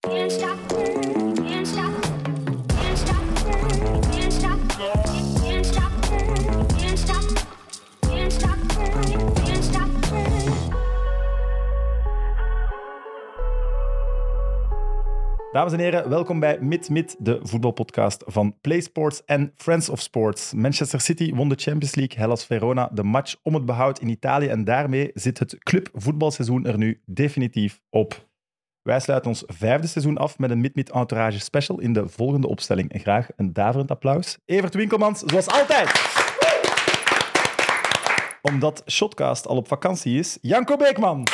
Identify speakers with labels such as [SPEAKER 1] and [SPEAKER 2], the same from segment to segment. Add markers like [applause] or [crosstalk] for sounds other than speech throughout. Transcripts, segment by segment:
[SPEAKER 1] Can't stop, can't stop, can't stop, can't stop, can't stop, can't stop, can't stop, can't stop.
[SPEAKER 2] Dames en heren, welkom bij Mid Mid, de voetbalpodcast van PlaySports en Friends of Sports. Manchester City won de Champions League, Hellas Verona de match om het behoud in Italië en daarmee zit het clubvoetbalseizoen er nu definitief op. Wij sluiten ons vijfde seizoen af met een Mid Mid Entourage special in de volgende opstelling. En graag een daverend applaus. Evert Winkelmans, zoals altijd. Omdat Shotcast al op vakantie is, Janko Beekman.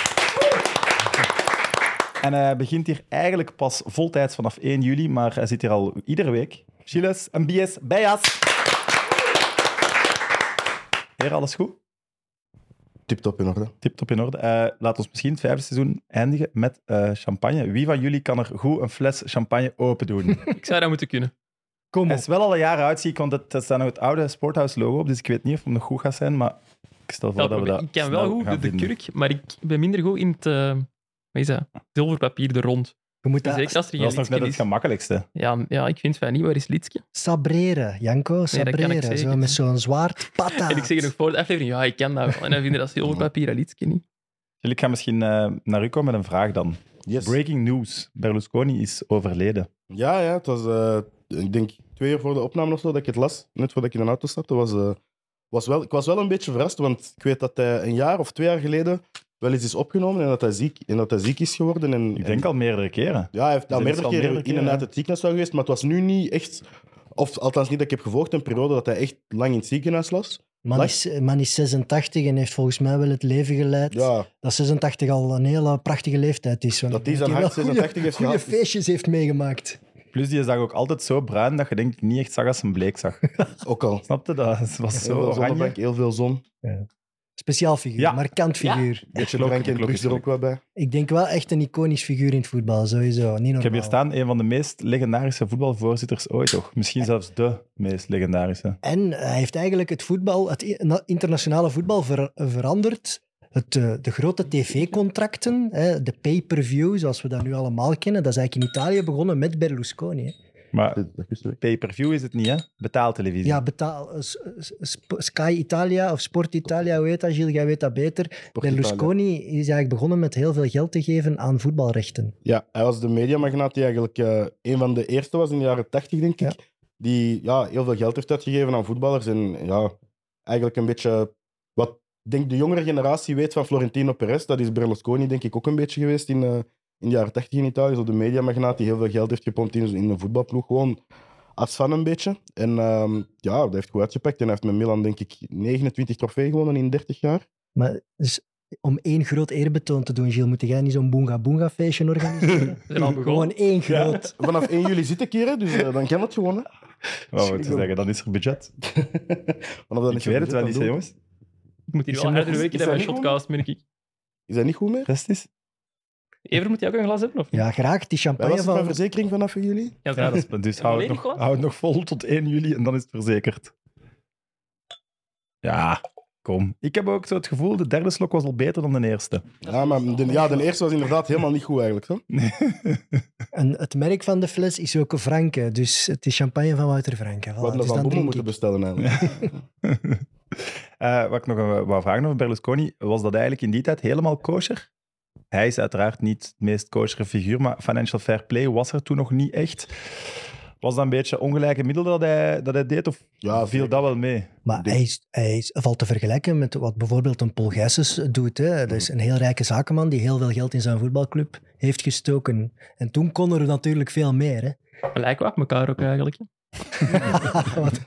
[SPEAKER 2] En hij begint hier eigenlijk pas voltijds vanaf 1 juli, maar hij zit hier al iedere week. Chiles, een bies, bias. Heer, alles goed?
[SPEAKER 3] Tip top in orde.
[SPEAKER 2] Tip-top in orde. Eh, laat ons misschien het vijfde seizoen eindigen met eh, champagne. Wie van jullie kan er goed een fles champagne open
[SPEAKER 3] [laughs]
[SPEAKER 2] doen?
[SPEAKER 4] Ik zou dat moeten kunnen.
[SPEAKER 2] Kom Het is wel al een jaar uit, zie ik, want het, er staat nog het oude Sporthouse logo op, dus ik weet niet of het nog goed gaat zijn, maar ik stel voor
[SPEAKER 4] Help
[SPEAKER 2] dat we
[SPEAKER 4] me.
[SPEAKER 2] dat
[SPEAKER 4] ik kan wel
[SPEAKER 2] snel
[SPEAKER 4] goed
[SPEAKER 2] gaan
[SPEAKER 4] de, de
[SPEAKER 2] vinden.
[SPEAKER 4] kurk, maar ik ben minder goed in het eh, wat is dat? zilverpapier er rond.
[SPEAKER 5] Je moet
[SPEAKER 4] Dus
[SPEAKER 5] dat
[SPEAKER 4] ik als er
[SPEAKER 2] Dat is
[SPEAKER 4] geen
[SPEAKER 2] nog net het
[SPEAKER 4] Litske is.
[SPEAKER 2] gemakkelijkste.
[SPEAKER 4] Ja, ja, ik vind het fijn niet. Waar is Litske?
[SPEAKER 5] sabreren, Janko.
[SPEAKER 4] kan ik
[SPEAKER 5] Sabreren.
[SPEAKER 4] zeker.
[SPEAKER 5] zo, met zo'n
[SPEAKER 4] [laughs]
[SPEAKER 5] zwaard. Pata.
[SPEAKER 4] En ik zeg het nog voor de aflevering, ja, ik kan dat wel. En dan vinden dat zilverpapier en Litske niet.
[SPEAKER 2] Jullie gaan misschien eh, naar u komen met een vraag dan.
[SPEAKER 3] Yes.
[SPEAKER 2] Breaking news. Berlusconi is overleden.
[SPEAKER 3] Ja, ja, het was, eh, ik denk twee uur voor de opname of zo dat ik het las. Net voordat ik in de auto stapte. Was, eh, was wel, ik was wel een beetje verrast, want ik weet dat hij een jaar of twee jaar geleden wel eens is opgenomen en dat hij ziek, en dat hij ziek is geworden. En,
[SPEAKER 2] Ik denk al meerdere keren.
[SPEAKER 3] Ja, hij heeft al
[SPEAKER 2] Dus
[SPEAKER 3] meerdere
[SPEAKER 2] dat is al
[SPEAKER 3] keren
[SPEAKER 2] meerdere
[SPEAKER 3] in en
[SPEAKER 2] keren,
[SPEAKER 3] uit
[SPEAKER 2] ja.
[SPEAKER 3] het ziekenhuis wel geweest, maar het was nu niet echt... Of althans niet dat ik heb gevolgd, een periode dat hij echt lang in het ziekenhuis was.
[SPEAKER 5] Man is, man is 86 en heeft volgens mij wel het leven geleid.
[SPEAKER 3] Ja,
[SPEAKER 5] Dat 86 al een hele prachtige leeftijd is. Want
[SPEAKER 3] Dat die
[SPEAKER 5] ik denk
[SPEAKER 3] zijn
[SPEAKER 5] wel
[SPEAKER 3] hart 86 heeft
[SPEAKER 5] goede,
[SPEAKER 3] gehad,
[SPEAKER 5] goede
[SPEAKER 3] dus-
[SPEAKER 5] feestjes heeft meegemaakt.
[SPEAKER 2] Plus, die zag ook altijd zo bruin dat je denk ik niet echt zag als een bleek zag. [laughs]
[SPEAKER 3] ook al.
[SPEAKER 2] Snap je? Dat was zo
[SPEAKER 3] Heel veel zonnebank,
[SPEAKER 2] oranje.
[SPEAKER 3] heel veel zon. Een
[SPEAKER 5] Speciaal figuur,
[SPEAKER 2] Ja.
[SPEAKER 5] markant figuur.
[SPEAKER 3] beetje
[SPEAKER 2] Klok-
[SPEAKER 3] drank en
[SPEAKER 2] klok is
[SPEAKER 3] drugs er ook wel bij.
[SPEAKER 5] Ik denk wel echt een iconisch figuur in het voetbal, sowieso. Niet normaal.
[SPEAKER 2] Ik heb hier staan een van de meest legendarische voetbalvoorzitters ooit, toch? Misschien zelfs de meest legendarische.
[SPEAKER 5] En hij heeft eigenlijk het voetbal, het i- na- internationale voetbal ver- veranderd. Het, eh, de grote tv-contracten, hè, de pay-per-view, zoals we dat nu allemaal kennen, dat is eigenlijk in Italië begonnen met Berlusconi. Hè.
[SPEAKER 2] Maar
[SPEAKER 3] Dat wist ik.
[SPEAKER 2] pay-per-view is het niet, hè? Betaaltelevisie.
[SPEAKER 5] Ja, betaal, eh, s- s- sp- Sky Italia of Sport Italia, hoe heet dat, Gilles? Jij weet dat beter.
[SPEAKER 3] Sport
[SPEAKER 5] Berlusconi is eigenlijk begonnen met heel veel geld te geven aan voetbalrechten.
[SPEAKER 3] Ja, hij was de mediamagnaat die eigenlijk eh, een van de eerste was in de jaren 80, denk ik. Die ja, heel veel geld heeft uitgegeven aan voetballers. En ja, eigenlijk een beetje wat ik denk de jongere generatie weet van Florentino Perez. Dat is Berlusconi, denk ik, ook een beetje geweest in, eh, in de jaren 80 in Italië. Zo de mediamagnaat die heel veel geld heeft gepompt in, in een voetbalploeg. Gewoon als fan een beetje. En ehm, ja, dat heeft goed uitgepakt. En hij heeft met Milan, denk ik, 29 trofee gewonnen in 30 jaar.
[SPEAKER 5] Maar dus, om één groot eerbetoon te doen, Gilles, moet jij niet zo'n
[SPEAKER 4] [laughs]
[SPEAKER 5] boonga-boonga-feestje organiseren?
[SPEAKER 4] We zijn al begonnen.
[SPEAKER 5] Gewoon één groot.
[SPEAKER 3] Vanaf 1 juli zit ik hier, hè, dus eh, dan kan het gewoon. hè.
[SPEAKER 2] Wat moet je zeggen? Dan is er budget.
[SPEAKER 3] Vanaf dan
[SPEAKER 2] Ik
[SPEAKER 3] is er
[SPEAKER 2] weet het
[SPEAKER 3] budget,
[SPEAKER 2] wel
[SPEAKER 3] dan
[SPEAKER 2] niet, hè,
[SPEAKER 3] doen we het.
[SPEAKER 2] jongens.
[SPEAKER 4] Ik moet hier
[SPEAKER 3] Is
[SPEAKER 4] wel
[SPEAKER 3] er
[SPEAKER 4] harder
[SPEAKER 3] nog-
[SPEAKER 4] werken
[SPEAKER 3] is
[SPEAKER 4] dan bij
[SPEAKER 3] er nog
[SPEAKER 4] Shotcast, merk ik.
[SPEAKER 3] Is dat niet goed meer?
[SPEAKER 2] Rest is.
[SPEAKER 4] Ever, moet jij ook een glas hebben? Of niet?
[SPEAKER 5] Ja, graag. Die
[SPEAKER 3] Wij
[SPEAKER 5] champagne
[SPEAKER 3] was het
[SPEAKER 5] van...
[SPEAKER 3] mijn verzekering vanaf jullie?
[SPEAKER 4] Ja,
[SPEAKER 2] Ja, dat is, dus hou het, nog,
[SPEAKER 4] Volledig wat?
[SPEAKER 2] hou het nog vol tot 1 juli en dan is het verzekerd. Ja, kom. Ik heb ook zo het gevoel, de derde slok was al beter dan de eerste.
[SPEAKER 3] Ja, maar de, ja, de eerste was inderdaad helemaal niet goed eigenlijk. Hè?
[SPEAKER 5] En het merk van de fles is ook Franke. Dus het is champagne van Wouter Franke. Voilà,
[SPEAKER 3] We hadden
[SPEAKER 5] dus
[SPEAKER 3] dat van
[SPEAKER 5] dan
[SPEAKER 3] Bommel
[SPEAKER 5] drink
[SPEAKER 3] moeten
[SPEAKER 5] ik.
[SPEAKER 3] bestellen eigenlijk.
[SPEAKER 2] [laughs] Eh, wat ik nog eh, wou vragen over Berlusconi, was dat eigenlijk in die tijd helemaal kosher? Hij is uiteraard niet het meest kosheren figuur, maar financial fair play was er toen nog niet echt. Was dat een beetje ongelijke middel dat hij, dat hij deed, of
[SPEAKER 3] Ja,
[SPEAKER 2] viel
[SPEAKER 3] zeker.
[SPEAKER 2] dat wel mee?
[SPEAKER 5] Maar hij, is, hij is- valt te vergelijken met wat bijvoorbeeld een Paul Gijsens doet. Hè. Dat
[SPEAKER 3] Mhm.
[SPEAKER 5] is een heel rijke zakenman die heel veel geld in zijn voetbalclub heeft gestoken. En toen kon er natuurlijk veel meer. Hè. [laughs]
[SPEAKER 4] We lijken we op elkaar ook eigenlijk. hè.
[SPEAKER 5] Want-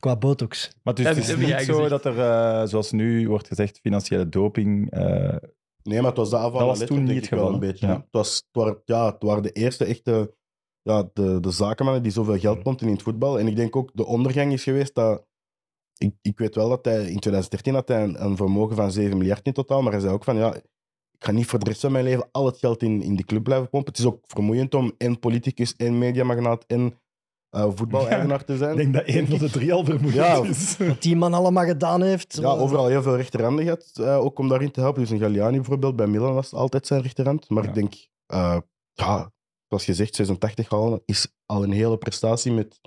[SPEAKER 5] qua botox.
[SPEAKER 2] Maar dus
[SPEAKER 4] Ja,
[SPEAKER 2] het
[SPEAKER 4] dat
[SPEAKER 2] is
[SPEAKER 4] heb jij
[SPEAKER 2] niet zo
[SPEAKER 4] gezegd.
[SPEAKER 2] dat er, eh, zoals nu wordt gezegd, financiële doping... eh,
[SPEAKER 3] Nee, maar het was de aanval.
[SPEAKER 2] Dat was
[SPEAKER 3] Atletico,
[SPEAKER 2] toen
[SPEAKER 3] denk
[SPEAKER 2] niet
[SPEAKER 3] ik wel
[SPEAKER 2] gevallen.
[SPEAKER 3] Een beetje,
[SPEAKER 2] Ja.
[SPEAKER 3] hè. het, was, het, waren, ja, het waren de eerste echte ja, de, de zakenmannen die zoveel geld pompten in het voetbal. En ik denk ook de ondergang is geweest dat... Ik, ik weet wel dat hij in 2013 had hij een, een vermogen van 7 miljard in totaal, maar hij zei ook van ja, ik ga niet voor de rest van mijn leven al het geld in, in die club blijven pompen. Het is ook vermoeiend om en politicus, en mediamagnaat, en eh voetbal-eigenaar te zijn.
[SPEAKER 2] Ik denk dat één van de drie al vermoeiend
[SPEAKER 3] Ja.
[SPEAKER 2] is.
[SPEAKER 5] Wat die man allemaal gedaan heeft.
[SPEAKER 3] Ja,
[SPEAKER 5] wat-
[SPEAKER 3] overal heel veel rechterhanden gehad, eh, ook om daarin te helpen. Dus een Galliani bijvoorbeeld, bij Milan was het altijd zijn rechterhand. Maar
[SPEAKER 2] Ja.
[SPEAKER 3] ik denk, eh, ja, zoals gezegd, 86 halen is al een hele prestatie met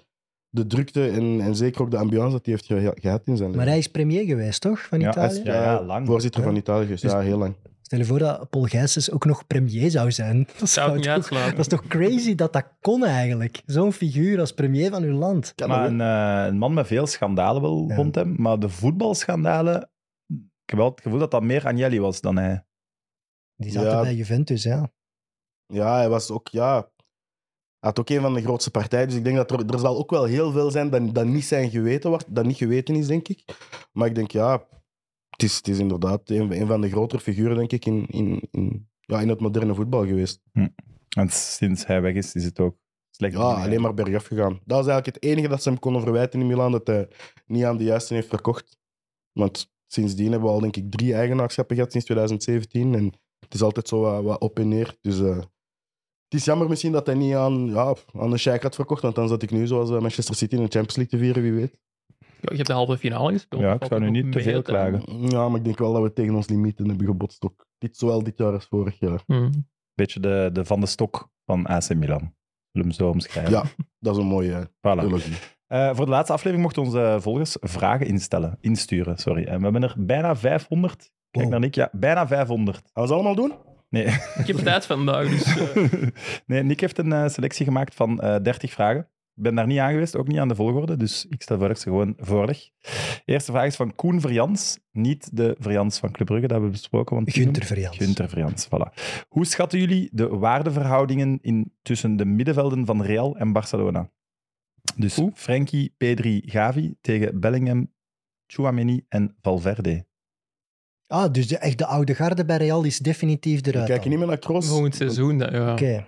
[SPEAKER 3] de drukte en, en zeker ook de ambiance dat hij heeft ge- gehad in zijn
[SPEAKER 5] Maar
[SPEAKER 3] leven.
[SPEAKER 5] hij is premier geweest, toch? Van
[SPEAKER 2] Ja,
[SPEAKER 5] Italië?
[SPEAKER 2] hij is- ja, ja, lang.
[SPEAKER 3] Voorzitter van Italië, geweest,
[SPEAKER 5] Dus-
[SPEAKER 3] ja, heel lang.
[SPEAKER 5] Stel je voor dat Paul Gijsens ook nog premier zou zijn. [laughs] Dat,
[SPEAKER 4] zou het niet
[SPEAKER 5] toch-
[SPEAKER 4] uitsluiten.
[SPEAKER 5] dat is toch crazy dat dat kon eigenlijk? Zo'n figuur als premier van uw land.
[SPEAKER 2] maar een, eh, een man met veel schandalen wel
[SPEAKER 5] Ja.
[SPEAKER 2] rond hem. Maar de voetbalschandalen, ik heb wel het gevoel dat dat meer Agnelli was dan hij.
[SPEAKER 5] Die zaten
[SPEAKER 3] Ja.
[SPEAKER 5] bij Juventus, ja.
[SPEAKER 3] Ja, hij was ook, ja, hij had ook een van de grootste partijen. Dus ik denk dat er, er zal ook wel heel veel zijn dat, dat niet zijn geweten wordt, dat niet geweten is, denk ik. Maar ik denk, ja, het is, het is inderdaad een, een van de grotere figuren, denk ik, in, in, in, ja, in het moderne voetbal geweest.
[SPEAKER 2] En sinds hij weg is, is het ook slecht.
[SPEAKER 3] Ja, alleen maar bergaf gegaan. Dat was eigenlijk het enige dat ze hem konden verwijten in Milaan, dat hij niet aan de juiste heeft verkocht. Want sindsdien hebben we al, denk ik, drie eigenaarschappen gehad sinds 2017. En het is altijd zo wat, wat op en neer. Dus eh, het is jammer misschien dat hij niet aan, ja, aan de Scheik had verkocht, want dan zat ik nu zoals eh, Manchester City in de Champions League te vieren, wie weet.
[SPEAKER 4] Ja, je hebt de halve finale gespeeld.
[SPEAKER 2] Ja, ik
[SPEAKER 4] Valt
[SPEAKER 2] zou nu
[SPEAKER 4] ook
[SPEAKER 2] niet te
[SPEAKER 4] mee,
[SPEAKER 2] veel
[SPEAKER 4] hè.
[SPEAKER 2] klagen.
[SPEAKER 3] Ja, maar ik denk wel dat we tegen ons limieten hebben gebotst ook. Dit, zowel dit jaar als vorig jaar.
[SPEAKER 4] Hm.
[SPEAKER 2] Beetje de, de Van de Stok van AC Milan. Zullen we hem zo omschrijven.
[SPEAKER 3] Ja, dat is een mooie
[SPEAKER 2] Voilà.
[SPEAKER 3] theologie.
[SPEAKER 2] Eh, voor de laatste aflevering mochten onze volgers vragen instellen, insturen. Sorry. En we hebben er bijna 500. Kijk
[SPEAKER 5] Wow.
[SPEAKER 2] naar Nick. Ja, bijna 500.
[SPEAKER 3] Gaan we ze allemaal doen?
[SPEAKER 2] Nee.
[SPEAKER 4] Ik heb tijd vandaag, dus... eh, [laughs]
[SPEAKER 2] [laughs] nee, Nick heeft een eh, selectie gemaakt van eh 30 vragen. Ik ben daar niet aan geweest, ook niet aan de volgorde, dus ik stel voor dat ik ze gewoon voorleg. De eerste vraag is van Koen Verjans, niet de Verjans van Club Brugge, dat hebben we besproken. Want die
[SPEAKER 5] Gunter Verjans.
[SPEAKER 2] Gunter Vrians, voilà. Hoe schatten jullie de waardeverhoudingen in tussen de middenvelden van Real en Barcelona? Dus Frenkie, Pedri, Gavi tegen Bellingham, Chouameni en Valverde.
[SPEAKER 5] Ah, dus de, echt de oude garde bij Real is definitief
[SPEAKER 3] We
[SPEAKER 5] eruit.
[SPEAKER 3] kijken
[SPEAKER 5] dan.
[SPEAKER 3] niet meer naar Kroos.
[SPEAKER 4] Volgend seizoen, dat, ja.
[SPEAKER 5] Oké.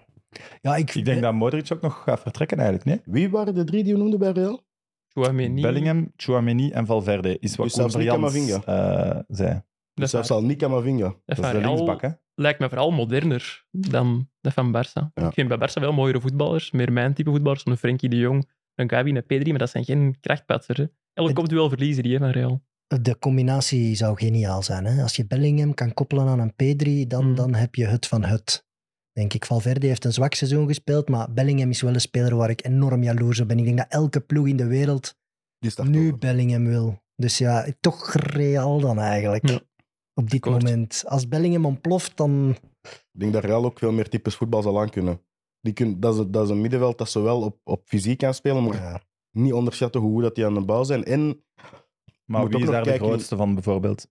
[SPEAKER 5] Ja, ik, eh,
[SPEAKER 2] Ik denk dat Modric ook nog gaat vertrekken eigenlijk, nee?
[SPEAKER 3] Wie waren de drie die we noemden bij Real?
[SPEAKER 4] Chouameni.
[SPEAKER 2] Bellingham, Chouameni en Valverde is wat
[SPEAKER 3] Dus
[SPEAKER 2] Koen
[SPEAKER 3] zelfs niet
[SPEAKER 2] Verjans eh, zei.
[SPEAKER 4] Dat
[SPEAKER 3] Dus
[SPEAKER 4] is waar.
[SPEAKER 3] zelfs al niet Camavinga.
[SPEAKER 4] Dat
[SPEAKER 2] Dat is
[SPEAKER 4] van
[SPEAKER 2] de
[SPEAKER 4] Real
[SPEAKER 2] linksbak, hè?
[SPEAKER 4] lijkt me vooral moderner dan dat van Barça.
[SPEAKER 3] Ja.
[SPEAKER 4] Ik vind bij Barça wel mooiere voetballers, meer mijn type voetballers, dan een Frenkie de Jong, een Gavi, een Pedri, maar dat zijn geen krachtpatsers. hè. Elk
[SPEAKER 5] Het-
[SPEAKER 4] komt wel verliezen die hè, van
[SPEAKER 3] Ah,
[SPEAKER 4] Real.
[SPEAKER 5] de combinatie zou geniaal zijn. Hè? Als je Bellingham kan koppelen aan een Pedri, dan,
[SPEAKER 4] Mm.
[SPEAKER 5] dan heb je het van het. Denk ik, Valverde heeft een zwak seizoen gespeeld, maar Bellingham is wel een speler waar ik enorm jaloers op ben. Ik denk dat elke ploeg in de wereld
[SPEAKER 3] Die start
[SPEAKER 5] nu
[SPEAKER 3] over.
[SPEAKER 5] Bellingham wil. Dus ja, toch Real dan eigenlijk.
[SPEAKER 4] Ja.
[SPEAKER 5] Op dit
[SPEAKER 4] Akkoord.
[SPEAKER 5] moment. Als Bellingham ontploft, dan...
[SPEAKER 3] Ik denk dat Real ook veel meer types voetbal zal aankunnen. Die kun, dat, is, dat is een middenveld dat zowel op, op fysiek kan spelen, maar
[SPEAKER 5] Ja.
[SPEAKER 3] niet onderschatten hoe goed dat die aan de bal zijn. En
[SPEAKER 2] Maar
[SPEAKER 3] Moet
[SPEAKER 2] wie
[SPEAKER 3] ook
[SPEAKER 2] is
[SPEAKER 3] nog
[SPEAKER 2] daar de
[SPEAKER 3] kijken-
[SPEAKER 2] grootste van, bijvoorbeeld?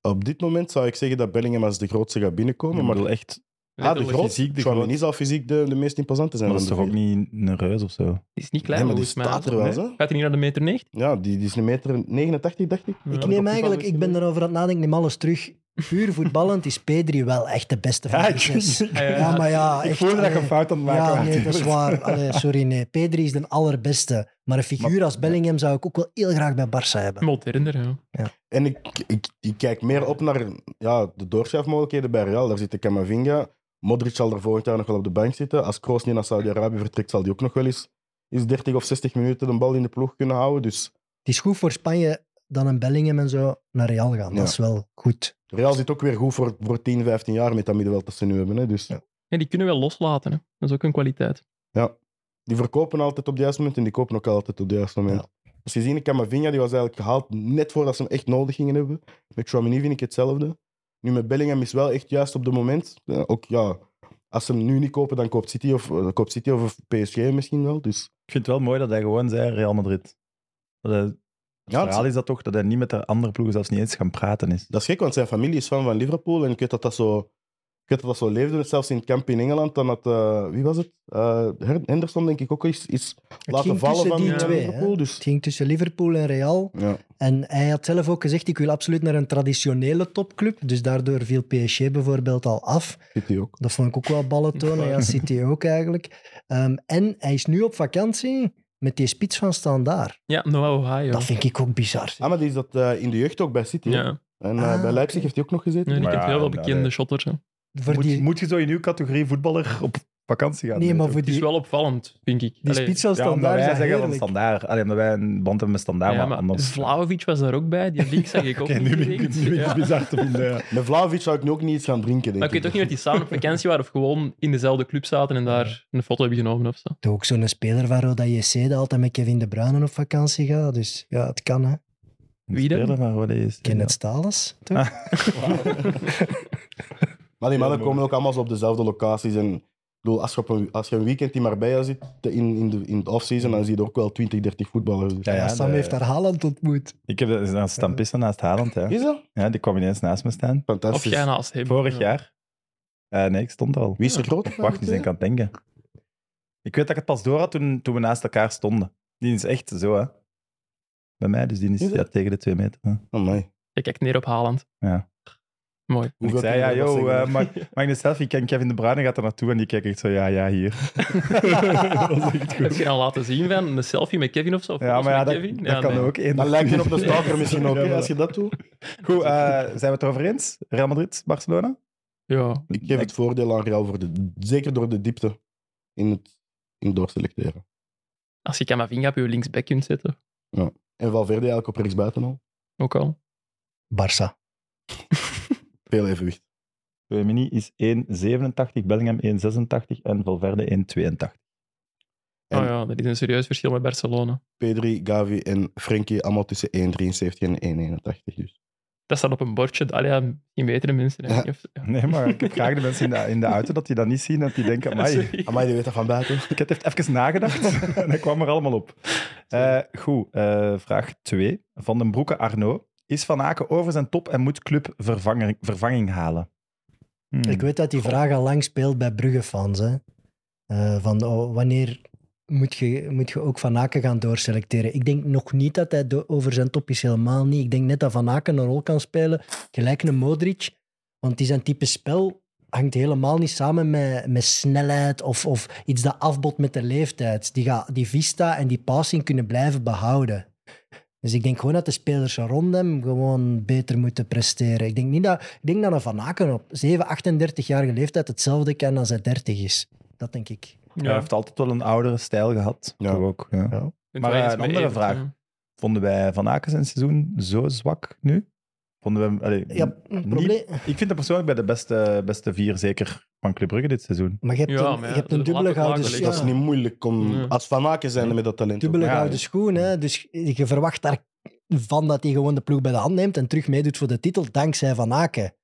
[SPEAKER 3] op dit moment zou ik zeggen dat Bellingham als de grootste gaat binnenkomen.
[SPEAKER 2] Ik
[SPEAKER 3] Oh, maar
[SPEAKER 2] bedoel, echt...
[SPEAKER 3] ah, de
[SPEAKER 4] Letterlijk.
[SPEAKER 3] groot,
[SPEAKER 2] fysiek de
[SPEAKER 3] Tchouaméni
[SPEAKER 2] groot.
[SPEAKER 3] zal fysiek de, de meest imposante zijn.
[SPEAKER 2] Maar dat is
[SPEAKER 3] van
[SPEAKER 2] toch
[SPEAKER 3] de
[SPEAKER 2] ook
[SPEAKER 3] vier.
[SPEAKER 2] niet een reus of zo?
[SPEAKER 4] Die is niet
[SPEAKER 3] Nee,
[SPEAKER 4] klein,
[SPEAKER 3] maar die
[SPEAKER 4] volgens mij.
[SPEAKER 3] staat er wel,
[SPEAKER 4] Nee.
[SPEAKER 3] eens, hè?
[SPEAKER 4] Gaat hij niet naar de meter 90?
[SPEAKER 3] Ja, die, die is een meter 89, dacht ik.
[SPEAKER 5] Ik
[SPEAKER 4] Ja.
[SPEAKER 5] neem
[SPEAKER 3] op
[SPEAKER 5] eigenlijk,
[SPEAKER 3] voetbal
[SPEAKER 5] ik ben
[SPEAKER 3] gezien.
[SPEAKER 5] erover aan het nadenken, neem alles terug. Puur voetballend is Pedri wel echt de beste van
[SPEAKER 2] Ja,
[SPEAKER 5] de
[SPEAKER 2] ik-
[SPEAKER 5] zes.
[SPEAKER 2] ik-
[SPEAKER 4] Ah,
[SPEAKER 5] Ja, maar ja, Ah, echt, allee.
[SPEAKER 2] fout aan het
[SPEAKER 5] Ja,
[SPEAKER 2] was.
[SPEAKER 5] nee, [laughs] dat is waar. Allee, sorry, nee. Pedri is de allerbeste. Maar een figuur als Bellingham zou ik ook wel heel graag bij Barça hebben.
[SPEAKER 4] Moderner, ja.
[SPEAKER 3] En ik, ik, ik kijk meer op naar ja, de doorschuifmogelijkheden bij Real. Daar zit de Camavinga. Modric zal er volgend jaar nog wel op de bank zitten. Als Kroos niet naar Saudi-Arabië vertrekt, zal die ook nog wel eens, eens 30 of 60 minuten de bal in de ploeg kunnen houden. Dus
[SPEAKER 5] Het is goed voor Spanje dan een Bellingham en zo naar Real gaan.
[SPEAKER 3] Ja.
[SPEAKER 5] Dat is wel goed.
[SPEAKER 3] Real zit ook weer goed voor, voor 10, 15 jaar met dat middenveld dat ze nu hebben. Hè. Dus
[SPEAKER 4] En die kunnen wel loslaten, hè. Dat is ook een kwaliteit.
[SPEAKER 3] die verkopen altijd op het juiste moment en die kopen ook altijd op het juiste moment. Als je ziet, Camavinga die was eigenlijk gehaald net voordat ze hem echt nodig gingen hebben. Met Chouamini vind ik hetzelfde. Nu met Bellingham is wel echt juist op het moment. Eh, ook ja, als ze hem nu niet kopen, dan koopt City of, eh, koopt City of PSG misschien wel. Dus
[SPEAKER 2] Ik vind het wel mooi dat hij gewoon zei Real Madrid. Dat hij- het
[SPEAKER 3] Ja, het-
[SPEAKER 2] verhaal is dat toch dat hij niet met de andere ploegen zelfs niet eens gaan praten is.
[SPEAKER 3] dat is gek, want zijn familie is fan van Liverpool en ik weet dat dat zo, ik weet dat dat zo leefde. Zelfs in het kamp in Engeland, dan had, eh, wie was het? Eh, Her- Henderson denk ik ook is, is laten
[SPEAKER 5] ging
[SPEAKER 3] vallen
[SPEAKER 5] tussen
[SPEAKER 3] van
[SPEAKER 5] die
[SPEAKER 3] eh,
[SPEAKER 5] twee, hè?
[SPEAKER 3] Liverpool. Dus
[SPEAKER 5] Het ging tussen Liverpool en Real.
[SPEAKER 3] Ja.
[SPEAKER 5] En hij had zelf ook gezegd, ik wil absoluut naar een traditionele topclub. Dus daardoor viel PSG bijvoorbeeld al af.
[SPEAKER 3] City ook.
[SPEAKER 5] Dat vond ik ook wel ballen tonen. Ja, City ook eigenlijk. Ehm, en hij is nu op vakantie met die spits van Standaard.
[SPEAKER 4] Ja, Noah Ohio.
[SPEAKER 5] Dat vind ik ook bizar.
[SPEAKER 3] Ah, maar die is dat eh, in de jeugd ook bij City. hè?
[SPEAKER 4] Ja,
[SPEAKER 3] En eh,
[SPEAKER 5] Ah,
[SPEAKER 3] bij Leipzig
[SPEAKER 5] oké.
[SPEAKER 3] heeft hij ook nog gezeten.
[SPEAKER 4] ja die
[SPEAKER 2] Maar
[SPEAKER 4] kent
[SPEAKER 2] ja,
[SPEAKER 4] wel wel
[SPEAKER 2] ja,
[SPEAKER 4] bekende
[SPEAKER 2] nee.
[SPEAKER 4] shotters. hè.
[SPEAKER 5] Voor die,
[SPEAKER 2] je zo in uw categorie voetballer op vakantie gaan.
[SPEAKER 5] Nee, maar voor
[SPEAKER 4] Het is
[SPEAKER 5] die,
[SPEAKER 4] wel opvallend, vind ik.
[SPEAKER 5] die
[SPEAKER 4] Allee,
[SPEAKER 5] spitsen
[SPEAKER 2] ja, omdat
[SPEAKER 5] standaard
[SPEAKER 2] wij
[SPEAKER 5] zijn
[SPEAKER 2] zeggen van
[SPEAKER 5] heerlijk.
[SPEAKER 2] standaard. Alleen omdat wij een band hebben met standaard.
[SPEAKER 4] ja,
[SPEAKER 2] maar
[SPEAKER 4] maar
[SPEAKER 2] anders...
[SPEAKER 4] Vlaovic was daar ook bij. Die link zag
[SPEAKER 3] [laughs]
[SPEAKER 4] ik ook
[SPEAKER 2] Oké, nu
[SPEAKER 4] niet
[SPEAKER 2] ben ik
[SPEAKER 4] direct.
[SPEAKER 2] nu ben ik
[SPEAKER 4] Ja.
[SPEAKER 2] bizar te vinden. ja.
[SPEAKER 3] Met Vlaovic zou ik nu ook niet iets gaan drinken, denk
[SPEAKER 4] Maar ik weet ook niet dat die samen op vakantie waren of gewoon in dezelfde club zaten en daar een foto hebben genomen of zo.
[SPEAKER 5] Toch Ook zo'n speler van Roda JC dat altijd met Kevin De Bruyne op vakantie gaat. Dus ja, het kan, hè.
[SPEAKER 4] Wie dan?
[SPEAKER 2] Speler van Rode JC,
[SPEAKER 5] Kenneth Stalens, toch?
[SPEAKER 2] Ah.
[SPEAKER 3] Maar die mannen
[SPEAKER 2] Ja,
[SPEAKER 3] komen ook allemaal zo op dezelfde locaties. En, ik bedoel, als, je op een, als je een weekend in Marbella zit te- in, in, de, in het offseason, dan zie je er ook wel 20, 30 voetballers. Dus.
[SPEAKER 2] Ja, ja,
[SPEAKER 5] Sam
[SPEAKER 2] de-
[SPEAKER 5] heeft daar Haaland ontmoet.
[SPEAKER 2] Ik heb dat staan stampisten naast Haaland. Hè.
[SPEAKER 3] Is dat?
[SPEAKER 2] Ja, die kwam ineens naast me staan.
[SPEAKER 4] Of
[SPEAKER 3] Fantastisch.
[SPEAKER 4] jij naast hem.
[SPEAKER 2] Vorig
[SPEAKER 4] Hm, Ja.
[SPEAKER 2] jaar. Eh, nee, ik stond er al.
[SPEAKER 3] Wie is er
[SPEAKER 4] [laughs]
[SPEAKER 3] groot?
[SPEAKER 2] Wacht, nu zijn ik aan het denken. Ik weet dat ik het pas door had toen, toen we naast elkaar stonden. Die is echt zo, hè. Bij mij, dus die is
[SPEAKER 3] Is het?
[SPEAKER 2] ja, tegen de twee meter. hè. En
[SPEAKER 3] Amai.
[SPEAKER 4] Je kijkt neer op Haaland.
[SPEAKER 2] Ja.
[SPEAKER 4] Mooi.
[SPEAKER 2] ik
[SPEAKER 3] Hoeveel
[SPEAKER 2] zei,
[SPEAKER 3] kunnen
[SPEAKER 2] ja,
[SPEAKER 3] we dat
[SPEAKER 2] joh,
[SPEAKER 3] zeggen?
[SPEAKER 2] eh, mag, mag ik een selfie? Ken Kevin De Bruyne gaat er naartoe en die kijkt echt zo, ja, ja,
[SPEAKER 4] [laughs]
[SPEAKER 2] hier. [laughs] dat was echt
[SPEAKER 4] Heb
[SPEAKER 2] goed.
[SPEAKER 4] je al laten zien van een selfie met Kevin of zo? Of
[SPEAKER 2] Ja,
[SPEAKER 4] foto's
[SPEAKER 2] maar ja,
[SPEAKER 4] met
[SPEAKER 2] dat,
[SPEAKER 4] Kevin?
[SPEAKER 2] dat
[SPEAKER 4] Ja,
[SPEAKER 2] kan
[SPEAKER 4] nee.
[SPEAKER 2] ook. Eén
[SPEAKER 3] Dan lijkt je op de
[SPEAKER 2] [laughs]
[SPEAKER 3] stalker misschien ook,
[SPEAKER 2] Ja,
[SPEAKER 3] hè,
[SPEAKER 2] voilà.
[SPEAKER 3] als je dat doet.
[SPEAKER 2] Goed, eh, zijn we het erover eens? Real Madrid, Barcelona?
[SPEAKER 4] Ja.
[SPEAKER 3] Ik geef het voordeel aan Real, voor de, zeker door de diepte in het in doorselecteren.
[SPEAKER 4] Als je Camavinga op je linksback kunt zetten,
[SPEAKER 3] En Valverde eigenlijk op rechtsbuiten al.
[SPEAKER 4] ook al.
[SPEAKER 5] Barça.
[SPEAKER 3] Veel evenwicht.
[SPEAKER 2] Mini is 1,87, Bellingham 1,86 en Valverde 1,82.
[SPEAKER 3] En-
[SPEAKER 4] Oh ja, dat is een serieus verschil met Barcelona.
[SPEAKER 3] Pedri, Gavi en Frenkie allemaal tussen 1,73 en 1,81. Dus.
[SPEAKER 4] Dat staat op een bordje. Allee, ja, misschien betere mensen. hè.
[SPEAKER 3] Ja.
[SPEAKER 4] Ik heb- ja.
[SPEAKER 2] Nee, maar ik heb graag de mensen in de, in de auto dat die dat niet zien, dat die denken, amai,
[SPEAKER 4] Sorry.
[SPEAKER 3] Amai, die weet dat van buiten.
[SPEAKER 2] Ket heeft even nagedacht en hij kwam er allemaal op. Eh, goed, eh, vraag 2. Van den Broeke Arno. Is Van Aken over zijn top en moet club vervanger- vervanging halen? Hmm.
[SPEAKER 5] Ik weet dat die vraag al lang speelt bij Brugge-fans. Hè? Eh, van oh, wanneer moet je, moet je ook Van Aken gaan doorselecteren? Ik denk nog niet dat hij do- over zijn top is, helemaal niet. Ik denk net dat Van Aken een rol kan spelen, gelijk een Modric. Want die zijn type spel hangt helemaal niet samen met, met snelheid of, of iets dat afbot met de leeftijd. Die gaat die vista en die passing kunnen blijven behouden. Dus ik denk gewoon dat de spelers rond hem gewoon beter moeten presteren. Ik denk niet dat ik denk dat een Van Aken op 7, 38-jarige leeftijd hetzelfde kan als hij 30 is. Dat denk ik.
[SPEAKER 2] Hij heeft altijd wel een oudere stijl gehad.
[SPEAKER 3] Ja.
[SPEAKER 2] Toch ook, ja.
[SPEAKER 5] Ja.
[SPEAKER 4] Het
[SPEAKER 2] Maar,
[SPEAKER 4] wel
[SPEAKER 2] eh,
[SPEAKER 4] eens
[SPEAKER 2] een
[SPEAKER 4] met
[SPEAKER 2] andere
[SPEAKER 4] Evert,
[SPEAKER 2] vraag.
[SPEAKER 4] hè.
[SPEAKER 2] Vonden wij Van Aken zijn seizoen zo zwak nu? Vonden we hem... allee,
[SPEAKER 5] Ja, probleem.
[SPEAKER 2] Ik vind hem persoonlijk bij de beste, beste vier zeker van Club Brugge dit seizoen.
[SPEAKER 5] Maar je hebt
[SPEAKER 4] Ja,
[SPEAKER 5] een,
[SPEAKER 4] maar
[SPEAKER 5] je
[SPEAKER 4] ja,
[SPEAKER 5] hebt
[SPEAKER 4] dat
[SPEAKER 5] een
[SPEAKER 4] is
[SPEAKER 5] dubbele
[SPEAKER 4] later
[SPEAKER 5] gouden,
[SPEAKER 4] makkelijk.
[SPEAKER 5] schoen.
[SPEAKER 4] Ja.
[SPEAKER 3] Dat is niet moeilijk om,
[SPEAKER 4] Nee.
[SPEAKER 3] als van maken zijn met dat talent.
[SPEAKER 5] dubbele
[SPEAKER 2] Ja,
[SPEAKER 5] gouden
[SPEAKER 2] ja.
[SPEAKER 5] schoen. Hè? Dus je verwacht daar van dat hij gewoon de ploeg bij de hand neemt en terug meedoet voor de titel dankzij Van Aken.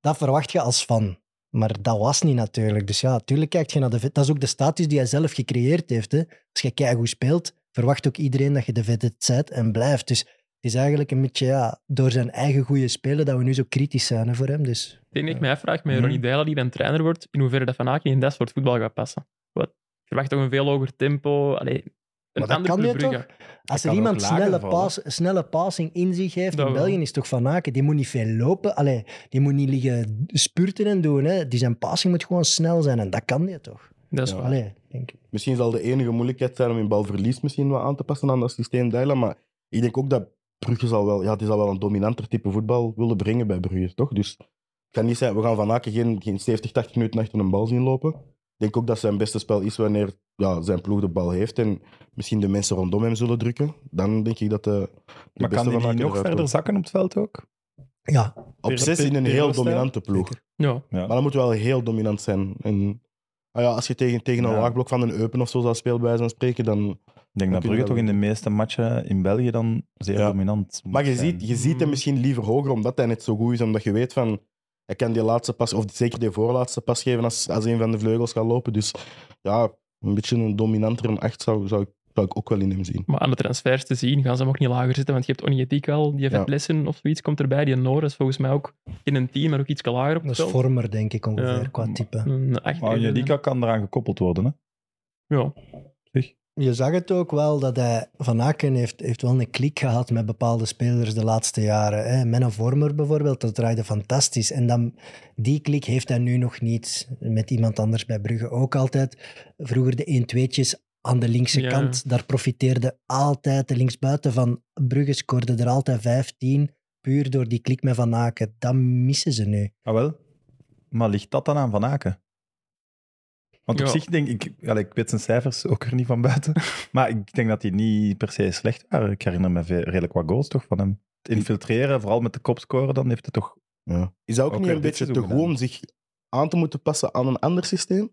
[SPEAKER 5] Dat verwacht je als fan. Maar dat was niet natuurlijk. Dus ja, natuurlijk kijk je naar de... vet- Dat is ook de status die hij zelf gecreëerd heeft. Hè? Als je keigoed speelt, verwacht ook iedereen dat je de vedette bent en blijft. Dus het is eigenlijk een beetje ja, door zijn eigen goede spelen dat we nu zo kritisch zijn hè, voor hem. Dus
[SPEAKER 4] Ik denk dat ik mij afvraag met
[SPEAKER 2] Mhm.
[SPEAKER 4] Ronnie Deila, die dan trainer wordt, in hoeverre dat Van Aken in dat soort voetbal gaat passen. Wat? Ik verwacht toch een veel hoger tempo. Allee, een
[SPEAKER 5] Maar dat
[SPEAKER 4] ander
[SPEAKER 5] kan
[SPEAKER 4] Club
[SPEAKER 5] je toch?
[SPEAKER 4] Brugge.
[SPEAKER 5] Als
[SPEAKER 2] Hij kan
[SPEAKER 5] er iemand
[SPEAKER 2] ook lager
[SPEAKER 5] snelle,
[SPEAKER 2] vallen.
[SPEAKER 5] pas, snelle passing in zich heeft
[SPEAKER 4] Dat
[SPEAKER 5] in
[SPEAKER 4] wel.
[SPEAKER 5] België, is het toch Van Aken. Die moet niet veel lopen. Allee, die moet niet liggen spurten en doen. Hè. Die zijn passing moet gewoon snel zijn. En dat kan die toch?
[SPEAKER 4] Dat is
[SPEAKER 3] Ja.
[SPEAKER 4] waar.
[SPEAKER 5] Allee, denk ik.
[SPEAKER 3] Misschien zal de enige moeilijkheid zijn om in balverlies misschien wat aan te passen aan dat systeem Dijla. Maar ik denk ook dat Brugge zal wel, ja, die zal wel een dominanter type voetbal willen brengen bij Brugge, toch? Dus het kan niet zijn, we gaan Van Aken geen, geen 70, 80 minuten achter een bal zien lopen. Ik denk ook dat zijn beste spel is wanneer ja, zijn ploeg de bal heeft en misschien de mensen rondom hem zullen drukken. Dan denk ik dat de, de
[SPEAKER 2] Maar
[SPEAKER 3] beste
[SPEAKER 2] kan
[SPEAKER 3] Van
[SPEAKER 2] hij
[SPEAKER 3] Aken
[SPEAKER 2] nog
[SPEAKER 3] eruit
[SPEAKER 2] verder
[SPEAKER 3] komt.
[SPEAKER 2] zakken op het veld ook?
[SPEAKER 5] Ja,
[SPEAKER 3] Op
[SPEAKER 2] Tegen-
[SPEAKER 3] zes in een
[SPEAKER 2] tegen
[SPEAKER 3] heel
[SPEAKER 2] Rostijl?
[SPEAKER 3] dominante ploeg.
[SPEAKER 4] Ja.
[SPEAKER 3] Maar dat moet wel heel dominant zijn. En, ah ja, als je tegen, tegen een
[SPEAKER 2] Ja.
[SPEAKER 3] laagblok van een Eupen of zo zou spelen, bij zo'n spreken, dan...
[SPEAKER 2] Ik denk dat
[SPEAKER 3] kun
[SPEAKER 2] Brugge
[SPEAKER 3] je wel
[SPEAKER 2] toch in de meeste matchen in België dan zeer
[SPEAKER 3] Ja.
[SPEAKER 2] dominant moet
[SPEAKER 3] Maar je
[SPEAKER 2] zijn.
[SPEAKER 3] ziet, je ziet hem
[SPEAKER 4] Mm.
[SPEAKER 3] misschien liever hoger, omdat hij net zo goed is. Omdat je weet van, hij kan die laatste pas, of zeker die voorlaatste pas geven als, als een van de vleugels gaat lopen. Dus ja, een beetje een dominanter een acht zou, zou, ik, zou ik ook wel in hem zien.
[SPEAKER 4] Maar aan de transfers te zien gaan ze hem ook niet lager zitten, want je hebt Onyetik al, die heeft
[SPEAKER 3] Ja.
[SPEAKER 4] Lessen of zoiets, komt erbij. Die Norris volgens mij ook in een team, maar ook iets lager op het
[SPEAKER 5] dat
[SPEAKER 4] veld.
[SPEAKER 5] is vormer, denk ik ongeveer,
[SPEAKER 4] Ja.
[SPEAKER 5] qua type.
[SPEAKER 4] Een acht.
[SPEAKER 2] Maar Jadika kan eraan gekoppeld worden. Hè?
[SPEAKER 4] Ja.
[SPEAKER 5] Je zag het ook wel dat hij, Van Aken heeft, heeft wel een klik gehad met bepaalde spelers de laatste jaren. Hè. Menno Vormer bijvoorbeeld, dat draaide fantastisch. En dan, die klik heeft hij nu nog niet. Met iemand anders bij Brugge ook altijd. Vroeger de 1-2'tjes aan de linkse
[SPEAKER 4] Ja.
[SPEAKER 5] kant, daar profiteerde altijd de linksbuiten van. Brugge scoorde er altijd 15, puur door die klik met Van Aken. Dat missen ze nu.
[SPEAKER 2] Ah wel. Maar ligt dat dan aan Van Aken? Want op
[SPEAKER 4] Ja.
[SPEAKER 2] zich denk ik, ja, ik weet zijn cijfers ook er niet van buiten, maar ik denk dat die niet per se slecht waren. Ik herinner me veel- redelijk wat goals toch van hem. Het infiltreren, vooral met de kopscoren, dan heeft het [laughs] toch...
[SPEAKER 3] Ja. Is dat ook,
[SPEAKER 2] Ook
[SPEAKER 3] niet
[SPEAKER 2] weer
[SPEAKER 3] een
[SPEAKER 2] dit
[SPEAKER 3] beetje te
[SPEAKER 2] seizoen
[SPEAKER 3] goed om zich aan te moeten passen aan een ander systeem?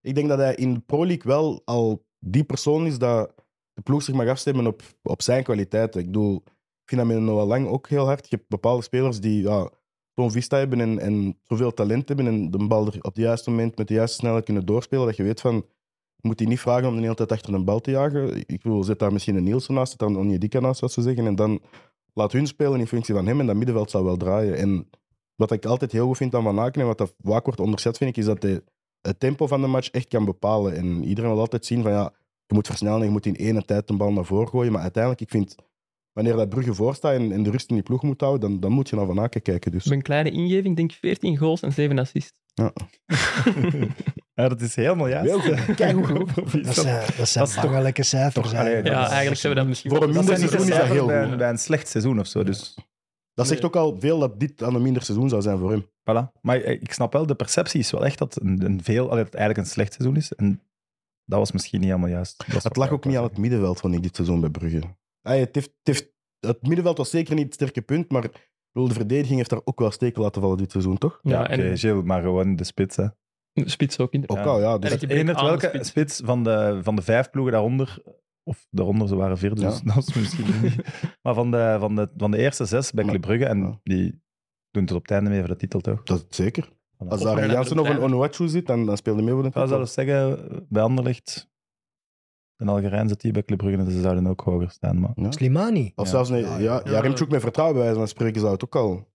[SPEAKER 3] Ik denk dat hij in de Pro League wel al die persoon is dat de ploeg zich mag afstemmen op, op zijn kwaliteiten. Ik bedoel, ik vind dat met Noah Lang ook heel hard. Je hebt bepaalde spelers die ja, zo'n vista hebben en, en zoveel talent hebben en de bal er op het juiste moment met de juiste snelheid kunnen doorspelen, dat je weet van, je moet die niet vragen om de hele tijd achter een bal te jagen. Ik bedoel, zet daar misschien een Nielsen naast, zet daar een Onyedika naast, zoals ze zeggen, en dan laat hun spelen in functie van hem en dat middenveld zou wel draaien. En wat ik altijd heel goed vind aan Van Aken en wat dat vaak wordt onderschat, vind ik, is dat hij het tempo van de match echt kan bepalen. En iedereen wil altijd zien van ja, je moet versnellen, je moet in ene tijd een bal naar voren gooien. Maar uiteindelijk, ik vind, wanneer dat Brugge voorstaat en, en de rust in die ploeg moet houden, dan, dan moet je naar Van Aken kijken. Dus.
[SPEAKER 4] Mijn kleine ingeving, denk ik, 14 goals en 7 assists.
[SPEAKER 2] Ja, dat is helemaal juist.
[SPEAKER 3] Heel goed.
[SPEAKER 2] Kijk
[SPEAKER 3] Keigoed
[SPEAKER 2] hoe [laughs]
[SPEAKER 3] geroepen.
[SPEAKER 5] Dat zijn, dat zijn
[SPEAKER 2] is
[SPEAKER 5] toch wel lekker cijfers.
[SPEAKER 2] toch-
[SPEAKER 5] hè.
[SPEAKER 2] allee,
[SPEAKER 4] Ja, eigenlijk zouden we dat misschien...
[SPEAKER 3] Voor een
[SPEAKER 4] wel-
[SPEAKER 2] Dat
[SPEAKER 3] minder
[SPEAKER 2] zijn niet de
[SPEAKER 3] seizoen is dat
[SPEAKER 2] cijfers
[SPEAKER 3] heel
[SPEAKER 2] bij,
[SPEAKER 3] goed.
[SPEAKER 2] een, bij een slecht seizoen of zo. Dus,
[SPEAKER 3] Dat zegt
[SPEAKER 4] Nee.
[SPEAKER 3] ook al veel dat dit aan een minder seizoen zou zijn voor hem.
[SPEAKER 2] voilà. Maar eh, ik snap wel, de perceptie is wel echt dat een, een veel, allee, dat het eigenlijk een slecht seizoen is. En dat was misschien niet helemaal juist. Dat is
[SPEAKER 3] Het
[SPEAKER 2] wat
[SPEAKER 3] lag
[SPEAKER 2] ik
[SPEAKER 3] ook niet aan het middenveld, vond ik, dit seizoen bij Brugge. Hey, het, heeft, het, heeft- het middenveld was zeker niet het sterke punt, maar ik bedoel, de verdediging heeft daar ook wel steken laten vallen dit seizoen, toch?
[SPEAKER 2] Ja,
[SPEAKER 4] Ja,
[SPEAKER 2] oké,
[SPEAKER 4] en
[SPEAKER 2] Gilles, maar gewoon de spits. Hè.
[SPEAKER 4] spits ook in de...
[SPEAKER 3] Ook
[SPEAKER 2] Ja.
[SPEAKER 3] al, ja.
[SPEAKER 4] En
[SPEAKER 3] Dus,
[SPEAKER 4] het-
[SPEAKER 2] Het
[SPEAKER 4] gebrek
[SPEAKER 2] enige
[SPEAKER 4] aan de
[SPEAKER 2] welke spits,
[SPEAKER 4] spits.
[SPEAKER 2] van, de, van de vijf ploegen daaronder, of daaronder, ze waren vierde, dus
[SPEAKER 3] Ja.
[SPEAKER 2] dat was misschien
[SPEAKER 3] [laughs]
[SPEAKER 2] niet. Maar van de, van, de, van de eerste zes bij
[SPEAKER 3] Maar-
[SPEAKER 2] Club Brugge, en
[SPEAKER 3] Ja.
[SPEAKER 2] die doen tot op het einde mee voor de titel, toch?
[SPEAKER 3] dat zeker.
[SPEAKER 2] Voilà.
[SPEAKER 3] Als
[SPEAKER 4] Of
[SPEAKER 3] daar
[SPEAKER 4] met
[SPEAKER 3] een
[SPEAKER 4] een
[SPEAKER 3] Jansen of
[SPEAKER 4] andere
[SPEAKER 3] een Onuachu zit, dan, dan speelde mee voor de
[SPEAKER 2] Ik zou
[SPEAKER 3] titel.
[SPEAKER 2] zelfs zeggen, eh, bij Anderlecht, een Algerijn zit hier bij Club Brugge, dus ze zouden ook hoger staan. Maar...
[SPEAKER 3] Ja.
[SPEAKER 5] Slimani.
[SPEAKER 3] Of
[SPEAKER 2] Ja.
[SPEAKER 3] zelfs een,
[SPEAKER 5] Ja,
[SPEAKER 3] ja,
[SPEAKER 5] ja.
[SPEAKER 3] ja, Remchuk met vertrouwen bij wijze van spreken zou het ook al.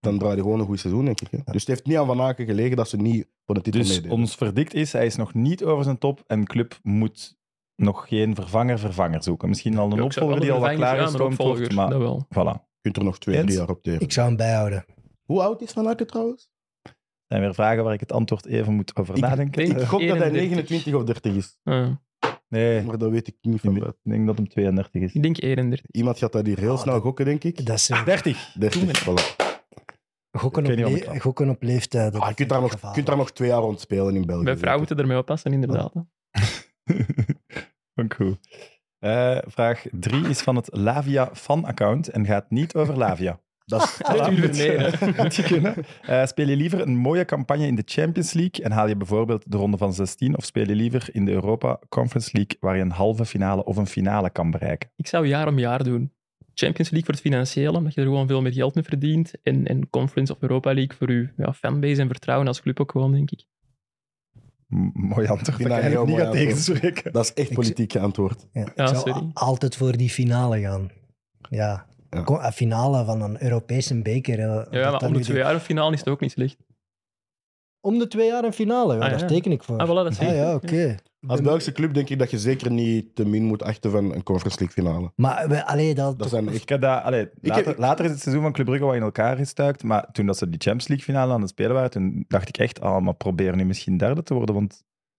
[SPEAKER 3] Dan draai je gewoon een goed seizoen, denk ik. Hè. Dus het heeft niet aan Van Aken gelegen dat ze niet voor de titel
[SPEAKER 2] Dus
[SPEAKER 3] meededen.
[SPEAKER 2] ons verdict is, hij is nog niet over zijn top en Club moet nog geen vervanger-vervanger zoeken. Misschien al een
[SPEAKER 4] Ja, ik zou
[SPEAKER 2] opvolger die al
[SPEAKER 4] allemaal
[SPEAKER 2] wat klaar
[SPEAKER 4] vervangers
[SPEAKER 2] is,
[SPEAKER 4] aan, maar
[SPEAKER 2] wordt,
[SPEAKER 4] opvolger,
[SPEAKER 2] maar
[SPEAKER 4] Dat wel.
[SPEAKER 2] voilà.
[SPEAKER 3] Je kunt er nog twee,
[SPEAKER 2] Jens?
[SPEAKER 3] drie jaar op teren.
[SPEAKER 5] Ik zou hem bijhouden.
[SPEAKER 3] Hoe oud is Van Aken trouwens?
[SPEAKER 2] Dat zijn weer vragen waar ik het antwoord even moet over
[SPEAKER 3] Ik
[SPEAKER 2] nadenken.
[SPEAKER 4] denk-
[SPEAKER 3] Ik gok dat hij
[SPEAKER 4] 31.
[SPEAKER 3] 29 of 30 is.
[SPEAKER 4] Ja.
[SPEAKER 2] Nee,
[SPEAKER 3] Maar dat weet ik niet van buiten.
[SPEAKER 2] ik denk dat hem 32 is.
[SPEAKER 4] Ik denk 31.
[SPEAKER 3] Iemand gaat dat hier heel
[SPEAKER 5] Ah,
[SPEAKER 3] snel
[SPEAKER 5] dat-
[SPEAKER 3] gokken, denk ik.
[SPEAKER 5] Dat is eh,
[SPEAKER 2] 30.
[SPEAKER 3] 30, voilà.
[SPEAKER 5] gokken,
[SPEAKER 2] Ik
[SPEAKER 5] op,
[SPEAKER 2] weet niet wat ik
[SPEAKER 5] le-
[SPEAKER 2] kan.
[SPEAKER 5] gokken op leeftijd.
[SPEAKER 3] Ah, je kunt daar, nog, je kunt daar nog twee jaar rond spelen in België.
[SPEAKER 4] Bij vrouwen moeten ermee oppassen, inderdaad. hè.
[SPEAKER 2] [laughs] Vond ik goed. Eh, vraag 3 is van het Lavia fan-account en gaat niet over [laughs] Lavia.
[SPEAKER 3] Dat is,
[SPEAKER 2] Voilà.
[SPEAKER 4] Natuurlijk nee, hè.
[SPEAKER 2] Moet je kunnen. Eh, speel je liever een mooie campagne in de Champions League en haal je bijvoorbeeld de ronde van 16 of speel je liever in de Europa Conference League waar je een halve finale of een finale kan bereiken?
[SPEAKER 4] Ik zou jaar om jaar doen. Champions League voor het financiële, omdat je er gewoon veel meer geld mee verdient. En, en Conference of Europa League voor je ja, fanbase en vertrouwen als club ook gewoon, denk ik.
[SPEAKER 2] M- mooi antwoord.
[SPEAKER 3] vind
[SPEAKER 2] Dat kan
[SPEAKER 3] dat een
[SPEAKER 2] ik
[SPEAKER 3] heel
[SPEAKER 2] niet
[SPEAKER 3] mooi
[SPEAKER 2] gaan
[SPEAKER 3] antwoord.
[SPEAKER 2] tegenspreken.
[SPEAKER 3] dat is echt politiek geantwoord.
[SPEAKER 5] Ja, ik
[SPEAKER 4] Ja,
[SPEAKER 5] zou
[SPEAKER 4] sorry.
[SPEAKER 5] a- altijd voor die finale gaan. Ja.
[SPEAKER 3] Ja.
[SPEAKER 5] Ko- een Finale van een Europese beker. hè. Dat
[SPEAKER 4] Ja, maar
[SPEAKER 5] dat nu
[SPEAKER 4] om de
[SPEAKER 5] de-
[SPEAKER 4] twee jaar een finale is het ook niet slecht.
[SPEAKER 5] om de twee jaar een finale, ja,
[SPEAKER 4] Ah,
[SPEAKER 5] daar
[SPEAKER 4] ja.
[SPEAKER 5] teken ik voor.
[SPEAKER 4] Ah, voilà, dat
[SPEAKER 5] Ah,
[SPEAKER 4] [laughs] zeg ik.
[SPEAKER 5] ja, oké.
[SPEAKER 3] Als Belgische club denk ik dat je zeker niet te min moet achten van een Conference League finale.
[SPEAKER 5] Maar we, allee, dat,
[SPEAKER 3] Dat zijn echt...
[SPEAKER 2] Ik heb dat, allee, later,
[SPEAKER 3] heb-
[SPEAKER 2] later is het seizoen van Club Brugge wat in elkaar gestuikt, maar toen dat ze die Champions League finale aan het spelen waren, toen dacht ik echt, ah, maar probeer nu misschien derde te worden, want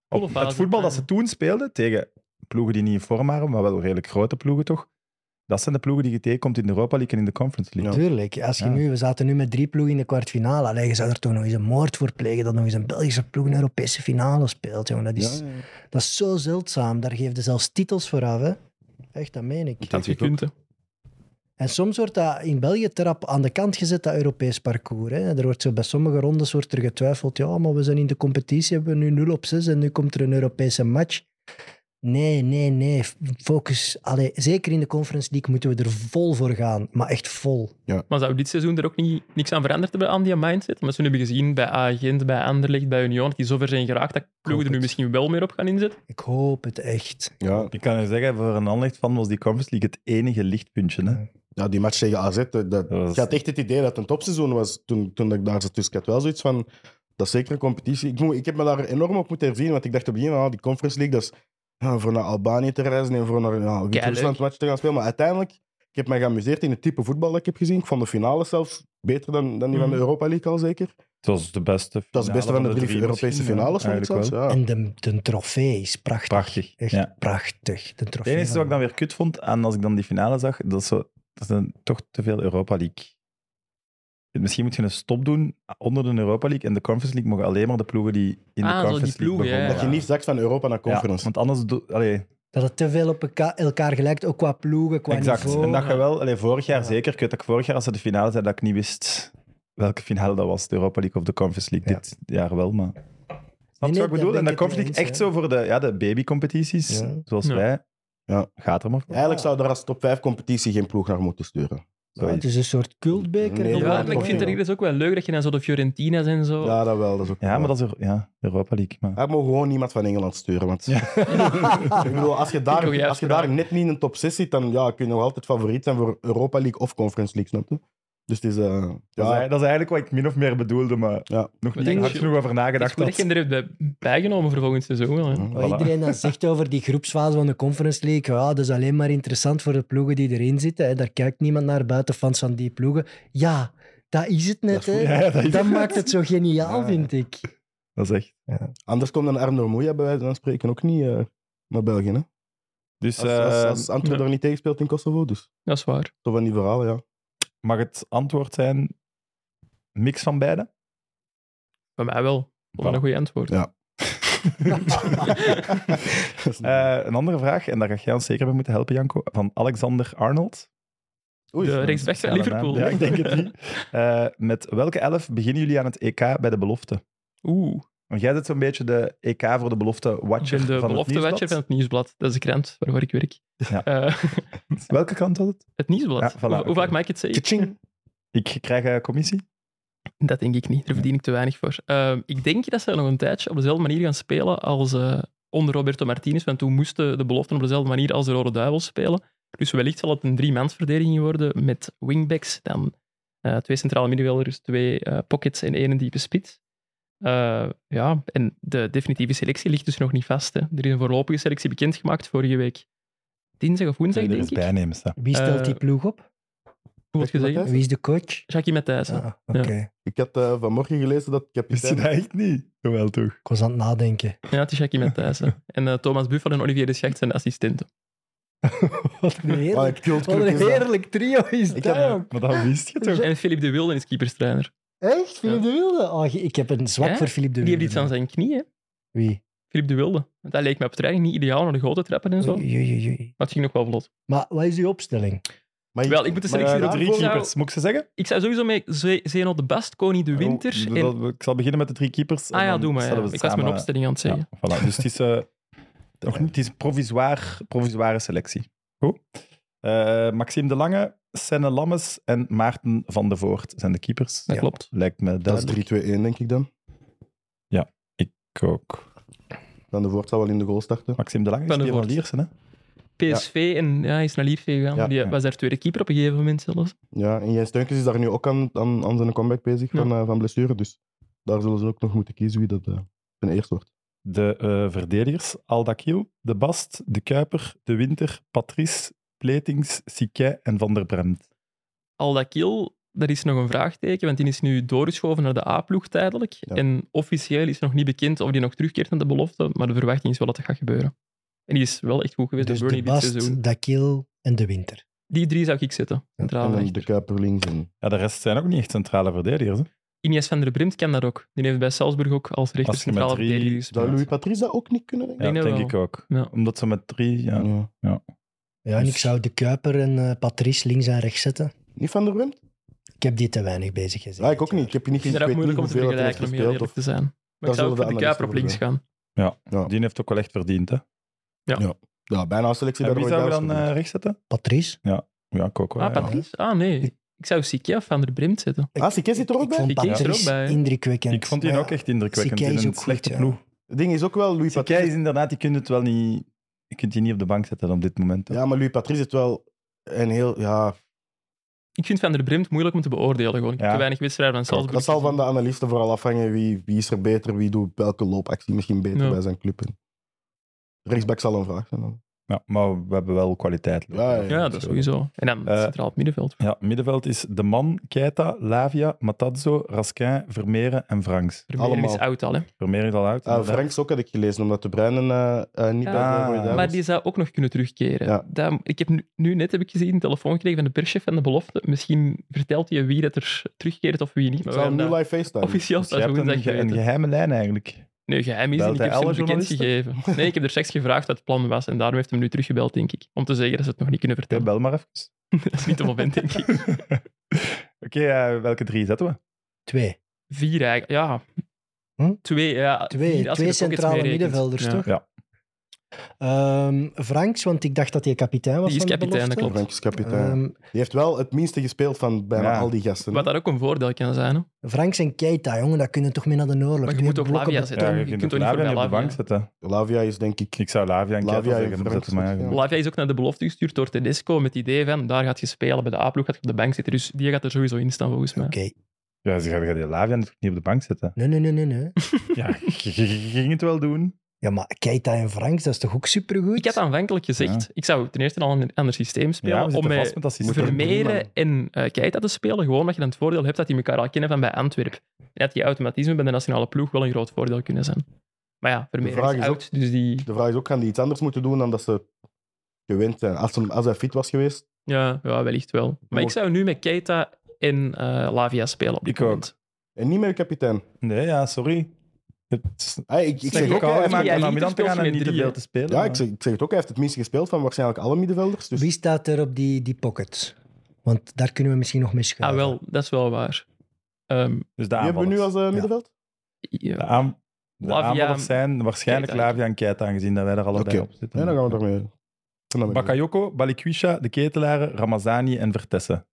[SPEAKER 2] op
[SPEAKER 4] Coole fase,
[SPEAKER 2] het voetbal dat
[SPEAKER 4] ja.
[SPEAKER 2] ze toen speelden, tegen ploegen die niet in vorm waren, maar wel redelijk grote ploegen toch, dat zijn de ploegen die je tegenkomt in de Europa League en in de Conference League.
[SPEAKER 5] Tuurlijk. Als je
[SPEAKER 2] Ja.
[SPEAKER 5] nu, we zaten nu met drie ploegen in de kwartfinale. Allee, je zou er toch nog eens een moord voor plegen dat nog eens een Belgische ploeg een Europese finale speelt. Jongen. Dat, is,
[SPEAKER 3] Ja, ja.
[SPEAKER 5] dat is zo zeldzaam. Daar geven ze zelfs titels voor af. Hè. Echt, dat meen ik.
[SPEAKER 3] Ik
[SPEAKER 4] Dat
[SPEAKER 3] denk
[SPEAKER 4] je
[SPEAKER 3] het ook.
[SPEAKER 4] kunt. hè.
[SPEAKER 5] En soms wordt dat in België terap aan de kant gezet, dat Europees parcours. Hè. Er wordt zo, bij sommige rondes wordt er getwijfeld. Ja, maar we zijn in de competitie, hebben we nu 0 op 6 en nu komt er een Europese match. Nee, nee, nee. Focus. Allee, zeker in de Conference League moeten we er vol voor gaan. Maar echt vol.
[SPEAKER 4] Maar zou dit seizoen er ook niet, niks aan veranderd hebben aan die mindset? Omdat ze nu hebben gezien bij Agent, bij Anderlecht, bij Union, dat die zover zijn geraakt dat ploegen er nu
[SPEAKER 5] het.
[SPEAKER 4] misschien wel meer op gaan inzetten.
[SPEAKER 5] Ik hoop het echt.
[SPEAKER 3] Ja.
[SPEAKER 2] Ik kan je zeggen, voor een Anderlecht van was die Conference League het enige lichtpuntje. Hè?
[SPEAKER 3] ja, die match tegen AZ, dat, dat,
[SPEAKER 2] Dat was-
[SPEAKER 3] ik had echt het idee dat het een topseizoen was toen, toen ik daar zat. Dus ik had wel zoiets van, dat is zeker een competitie. Ik, moet, ik heb me daar enorm op moeten herzien, want ik dacht op het begin, ah, die Conference League, dat is ja, voor naar Albanië te reizen en voor naar ja, Wit-Rusland match te gaan spelen. Maar uiteindelijk, ik heb me geamuseerd in het type voetbal dat ik heb gezien. Ik vond de finale zelfs beter dan, dan die van de
[SPEAKER 4] Mhm.
[SPEAKER 3] Europa League al zeker.
[SPEAKER 2] Het was de beste finale
[SPEAKER 3] Dat is het beste van de drie Europese
[SPEAKER 2] misschien, hè,
[SPEAKER 3] finales, vond ik
[SPEAKER 2] eigenlijk
[SPEAKER 3] zelfs.
[SPEAKER 2] wel.
[SPEAKER 3] Ja.
[SPEAKER 5] En de, de trofee is prachtig.
[SPEAKER 2] Prachtig,
[SPEAKER 5] Echt
[SPEAKER 2] ja.
[SPEAKER 5] prachtig. De
[SPEAKER 2] Het
[SPEAKER 5] trofee.
[SPEAKER 2] enige wat
[SPEAKER 5] van-
[SPEAKER 2] ik dan weer kut vond, en als ik dan die finale zag, dat, is zo, dat zijn toch te veel Europa League Misschien moet je een stop doen onder de Europa League. En de Conference League mogen alleen maar de ploegen die in
[SPEAKER 4] Ah,
[SPEAKER 2] de
[SPEAKER 4] zo die
[SPEAKER 2] Conference League
[SPEAKER 4] ploegen, ja,
[SPEAKER 2] begonnen
[SPEAKER 3] Dat je
[SPEAKER 2] waren.
[SPEAKER 3] niet zakt van Europa naar
[SPEAKER 2] Ja,
[SPEAKER 3] conference.
[SPEAKER 2] want anders... doe- allee,
[SPEAKER 5] Dat het te veel op elka- elkaar gelijkt, ook qua ploegen, qua
[SPEAKER 2] exact.
[SPEAKER 5] niveau.
[SPEAKER 2] En dat je wel... Allee, vorig jaar
[SPEAKER 5] Ja.
[SPEAKER 2] zeker. Ik weet dat ik vorig jaar, als ze de finale zijn, dat ik niet wist welke finale dat was. De Europa League of de Conference League.
[SPEAKER 5] Ja.
[SPEAKER 2] Dit jaar wel, maar... Snap je
[SPEAKER 5] nee,
[SPEAKER 2] wat ik
[SPEAKER 5] daar
[SPEAKER 2] bedoel?
[SPEAKER 5] ben
[SPEAKER 2] En
[SPEAKER 5] ik
[SPEAKER 2] de
[SPEAKER 5] het
[SPEAKER 2] Conference
[SPEAKER 5] mee
[SPEAKER 2] League, echt
[SPEAKER 5] eens,
[SPEAKER 2] zo voor de, ja, de babycompetities,
[SPEAKER 5] Ja.
[SPEAKER 2] zoals
[SPEAKER 4] Ja.
[SPEAKER 2] wij.
[SPEAKER 3] Ja.
[SPEAKER 2] Gaat er maar voor.
[SPEAKER 3] Eigenlijk zou er als top 5 competitie geen ploeg naar moeten sturen.
[SPEAKER 5] Ja, het is een soort cultbeker.
[SPEAKER 3] Nee,
[SPEAKER 5] dat
[SPEAKER 3] ja,
[SPEAKER 4] Ja,
[SPEAKER 5] wel
[SPEAKER 4] maar ik
[SPEAKER 5] mooi,
[SPEAKER 4] vind
[SPEAKER 5] ja.
[SPEAKER 4] het ergens ook wel leuk dat je dan zo de Fiorentina's en zo...
[SPEAKER 3] Ja, dat wel. Dat is
[SPEAKER 2] Oh.
[SPEAKER 3] ook
[SPEAKER 2] Ja, maar dat is er, ja, Europa League. Maar...
[SPEAKER 3] Daar mogen we gewoon niemand van Engeland sturen. Want... [laughs] ik bedoel, als je,
[SPEAKER 4] Ik wil
[SPEAKER 3] daar,
[SPEAKER 4] juist
[SPEAKER 3] als je
[SPEAKER 4] vragen.
[SPEAKER 3] daar net niet in de top 6 zit, dan ja, kun je nog altijd favoriet zijn voor Europa League of Conference League, snap je? Dus het is... eh,
[SPEAKER 2] Dat, is,
[SPEAKER 3] ja,
[SPEAKER 2] eigenlijk- dat is eigenlijk wat ik min of meer bedoelde, maar
[SPEAKER 3] Ja.
[SPEAKER 2] nog niet
[SPEAKER 4] denk
[SPEAKER 2] hard
[SPEAKER 4] je-
[SPEAKER 2] genoeg over
[SPEAKER 4] Het is
[SPEAKER 2] nagedacht.
[SPEAKER 4] goed dat
[SPEAKER 2] had.
[SPEAKER 4] je er hebt bij- bijgenomen voor volgend seizoen. wel, hè.
[SPEAKER 3] Hm.
[SPEAKER 5] Wat
[SPEAKER 2] Voilà.
[SPEAKER 5] iedereen dan zegt over die groepsfase van de Conference League, ja, dat is alleen maar interessant voor de ploegen die erin zitten. Hè. Daar kijkt niemand naar buiten fans van die ploegen. Ja, dat is het net.
[SPEAKER 3] Dat
[SPEAKER 5] hè.
[SPEAKER 3] is-
[SPEAKER 2] Ja, dat, is,
[SPEAKER 5] dat maakt het zo geniaal,
[SPEAKER 3] Ja.
[SPEAKER 5] vind ik.
[SPEAKER 2] dat is echt.
[SPEAKER 3] Anders komt een Arno Moeja bij wijze van spreken ook niet eh, naar België. Hè?
[SPEAKER 2] Dus
[SPEAKER 3] Als, als,
[SPEAKER 2] eh,
[SPEAKER 3] als Antwerpen
[SPEAKER 4] ja.
[SPEAKER 3] er niet tegen speelt in Kosovo, dus.
[SPEAKER 4] Dat is waar.
[SPEAKER 3] Zo van die verhalen,
[SPEAKER 2] [laughs]
[SPEAKER 3] ja. [laughs]
[SPEAKER 2] mag het antwoord zijn: mix van beide?
[SPEAKER 3] Mm.
[SPEAKER 4] Bij mij wel. Vond dat
[SPEAKER 2] Voilà.
[SPEAKER 4] een goed antwoord.
[SPEAKER 3] Ja. Dat is niet-
[SPEAKER 2] Eh, een andere vraag, en daar ga jij ons zeker bij moeten helpen, Janko, van Alexander Arnold.
[SPEAKER 3] Oei,
[SPEAKER 4] de rechtsback van
[SPEAKER 2] Ja,
[SPEAKER 4] Liverpool.
[SPEAKER 2] Ja, ik denk het niet. Eh, met welke elf beginnen jullie aan het EK bij de belofte?
[SPEAKER 4] [laughs] Oeh,
[SPEAKER 2] Want jij zit zo'n beetje de EK voor de
[SPEAKER 4] ik
[SPEAKER 2] belofte-watcher
[SPEAKER 4] ben de
[SPEAKER 2] van het
[SPEAKER 4] beloftewatcher
[SPEAKER 2] nieuwsblad.
[SPEAKER 4] van het Nieuwsblad. Dat is de krant waarvoor ik werk.
[SPEAKER 2] Ja.
[SPEAKER 4] Eh,
[SPEAKER 2] Welke kant was het?
[SPEAKER 4] het Nieuwsblad.
[SPEAKER 2] Ja, voilà,
[SPEAKER 4] hoe, hoe
[SPEAKER 2] oké.
[SPEAKER 4] vaak maak ik het zeker?
[SPEAKER 3] Tjing.
[SPEAKER 2] Ik krijg eh, commissie.
[SPEAKER 4] Dat denk ik niet. Daar verdien ik te weinig voor. Ehm, ik denk dat ze nog een tijdje op dezelfde manier gaan spelen als eh, onder Roberto Martinez. Want toen moesten de beloften op dezelfde manier als de Rode Duivels spelen. Dus wellicht zal het een driemansverdediging worden met wingbacks. Dan eh, twee centrale middenvelders, twee eh, pockets en één diepe spits. Eh, ja, en de definitieve selectie ligt dus nog niet vast. Hè. Er is een voorlopige selectie bekendgemaakt vorige week. Dinsdag of woensdag,
[SPEAKER 2] Nee, er
[SPEAKER 4] denk
[SPEAKER 2] is
[SPEAKER 4] ik.
[SPEAKER 2] bijnemen staan.
[SPEAKER 5] Wie stelt
[SPEAKER 4] Eh,
[SPEAKER 5] die ploeg op?
[SPEAKER 4] Hoe wordt gezegd?
[SPEAKER 3] Matthijs?
[SPEAKER 5] Wie is de coach?
[SPEAKER 4] Jackie Matthijssen.
[SPEAKER 5] Ah, oké.
[SPEAKER 3] Ik had eh, vanmorgen gelezen dat
[SPEAKER 2] Wist je
[SPEAKER 3] kapitein...
[SPEAKER 2] dat echt niet? Jawel, toch?
[SPEAKER 5] Ik was aan het
[SPEAKER 4] [laughs]
[SPEAKER 5] nadenken.
[SPEAKER 4] Ja, het is Jackie Matthijssen. en eh, Thomas Buffel en Olivier de Schacht zijn de assistenten.
[SPEAKER 5] Wat een
[SPEAKER 3] Wat
[SPEAKER 5] heerlijk,
[SPEAKER 3] een cult
[SPEAKER 5] wat
[SPEAKER 3] club
[SPEAKER 5] een
[SPEAKER 3] is dat.
[SPEAKER 5] heerlijk trio is
[SPEAKER 3] Ik
[SPEAKER 5] dat.
[SPEAKER 3] heb-
[SPEAKER 2] Maar dat wist je toch?
[SPEAKER 4] En Philippe de Wilde is keeperstrainer.
[SPEAKER 5] Echt? Philippe de Wilde? Oh, ge- ik heb een zwak
[SPEAKER 4] Ja?
[SPEAKER 5] voor Philippe de
[SPEAKER 4] Die heeft
[SPEAKER 5] Wilde.
[SPEAKER 4] iets aan zijn knie, hè?
[SPEAKER 5] Wie?
[SPEAKER 4] Philippe de Wilde. Want dat leek mij op het terrein niet ideaal om naar de goal te trappen en zo. Maar
[SPEAKER 5] Oei, oei, oei, oei.
[SPEAKER 4] het ging nog wel vlot.
[SPEAKER 5] Maar wat is uw opstelling?
[SPEAKER 3] Maar
[SPEAKER 4] Wel, ik moet de
[SPEAKER 3] maar
[SPEAKER 4] selectie
[SPEAKER 2] Eh, de
[SPEAKER 4] daarvoor
[SPEAKER 2] drie
[SPEAKER 4] zou-
[SPEAKER 2] keepers, moet ik ze zeggen?
[SPEAKER 4] Ik zou sowieso met Ze- Zeno de Bast, Koning de Winter
[SPEAKER 2] Oh,
[SPEAKER 4] en...
[SPEAKER 2] dat- Ik zal beginnen met de drie keepers. en
[SPEAKER 4] Ah ja,
[SPEAKER 2] dan
[SPEAKER 4] doe maar.
[SPEAKER 2] stellen we
[SPEAKER 4] ja.
[SPEAKER 2] ze
[SPEAKER 4] Ik was mijn
[SPEAKER 2] samen- eh,
[SPEAKER 4] opstelling aan het zeggen.
[SPEAKER 2] Ja, voilà. Dus het [laughs] is, eh, nog niet, het is provisoir, provisoire selectie. Goed. Eh, Maxime de Lange, Senne Lammes en Maarten van de Voort zijn de keepers.
[SPEAKER 4] Dat klopt.
[SPEAKER 2] Lijkt me
[SPEAKER 3] Dat is
[SPEAKER 2] duidelijk.
[SPEAKER 3] 3-2-1, denk ik dan.
[SPEAKER 2] Ik ook.
[SPEAKER 3] Dan de Voort zal wel in de goal starten.
[SPEAKER 2] Maxime de Lange
[SPEAKER 4] Van
[SPEAKER 2] is
[SPEAKER 4] de
[SPEAKER 2] die van
[SPEAKER 4] Voort.
[SPEAKER 2] Liersen, hè?
[SPEAKER 4] PSV en... Ja, hij is naar Lierve gegaan.
[SPEAKER 3] Ja.
[SPEAKER 4] Die
[SPEAKER 2] Ja.
[SPEAKER 4] was daar tweede keeper op een gegeven moment zelfs.
[SPEAKER 3] Ja, en Jens Steunkens is daar nu ook aan, aan, aan zijn comeback bezig
[SPEAKER 4] Ja.
[SPEAKER 3] van, eh, van blessure. Dus daar zullen ze ook nog moeten kiezen wie dat eh ten eerste wordt.
[SPEAKER 2] De eh, verdedigers, Aldakiel, De Bast, De Kuiper, De Winter, Patrice, Pletings, Siquet en Van der Bremt.
[SPEAKER 4] Al dat kill, daar is nog een vraagteken, want die is nu doorgeschoven naar de A-ploeg tijdelijk.
[SPEAKER 3] Ja.
[SPEAKER 4] En officieel is nog niet bekend of die nog terugkeert naar de belofte, maar de verwachting is wel dat dat gaat gebeuren. En die is wel echt goed geweest
[SPEAKER 5] Dus
[SPEAKER 4] door
[SPEAKER 5] de
[SPEAKER 4] Burnley dit seizoen.
[SPEAKER 5] Bast, Dakil en De Winter.
[SPEAKER 4] Die drie zou ik zetten. Centraal
[SPEAKER 3] en dan
[SPEAKER 4] rechter.
[SPEAKER 3] de Kuiper links. En...
[SPEAKER 2] Ja, de rest zijn ook niet echt centrale verdedigers. Hè?
[SPEAKER 4] Inies van der Brimt kan dat ook. Die heeft bij Salzburg ook als rechter
[SPEAKER 2] Als je met
[SPEAKER 4] centrale
[SPEAKER 2] drie-
[SPEAKER 4] verdediger gespeeld.
[SPEAKER 3] Zou Louis Patrice dat ook niet kunnen, denk ik?
[SPEAKER 2] Ja,
[SPEAKER 4] denk dat
[SPEAKER 2] denk
[SPEAKER 4] wel.
[SPEAKER 2] ik ook.
[SPEAKER 4] Ja.
[SPEAKER 2] Omdat ze met drie... Ja.
[SPEAKER 3] Ja.
[SPEAKER 5] Ja, en
[SPEAKER 2] Dus-
[SPEAKER 5] ik zou De Kuiper en eh, Patrice links en rechts zetten.
[SPEAKER 3] Niet van der Bremt?
[SPEAKER 5] Ik heb die te weinig bezig gezien.
[SPEAKER 3] Ja, ik ook niet. Ik heb niet
[SPEAKER 4] Ik vind
[SPEAKER 3] gezien.
[SPEAKER 4] dat ook
[SPEAKER 3] Ik weet niet
[SPEAKER 4] moeilijk om te
[SPEAKER 3] hoeveel dat er heeft
[SPEAKER 4] vergelijken, om heel
[SPEAKER 3] gespeeld. Of...
[SPEAKER 4] eerlijk te zijn. Maar
[SPEAKER 3] Daar
[SPEAKER 4] ik zou
[SPEAKER 3] zullen
[SPEAKER 4] ook voor de
[SPEAKER 3] de
[SPEAKER 4] Kuiper op links
[SPEAKER 3] analisten
[SPEAKER 4] gaan.
[SPEAKER 2] Die heeft ook wel echt verdiend, hè?
[SPEAKER 3] Ja, bijna een selectie
[SPEAKER 2] En
[SPEAKER 3] daar
[SPEAKER 2] wie
[SPEAKER 3] ooit
[SPEAKER 2] zou we dan
[SPEAKER 3] uitgevoerd.
[SPEAKER 2] eh rechts zetten?
[SPEAKER 5] Patrice?
[SPEAKER 2] Ja, ik
[SPEAKER 3] Oh,
[SPEAKER 2] ook wel.
[SPEAKER 4] Ah,
[SPEAKER 2] ja.
[SPEAKER 4] Patrice? Ah, nee. Ik zou Sikia of Van der Brimt zetten.
[SPEAKER 5] Ik-
[SPEAKER 3] Ah, Siké zit er ook
[SPEAKER 5] ik
[SPEAKER 3] bij?
[SPEAKER 5] vond
[SPEAKER 4] Ik keek er
[SPEAKER 5] Patrice
[SPEAKER 4] ook bij, hè.
[SPEAKER 5] indrukwekkend.
[SPEAKER 2] Ik vond die
[SPEAKER 5] Maar
[SPEAKER 2] ook
[SPEAKER 5] ja,
[SPEAKER 2] echt indrukwekkend
[SPEAKER 5] Siquet
[SPEAKER 2] in
[SPEAKER 5] is
[SPEAKER 2] een
[SPEAKER 5] ook goed,
[SPEAKER 2] slechte
[SPEAKER 5] ja.
[SPEAKER 2] ploeg.
[SPEAKER 3] Het ding is ook wel Louis
[SPEAKER 2] Siquet is
[SPEAKER 3] Patrice.
[SPEAKER 2] inderdaad, je kunt het wel niet... Je kunt die niet op de bank zetten op dit moment. hè.
[SPEAKER 3] Ja, maar Louis Patrice is wel een heel... Ja,
[SPEAKER 4] Ik vind Van der Brimt moeilijk om te beoordelen. Gewoon. Ik heb
[SPEAKER 2] Ja.
[SPEAKER 4] te weinig wedstrijden van Salzburg.
[SPEAKER 3] dat zal van de analisten vooral afhangen. Wie, wie is er beter? Wie doet welke loopactie misschien beter
[SPEAKER 4] Ja.
[SPEAKER 3] bij zijn club? En rechtsback zal een vraag zijn. dan.
[SPEAKER 2] Ja, maar we hebben wel kwaliteit.
[SPEAKER 3] Ja, ja,
[SPEAKER 4] Ja, dat sowieso. En dan
[SPEAKER 2] Eh,
[SPEAKER 4] centraal het middenveld.
[SPEAKER 2] Ja, middenveld is De Man, Keita, Lavia, Matazzo, Raskin, Vermeeren en Franks.
[SPEAKER 4] Vermeeren is
[SPEAKER 3] allemaal.
[SPEAKER 4] oud al, hè.
[SPEAKER 2] Vermeeren is al uit.
[SPEAKER 3] Ah, Franks ook had ik gelezen, omdat de Bruinen eh, eh, niet bij
[SPEAKER 2] Ah.
[SPEAKER 3] de Rode Duivels-
[SPEAKER 4] Maar die zou ook nog kunnen terugkeren.
[SPEAKER 3] Ja.
[SPEAKER 4] Dat- ik heb nu, nu net heb ik gezien een telefoon gekregen van de perschef van de belofte. Misschien vertelt hij wie dat er terugkeert of wie niet.
[SPEAKER 3] Ik
[SPEAKER 4] Maar
[SPEAKER 3] zou
[SPEAKER 4] we
[SPEAKER 3] hem nu
[SPEAKER 4] hebben dat
[SPEAKER 3] live facetimen.
[SPEAKER 4] eh, officieel
[SPEAKER 2] Dus jij
[SPEAKER 4] staat
[SPEAKER 2] hebt
[SPEAKER 4] zo
[SPEAKER 2] een,
[SPEAKER 4] dat
[SPEAKER 2] ge-
[SPEAKER 4] je
[SPEAKER 2] een geheime lijn eigenlijk.
[SPEAKER 4] Nee, geheim is
[SPEAKER 2] Belt
[SPEAKER 4] het niet.
[SPEAKER 2] hij
[SPEAKER 4] Ik heb ze
[SPEAKER 2] alle
[SPEAKER 4] hem bekend
[SPEAKER 2] journalisten?
[SPEAKER 4] gegeven. Nee, ik heb er straks gevraagd wat het plan was en daarom heeft hem nu teruggebeld, denk ik. Om te zeggen dat ze het nog niet kunnen
[SPEAKER 2] Ja,
[SPEAKER 4] vertellen.
[SPEAKER 2] bel maar even.
[SPEAKER 4] [laughs] dat is niet het moment, denk ik.
[SPEAKER 2] [laughs] Oké, eh, welke drie zetten we?
[SPEAKER 5] Twee.
[SPEAKER 4] Vier eigenlijk, ja.
[SPEAKER 5] Hm?
[SPEAKER 4] Twee, ja.
[SPEAKER 5] Twee,
[SPEAKER 4] vier, als je er
[SPEAKER 5] twee
[SPEAKER 4] toch iets
[SPEAKER 5] centrale
[SPEAKER 4] mee rekent.
[SPEAKER 5] middenvelders,
[SPEAKER 4] Ja.
[SPEAKER 5] toch?
[SPEAKER 2] Ja.
[SPEAKER 5] Ehm, Franks, want ik dacht dat hij kapitein was
[SPEAKER 4] Die is
[SPEAKER 5] van de
[SPEAKER 4] kapitein, dat
[SPEAKER 5] belofte.
[SPEAKER 4] klopt.
[SPEAKER 3] Franks kapitein.
[SPEAKER 5] Ehm,
[SPEAKER 3] die heeft wel het minste gespeeld van bijna
[SPEAKER 2] Ja.
[SPEAKER 3] al die gasten.
[SPEAKER 4] Wat daar ook een voordeel kan zijn. Hè?
[SPEAKER 5] Franks en Keita, jongen, dat kunnen toch mee naar de oorlog.
[SPEAKER 4] Maar je
[SPEAKER 5] Twee
[SPEAKER 4] moet ook
[SPEAKER 5] blokken
[SPEAKER 4] Lavia
[SPEAKER 5] be-
[SPEAKER 4] zetten.
[SPEAKER 2] Ja,
[SPEAKER 4] je, kunt toch niet
[SPEAKER 2] Lavia
[SPEAKER 4] voorbij
[SPEAKER 2] niet op de bank
[SPEAKER 4] Lavia.
[SPEAKER 2] zetten.
[SPEAKER 3] Lavia is denk ik...
[SPEAKER 2] Ik zou Lavia en Keita
[SPEAKER 3] Lavia en
[SPEAKER 2] zeggen. maar
[SPEAKER 3] Franks
[SPEAKER 2] zetten, maar ja,
[SPEAKER 3] ook, ja.
[SPEAKER 4] Lavia is ook naar de belofte gestuurd door Tedesco met het idee van daar gaat je spelen bij de A-ploeg, gaat je op de bank zitten. Dus die gaat er sowieso in staan volgens mij.
[SPEAKER 5] Oké.
[SPEAKER 2] Ja, ze gaan gaan die Lavia natuurlijk niet op de bank
[SPEAKER 5] [laughs]
[SPEAKER 2] zetten.
[SPEAKER 5] Nee, nee, nee, nee, nee.
[SPEAKER 2] Ja, je- je je ging het wel doen.
[SPEAKER 5] Ja, maar Keita en Franks, dat is toch ook supergoed?
[SPEAKER 4] Ik had aanvankelijk gezegd, ik zou ten eerste al een ander systeem spelen
[SPEAKER 2] Ja, we
[SPEAKER 4] om eh,
[SPEAKER 2] zitten vast met
[SPEAKER 4] met
[SPEAKER 2] dat systeem.
[SPEAKER 4] Vermeeren en eh Keita te spelen. Gewoon dat je dan het voordeel hebt dat die elkaar al kennen van bij Antwerpen. En dat die automatismen bij de nationale ploeg wel een groot voordeel kunnen zijn. Maar ja,
[SPEAKER 3] vraag
[SPEAKER 4] Vermeeren is
[SPEAKER 3] is
[SPEAKER 4] oud, dus die...
[SPEAKER 3] De vraag is ook, gaan die iets anders moeten doen dan dat ze gewend zijn? Als, ze- als hij fit was geweest,
[SPEAKER 4] Ja, ja, wellicht wel. Maar ik zou nu met Keita en eh, Lavia spelen op dit
[SPEAKER 2] Ik ook.
[SPEAKER 4] moment.
[SPEAKER 3] en niet meer kapitein.
[SPEAKER 2] Nee, ja, sorry. Het
[SPEAKER 3] Hey, ik, ik
[SPEAKER 2] Zeg
[SPEAKER 3] zeg
[SPEAKER 2] ik
[SPEAKER 3] ook, eh, hij
[SPEAKER 2] al,
[SPEAKER 3] heeft-
[SPEAKER 4] maar-
[SPEAKER 2] maakt
[SPEAKER 4] jij
[SPEAKER 2] om naar
[SPEAKER 4] liet
[SPEAKER 2] Milan te
[SPEAKER 4] het
[SPEAKER 2] gaan
[SPEAKER 4] speeltje
[SPEAKER 2] en
[SPEAKER 4] met
[SPEAKER 2] niet te
[SPEAKER 4] drieën.
[SPEAKER 2] veel te spelen.
[SPEAKER 3] ja,
[SPEAKER 2] maar- Dus
[SPEAKER 3] ik zeg, ik zeg het ook, hij heeft het minste gespeeld van waarschijnlijk alle middenvelders. Dus
[SPEAKER 5] Wie staat er op die, die pocket? Want daar kunnen we misschien nog mee schuiven.
[SPEAKER 4] Ah wel, dat is wel waar. Ehm,
[SPEAKER 2] Dus de
[SPEAKER 3] wie hebben we nu
[SPEAKER 2] aanvallers.
[SPEAKER 3] als eh, middenveld?
[SPEAKER 4] ja.
[SPEAKER 2] De, aan, de
[SPEAKER 4] Lavia-
[SPEAKER 2] aanvallers zijn waarschijnlijk
[SPEAKER 4] Keita.
[SPEAKER 2] Lavia en Keita, aangezien dat wij er allebei
[SPEAKER 3] Oké.
[SPEAKER 2] op zitten.
[SPEAKER 3] Nee, dan gaan we daarmee. Dan gaan we-
[SPEAKER 2] Bakayoko, Balikwisha, De Ketelaren, Ramazani en Vertessen.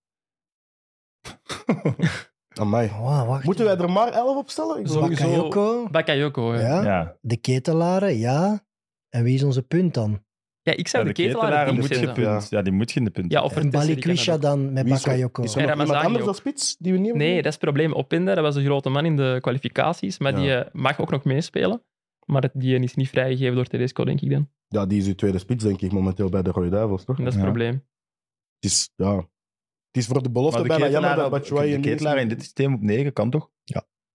[SPEAKER 3] Amai.
[SPEAKER 5] Wow, Oh, wacht.
[SPEAKER 3] Moeten wij er maar 11 op stellen? Ik
[SPEAKER 4] Zo- sowieso-
[SPEAKER 5] Bakayoko,
[SPEAKER 4] Bakayoko,
[SPEAKER 3] eh,
[SPEAKER 4] ja.
[SPEAKER 5] ja.
[SPEAKER 2] Ja,
[SPEAKER 5] de ketelaren, ja. En wie is onze punt dan?
[SPEAKER 4] Ja, ik
[SPEAKER 2] Ja,
[SPEAKER 4] zou
[SPEAKER 2] de
[SPEAKER 4] de, ketelaren
[SPEAKER 2] Ketelaren
[SPEAKER 4] die
[SPEAKER 2] moet
[SPEAKER 4] moeten
[SPEAKER 2] je
[SPEAKER 4] zetten.
[SPEAKER 2] punt. Ja, die moet je in de punt.
[SPEAKER 4] Ja, of
[SPEAKER 5] En
[SPEAKER 4] Vertessen, die kan
[SPEAKER 5] Balikwisha
[SPEAKER 4] dat ook.
[SPEAKER 5] Eh, dan met
[SPEAKER 3] Wie is er-
[SPEAKER 5] Bakayoko.
[SPEAKER 3] Is er
[SPEAKER 4] En
[SPEAKER 3] nog iemand
[SPEAKER 4] Ramazani
[SPEAKER 3] anders
[SPEAKER 4] ook.
[SPEAKER 3] als spits die we niet hebben?
[SPEAKER 4] Nee, dat is het probleem. Openda, dat was een grote man in de kwalificaties, maar die
[SPEAKER 3] Ja.
[SPEAKER 4] eh, mag ook nog meespelen. Maar het- die is niet vrijgegeven door Tedesco, denk ik dan.
[SPEAKER 3] Ja, die is uw tweede spits, denk ik, momenteel bij de Rode Duivels, toch?
[SPEAKER 4] En dat is
[SPEAKER 2] Ja.
[SPEAKER 4] het probleem.
[SPEAKER 3] Het is, ja. Het is voor de
[SPEAKER 2] Maar
[SPEAKER 3] belofte
[SPEAKER 2] de
[SPEAKER 3] bijna jammer
[SPEAKER 2] Ketelaren
[SPEAKER 3] dat
[SPEAKER 2] op-
[SPEAKER 3] Batshuayi...
[SPEAKER 2] de
[SPEAKER 3] en
[SPEAKER 2] Ketelaar in dit systeem op 9 kan toch?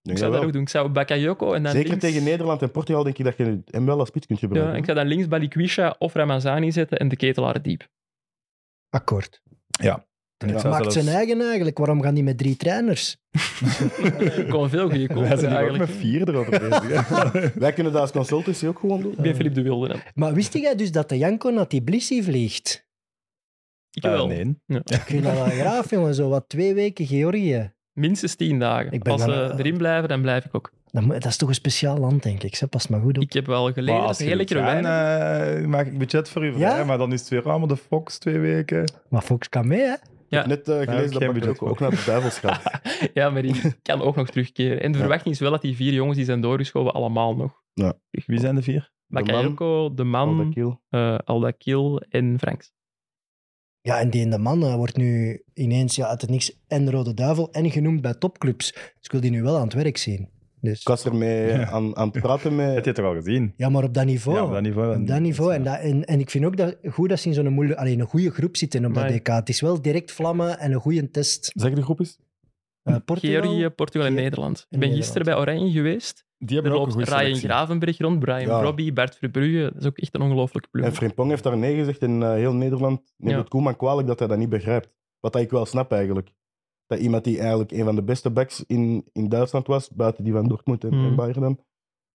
[SPEAKER 4] Ik zou dat ook doen. Ik zou Bakayoko en dan
[SPEAKER 3] Zeker
[SPEAKER 4] links...
[SPEAKER 3] tegen Nederland en Portugal denk ik dat je hem wel als spits kunt
[SPEAKER 4] Ja,
[SPEAKER 3] gebruiken.
[SPEAKER 4] ik zou dan links Balikwisha of Ramazani zetten en de ketelaar diep.
[SPEAKER 5] Akkoord.
[SPEAKER 2] En ik
[SPEAKER 3] Ja.
[SPEAKER 2] zou
[SPEAKER 5] Maakt
[SPEAKER 2] zelfs-
[SPEAKER 5] zijn eigen eigenlijk. Waarom gaan die met drie trainers?
[SPEAKER 4] Er komen veel goede
[SPEAKER 2] Wij
[SPEAKER 4] koppen
[SPEAKER 2] zijn hier ook
[SPEAKER 4] eigenlijk.
[SPEAKER 2] met vier erover bezig. hè.
[SPEAKER 3] Wij kunnen dat als consultancy ook gewoon doen.
[SPEAKER 4] Ik ben Philippe de Wilde. hè.
[SPEAKER 5] Maar wist jij dus dat de Janko naar Tbilisi vliegt?
[SPEAKER 4] Ik
[SPEAKER 2] Eh,
[SPEAKER 4] wel.
[SPEAKER 2] nee.
[SPEAKER 5] Ik vind dat wel graaf, jongen. Zo wat twee weken Georgië.
[SPEAKER 4] Minstens tien dagen.
[SPEAKER 5] Ik ben
[SPEAKER 4] Als ze
[SPEAKER 5] dan, eh,
[SPEAKER 4] erin blijven, dan blijf ik ook.
[SPEAKER 5] Dat, moet- dat is toch een speciaal land, denk ik. Ze past maar goed op.
[SPEAKER 4] Ik heb wel geleerd.
[SPEAKER 2] Maar
[SPEAKER 4] Dat is een
[SPEAKER 2] je
[SPEAKER 4] hele
[SPEAKER 2] wilt
[SPEAKER 4] lekkere
[SPEAKER 2] gaan,
[SPEAKER 4] wijn.
[SPEAKER 2] eh, maak ik budget voor u
[SPEAKER 5] Ja?
[SPEAKER 2] vrij, maar dan is het weer allemaal de Fox twee weken.
[SPEAKER 5] Maar Fox kan mee, hè?
[SPEAKER 4] Ja.
[SPEAKER 3] Net eh,
[SPEAKER 2] Ja, ik
[SPEAKER 3] gelezen
[SPEAKER 2] heb
[SPEAKER 3] dat
[SPEAKER 2] het
[SPEAKER 3] Bakker ook,
[SPEAKER 2] ook.
[SPEAKER 3] ook naar de duivels gaat.
[SPEAKER 4] Ja, maar die kan ook nog terugkeren. En de
[SPEAKER 3] Ja.
[SPEAKER 4] verwachting is wel dat die vier jongens die zijn doorgeschoven allemaal nog.
[SPEAKER 2] Wie zijn de vier?
[SPEAKER 4] Bakayoko,
[SPEAKER 3] Van
[SPEAKER 4] De
[SPEAKER 3] de
[SPEAKER 4] Man,
[SPEAKER 3] Kiel.
[SPEAKER 4] eh Aldakil en Franks.
[SPEAKER 5] Ja, en die in de man eh, wordt nu ineens ja, uit het niks en Rode Duivel en genoemd bij topclubs. Dus ik wil die nu wel aan het werk zien. Dus,
[SPEAKER 3] Ik was ermee aan, aan het praten
[SPEAKER 2] Dat heb
[SPEAKER 3] met...
[SPEAKER 2] je toch al gezien?
[SPEAKER 5] ja, maar op dat niveau.
[SPEAKER 2] Ja, op dat niveau.
[SPEAKER 5] Op dat niveau. En, dat, en, en ik vind ook dat, goed dat ze in zo'n moeilijke, alleen een goede groep zitten op dat
[SPEAKER 4] Amai.
[SPEAKER 5] DK. Het is wel direct vlammen en een goede test.
[SPEAKER 2] Zeg de groep eens.
[SPEAKER 5] Eh, Portugal,
[SPEAKER 4] Georgië, Portugal en
[SPEAKER 5] Ge-
[SPEAKER 4] Nederland. Ik ben
[SPEAKER 5] Nederland.
[SPEAKER 4] gisteren bij Oranje geweest.
[SPEAKER 2] Die
[SPEAKER 4] Er
[SPEAKER 2] hebben ook een
[SPEAKER 4] loopt
[SPEAKER 2] goede
[SPEAKER 4] Ryan
[SPEAKER 2] selectie.
[SPEAKER 4] Gravenberg rond, Brian
[SPEAKER 3] Ja.
[SPEAKER 4] Robbie, Bert Verbrugge. Dat is ook echt een ongelooflijke ploeg.
[SPEAKER 3] En Frimpong heeft daar nee gezegd en eh, heel Nederland neemt
[SPEAKER 4] Ja.
[SPEAKER 3] het Koeman kwalijk dat hij dat niet begrijpt. Wat dat ik wel snap eigenlijk. Dat iemand die eigenlijk een van de beste backs in, in Duitsland was, buiten die van Dortmund en,
[SPEAKER 2] Mm.
[SPEAKER 4] Hmm.
[SPEAKER 3] en Bayern dan,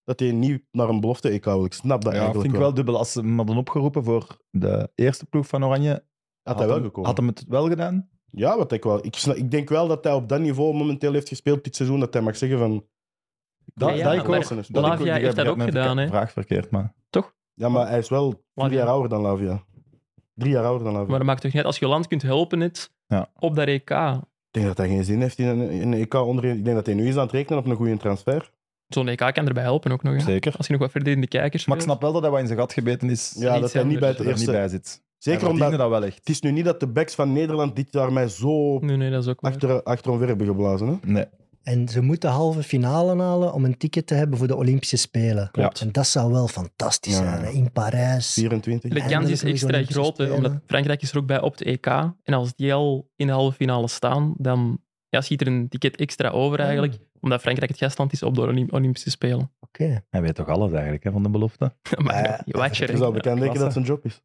[SPEAKER 3] dat hij niet naar een belofte EK wil. Ik snap dat
[SPEAKER 2] Ja,
[SPEAKER 3] eigenlijk
[SPEAKER 2] vind ik wel dubbel. Als ze hem hadden opgeroepen voor de eerste ploeg van Oranje, had,
[SPEAKER 3] Had hij wel
[SPEAKER 2] hem-
[SPEAKER 3] gekomen.
[SPEAKER 2] Had hem het wel gedaan?
[SPEAKER 3] Ja, wat ik wel. Ik, snap- ik denk wel dat hij op dat niveau momenteel heeft gespeeld dit seizoen, dat hij mag zeggen van...
[SPEAKER 4] Ja, ja,
[SPEAKER 3] ik
[SPEAKER 4] maar
[SPEAKER 3] ook.
[SPEAKER 2] dat
[SPEAKER 4] Lavia
[SPEAKER 2] ik- ik
[SPEAKER 4] heeft
[SPEAKER 2] heb
[SPEAKER 4] dat ook
[SPEAKER 2] mijn
[SPEAKER 4] gedaan, hè.
[SPEAKER 2] vraag verkeerd, maar...
[SPEAKER 3] Ja, maar hij is wel
[SPEAKER 4] Lavia.
[SPEAKER 3] vier jaar ouder dan Lavia. Drie jaar ouder dan Lavia.
[SPEAKER 4] Maar dat maakt toch niet uit. Als je land kunt helpen net,
[SPEAKER 2] Ja.
[SPEAKER 4] op dat EK.
[SPEAKER 3] Ik denk dat hij geen zin heeft in een, in een EK onder... Ik denk dat hij nu is aan het rekenen op een goede transfer.
[SPEAKER 4] Zo'n EK kan erbij helpen ook nog. hè.
[SPEAKER 2] Zeker.
[SPEAKER 4] Als je nog wat verder in de kijkers
[SPEAKER 2] Maar ik
[SPEAKER 4] speelt.
[SPEAKER 2] snap wel dat hij wat in zijn gat gebeten is.
[SPEAKER 3] Ja,
[SPEAKER 4] Iets
[SPEAKER 3] dat hij niet bij het
[SPEAKER 4] anders.
[SPEAKER 2] dat hij er niet
[SPEAKER 3] eerste...
[SPEAKER 2] bij zit.
[SPEAKER 3] Zeker
[SPEAKER 2] Hij
[SPEAKER 3] omdat...
[SPEAKER 2] verdiende dat wel echt.
[SPEAKER 3] Het is nu niet dat de backs van Nederland dit jaar mij zo
[SPEAKER 4] Nee, nee, dat is ook waar.
[SPEAKER 3] achter, achterom weer hebben geblazen. Hè?
[SPEAKER 2] Nee.
[SPEAKER 5] En ze moeten halve finale halen om een ticket te hebben voor de Olympische Spelen.
[SPEAKER 2] Klopt.
[SPEAKER 5] En dat zou wel fantastisch
[SPEAKER 3] Ja.
[SPEAKER 5] zijn. hè. In Parijs.
[SPEAKER 3] 24.
[SPEAKER 4] De kans is
[SPEAKER 5] Eindelijk
[SPEAKER 4] extra
[SPEAKER 5] Olympische
[SPEAKER 4] groot, hè,
[SPEAKER 5] Spelen.
[SPEAKER 4] omdat Frankrijk is er ook bij op het EK. En als die al in de halve finale staan, dan ja, schiet er een ticket extra over eigenlijk. Omdat Frankrijk het gastland is op de Olymp- Olympische Spelen. [laughs]
[SPEAKER 5] Oké.
[SPEAKER 2] Hij weet toch alles eigenlijk hè, van de
[SPEAKER 3] [laughs]
[SPEAKER 2] belofte.
[SPEAKER 4] maar
[SPEAKER 5] Ja,
[SPEAKER 4] ja, je watcher,
[SPEAKER 3] Je zou
[SPEAKER 4] hè.
[SPEAKER 3] bekend denken dat het zijn job is.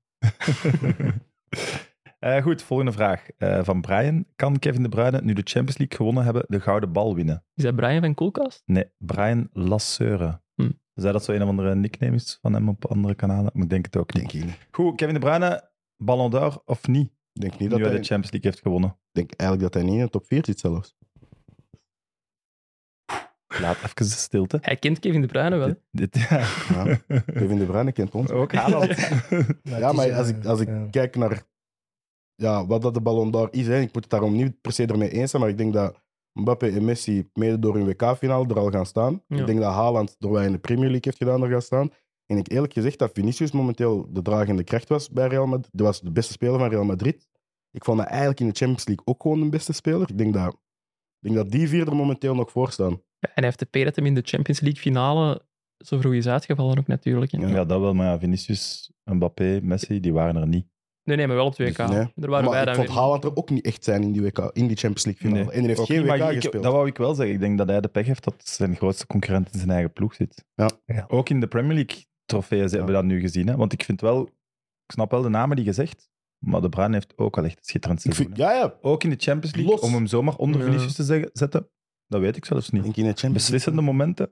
[SPEAKER 2] Eh, goed, volgende vraag eh, van Brian. Kan Kevin De Bruyne, nu de Champions League gewonnen hebben, de gouden bal winnen?
[SPEAKER 4] Is dat Brian van Koelkast? zei
[SPEAKER 2] Nee, Brian Lasseure.
[SPEAKER 4] Hm.
[SPEAKER 2] Zou dat zo een of andere nickname is van hem op andere kanalen? Maar ik denk het ook niet.
[SPEAKER 3] Denk ik niet.
[SPEAKER 2] Goed, Kevin De Bruyne, Ballon d'Or of niet?
[SPEAKER 3] Ik denk niet
[SPEAKER 2] Nu
[SPEAKER 3] dat
[SPEAKER 2] hij de
[SPEAKER 3] hij... Ik
[SPEAKER 2] Champions League heeft gewonnen.
[SPEAKER 3] denk eigenlijk dat hij niet in de top 4 zit zelfs.
[SPEAKER 2] Laat even de stilte.
[SPEAKER 4] Hij kent Kevin De Bruyne wel. hè.
[SPEAKER 2] Dit, dit- ja.
[SPEAKER 3] Ja. Kevin De Bruyne kent ons.
[SPEAKER 2] Ook
[SPEAKER 5] [laughs]
[SPEAKER 2] Haaland.
[SPEAKER 5] het
[SPEAKER 3] Ja,
[SPEAKER 5] is,
[SPEAKER 3] maar
[SPEAKER 5] eh,
[SPEAKER 3] als ik, als ik
[SPEAKER 5] ja.
[SPEAKER 3] kijk naar ja, wat dat de Ballon d'Or is, hè, ik moet het daarom niet per se ermee eens zijn, maar ik denk dat Mbappé en Messi mede door hun WK-finale er al gaan staan.
[SPEAKER 4] Ja.
[SPEAKER 3] Ik denk dat Haaland, door wat hij in de Premier League heeft gedaan, er gaat staan. En ik eerlijk gezegd dat Vinicius momenteel de dragende kracht was bij Real Madrid. Dat was de beste speler van Real Madrid. Ik vond dat eigenlijk in de Champions League ook gewoon de beste speler. Ik denk dat, ik denk dat die vier er momenteel nog voor staan.
[SPEAKER 4] Ja, En hij heeft de Peret hem in de Champions League finale zo vroeg is uitgevallen ook natuurlijk. hè.
[SPEAKER 2] Ja, dat wel. Maar ja, Vinicius, Mbappé, Messi, die waren er niet.
[SPEAKER 4] Nee, nee, maar wel op 2K.
[SPEAKER 3] Dus nee.
[SPEAKER 4] Daar waren wij
[SPEAKER 3] maar ik
[SPEAKER 4] dan
[SPEAKER 3] vond
[SPEAKER 4] weer.
[SPEAKER 3] Haaland er ook niet echt zijn in die, WK, in die Champions League finale.
[SPEAKER 2] Nee.
[SPEAKER 3] En hij heeft
[SPEAKER 2] Ook
[SPEAKER 3] geen
[SPEAKER 2] niet, maar
[SPEAKER 3] WK
[SPEAKER 2] ik- ik-
[SPEAKER 3] gespeeld.
[SPEAKER 2] Dat wou ik wel zeggen. Ik denk dat hij de pech heeft dat zijn grootste concurrent in zijn eigen ploeg zit.
[SPEAKER 3] Ja.
[SPEAKER 5] Ja.
[SPEAKER 2] Ook in de Premier League trofeeën hebben we dat nu gezien. Hè? Want ik vind wel, ik snap wel de namen die gezegd, maar de Bruin heeft ook al echt een schitterend
[SPEAKER 3] Ik
[SPEAKER 2] seizoen.
[SPEAKER 3] vind,
[SPEAKER 2] hè.
[SPEAKER 3] ja, ja,
[SPEAKER 2] Ook in de Champions League,
[SPEAKER 3] Los.
[SPEAKER 2] om hem zomaar onder
[SPEAKER 4] Ja.
[SPEAKER 2] Vinicius te zeggen- zetten, dat weet ik zelfs niet.
[SPEAKER 3] Denk je in de Champions
[SPEAKER 2] Beslissende momenten,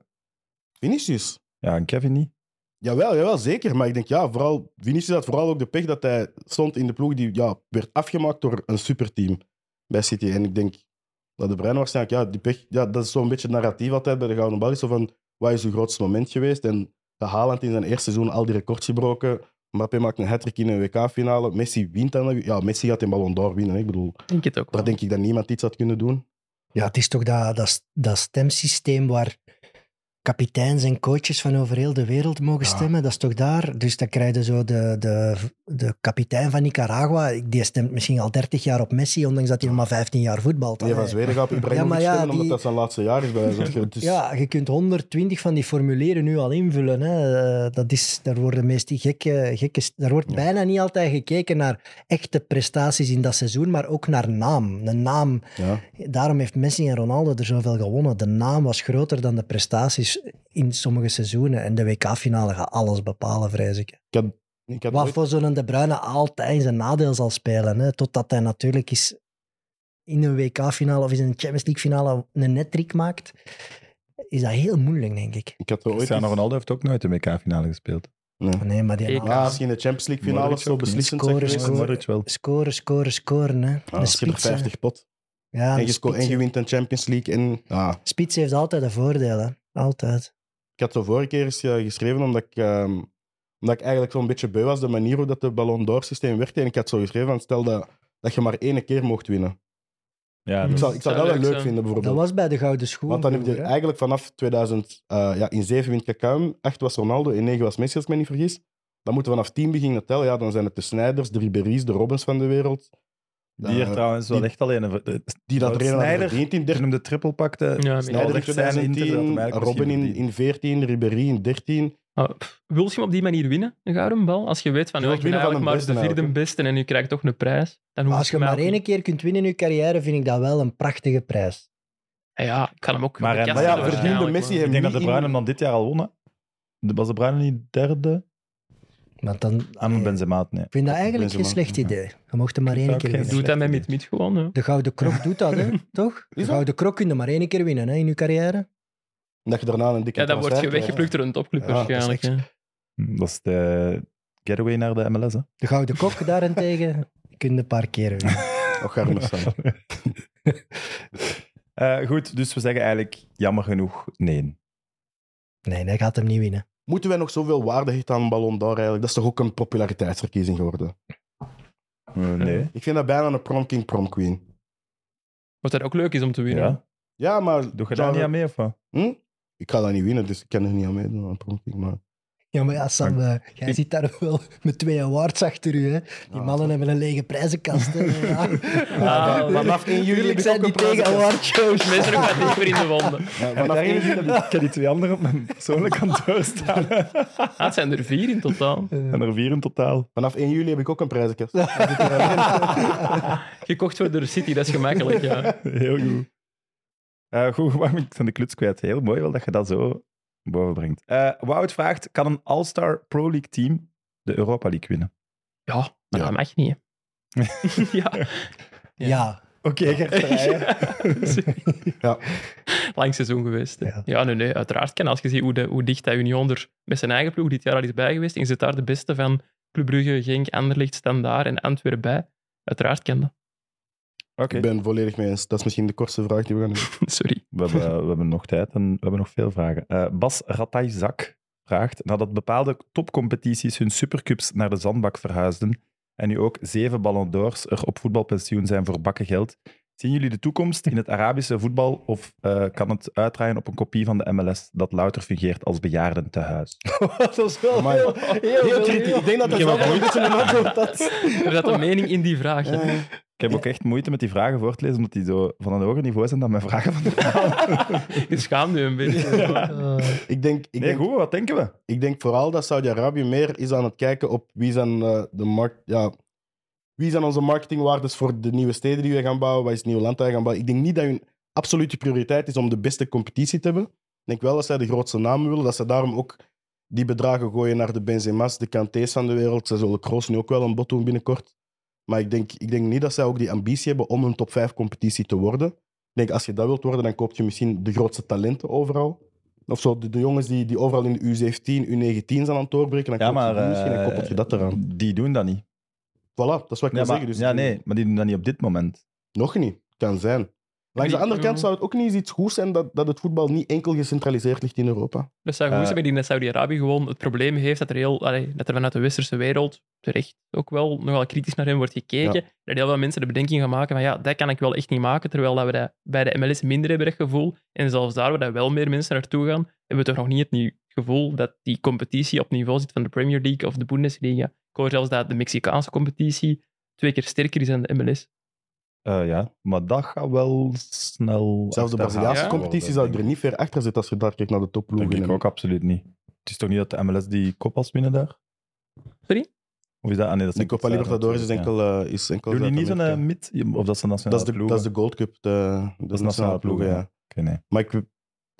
[SPEAKER 3] Vinicius.
[SPEAKER 2] ja, en Kevin niet.
[SPEAKER 3] Jawel, jawel, zeker. Maar ik denk, ja, vooral, Vinicius had vooral ook de pech dat hij stond in de ploeg die ja, werd afgemaakt door een superteam bij City. En ik denk dat de Bruin waarschijnlijk, ja, die pech, ja, dat is zo'n beetje het narratief altijd bij de Gouden Bal. Is zo van, wat is uw grootste moment geweest? En de Haaland in zijn eerste seizoen al die records gebroken. Mbappé maakt een hat in een WK-finale. Messi wint dan. Ja, Messi gaat in Ballon d'Or winnen. hè. Ik bedoel,
[SPEAKER 4] Ik denk het ook. wel.
[SPEAKER 3] daar denk ik dat niemand iets had kunnen doen.
[SPEAKER 5] Ja, het is toch dat, dat, dat stemsysteem waar kapiteins en coaches van over heel de wereld mogen
[SPEAKER 3] Ja.
[SPEAKER 5] stemmen. Dat is toch daar? Dus dan krijg je zo de, de, de kapitein van Nicaragua, die stemt misschien al 30 jaar op Messi, ondanks dat hij nog maar 15 jaar voetbalt.
[SPEAKER 3] Nee, van
[SPEAKER 5] Allee.
[SPEAKER 3] Zweden gaat op Ibrahimovic
[SPEAKER 5] maar Ah, ja,
[SPEAKER 3] stemmen, omdat
[SPEAKER 5] die-
[SPEAKER 3] dat zijn laatste jaar is bij wijze
[SPEAKER 5] [laughs]
[SPEAKER 3] van spreken. Dus-
[SPEAKER 5] Ja, je kunt 120 van die formulieren nu al invullen. Hè. Eh, Dat is, daar worden meest die gekke, gekke... Daar wordt
[SPEAKER 3] Ja.
[SPEAKER 5] bijna niet altijd gekeken naar echte prestaties in dat seizoen, maar ook naar naam. De naam
[SPEAKER 3] ja.
[SPEAKER 5] Daarom heeft Messi en Ronaldo er zoveel gewonnen. De naam was groter dan de prestaties in sommige seizoenen. En de WK-finale gaat alles bepalen, vrees ik.
[SPEAKER 3] Ik had
[SPEAKER 5] Wat
[SPEAKER 3] nooit-
[SPEAKER 5] voor zo'n De Bruyne altijd in zijn nadeel zal spelen. Hè? Totdat hij natuurlijk eens in een WK-finale of in een Champions League-finale een hat maakt. Is dat heel moeilijk, denk ik.
[SPEAKER 3] Ik had er ooit
[SPEAKER 2] Cristiano
[SPEAKER 3] eens-
[SPEAKER 2] Ronaldo heeft ook nooit de WK-finale gespeeld.
[SPEAKER 3] Nee.
[SPEAKER 5] Nee, maar die
[SPEAKER 4] Ik-
[SPEAKER 5] naam-
[SPEAKER 3] Ja, als je in de Champions League finale
[SPEAKER 2] Modric
[SPEAKER 3] zo
[SPEAKER 2] ook niet.
[SPEAKER 3] beslissend
[SPEAKER 5] Scoren,
[SPEAKER 3] zijn
[SPEAKER 2] Dus
[SPEAKER 5] scoren.
[SPEAKER 3] geweest.
[SPEAKER 2] Modric wel.
[SPEAKER 5] Scoren, scoren, scoren. Hè?
[SPEAKER 3] Ja,
[SPEAKER 5] een
[SPEAKER 3] als je er
[SPEAKER 5] spits, hè.
[SPEAKER 3] 50 pot.
[SPEAKER 5] Ja,
[SPEAKER 3] Ah, En
[SPEAKER 5] een
[SPEAKER 3] je, scoort, en
[SPEAKER 5] spits,
[SPEAKER 3] je
[SPEAKER 5] hè.
[SPEAKER 3] wint een Champions League. En, ah,
[SPEAKER 5] spits heeft altijd een voordeel. Hè? Altijd.
[SPEAKER 3] ik had zo vorige keer eens eh, geschreven, omdat ik, ehm, omdat ik eigenlijk zo'n beetje beu was de manier hoe dat de Ballon d'Or systeem werkte. En ik had zo geschreven van stel dat, dat je maar één keer mocht winnen.
[SPEAKER 2] Ja, dus
[SPEAKER 5] Mm.
[SPEAKER 3] Ik
[SPEAKER 2] dat-
[SPEAKER 3] zou, ik zou dat
[SPEAKER 4] Zou
[SPEAKER 3] wel
[SPEAKER 4] leuk
[SPEAKER 3] leuk
[SPEAKER 4] zijn.
[SPEAKER 3] vinden,
[SPEAKER 5] Dat
[SPEAKER 3] bijvoorbeeld.
[SPEAKER 5] was bij de Gouden Schoen.
[SPEAKER 3] Want dan heb je
[SPEAKER 5] vroeger, hè.
[SPEAKER 3] eigenlijk vanaf 2000, eh, ja, in 7 wint Kakuim, 8 was Ronaldo en 9 was Messi, als ik me niet vergis. Dan moeten we vanaf 10 beginnen tellen. Ja, dan zijn het de Snijders, de Ribéry's, de Robbins van de wereld.
[SPEAKER 2] die er
[SPEAKER 3] Eh,
[SPEAKER 2] trouwens wel
[SPEAKER 3] die-
[SPEAKER 2] echt alleen... een- de-
[SPEAKER 3] Die dat
[SPEAKER 2] Wout
[SPEAKER 3] er een hadden
[SPEAKER 2] Sneijder,
[SPEAKER 3] verdiend in
[SPEAKER 2] Toen
[SPEAKER 3] 13
[SPEAKER 2] hem de triple pakte,
[SPEAKER 4] Ja,
[SPEAKER 2] snel
[SPEAKER 3] Sneijder in
[SPEAKER 2] recht zijn in Inter, dat hem
[SPEAKER 3] 2010,
[SPEAKER 2] eigenlijk
[SPEAKER 3] Robin
[SPEAKER 2] misschien
[SPEAKER 3] in, in 14, Ribéry in 13.
[SPEAKER 4] Ah, pff, wil je hem op die manier winnen, een gouden bal? Als je weet van,
[SPEAKER 3] Je
[SPEAKER 4] ja,
[SPEAKER 3] wilt
[SPEAKER 4] ik ben
[SPEAKER 3] winnen van
[SPEAKER 4] eigenlijk maar
[SPEAKER 3] de
[SPEAKER 4] de
[SPEAKER 3] beste
[SPEAKER 4] vierde beste en je krijgt toch een prijs. Dan
[SPEAKER 5] Maar
[SPEAKER 4] hoef
[SPEAKER 5] als je
[SPEAKER 4] mij
[SPEAKER 5] maar
[SPEAKER 4] ook
[SPEAKER 5] één
[SPEAKER 4] niet-
[SPEAKER 5] keer kunt winnen in je carrière, vind ik dat wel een prachtige prijs.
[SPEAKER 4] Ah Ja, ik kan hem ook...
[SPEAKER 2] Maar-
[SPEAKER 4] op de
[SPEAKER 2] maar
[SPEAKER 4] kast
[SPEAKER 2] ja,
[SPEAKER 4] doen
[SPEAKER 2] verdiende
[SPEAKER 4] waarschijnlijk,
[SPEAKER 3] Messi
[SPEAKER 4] maar-
[SPEAKER 3] hem
[SPEAKER 2] Ik denk dat de
[SPEAKER 3] niet
[SPEAKER 2] Bruin
[SPEAKER 3] in-
[SPEAKER 2] hem dan dit jaar al won. hè. De- Was de Bruin niet derde?
[SPEAKER 5] Want dan,
[SPEAKER 2] Aan Ah, Benzema, nee.
[SPEAKER 5] ik vind dat eigenlijk geen
[SPEAKER 3] Benzema,
[SPEAKER 5] slecht
[SPEAKER 2] ja.
[SPEAKER 5] idee. Je mocht hem maar
[SPEAKER 2] vind dat
[SPEAKER 5] één keer
[SPEAKER 2] ook geen
[SPEAKER 5] winnen.
[SPEAKER 2] doel.
[SPEAKER 4] Doe dat met
[SPEAKER 2] idee.
[SPEAKER 4] Mid-Mid gewoon, hè.
[SPEAKER 5] De Gouden Krok doet dat, hè? toch? De
[SPEAKER 3] dat?
[SPEAKER 5] Gouden Krok kun je maar één keer winnen hè, in je carrière.
[SPEAKER 3] Dat je daarna een dikke
[SPEAKER 4] Ja, dan word je
[SPEAKER 3] transfer
[SPEAKER 4] weggeplukt door een topclub
[SPEAKER 3] Ja,
[SPEAKER 4] waarschijnlijk.
[SPEAKER 5] dat
[SPEAKER 4] hè.
[SPEAKER 2] Hm, Dat is de getaway naar de MLS, hè.
[SPEAKER 5] De Gouden Kok daarentegen kun je een paar keer winnen.
[SPEAKER 3] krijgt. Och, arme Sam.
[SPEAKER 2] Eh, goed, dus we zeggen eigenlijk jammer genoeg nee.
[SPEAKER 5] Nee, hij gaat hem niet winnen.
[SPEAKER 3] Moeten wij nog zoveel waarde hechten aan Ballon d'Or eigenlijk? Dat is toch ook een populariteitsverkiezing geworden?
[SPEAKER 2] Eh, Nee.
[SPEAKER 3] Ik vind dat bijna een prom king, prom queen.
[SPEAKER 4] Wat dat ook leuk is om te winnen.
[SPEAKER 2] Ja.
[SPEAKER 3] Ja, maar...
[SPEAKER 2] Doe je daar niet aan mee of wat?
[SPEAKER 3] Hm? Ik ga dat niet winnen, dus ik kan er niet aan meedoen aan prom king. Maar...
[SPEAKER 5] Ja, maar ja, Sam, eh, jij zit daar wel met twee awards achter u. Hè. Die mannen hebben een lege prijzenkast. Hè. Ja.
[SPEAKER 4] Ah,
[SPEAKER 3] Maar vanaf 1 juli heb
[SPEAKER 5] Tuurlijk
[SPEAKER 3] ik
[SPEAKER 5] zijn
[SPEAKER 3] ook
[SPEAKER 5] die
[SPEAKER 3] een
[SPEAKER 5] tegen
[SPEAKER 3] prijzenkast.
[SPEAKER 5] award shows.
[SPEAKER 4] Mensen nog wat dieper in de wonden.
[SPEAKER 3] Ja,
[SPEAKER 2] Maar
[SPEAKER 3] vanaf 1
[SPEAKER 2] daarin
[SPEAKER 3] juli
[SPEAKER 2] heb ik- ik heb die twee anderen op mijn [laughs] persoonlijk kantoor staan. Er
[SPEAKER 4] Ah, het zijn er vier in totaal.
[SPEAKER 2] zijn er vier in totaal.
[SPEAKER 3] Vanaf 1 juli heb ik ook een prijzenkast. Ja.
[SPEAKER 4] Gekocht worden door City, dat is gemakkelijk. Ja.
[SPEAKER 2] [laughs] Heel goed. Eh goed, [laughs] waarom ik ben de kluts kwijt. Heel mooi wel dat je dat zo bovenbrengt. Eh Wout vraagt, kan een All-Star Pro League team de Europa League winnen?
[SPEAKER 4] Ja, maar
[SPEAKER 3] Ja.
[SPEAKER 4] dat mag niet. hè. [laughs] ja.
[SPEAKER 5] Ja.
[SPEAKER 2] Oké, Gert Verheijen.
[SPEAKER 3] Ja.
[SPEAKER 4] Lang seizoen geweest. hè.
[SPEAKER 5] Ja.
[SPEAKER 4] Ja, nee, nee, uiteraard kan. Als je ziet hoe, de, hoe dicht dat Union er met zijn eigen ploeg dit jaar al is bij geweest. En je zit daar de beste van Club Brugge, Genk, Anderlecht, Standaard en Antwerpen bij. Uiteraard kan dat.
[SPEAKER 2] Oké,
[SPEAKER 3] Ik ben volledig mee eens. Dat is misschien de kortste vraag die we gaan doen.
[SPEAKER 4] [laughs] Sorry.
[SPEAKER 2] we, hebben- we hebben nog tijd en we hebben nog veel vragen. Eh, Bas Ratajzak vraagt, nadat bepaalde topcompetities hun supercups naar de zandbak verhuisden en nu ook zeven Ballon d'Ors er op voetbalpensioen zijn voor bakken geld, zien jullie de toekomst in het Arabische voetbal of eh, kan het uitdraaien op een kopie van de MLS dat louter fungeert als bejaarden tehuis?
[SPEAKER 5] dat was wel
[SPEAKER 3] Amai.
[SPEAKER 5] heel, heel,
[SPEAKER 3] Heel
[SPEAKER 5] heel-
[SPEAKER 3] kritisch. Ik denk dat dat
[SPEAKER 4] Ik
[SPEAKER 3] wel
[SPEAKER 4] heb
[SPEAKER 3] een beetje een antwoord had.
[SPEAKER 4] Er zat [laughs] een mening in die vraag. hè.
[SPEAKER 3] [laughs] Eh,
[SPEAKER 2] Ik heb ook echt moeite met die vragen voor te lezen, omdat die zo van een hoger niveau zijn dan mijn vragen van de...
[SPEAKER 4] Je schaamt je een beetje. [laughs]
[SPEAKER 5] Eh,
[SPEAKER 3] Ik denk, ik
[SPEAKER 2] Nee,
[SPEAKER 3] denk,
[SPEAKER 2] goed, wat denken we?
[SPEAKER 3] ik denk vooral dat Saudi-Arabië meer is aan het kijken op wie zijn, eh, de markt, ja, wie zijn onze marketingwaardes voor de nieuwe steden die we gaan bouwen, wat is het nieuwe land dat we gaan bouwen. Ik denk niet dat hun absolute prioriteit is om de beste competitie te hebben. Ik denk wel dat zij de grootste namen willen, dat ze daarom ook die bedragen gooien naar de Benzema's, de Kanté's van de wereld. Ze zullen Kroos nu ook wel een bod doen binnenkort. Maar ik denk, ik denk niet dat zij ook die ambitie hebben om een top 5 competitie te worden. Ik denk, als je dat wilt worden, dan koop je misschien de grootste talenten overal. Of zo, de, de jongens die, die overal in de U17, U19 zijn aan het doorbreken, dan
[SPEAKER 2] Ja, maar...
[SPEAKER 3] koop je die misschien en
[SPEAKER 2] eh,
[SPEAKER 3] koppelt je dat eraan.
[SPEAKER 2] Die doen dat niet.
[SPEAKER 3] Voilà, dat is wat ik
[SPEAKER 2] Ja, maar,
[SPEAKER 3] wil zeggen. Dus
[SPEAKER 2] ja, nee, maar die doen dat niet op dit moment.
[SPEAKER 3] Nog niet. Kan zijn. Langs de
[SPEAKER 4] Die-
[SPEAKER 3] andere kant zou het ook niet eens iets goeds zijn dat, dat het voetbal niet enkel gecentraliseerd ligt in Europa.
[SPEAKER 4] Dat Dus zou
[SPEAKER 2] Eh.
[SPEAKER 4] goed zijn, maar ik denk dat Saudi-Arabië gewoon het probleem heeft dat er, heel, allee, dat er vanuit de westerse wereld terecht ook wel nogal kritisch naar hen wordt gekeken. Dat heel veel mensen de bedenking gaan maken van ja, dat kan ik wel echt niet maken, terwijl dat we dat bij de MLS minder hebben, dat gevoel. En zelfs daar waar dat wel meer mensen naartoe gaan, hebben we toch nog niet het nieuw gevoel dat die competitie op niveau zit van de Premier League of de Bundesliga. Ik hoor zelfs dat de Mexicaanse competitie twee keer sterker is dan de MLS.
[SPEAKER 2] Eh, ja, maar dat gaat wel snel...
[SPEAKER 3] Zelfs de
[SPEAKER 2] achterhaald
[SPEAKER 3] Braziliaanse
[SPEAKER 4] ja?
[SPEAKER 3] competitie
[SPEAKER 2] worden,
[SPEAKER 3] zou er niet ver achter zitten als je daar kijkt naar de
[SPEAKER 2] denk ik.
[SPEAKER 3] topploegen.
[SPEAKER 2] Denk ik ook absoluut niet. Het is toch niet dat de MLS die koppas winnen daar?
[SPEAKER 4] Sorry?
[SPEAKER 2] Of is dat... ah, nee, dat is
[SPEAKER 3] De Copa Libertadores is
[SPEAKER 2] Ja.
[SPEAKER 3] enkel... eh, is enkel
[SPEAKER 2] Doen die niet zo'n eh,
[SPEAKER 3] Zuid-Amerika.
[SPEAKER 2] mid... Of dat is een nationale
[SPEAKER 3] dat, is de,
[SPEAKER 2] ploeg?
[SPEAKER 3] dat is de Gold Cup. De, de
[SPEAKER 2] is nationale ploegen,
[SPEAKER 3] ja.
[SPEAKER 2] ja. Oké, nee.
[SPEAKER 3] Maar ik,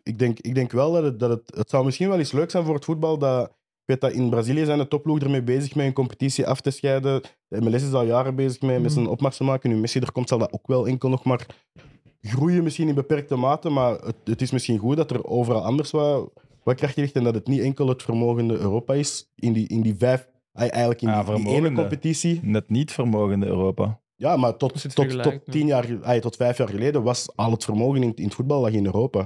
[SPEAKER 3] ik, denk, ik denk wel dat, het, dat het, het zou misschien wel eens leuk zijn voor het voetbal. Dat, ik weet dat in Brazilië zijn de topploeg ermee bezig met een competitie af te scheiden. De MLS is al jaren bezig mee, met zijn opmars te maken. Nu Messi er komt, zal dat ook wel enkel nog maar groeien, misschien in beperkte mate. Maar het, het is misschien goed dat er overal anders wat, wat kracht ligt. En dat het niet enkel het vermogende Europa is in die, in die vijf, ei- eigenlijk in
[SPEAKER 2] Ah,
[SPEAKER 3] die- die, ene
[SPEAKER 2] vermogende.
[SPEAKER 3] competitie.
[SPEAKER 2] Net niet vermogende Europa.
[SPEAKER 3] Ja, maar
[SPEAKER 4] Als je
[SPEAKER 3] tot,
[SPEAKER 4] het
[SPEAKER 3] tot, tot,
[SPEAKER 4] vergelijkt,
[SPEAKER 3] tien jaar, ay, tot vijf jaar geleden was al het vermogen in, in het voetbal lag in Europa.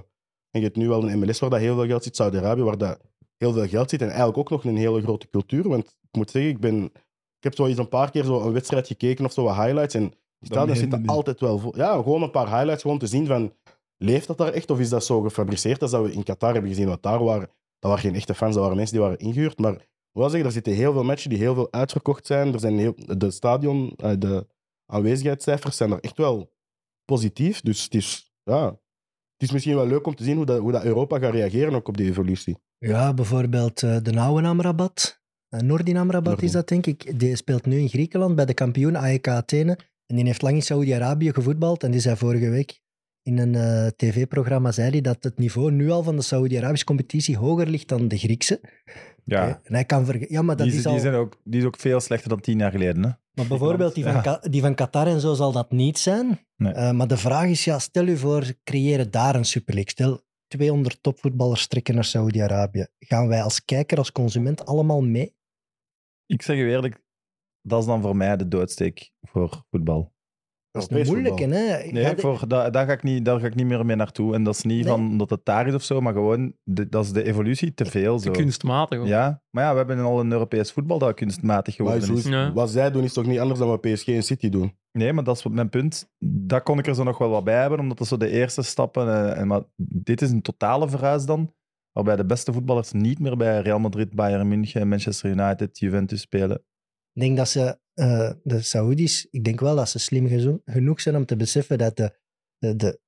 [SPEAKER 3] En je hebt nu wel een MLS waar dat heel veel geld zit, Saudi-Arabië waar dat heel veel geld zit en eigenlijk ook nog een hele grote cultuur. Want ik moet zeggen, ik, ben, ik heb zo eens een paar keer zo een wedstrijd gekeken of zo wat highlights en die
[SPEAKER 2] meen
[SPEAKER 3] stadions
[SPEAKER 2] je
[SPEAKER 3] zitten
[SPEAKER 2] niet.
[SPEAKER 3] altijd wel vol. Ja, gewoon een paar highlights gewoon te zien van leeft dat daar echt of is dat zo gefabriceerd als dat we in Qatar hebben gezien wat daar waren. Dat waren geen echte fans, dat waren mensen die waren ingehuurd. Maar ik wil wel zeggen, er zitten heel veel matchen die heel veel uitverkocht zijn. Er zijn heel, de stadion, eh, de aanwezigheidscijfers zijn er echt wel positief. Dus het is, ja, het is misschien wel leuk om te zien hoe, dat, hoe dat Europa gaat reageren ook op die evolutie.
[SPEAKER 5] ja, bijvoorbeeld eh, de Nouwen Amrabat. Eh, Nordin Amrabat
[SPEAKER 3] Nordin.
[SPEAKER 5] is dat, denk ik. Die speelt nu in Griekenland bij de kampioen AEK Athene. En die heeft lang in Saudi-Arabië gevoetbald. En die zei vorige week in een eh, tv-programma zei hij dat het niveau nu al van de Saudi-Arabische competitie hoger ligt dan de Griekse.
[SPEAKER 2] Ja.
[SPEAKER 5] En hij kan verge- ja, maar dat
[SPEAKER 2] die,
[SPEAKER 5] is
[SPEAKER 2] die
[SPEAKER 5] al...
[SPEAKER 2] zijn ook, die is ook veel slechter dan tien jaar geleden. Hè?
[SPEAKER 5] Maar bijvoorbeeld die van, Ka- die van Qatar en zo zal dat niet zijn.
[SPEAKER 2] Nee.
[SPEAKER 5] Eh, maar de vraag is, ja, stel u voor, ze creëren daar een superleague. Stel, 200 topvoetballers trekken naar Saudi-Arabië. Gaan wij als kijker, als consument allemaal mee?
[SPEAKER 2] Ik zeg je eerlijk, dat is dan voor mij de doodsteek voor voetbal.
[SPEAKER 5] Dat is een
[SPEAKER 3] Europees
[SPEAKER 5] moeilijke,
[SPEAKER 3] voetbal.
[SPEAKER 5] hè?
[SPEAKER 2] Nee,
[SPEAKER 5] Gaat-
[SPEAKER 2] voor, daar, daar, ga ik niet, daar ga ik niet meer mee naartoe. En dat is niet
[SPEAKER 5] Nee.
[SPEAKER 2] van omdat het daar is of zo, maar gewoon, de- dat is de evolutie te veel. Zo.
[SPEAKER 4] Kunstmatig. hoor.
[SPEAKER 2] Ja, maar ja, we hebben al een Europees voetbal dat kunstmatig
[SPEAKER 3] Maar
[SPEAKER 2] geworden
[SPEAKER 3] zo
[SPEAKER 2] is.
[SPEAKER 3] is-
[SPEAKER 4] Ja.
[SPEAKER 3] Wat zij doen is toch niet anders dan wat PSG en City doen.
[SPEAKER 2] Nee, maar dat is wat mijn punt. Daar kon ik er zo nog wel wat bij hebben, omdat dat zo de eerste stappen... eh, en, maar dit is een totale verhuis dan. waarbij de beste voetballers niet meer bij Real Madrid, Bayern München, Manchester United, Juventus spelen.
[SPEAKER 5] Ik denk dat ze, eh, de Saoedi's, ik denk wel dat ze slim gezo- genoeg zijn om te beseffen dat de, de, de,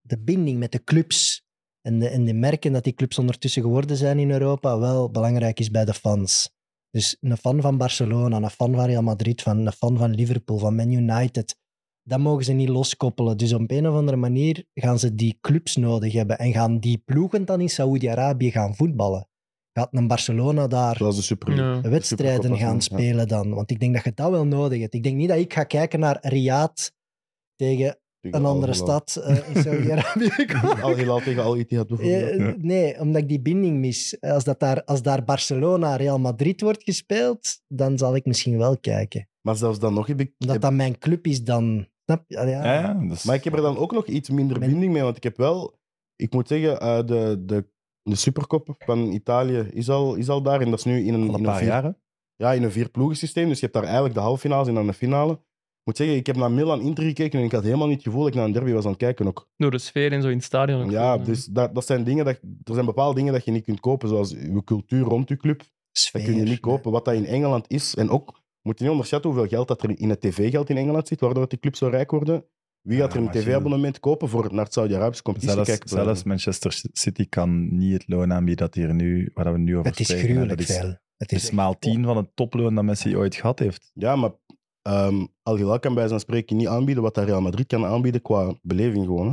[SPEAKER 5] de binding met de clubs en de, en de merken dat die clubs ondertussen geworden zijn in Europa wel belangrijk is bij de fans. Dus een fan van Barcelona, een fan van Real Madrid, van, een fan van Liverpool, van Man United, dat mogen ze niet loskoppelen. Dus op een of andere manier gaan ze die clubs nodig hebben en gaan die ploegen dan in Saoedi-Arabië gaan voetballen. Gaat een Barcelona daar
[SPEAKER 3] Zoals de Super League.
[SPEAKER 4] Ja.
[SPEAKER 5] wedstrijden
[SPEAKER 3] Supercup
[SPEAKER 5] gaan
[SPEAKER 3] afdoen, ja.
[SPEAKER 5] spelen dan. Want ik denk dat je dat wel nodig hebt. Ik denk niet dat ik ga kijken naar Riyadh tegen
[SPEAKER 3] Tegen
[SPEAKER 5] een andere
[SPEAKER 3] Al-Hilal.
[SPEAKER 5] stad eh,
[SPEAKER 3] [laughs]
[SPEAKER 5] in Saudi-Arabië.
[SPEAKER 3] Al-Hilal tegen Al-Ittihad bijvoorbeeld.
[SPEAKER 5] Eh, nee, omdat ik die binding mis. Als, dat daar, als daar Barcelona, Real Madrid wordt gespeeld, dan zal ik misschien wel kijken.
[SPEAKER 3] Maar zelfs dan nog heb ik...
[SPEAKER 5] Omdat
[SPEAKER 3] heb-
[SPEAKER 5] dat mijn club is dan. Snap je? Allee,
[SPEAKER 2] Ja,
[SPEAKER 5] Ja,
[SPEAKER 2] ja, dus-
[SPEAKER 3] Maar ik heb er dan ook nog iets minder
[SPEAKER 5] Met-
[SPEAKER 3] binding mee, want ik heb wel... Ik moet zeggen, eh, de, de, de Supercop van Italië is al, is al daar en dat is nu in een,
[SPEAKER 2] Al een
[SPEAKER 3] in een
[SPEAKER 2] paar
[SPEAKER 3] vier-
[SPEAKER 2] jaren.
[SPEAKER 3] ja, in een vierploegensysteem. Dus je hebt daar eigenlijk de halve finales en dan de finale. Ik moet zeggen, ik heb naar Milan-Inter gekeken en ik had helemaal niet het gevoel dat ik naar een derby was aan het kijken ook.
[SPEAKER 4] Door de sfeer en zo in het stadion. ook
[SPEAKER 3] Ja,
[SPEAKER 4] gewoon,
[SPEAKER 3] dus dat, dat zijn dingen dat, er zijn bepaalde dingen dat je niet kunt kopen, zoals je cultuur rond je club.
[SPEAKER 5] sfeer,
[SPEAKER 3] Dat kun je niet kopen. Wat dat in Engeland is, en ook, moet je niet onderschatten hoeveel geld dat er in het tv-geld in Engeland zit, waardoor die clubs zo rijk worden. Wie gaat
[SPEAKER 2] Ja,
[SPEAKER 3] er een
[SPEAKER 2] maar Gilles-
[SPEAKER 3] tv-abonnement kopen voor naar het Saudi-Arabische competitie
[SPEAKER 2] Zelfs,
[SPEAKER 3] kijken?
[SPEAKER 2] zelfs Manchester City kan niet het loon aanbieden dat hier nu, waar we nu over
[SPEAKER 5] Het is
[SPEAKER 2] spreken. hè.
[SPEAKER 5] gruwelijk
[SPEAKER 2] Dat is,
[SPEAKER 5] veel. Het
[SPEAKER 2] Het
[SPEAKER 5] is
[SPEAKER 2] is maal tien van het toploon dat Messi ooit gehad heeft.
[SPEAKER 3] Ja, maar ehm Al-Hilal kan bij zijn spreken niet aanbieden wat dat Real Madrid kan aanbieden qua beleving gewoon. hè.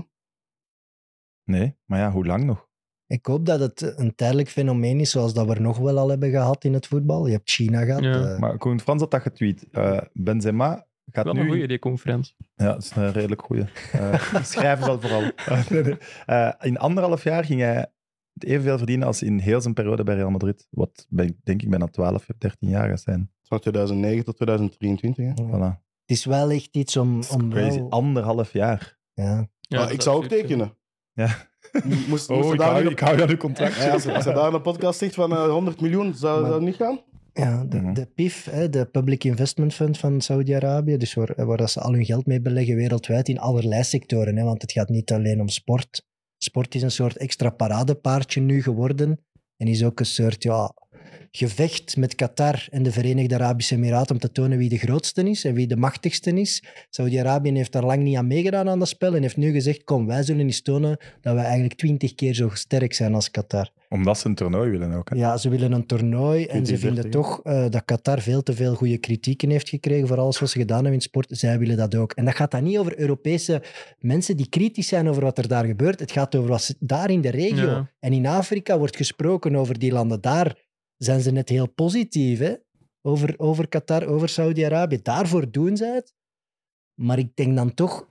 [SPEAKER 2] Nee, maar ja, hoe lang nog?
[SPEAKER 5] Ik hoop dat het een tijdelijk fenomeen is, zoals dat we er nog wel al hebben gehad in het voetbal. Je hebt China gehad.
[SPEAKER 4] Ja.
[SPEAKER 5] eh,
[SPEAKER 2] Maar Koen Frans had dat getweet. Eh, Benzema gaat
[SPEAKER 4] Wel
[SPEAKER 2] nu...
[SPEAKER 4] een goede die conferentie.
[SPEAKER 2] Ja, dat is een redelijk Eh, goede.
[SPEAKER 5] [laughs]
[SPEAKER 2] schrijven zal vooral. Eh, nee, nee. Eh, in anderhalf jaar ging hij het evenveel verdienen als in heel zijn periode bij Real Madrid. Wat ben- denk ik bijna 12, 13 jaar gaat zijn.
[SPEAKER 3] Van 2009 tot 2023. hè.
[SPEAKER 2] Voilà.
[SPEAKER 5] Het is wel echt iets om.
[SPEAKER 2] Dat is
[SPEAKER 5] om
[SPEAKER 2] crazy.
[SPEAKER 5] wel-
[SPEAKER 2] Anderhalf jaar.
[SPEAKER 5] ja.
[SPEAKER 3] Ah, ik zou ook tekenen.
[SPEAKER 2] Ja. Oh,
[SPEAKER 3] Moest, moest
[SPEAKER 4] Oh,
[SPEAKER 3] er daar nu-
[SPEAKER 2] aan uw
[SPEAKER 3] Ja, als, er- als er daar een podcast zegt van eh, 100 miljoen, zou zou
[SPEAKER 5] Maar-
[SPEAKER 3] dat niet gaan?
[SPEAKER 5] Ja, de,
[SPEAKER 2] Mhm.
[SPEAKER 5] de PIF, hè, de Public Investment Fund van Saudi-Arabië, dus waar, waar dat ze al hun geld mee beleggen wereldwijd in allerlei sectoren. Hè, want het gaat niet alleen om sport. Sport is een soort extra paradepaardje nu geworden. En is ook een soort ja, gevecht met Qatar en de Verenigde Arabische Emiraten om te tonen wie de grootste is en wie de machtigste is. Saudi-Arabië heeft daar lang niet aan meegedaan aan dat spel en heeft nu gezegd, kom, wij zullen eens tonen dat we eigenlijk twintig keer zo sterk zijn als Qatar.
[SPEAKER 2] Omdat ze een toernooi willen ook. hè.
[SPEAKER 5] Ja, ze willen een toernooi en ze
[SPEAKER 3] 20,
[SPEAKER 5] vinden
[SPEAKER 3] 30,
[SPEAKER 5] toch eh, dat Qatar veel te veel goede kritieken heeft gekregen voor alles wat ze gedaan hebben in sport. Zij willen dat ook. En dat gaat dan niet over Europese mensen die kritisch zijn over wat er daar gebeurt. Het gaat over wat ze- daar in de regio
[SPEAKER 4] Ja.
[SPEAKER 5] en in Afrika wordt gesproken over die landen. Daar zijn ze net heel positief hè? Over, over Qatar, over Saudi-Arabië. Daarvoor doen ze het. Maar ik denk dan toch,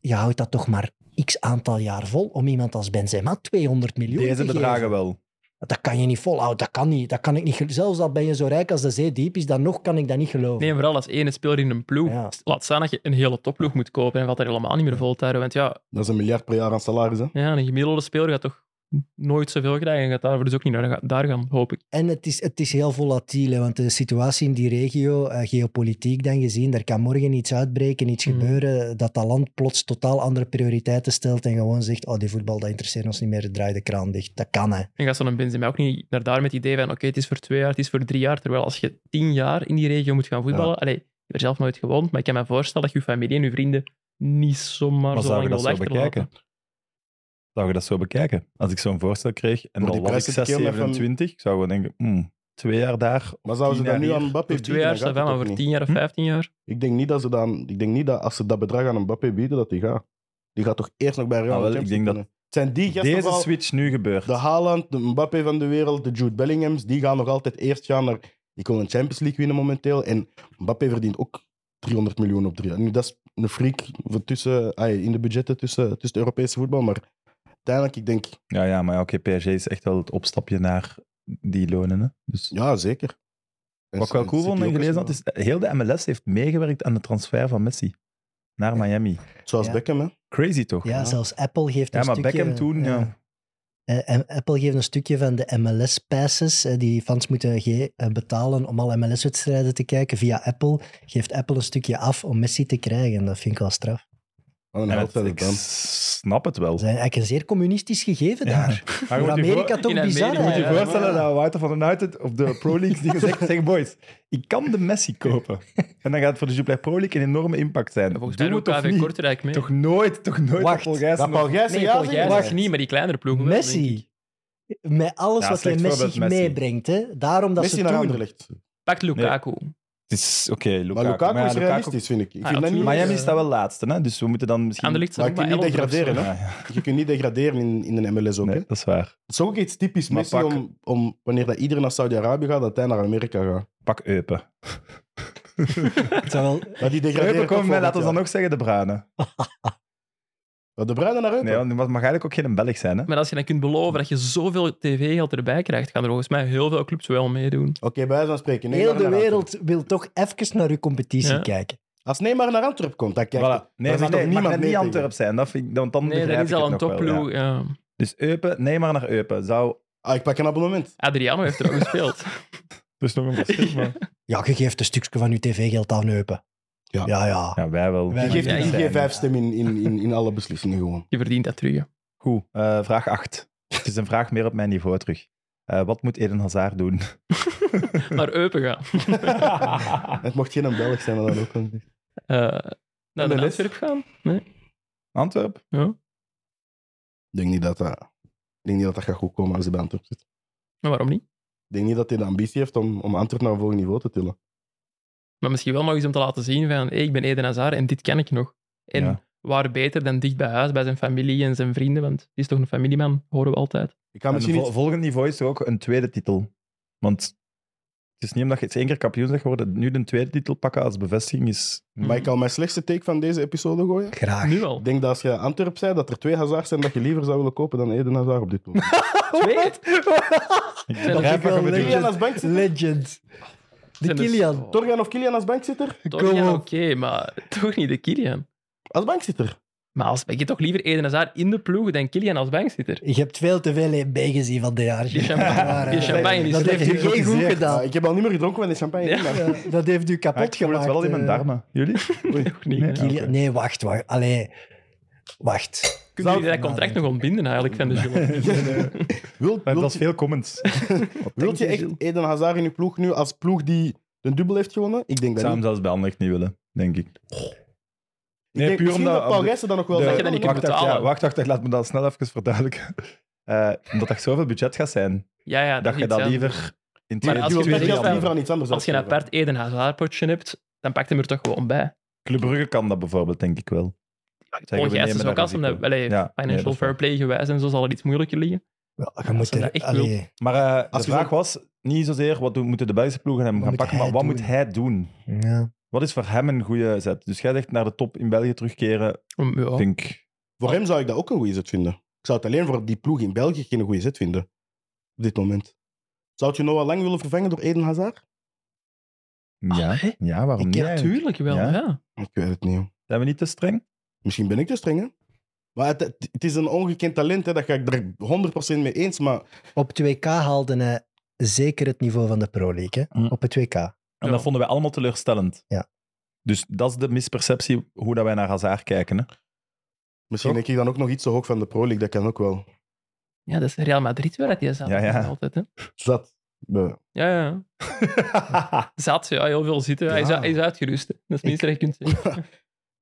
[SPEAKER 5] je houdt dat toch maar x aantal jaar vol om iemand als Benzema 200 miljoen te
[SPEAKER 2] Deze
[SPEAKER 5] geven.
[SPEAKER 2] bedragen wel.
[SPEAKER 5] Dat kan je niet volhouden, dat kan niet. Dat kan ik niet. gel- Zelfs al ben je zo rijk als de zee diep is, dan nog kan ik dat niet geloven.
[SPEAKER 4] Nee, en vooral als ene speler in een ploeg.
[SPEAKER 5] Ja.
[SPEAKER 4] Laat staan dat je een hele topploeg moet kopen en valt er helemaal niet meer vol te houden. Want ja,
[SPEAKER 3] Dat is een miljard per jaar aan salaris. Hè?
[SPEAKER 4] ja, een gemiddelde speler gaat toch nooit zoveel krijgen. En gaat daarvoor dus ook niet naar daar gaan, hoop ik.
[SPEAKER 5] En het is, het is heel volatiel, hè, want de situatie in die regio, eh, geopolitiek dan gezien, daar kan morgen iets uitbreken, iets
[SPEAKER 4] Mm.
[SPEAKER 5] gebeuren, dat dat land plots totaal andere prioriteiten stelt en gewoon zegt, oh, die voetbal, dat interesseert ons niet meer, draai de kraan dicht. Dat kan, hè.
[SPEAKER 4] En gaat zo'n Benzema ook niet naar daar met het idee van oké, het is voor twee jaar, het is voor drie jaar. Terwijl als je tien jaar in die regio moet gaan voetballen... Allee, ik heb er zelf nooit gewoond, maar ik kan me voorstellen dat je familie en je vrienden niet zomaar
[SPEAKER 2] Maar
[SPEAKER 4] zo
[SPEAKER 2] zou
[SPEAKER 4] lang
[SPEAKER 2] je dat
[SPEAKER 4] wil
[SPEAKER 2] zo
[SPEAKER 4] achterlaten.
[SPEAKER 2] bekijken? Zou je dat zo bekijken? Als ik zo'n voorstel kreeg en
[SPEAKER 3] Voor
[SPEAKER 2] al was
[SPEAKER 3] die
[SPEAKER 2] ik
[SPEAKER 3] prijs zit
[SPEAKER 2] 6,
[SPEAKER 3] ik heel met
[SPEAKER 2] 27, zou ik wel denken, hmm, twee jaar daar.
[SPEAKER 3] Maar zouden ze
[SPEAKER 2] tien
[SPEAKER 3] dat nu
[SPEAKER 2] jaar
[SPEAKER 3] aan Mbappé
[SPEAKER 4] Voor
[SPEAKER 3] bieden?
[SPEAKER 4] twee jaar,
[SPEAKER 3] dan
[SPEAKER 4] staat
[SPEAKER 3] gaat
[SPEAKER 4] wel,
[SPEAKER 3] het
[SPEAKER 4] maar
[SPEAKER 3] ook
[SPEAKER 4] voor
[SPEAKER 3] niet.
[SPEAKER 4] tien jaar of
[SPEAKER 2] Hm?
[SPEAKER 4] vijftien jaar...
[SPEAKER 3] Ik denk niet dat ze dan, ik denk niet dat als ze dat bedrag aan Mbappé bieden, dat die gaat. Die gaat toch eerst nog bij Real
[SPEAKER 2] Ah, wel,
[SPEAKER 3] Madrid
[SPEAKER 2] ik denk dat-
[SPEAKER 3] kunnen. Het zijn die gasten
[SPEAKER 2] Deze
[SPEAKER 3] vooral,
[SPEAKER 2] switch nu gebeurt.
[SPEAKER 3] de Haaland, de Mbappé van de wereld, de Jude Bellinghams, die gaan nog altijd eerst gaan naar... Die kunnen een Champions League winnen momenteel. En Mbappé verdient ook 300 miljoen op drie jaar. Nu, dat is een freak voor tussen, ai, in de budgetten tussen, tussen het Europese voetbal. Maar uiteindelijk, ik denk,
[SPEAKER 2] Ja, ja, maar ja, oké, PSG is echt wel het opstapje naar die lonen. Hè? Dus,
[SPEAKER 3] ja, zeker. En
[SPEAKER 2] Wat ik wel
[SPEAKER 3] City
[SPEAKER 2] cool vond en
[SPEAKER 3] ook
[SPEAKER 2] gelezen had,
[SPEAKER 3] eens,
[SPEAKER 2] is eh, heel de MLS heeft meegewerkt aan de transfer van Messi naar Miami.
[SPEAKER 3] Zoals
[SPEAKER 5] Ja.
[SPEAKER 3] Beckham, hè.
[SPEAKER 2] Crazy toch?
[SPEAKER 5] Ja, zelfs Apple geeft
[SPEAKER 2] Ja,
[SPEAKER 5] een
[SPEAKER 2] maar
[SPEAKER 5] stukje...
[SPEAKER 2] Beckham toen, ja.
[SPEAKER 5] Eh, en Apple geeft een stukje van de MLS-passes, eh, die fans moeten ge- eh, betalen om al MLS-wedstrijden te kijken via Apple. Geeft Apple een stukje af om Messi te krijgen. Dat vind ik wel straf.
[SPEAKER 3] Wat een
[SPEAKER 2] En
[SPEAKER 3] held
[SPEAKER 2] het-
[SPEAKER 3] zijn
[SPEAKER 2] ik
[SPEAKER 3] het dan.
[SPEAKER 2] snap het wel.
[SPEAKER 5] Dat is eigenlijk een zeer communistisch gegeven daar.
[SPEAKER 2] Maar je
[SPEAKER 5] Voor
[SPEAKER 2] moet je
[SPEAKER 5] Amerika
[SPEAKER 2] voor-
[SPEAKER 5] toch
[SPEAKER 4] In
[SPEAKER 5] bizar
[SPEAKER 4] Amerika,
[SPEAKER 2] je moet
[SPEAKER 5] eigenlijk.
[SPEAKER 2] je
[SPEAKER 4] Ja,
[SPEAKER 2] voorstellen
[SPEAKER 4] maar-
[SPEAKER 2] dat Wouter van den Uitert op de Pro League die gezegd zegt, boys, ik kan de Messi kopen. En dan gaat het voor de Jupiler Pro League een enorme impact zijn.
[SPEAKER 4] Ja, volgens
[SPEAKER 2] Doe
[SPEAKER 4] mij
[SPEAKER 2] het
[SPEAKER 4] ook
[SPEAKER 2] of
[SPEAKER 4] KV
[SPEAKER 2] niet?
[SPEAKER 4] Kortrijk mee.
[SPEAKER 2] Toch nooit, toch nooit
[SPEAKER 5] Wacht,
[SPEAKER 2] dat Paul Gijssen
[SPEAKER 3] Dat Paul
[SPEAKER 2] nog-
[SPEAKER 3] Gijssen
[SPEAKER 4] nee,
[SPEAKER 3] ja
[SPEAKER 4] Paul
[SPEAKER 3] zegt?
[SPEAKER 4] Gijsens
[SPEAKER 5] Wacht.
[SPEAKER 4] niet, maar die kleinere ploegen wel, denk ik.
[SPEAKER 5] Messi. Met alles
[SPEAKER 2] Ja,
[SPEAKER 5] wat hij
[SPEAKER 2] slecht voorbeeld,
[SPEAKER 5] Messi,
[SPEAKER 2] Messi.
[SPEAKER 5] meebrengt. Hè? Daarom dat
[SPEAKER 3] Messi
[SPEAKER 5] ze
[SPEAKER 3] naar
[SPEAKER 5] toen...
[SPEAKER 3] Anderlecht.
[SPEAKER 4] Pakt Lukaku.
[SPEAKER 2] Het is, oké, Lukaku.
[SPEAKER 3] Maar Lukaku
[SPEAKER 2] ja,
[SPEAKER 3] is realistisch, vind ik. Ik
[SPEAKER 4] Ah,
[SPEAKER 3] vind dat niet...
[SPEAKER 4] absoluut.
[SPEAKER 2] Miami staat wel laatste, hè? dus we moeten dan misschien...
[SPEAKER 4] Anderlecht
[SPEAKER 3] Maar
[SPEAKER 4] zijn ook
[SPEAKER 3] ik
[SPEAKER 4] maar
[SPEAKER 3] wil niet
[SPEAKER 4] 11 of zo.
[SPEAKER 3] degraderen,
[SPEAKER 2] Ja, ja.
[SPEAKER 3] Je kunt niet degraderen in, in de MLS ook.
[SPEAKER 2] Nee,
[SPEAKER 3] hè.
[SPEAKER 2] dat is waar.
[SPEAKER 3] Het is ook iets typisch
[SPEAKER 2] Maar
[SPEAKER 3] Messi
[SPEAKER 2] pak-
[SPEAKER 3] om, om wanneer dat iedereen naar Saudi-Arabië gaat, dat hij naar Amerika gaat.
[SPEAKER 2] Pak Eupen.
[SPEAKER 5] [laughs] Terwijl,
[SPEAKER 3] Maar die
[SPEAKER 2] Eupen
[SPEAKER 3] degraderen
[SPEAKER 2] komt met,
[SPEAKER 3] volgend
[SPEAKER 2] laten we dan
[SPEAKER 3] jaar.
[SPEAKER 2] ook zeggen, de Bruine.
[SPEAKER 3] Wat, De Bruyne naar
[SPEAKER 2] Nee,
[SPEAKER 3] Eupen?
[SPEAKER 2] want die mag eigenlijk ook geen Belg zijn, hè?
[SPEAKER 4] Maar als je dan kunt beloven dat je zoveel tv-geld erbij krijgt, gaan er volgens mij heel veel clubs wel meedoen.
[SPEAKER 3] Oké, bij wijze van spreken.
[SPEAKER 5] heel
[SPEAKER 3] Neymar
[SPEAKER 5] de
[SPEAKER 3] naar
[SPEAKER 5] wereld wil toch even naar uw competitie
[SPEAKER 4] Ja.
[SPEAKER 5] kijken.
[SPEAKER 3] Antwerp. Als Neymar naar Antwerp komt, dan kijkt
[SPEAKER 2] Voilà. Nee, maar
[SPEAKER 3] daar zit
[SPEAKER 2] nee,
[SPEAKER 3] toch
[SPEAKER 2] het mag
[SPEAKER 3] niemand
[SPEAKER 2] net
[SPEAKER 3] mee
[SPEAKER 2] niet
[SPEAKER 3] tegen?
[SPEAKER 2] Antwerp zijn. Dat vind ik, dan, dan
[SPEAKER 4] Nee,
[SPEAKER 2] begrijp
[SPEAKER 4] dat is
[SPEAKER 2] ik
[SPEAKER 4] al een
[SPEAKER 2] het nog wel, ja.
[SPEAKER 4] topploeg. ja.
[SPEAKER 2] Dus Eupen, nee maar naar Eupen. Zou...
[SPEAKER 3] Ah, ik pak een abonnement.
[SPEAKER 4] Adriano heeft er ook gespeeld.
[SPEAKER 2] Dus nog een [laughs] verschil,
[SPEAKER 5] Ja, je geeft een stukje van je tv-geld aan Eupen.
[SPEAKER 3] Ja.
[SPEAKER 5] ja. ja.
[SPEAKER 2] Ja, wij wel.
[SPEAKER 5] Wij
[SPEAKER 3] Je geeft
[SPEAKER 4] Ja,
[SPEAKER 3] die
[SPEAKER 4] ja.
[SPEAKER 3] IG5-stem in, in, in, in alle beslissingen gewoon.
[SPEAKER 4] Je verdient dat terug. hè.
[SPEAKER 2] Goed, eh, vraag 8. Het is een vraag meer op mijn niveau terug. Eh, wat moet Eden Hazard doen?
[SPEAKER 4] Naar Eupen gaan.
[SPEAKER 3] Het mocht geen een Belg zijn, maar dat ook wel.
[SPEAKER 4] Eh naar
[SPEAKER 2] MLS?
[SPEAKER 4] de Antwerp gaan.
[SPEAKER 2] Antwerp?
[SPEAKER 3] Ik denk niet dat dat, ik denk niet dat, dat gaat goed komen als hij bij Antwerp zit.
[SPEAKER 4] Maar waarom niet?
[SPEAKER 3] Ik denk niet dat hij de ambitie heeft om, om Antwerp naar een volgend niveau te tillen.
[SPEAKER 4] Maar misschien wel nog eens om te laten zien van hey, ik ben Eden Hazard en dit ken ik nog. En
[SPEAKER 2] Ja.
[SPEAKER 4] waar beter dan dicht bij huis, bij zijn familie en zijn vrienden, want die is toch een familieman, horen we altijd.
[SPEAKER 3] Ik ga
[SPEAKER 2] En
[SPEAKER 3] misschien
[SPEAKER 2] vol-
[SPEAKER 3] iets-
[SPEAKER 2] Volgend niveau is toch ook een tweede titel? Want het is niet omdat je eens één keer kampioen bent geworden, nu de tweede titel pakken als bevestiging is...
[SPEAKER 3] [laughs] Mag ik al mijn slechtste take van deze episode gooien?
[SPEAKER 5] Graag.
[SPEAKER 4] Nu al.
[SPEAKER 3] Ik denk dat als je Antwerp zei, dat er twee Hazards zijn dat je liever zou willen kopen dan Eden Hazard op
[SPEAKER 2] [laughs]
[SPEAKER 3] dit moment.
[SPEAKER 4] Twee?
[SPEAKER 2] Ik
[SPEAKER 4] dat
[SPEAKER 2] begrijp wat
[SPEAKER 5] ik
[SPEAKER 2] je
[SPEAKER 5] wel
[SPEAKER 2] bedoelt.
[SPEAKER 3] Kilian als bankzitter?
[SPEAKER 5] Legend. De
[SPEAKER 4] Zijn dus-
[SPEAKER 5] Kilian.
[SPEAKER 4] Oh,
[SPEAKER 3] Torgan of Kilian als bankzitter?
[SPEAKER 4] Torgan,
[SPEAKER 5] Kom
[SPEAKER 4] oké,
[SPEAKER 5] op.
[SPEAKER 4] maar [laughs] toch niet de Kilian.
[SPEAKER 3] Als bankzitter.
[SPEAKER 4] Maar als ben je toch liever Eden Hazard in de ploeg dan Kilian als bankzitter?
[SPEAKER 5] Je hebt veel te veel EB gezien van dit jaar.
[SPEAKER 4] Die champagne-
[SPEAKER 5] Maar,
[SPEAKER 4] die
[SPEAKER 5] eh,
[SPEAKER 4] champagne is
[SPEAKER 5] dat heeft u geen goed
[SPEAKER 3] Ah,
[SPEAKER 5] gedaan.
[SPEAKER 3] ik heb al niet meer gedronken van de champagne.
[SPEAKER 4] Ja.
[SPEAKER 3] maar-
[SPEAKER 5] Eh, Dat heeft u
[SPEAKER 2] Ah, ik
[SPEAKER 5] kapot
[SPEAKER 2] voel
[SPEAKER 5] gemaakt.
[SPEAKER 2] het wel in mijn
[SPEAKER 5] eh.
[SPEAKER 2] darmen. Jullie?
[SPEAKER 4] Toch niet.
[SPEAKER 2] Nee.
[SPEAKER 4] Ja.
[SPEAKER 5] Kilian-
[SPEAKER 2] oké.
[SPEAKER 5] Nee, wacht, wacht. Allee, wacht.
[SPEAKER 4] Kunnen jullie dat contract nog ontbinden eigenlijk van
[SPEAKER 2] [laughs]
[SPEAKER 4] de Gilles?
[SPEAKER 2] Dat
[SPEAKER 3] Wilt- wilt
[SPEAKER 2] was veel comments. Ik
[SPEAKER 3] wilt je echt Eden Hazard in je ploeg nu als ploeg die de dubbel heeft gewonnen? Ik denk dat
[SPEAKER 2] zou hem
[SPEAKER 3] niet.
[SPEAKER 2] zelfs bij Anderlecht niet willen, denk ik.
[SPEAKER 3] Ik
[SPEAKER 2] Nee,
[SPEAKER 3] denk
[SPEAKER 2] puur
[SPEAKER 3] misschien
[SPEAKER 2] omdat-
[SPEAKER 3] dat Paul
[SPEAKER 2] omdat-
[SPEAKER 3] Gijssen dan nog wel...
[SPEAKER 2] De-
[SPEAKER 4] Dat
[SPEAKER 3] zou
[SPEAKER 4] je dat niet
[SPEAKER 3] willen.
[SPEAKER 4] kunt
[SPEAKER 2] wacht, wacht,
[SPEAKER 4] betalen.
[SPEAKER 2] ja, wacht, wacht, wacht, laat me dat snel even verduidelijken. [laughs] Eh, omdat er zoveel budget gaat zijn,
[SPEAKER 4] Ja, ja,
[SPEAKER 2] dat je
[SPEAKER 4] niet,
[SPEAKER 2] dat
[SPEAKER 4] ja.
[SPEAKER 2] liever in
[SPEAKER 4] Maar
[SPEAKER 2] twee
[SPEAKER 4] als
[SPEAKER 3] Je wilt
[SPEAKER 4] je
[SPEAKER 3] dat
[SPEAKER 4] weet
[SPEAKER 3] geld
[SPEAKER 4] dat-
[SPEAKER 3] liever aan iets anders
[SPEAKER 4] Als je een
[SPEAKER 3] uitgeven.
[SPEAKER 4] apart Eden Hazard-potje hebt, dan pakt hem er toch gewoon bij.
[SPEAKER 2] Club Brugge kan dat bijvoorbeeld, denk ik wel.
[SPEAKER 4] Paul
[SPEAKER 2] we
[SPEAKER 4] Gijsens
[SPEAKER 2] nemen
[SPEAKER 4] dus ook
[SPEAKER 2] dat
[SPEAKER 4] als hem dat
[SPEAKER 2] risico.
[SPEAKER 4] allee,
[SPEAKER 2] Ja, nee,
[SPEAKER 4] financial
[SPEAKER 2] dat is waar.
[SPEAKER 4] fair play gewijs en zo zal het iets moeilijker liggen.
[SPEAKER 5] Ja, je moet
[SPEAKER 4] ze dat
[SPEAKER 5] er,
[SPEAKER 4] echt
[SPEAKER 5] allee,
[SPEAKER 2] Maar eh,
[SPEAKER 3] Als
[SPEAKER 2] de
[SPEAKER 3] je
[SPEAKER 2] vraag
[SPEAKER 3] zo-
[SPEAKER 2] was niet zozeer wat doen- moeten de Belgische ploegen hem
[SPEAKER 5] Wat
[SPEAKER 2] gaan
[SPEAKER 5] moet
[SPEAKER 2] pakken,
[SPEAKER 5] hij
[SPEAKER 2] maar wat
[SPEAKER 5] doen?
[SPEAKER 2] moet hij doen?
[SPEAKER 5] ja.
[SPEAKER 2] Wat is voor hem een goede zet? Dus jij zegt naar de top in België terugkeren.
[SPEAKER 4] Om- ja.
[SPEAKER 2] Ik denk,
[SPEAKER 3] Voor hem zou ik dat ook een goede zet vinden. Ik zou het alleen voor die ploeg in België geen goede zet vinden. Op dit moment. Zou je Noah Lang willen vervangen door Eden Hazard?
[SPEAKER 2] ja,
[SPEAKER 4] Allee.
[SPEAKER 2] ja, waarom
[SPEAKER 5] Ah, Ik
[SPEAKER 2] niet?
[SPEAKER 5] heb
[SPEAKER 2] eigenlijk?
[SPEAKER 4] Tuurlijk wel,
[SPEAKER 2] Ja.
[SPEAKER 4] ja.
[SPEAKER 3] Ik weet het niet. hoor.
[SPEAKER 2] Zijn we niet te streng?
[SPEAKER 3] Misschien ben ik te streng, hè? Maar het, het- het is een ongekend talent, hè? dat ga ik er 100% mee eens. Maar
[SPEAKER 5] Op 2K haalde hij zeker het niveau van de Pro League. Hè?
[SPEAKER 2] Mm.
[SPEAKER 5] Op het 2K.
[SPEAKER 2] En
[SPEAKER 4] Ja.
[SPEAKER 2] dat vonden wij allemaal teleurstellend.
[SPEAKER 5] Ja.
[SPEAKER 2] Dus dat is de misperceptie hoe dat wij naar Hazard kijken. Hè?
[SPEAKER 3] misschien
[SPEAKER 2] Toch?
[SPEAKER 3] denk ik dan ook nog iets te hoog van de Pro League, dat kan ook wel.
[SPEAKER 4] Ja, dat is Real Madrid waar dat je zat.
[SPEAKER 2] Ja, ja.
[SPEAKER 4] Altijd, hè.
[SPEAKER 3] Zat. Be-
[SPEAKER 4] Ja,
[SPEAKER 2] [laughs]
[SPEAKER 4] ja. Zat, ja, heel veel zitten. Hij, is,
[SPEAKER 3] Ja.
[SPEAKER 4] hij is uitgerust. hè. Dat is het minste dat je kunt
[SPEAKER 2] [laughs]
[SPEAKER 4] zeggen.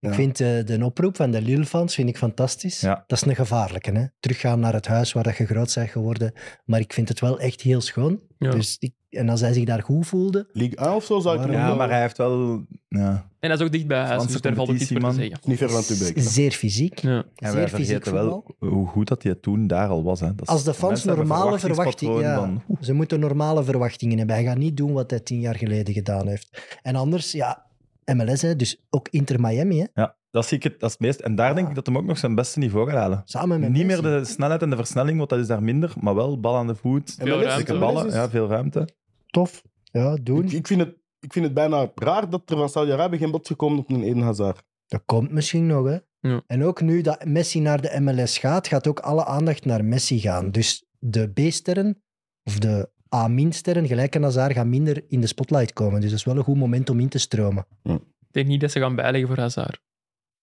[SPEAKER 5] Ik
[SPEAKER 3] Ja.
[SPEAKER 5] vind eh, de oproep van de Lille-fans vind ik fantastisch.
[SPEAKER 2] Ja.
[SPEAKER 5] Dat is een gevaarlijke. Hè? Teruggaan naar het huis waar dat je groot bent geworden. Maar ik vind het wel echt heel schoon.
[SPEAKER 4] Ja.
[SPEAKER 5] Dus ik, en als hij zich daar goed voelde...
[SPEAKER 3] League A of zo zou ik
[SPEAKER 5] Ja,
[SPEAKER 3] nog
[SPEAKER 2] Ja,
[SPEAKER 3] wel-
[SPEAKER 2] maar hij heeft wel... Ja.
[SPEAKER 4] En dat is ook dicht bij huis,
[SPEAKER 2] Franse
[SPEAKER 4] dus daar valt ook iets voor te
[SPEAKER 2] competitie,
[SPEAKER 4] zeggen.
[SPEAKER 3] Niet ver van Tubek.
[SPEAKER 5] Zeer fysiek.
[SPEAKER 4] Ja.
[SPEAKER 2] En
[SPEAKER 5] zeer
[SPEAKER 2] wij
[SPEAKER 5] fysiek
[SPEAKER 2] vergeten
[SPEAKER 5] voetbal.
[SPEAKER 2] wel hoe goed dat hij toen daar al was. Hè. Dat is-
[SPEAKER 5] Als de fans
[SPEAKER 2] mensen hebben
[SPEAKER 5] normale verwachtingen...
[SPEAKER 2] verwachtingspatroon
[SPEAKER 5] Ja,
[SPEAKER 2] dan-
[SPEAKER 5] ze moeten normale verwachtingen hebben. Hij gaat niet doen wat hij tien jaar geleden gedaan heeft. En anders, ja, MLS, hè, dus ook Inter-Miami, hè,
[SPEAKER 2] Ja, dat zie ik het, dat is het meest. En daar denk ik dat hem ook nog zijn beste niveau gaat halen.
[SPEAKER 5] samen met
[SPEAKER 2] Niet meer
[SPEAKER 5] Messi.
[SPEAKER 2] de snelheid en de versnelling, want dat is daar minder, maar wel bal aan de voet.
[SPEAKER 4] Veel
[SPEAKER 3] MLS
[SPEAKER 4] ruimte.
[SPEAKER 2] Dikke
[SPEAKER 3] MLS
[SPEAKER 2] ballen,
[SPEAKER 3] is-
[SPEAKER 2] ja, veel ruimte.
[SPEAKER 5] Tof. Ja,
[SPEAKER 3] Ik,
[SPEAKER 5] doen.
[SPEAKER 3] ik, vind het, ik vind het bijna raar dat er van Saudi-Arabië geen bod gekomen op een Eden Hazard.
[SPEAKER 5] Dat komt misschien nog, hè.
[SPEAKER 4] Ja.
[SPEAKER 5] En ook nu dat Messi naar de MLS gaat, gaat ook alle aandacht naar Messi gaan. Dus de B-sterren, of de A-min-sterren, gelijk aan Hazard, gaan minder in de spotlight komen. Dus dat is wel een goed moment om in te stromen.
[SPEAKER 4] Ik denk niet dat ze gaan bijleggen voor Hazard.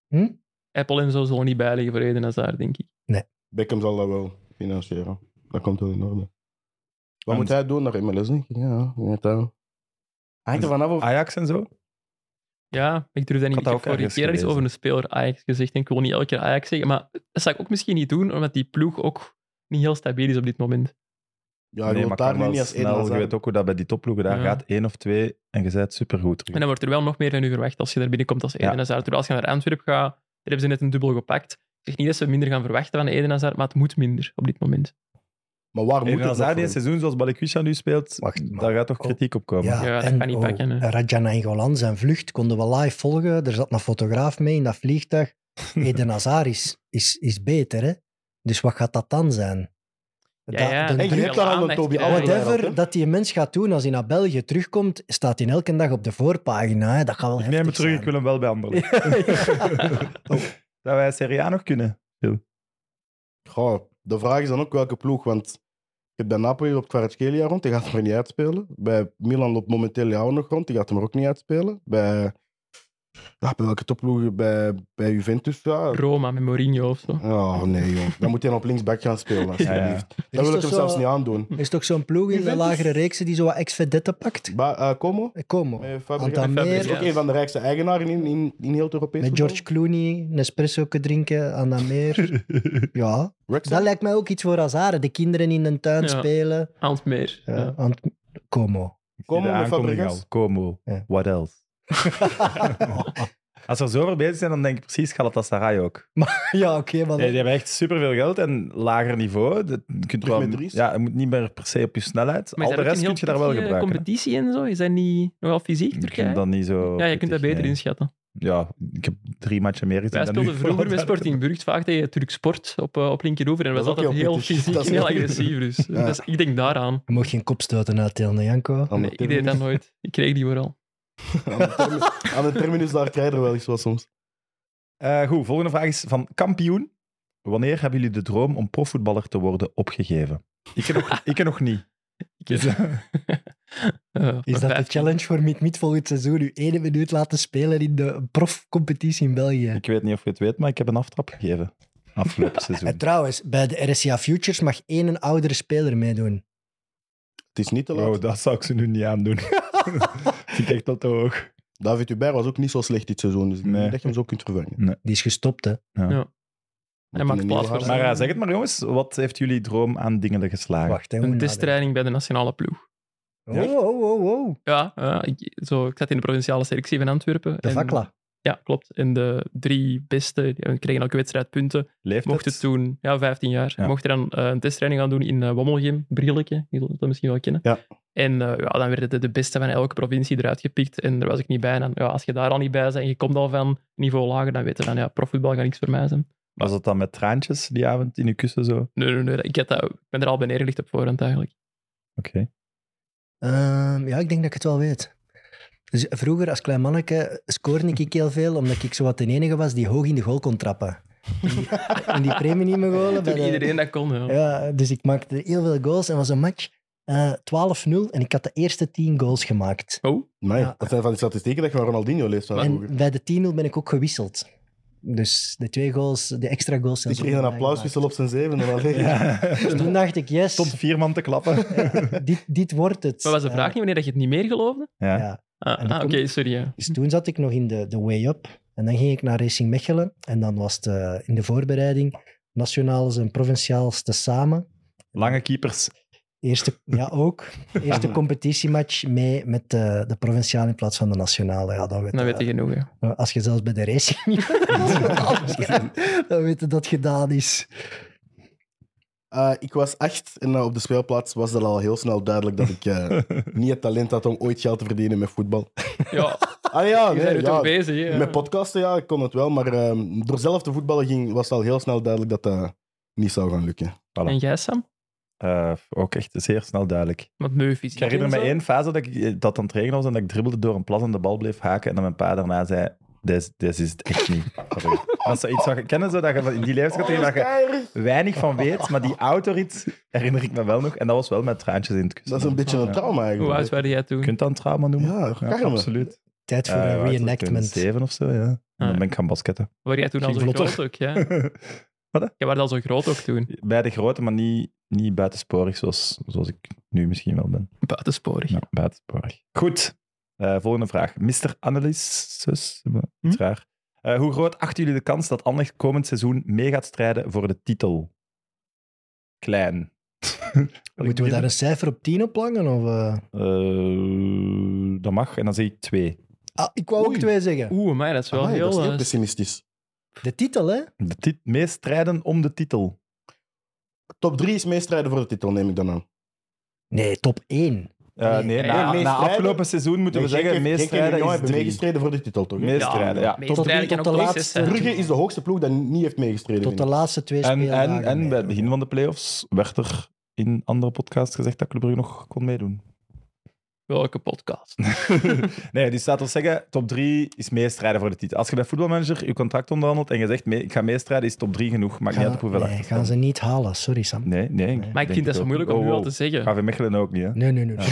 [SPEAKER 5] Hm?
[SPEAKER 4] Apple en zo zullen niet bijliggen voor Eden Hazard, denk ik.
[SPEAKER 3] Beckham zal dat wel financieren. Dat komt wel in orde. Wat
[SPEAKER 2] En-
[SPEAKER 3] moet hij doen naar MLS, denk ik? Ja, net aan. Hangt er vanaf of...
[SPEAKER 2] Ajax en zo?
[SPEAKER 4] Ja, ik durf dat
[SPEAKER 2] had
[SPEAKER 4] niet.
[SPEAKER 2] dat
[SPEAKER 4] Ik heb
[SPEAKER 2] ook
[SPEAKER 4] vorige
[SPEAKER 2] ergens
[SPEAKER 4] keer iets
[SPEAKER 2] gelezen.
[SPEAKER 4] over een speler Ajax gezegd en ik wil niet elke keer Ajax zeggen, maar dat zou ik ook misschien niet doen, omdat die ploeg ook niet heel stabiel is op dit moment.
[SPEAKER 3] Ja, ik
[SPEAKER 2] nee,
[SPEAKER 3] wil
[SPEAKER 2] maar
[SPEAKER 3] daar
[SPEAKER 2] kan
[SPEAKER 3] nu
[SPEAKER 2] wel
[SPEAKER 3] niet als één
[SPEAKER 2] snel. Je weet ook hoe dat bij die topploegen daar
[SPEAKER 4] Ja.
[SPEAKER 2] gaat. één of twee en je bent supergoed.
[SPEAKER 4] En dan wordt er wel nog meer van u verwacht als je daar binnenkomt als Eden
[SPEAKER 2] Ja.
[SPEAKER 4] Hazard. Terwijl als je naar Antwerp gaat, daar hebben ze net een dubbel gepakt. Ik zeg niet dat ze minder gaan verwachten van Eden Hazard, maar het moet minder op dit moment.
[SPEAKER 3] Maar waar moet
[SPEAKER 2] En
[SPEAKER 3] het
[SPEAKER 2] als
[SPEAKER 3] nog
[SPEAKER 2] hij
[SPEAKER 3] voor
[SPEAKER 2] dit
[SPEAKER 3] hem?
[SPEAKER 2] seizoen zoals Balikwisha nu speelt,
[SPEAKER 5] Wacht, maar-
[SPEAKER 2] daar gaat toch kritiek op komen.
[SPEAKER 4] Ja, dat kan niet pakken, hè.
[SPEAKER 5] Rajan Engolan, zijn vlucht, konden we live volgen. Er zat een fotograaf mee in dat
[SPEAKER 4] [laughs]
[SPEAKER 5] vliegtuig. Eden Hazard is, is, is beter, hè. Dus wat gaat dat dan zijn?
[SPEAKER 4] Ja, ja.
[SPEAKER 5] de
[SPEAKER 3] En je
[SPEAKER 5] druk-
[SPEAKER 3] hebt daar al een
[SPEAKER 4] aandacht, eh,
[SPEAKER 3] Toby
[SPEAKER 4] ja.
[SPEAKER 3] Allen
[SPEAKER 4] Whatever
[SPEAKER 3] bij gehad, hè?
[SPEAKER 5] Whatever dat die mens gaat doen als hij naar België terugkomt, staat hij elke dag op de voorpagina. Hè. Dat gaat wel
[SPEAKER 2] Ik
[SPEAKER 5] heftig
[SPEAKER 2] neem het terug,
[SPEAKER 5] zijn.
[SPEAKER 2] ik wil hem wel bij anderen. [laughs] Dat wij Serie A nog kunnen.
[SPEAKER 3] Goh, de vraag is dan ook welke ploeg, want je hebt bij Napoli op Kvaratskhelia rond, die gaat hem er niet uitspelen. Bij Milan loopt momenteel Leao nog rond, die gaat hem er ook niet uitspelen. Bij, ja, bij welke topploeg? Bij, bij Juventus? Ja.
[SPEAKER 4] Roma met Mourinho of zo.
[SPEAKER 3] Oh nee, joh. Dan moet hij op linksback gaan
[SPEAKER 2] [laughs]
[SPEAKER 3] spelen, alsjeblieft.
[SPEAKER 2] Ja, ja.
[SPEAKER 5] Er
[SPEAKER 3] Dat
[SPEAKER 5] is
[SPEAKER 3] wil ik
[SPEAKER 5] toch
[SPEAKER 3] hem
[SPEAKER 5] zo-
[SPEAKER 3] zelfs niet aandoen.
[SPEAKER 5] Er is toch zo'n ploeg in de
[SPEAKER 3] Juventus?
[SPEAKER 5] lagere reeksen die zo wat ex-vedetten pakt?
[SPEAKER 3] Ba eh, Como?
[SPEAKER 5] Como.
[SPEAKER 3] Met
[SPEAKER 5] Want dan
[SPEAKER 3] Fabregas.
[SPEAKER 5] meer-
[SPEAKER 3] Dat is ook een van de rijkste eigenaren in, in, in heel het Europees
[SPEAKER 5] Met
[SPEAKER 3] voetbal.
[SPEAKER 5] George Clooney, een espresso drinken aan dat meer. Ja,
[SPEAKER 3] Wrexham?
[SPEAKER 5] dat lijkt mij ook iets voor Azaren. De kinderen in de tuin
[SPEAKER 4] Ja.
[SPEAKER 5] spelen.
[SPEAKER 4] Hans Meer.
[SPEAKER 5] Ja,
[SPEAKER 4] Ja.
[SPEAKER 5] want- Como.
[SPEAKER 3] Como
[SPEAKER 2] De
[SPEAKER 3] met
[SPEAKER 2] aankondiging
[SPEAKER 3] Fabregas?
[SPEAKER 2] al. Como.
[SPEAKER 5] Ja.
[SPEAKER 2] What
[SPEAKER 4] [laughs]
[SPEAKER 2] else? Als we zo over bezig zijn, dan denk ik precies Galatasaray ook.
[SPEAKER 5] [laughs] ja, oké, maar...
[SPEAKER 2] Nee, die hebben echt superveel geld en lager niveau. Dat, je, kunt
[SPEAKER 3] Terug
[SPEAKER 2] wel,
[SPEAKER 3] met Dries.
[SPEAKER 2] ja, je moet niet meer per se op je snelheid.
[SPEAKER 4] Maar
[SPEAKER 2] Al de rest kun
[SPEAKER 4] kunt
[SPEAKER 2] je daar wel gebruiken. hè.
[SPEAKER 4] competitie en zo? Is dat niet nogal fysiek,
[SPEAKER 2] Ik vind
[SPEAKER 4] Turkije?
[SPEAKER 2] dat niet zo...
[SPEAKER 4] Ja, je kunt
[SPEAKER 2] pittig,
[SPEAKER 4] dat beter
[SPEAKER 2] nee.
[SPEAKER 4] inschatten.
[SPEAKER 2] Ja, ik heb drie matchen meer gezien
[SPEAKER 4] Wij
[SPEAKER 2] dan
[SPEAKER 4] speelden
[SPEAKER 2] u.
[SPEAKER 4] vroeger met Sporting Burgt vaak tegen Turk Sport op, eh, op linkeroever. En dat
[SPEAKER 3] Dat
[SPEAKER 4] was
[SPEAKER 3] is ook
[SPEAKER 4] altijd
[SPEAKER 3] heel
[SPEAKER 4] heel
[SPEAKER 3] pittig.
[SPEAKER 4] fysiek
[SPEAKER 3] Dat
[SPEAKER 4] en
[SPEAKER 3] is
[SPEAKER 4] heel
[SPEAKER 3] heel
[SPEAKER 4] agressief. Dus.
[SPEAKER 3] Ja.
[SPEAKER 4] Dus ik denk daaraan.
[SPEAKER 5] Je mocht geen kopstoten uitdelen, hè, Janko.
[SPEAKER 3] Aan de
[SPEAKER 4] Nee, ik deed dat
[SPEAKER 3] terminus-
[SPEAKER 4] nooit. Ik kreeg die
[SPEAKER 3] [laughs]
[SPEAKER 4] vooral.
[SPEAKER 3] aan de terminus- Aan de terminus, daar krijg je er wel eens wat soms.
[SPEAKER 2] [laughs] Eh, goed, volgende vraag is van kampioen. Wanneer hebben jullie de droom om profvoetballer te worden opgegeven? Ik heb nog, ik heb nog niet.
[SPEAKER 4] Ik [laughs] Eh,
[SPEAKER 5] Is dat de
[SPEAKER 4] vijf-
[SPEAKER 5] challenge voor Meet Meet volgend seizoen? U één minuut laten spelen in de profcompetitie in België.
[SPEAKER 2] Ik weet niet of je het weet, maar ik heb een aftrap gegeven. Afgelopen
[SPEAKER 5] En
[SPEAKER 2] seizoen.
[SPEAKER 5] trouwens, bij de RSCA Futures mag één een oudere speler meedoen.
[SPEAKER 3] Het is niet te laat.
[SPEAKER 2] Wow, dat zou ik ze nu niet aandoen. Vind ik echt dat te hoog.
[SPEAKER 3] David Hubert was ook niet zo slecht dit seizoen, dus ik
[SPEAKER 2] Nee.
[SPEAKER 3] denk dat je hem zo kunt vervangen.
[SPEAKER 5] Die is gestopt, hè.
[SPEAKER 4] Hij maakt plaats voor
[SPEAKER 2] Maar
[SPEAKER 4] zijn.
[SPEAKER 2] eh, zeg het maar, jongens. Wat heeft jullie droom aan dingen geslagen?
[SPEAKER 5] Wacht, hè.
[SPEAKER 4] Een
[SPEAKER 5] hoe
[SPEAKER 4] testtraining bij de nationale ploeg.
[SPEAKER 5] nadenken. Oh, oh, oh, oh.
[SPEAKER 4] Ja, ja, ik, zo, ik zat in de provinciale selectie van Antwerpen.
[SPEAKER 5] De
[SPEAKER 4] en-
[SPEAKER 5] vakla.
[SPEAKER 4] Ja, klopt. En de drie beste die kregen elke wedstrijd punten.
[SPEAKER 2] Leeftijd?
[SPEAKER 4] Mocht het toen, ja, 15 jaar,
[SPEAKER 2] Ja.
[SPEAKER 4] mocht er dan eh, een testtraining gaan doen in eh Wommelgem, Brilleke, je zult dat misschien wel kennen.
[SPEAKER 3] Ja.
[SPEAKER 4] En eh, ja, dan werden de, de beste van elke provincie eruit gepikt en daar was ik niet bij. En dan, ja, als je daar al niet bij bent en je komt al van niveau lager, dan weet je van, ja, profvoetbal gaat niks voor mij zijn.
[SPEAKER 2] Was dat dan met traantjes die avond in je kussen zo? Oké.
[SPEAKER 4] Nee, nee, nee, ik, had dat, ik ben er al bij neergelegd op voorhand eigenlijk.
[SPEAKER 5] Ehm, ja, ik denk dat ik het wel weet. Dus vroeger, als klein manneke, scoorde ik heel veel, omdat ik zowat de enige was die hoog in de goal kon trappen. En die premie niet meer golen. bij
[SPEAKER 4] Toen
[SPEAKER 5] de-
[SPEAKER 4] iedereen dat kon, ja.
[SPEAKER 5] Ja, dus ik maakte heel veel goals en was een match eh, 12-0 en ik had de eerste 10 goals gemaakt.
[SPEAKER 4] Oh,
[SPEAKER 3] Nee,
[SPEAKER 5] Ja.
[SPEAKER 3] dat zijn van die statistieken dat je van Ronaldinho leest van vroeger.
[SPEAKER 5] En bij de 10-0 ben ik ook gewisseld. Dus de twee goals, de extra goals zijn
[SPEAKER 3] Die
[SPEAKER 5] zo
[SPEAKER 3] kreeg een
[SPEAKER 5] gemaakt.
[SPEAKER 3] applauswissel op zijn zevende.
[SPEAKER 2] [laughs]
[SPEAKER 3] alleen.
[SPEAKER 5] Dus toen dacht ik, yes,
[SPEAKER 2] Stond vier man te klappen.
[SPEAKER 5] dit, dit wordt het.
[SPEAKER 4] maar was de vraag niet wanneer dat je het niet meer geloofde?
[SPEAKER 2] Ja.
[SPEAKER 5] Ja.
[SPEAKER 4] Ah,
[SPEAKER 5] En dat
[SPEAKER 4] ah, oké,
[SPEAKER 5] komt-
[SPEAKER 4] sorry. ja.
[SPEAKER 5] Dus toen zat ik nog in de, de way up. En dan ging ik naar Racing Mechelen. En dan was het eh, in de voorbereiding nationaals en provinciaals tezamen.
[SPEAKER 2] Lange keepers. [laughs]
[SPEAKER 5] Eerste, ja, ook. Eerste competitiematch mee met de, de provinciale in plaats van de nationale. Ja, dan weet,
[SPEAKER 4] Dan
[SPEAKER 5] je-
[SPEAKER 4] weet je genoeg, ja.
[SPEAKER 5] Als je zelfs bij de Racing [laughs] niet bent, dan weet je dat het gedaan is.
[SPEAKER 3] Eh, ik was acht en eh, op de speelplaats was dat al heel snel duidelijk dat
[SPEAKER 2] [laughs]
[SPEAKER 3] ik eh, niet het talent had om ooit geld te verdienen met voetbal.
[SPEAKER 4] Ja,
[SPEAKER 3] Ah ja,
[SPEAKER 4] we zijn
[SPEAKER 3] nee,
[SPEAKER 4] er
[SPEAKER 3] ja.
[SPEAKER 4] toch bezig, hè, ja.
[SPEAKER 3] met podcasten ja, ik kon het wel, maar ehm, door zelf te voetballen ging, was het al heel snel duidelijk dat dat niet zou gaan lukken.
[SPEAKER 4] En jij, Sam?
[SPEAKER 2] Eh, ook echt zeer snel duidelijk.
[SPEAKER 4] Wat meufysiek.
[SPEAKER 2] Ik herinner me één fase dat, ik, eh, dat aan het regenen was en dat ik dribbelde door een plas en de bal bleef haken. En dan mijn pa daarna zei, dit dit is het echt niet. Dat is iets wat je kennen, zo, dat je van- in die leeftijd
[SPEAKER 4] Oh,
[SPEAKER 2] dat je weinig van weet. Maar die autorit herinner ik me wel nog. En dat was wel met traantjes in het kussen.
[SPEAKER 3] Dat is een beetje een
[SPEAKER 2] Ja.
[SPEAKER 3] trauma
[SPEAKER 4] Hoe
[SPEAKER 3] eigenlijk.
[SPEAKER 4] oud waren jij toen?
[SPEAKER 2] Je kunt dat een trauma noemen.
[SPEAKER 3] Ja, karma.
[SPEAKER 2] absoluut.
[SPEAKER 5] Tijd voor
[SPEAKER 2] Eh,
[SPEAKER 5] een
[SPEAKER 2] uit
[SPEAKER 5] reenactment.
[SPEAKER 2] 2007 of zo, ja. En dan
[SPEAKER 4] Ah.
[SPEAKER 2] ben ik gaan
[SPEAKER 3] [laughs]
[SPEAKER 2] basketten.
[SPEAKER 4] Waar jij toen al
[SPEAKER 2] Ging
[SPEAKER 4] zo
[SPEAKER 2] vlotter.
[SPEAKER 4] groot ook,
[SPEAKER 5] [laughs]
[SPEAKER 4] ja. Jij werd al zo groot ook toen.
[SPEAKER 2] Bij de grote, maar niet, niet buitensporig zoals, zoals ik nu misschien wel ben.
[SPEAKER 4] Buitensporig.
[SPEAKER 2] Ja, buitensporig. Goed. Eh, volgende vraag. Mr. Analysis. hm? Iets raar. Eh, hoe groot achten jullie de kans dat Anderlecht komend seizoen mee gaat strijden voor de titel?
[SPEAKER 5] [laughs]
[SPEAKER 2] Klein.
[SPEAKER 5] Moeten we daar een cijfer op 10 op hangen? Of, eh?
[SPEAKER 2] Eh, dat mag. En dan zeg ik twee.
[SPEAKER 5] ah, ik wou ook
[SPEAKER 3] Oei.
[SPEAKER 5] twee zeggen.
[SPEAKER 4] Oeh, maar dat is wel
[SPEAKER 3] Amai,
[SPEAKER 4] heel...
[SPEAKER 3] dat is heel
[SPEAKER 4] eh,
[SPEAKER 3] pessimistisch.
[SPEAKER 5] De titel, hè?
[SPEAKER 2] De tit- mee strijden om de titel.
[SPEAKER 3] Top 3 is meestrijden voor de titel, neem ik dan aan.
[SPEAKER 5] Nee, top 1.
[SPEAKER 2] Eh, nee,
[SPEAKER 5] Nee,
[SPEAKER 4] nee,
[SPEAKER 2] na,
[SPEAKER 3] meestrijden-
[SPEAKER 2] na afgelopen seizoen moeten we
[SPEAKER 3] Nee,
[SPEAKER 2] zeggen,
[SPEAKER 3] Genk heeft- Genk en
[SPEAKER 2] meestrijden
[SPEAKER 3] Union
[SPEAKER 2] is
[SPEAKER 3] hebben
[SPEAKER 2] drie.
[SPEAKER 3] meegestreden voor de titel, toch? hè?
[SPEAKER 2] Meest- strijden, ja.
[SPEAKER 4] mee
[SPEAKER 5] Tot-
[SPEAKER 4] strijden kan
[SPEAKER 5] tot
[SPEAKER 4] ook
[SPEAKER 5] de
[SPEAKER 4] twee zes
[SPEAKER 5] laatste-
[SPEAKER 4] zijn.
[SPEAKER 3] Brugge is de hoogste ploeg dat niet heeft meegestreden.
[SPEAKER 5] Tot
[SPEAKER 3] vind
[SPEAKER 5] de
[SPEAKER 3] ik.
[SPEAKER 5] laatste twee
[SPEAKER 2] En,
[SPEAKER 5] speeldagen.
[SPEAKER 2] en, en bij het
[SPEAKER 5] meedoen.
[SPEAKER 2] begin van de playoffs werd er in andere podcasts gezegd dat Club Brugge nog kon meedoen.
[SPEAKER 4] Welke
[SPEAKER 5] [laughs]
[SPEAKER 4] podcast?
[SPEAKER 2] nee, dus staat ons zeggen, top 3 is meestrijden voor de titel. Als je bij voetbalmanager je contract onderhandelt en je zegt, mee, ik ga meestrijden, is top 3 genoeg. Maakt niet uit op hoeveel
[SPEAKER 5] nee,
[SPEAKER 2] achterstand.
[SPEAKER 5] gaan ze niet halen. Sorry, Sam.
[SPEAKER 2] Nee, nee.
[SPEAKER 5] Maar ik
[SPEAKER 4] Maar ik vind dat zo
[SPEAKER 5] Oh,
[SPEAKER 4] moeilijk om
[SPEAKER 2] Oh,
[SPEAKER 4] nu al te zeggen.
[SPEAKER 2] zeggen. KV Mechelen ook niet, hè?
[SPEAKER 5] Nee, nee, nee. nee.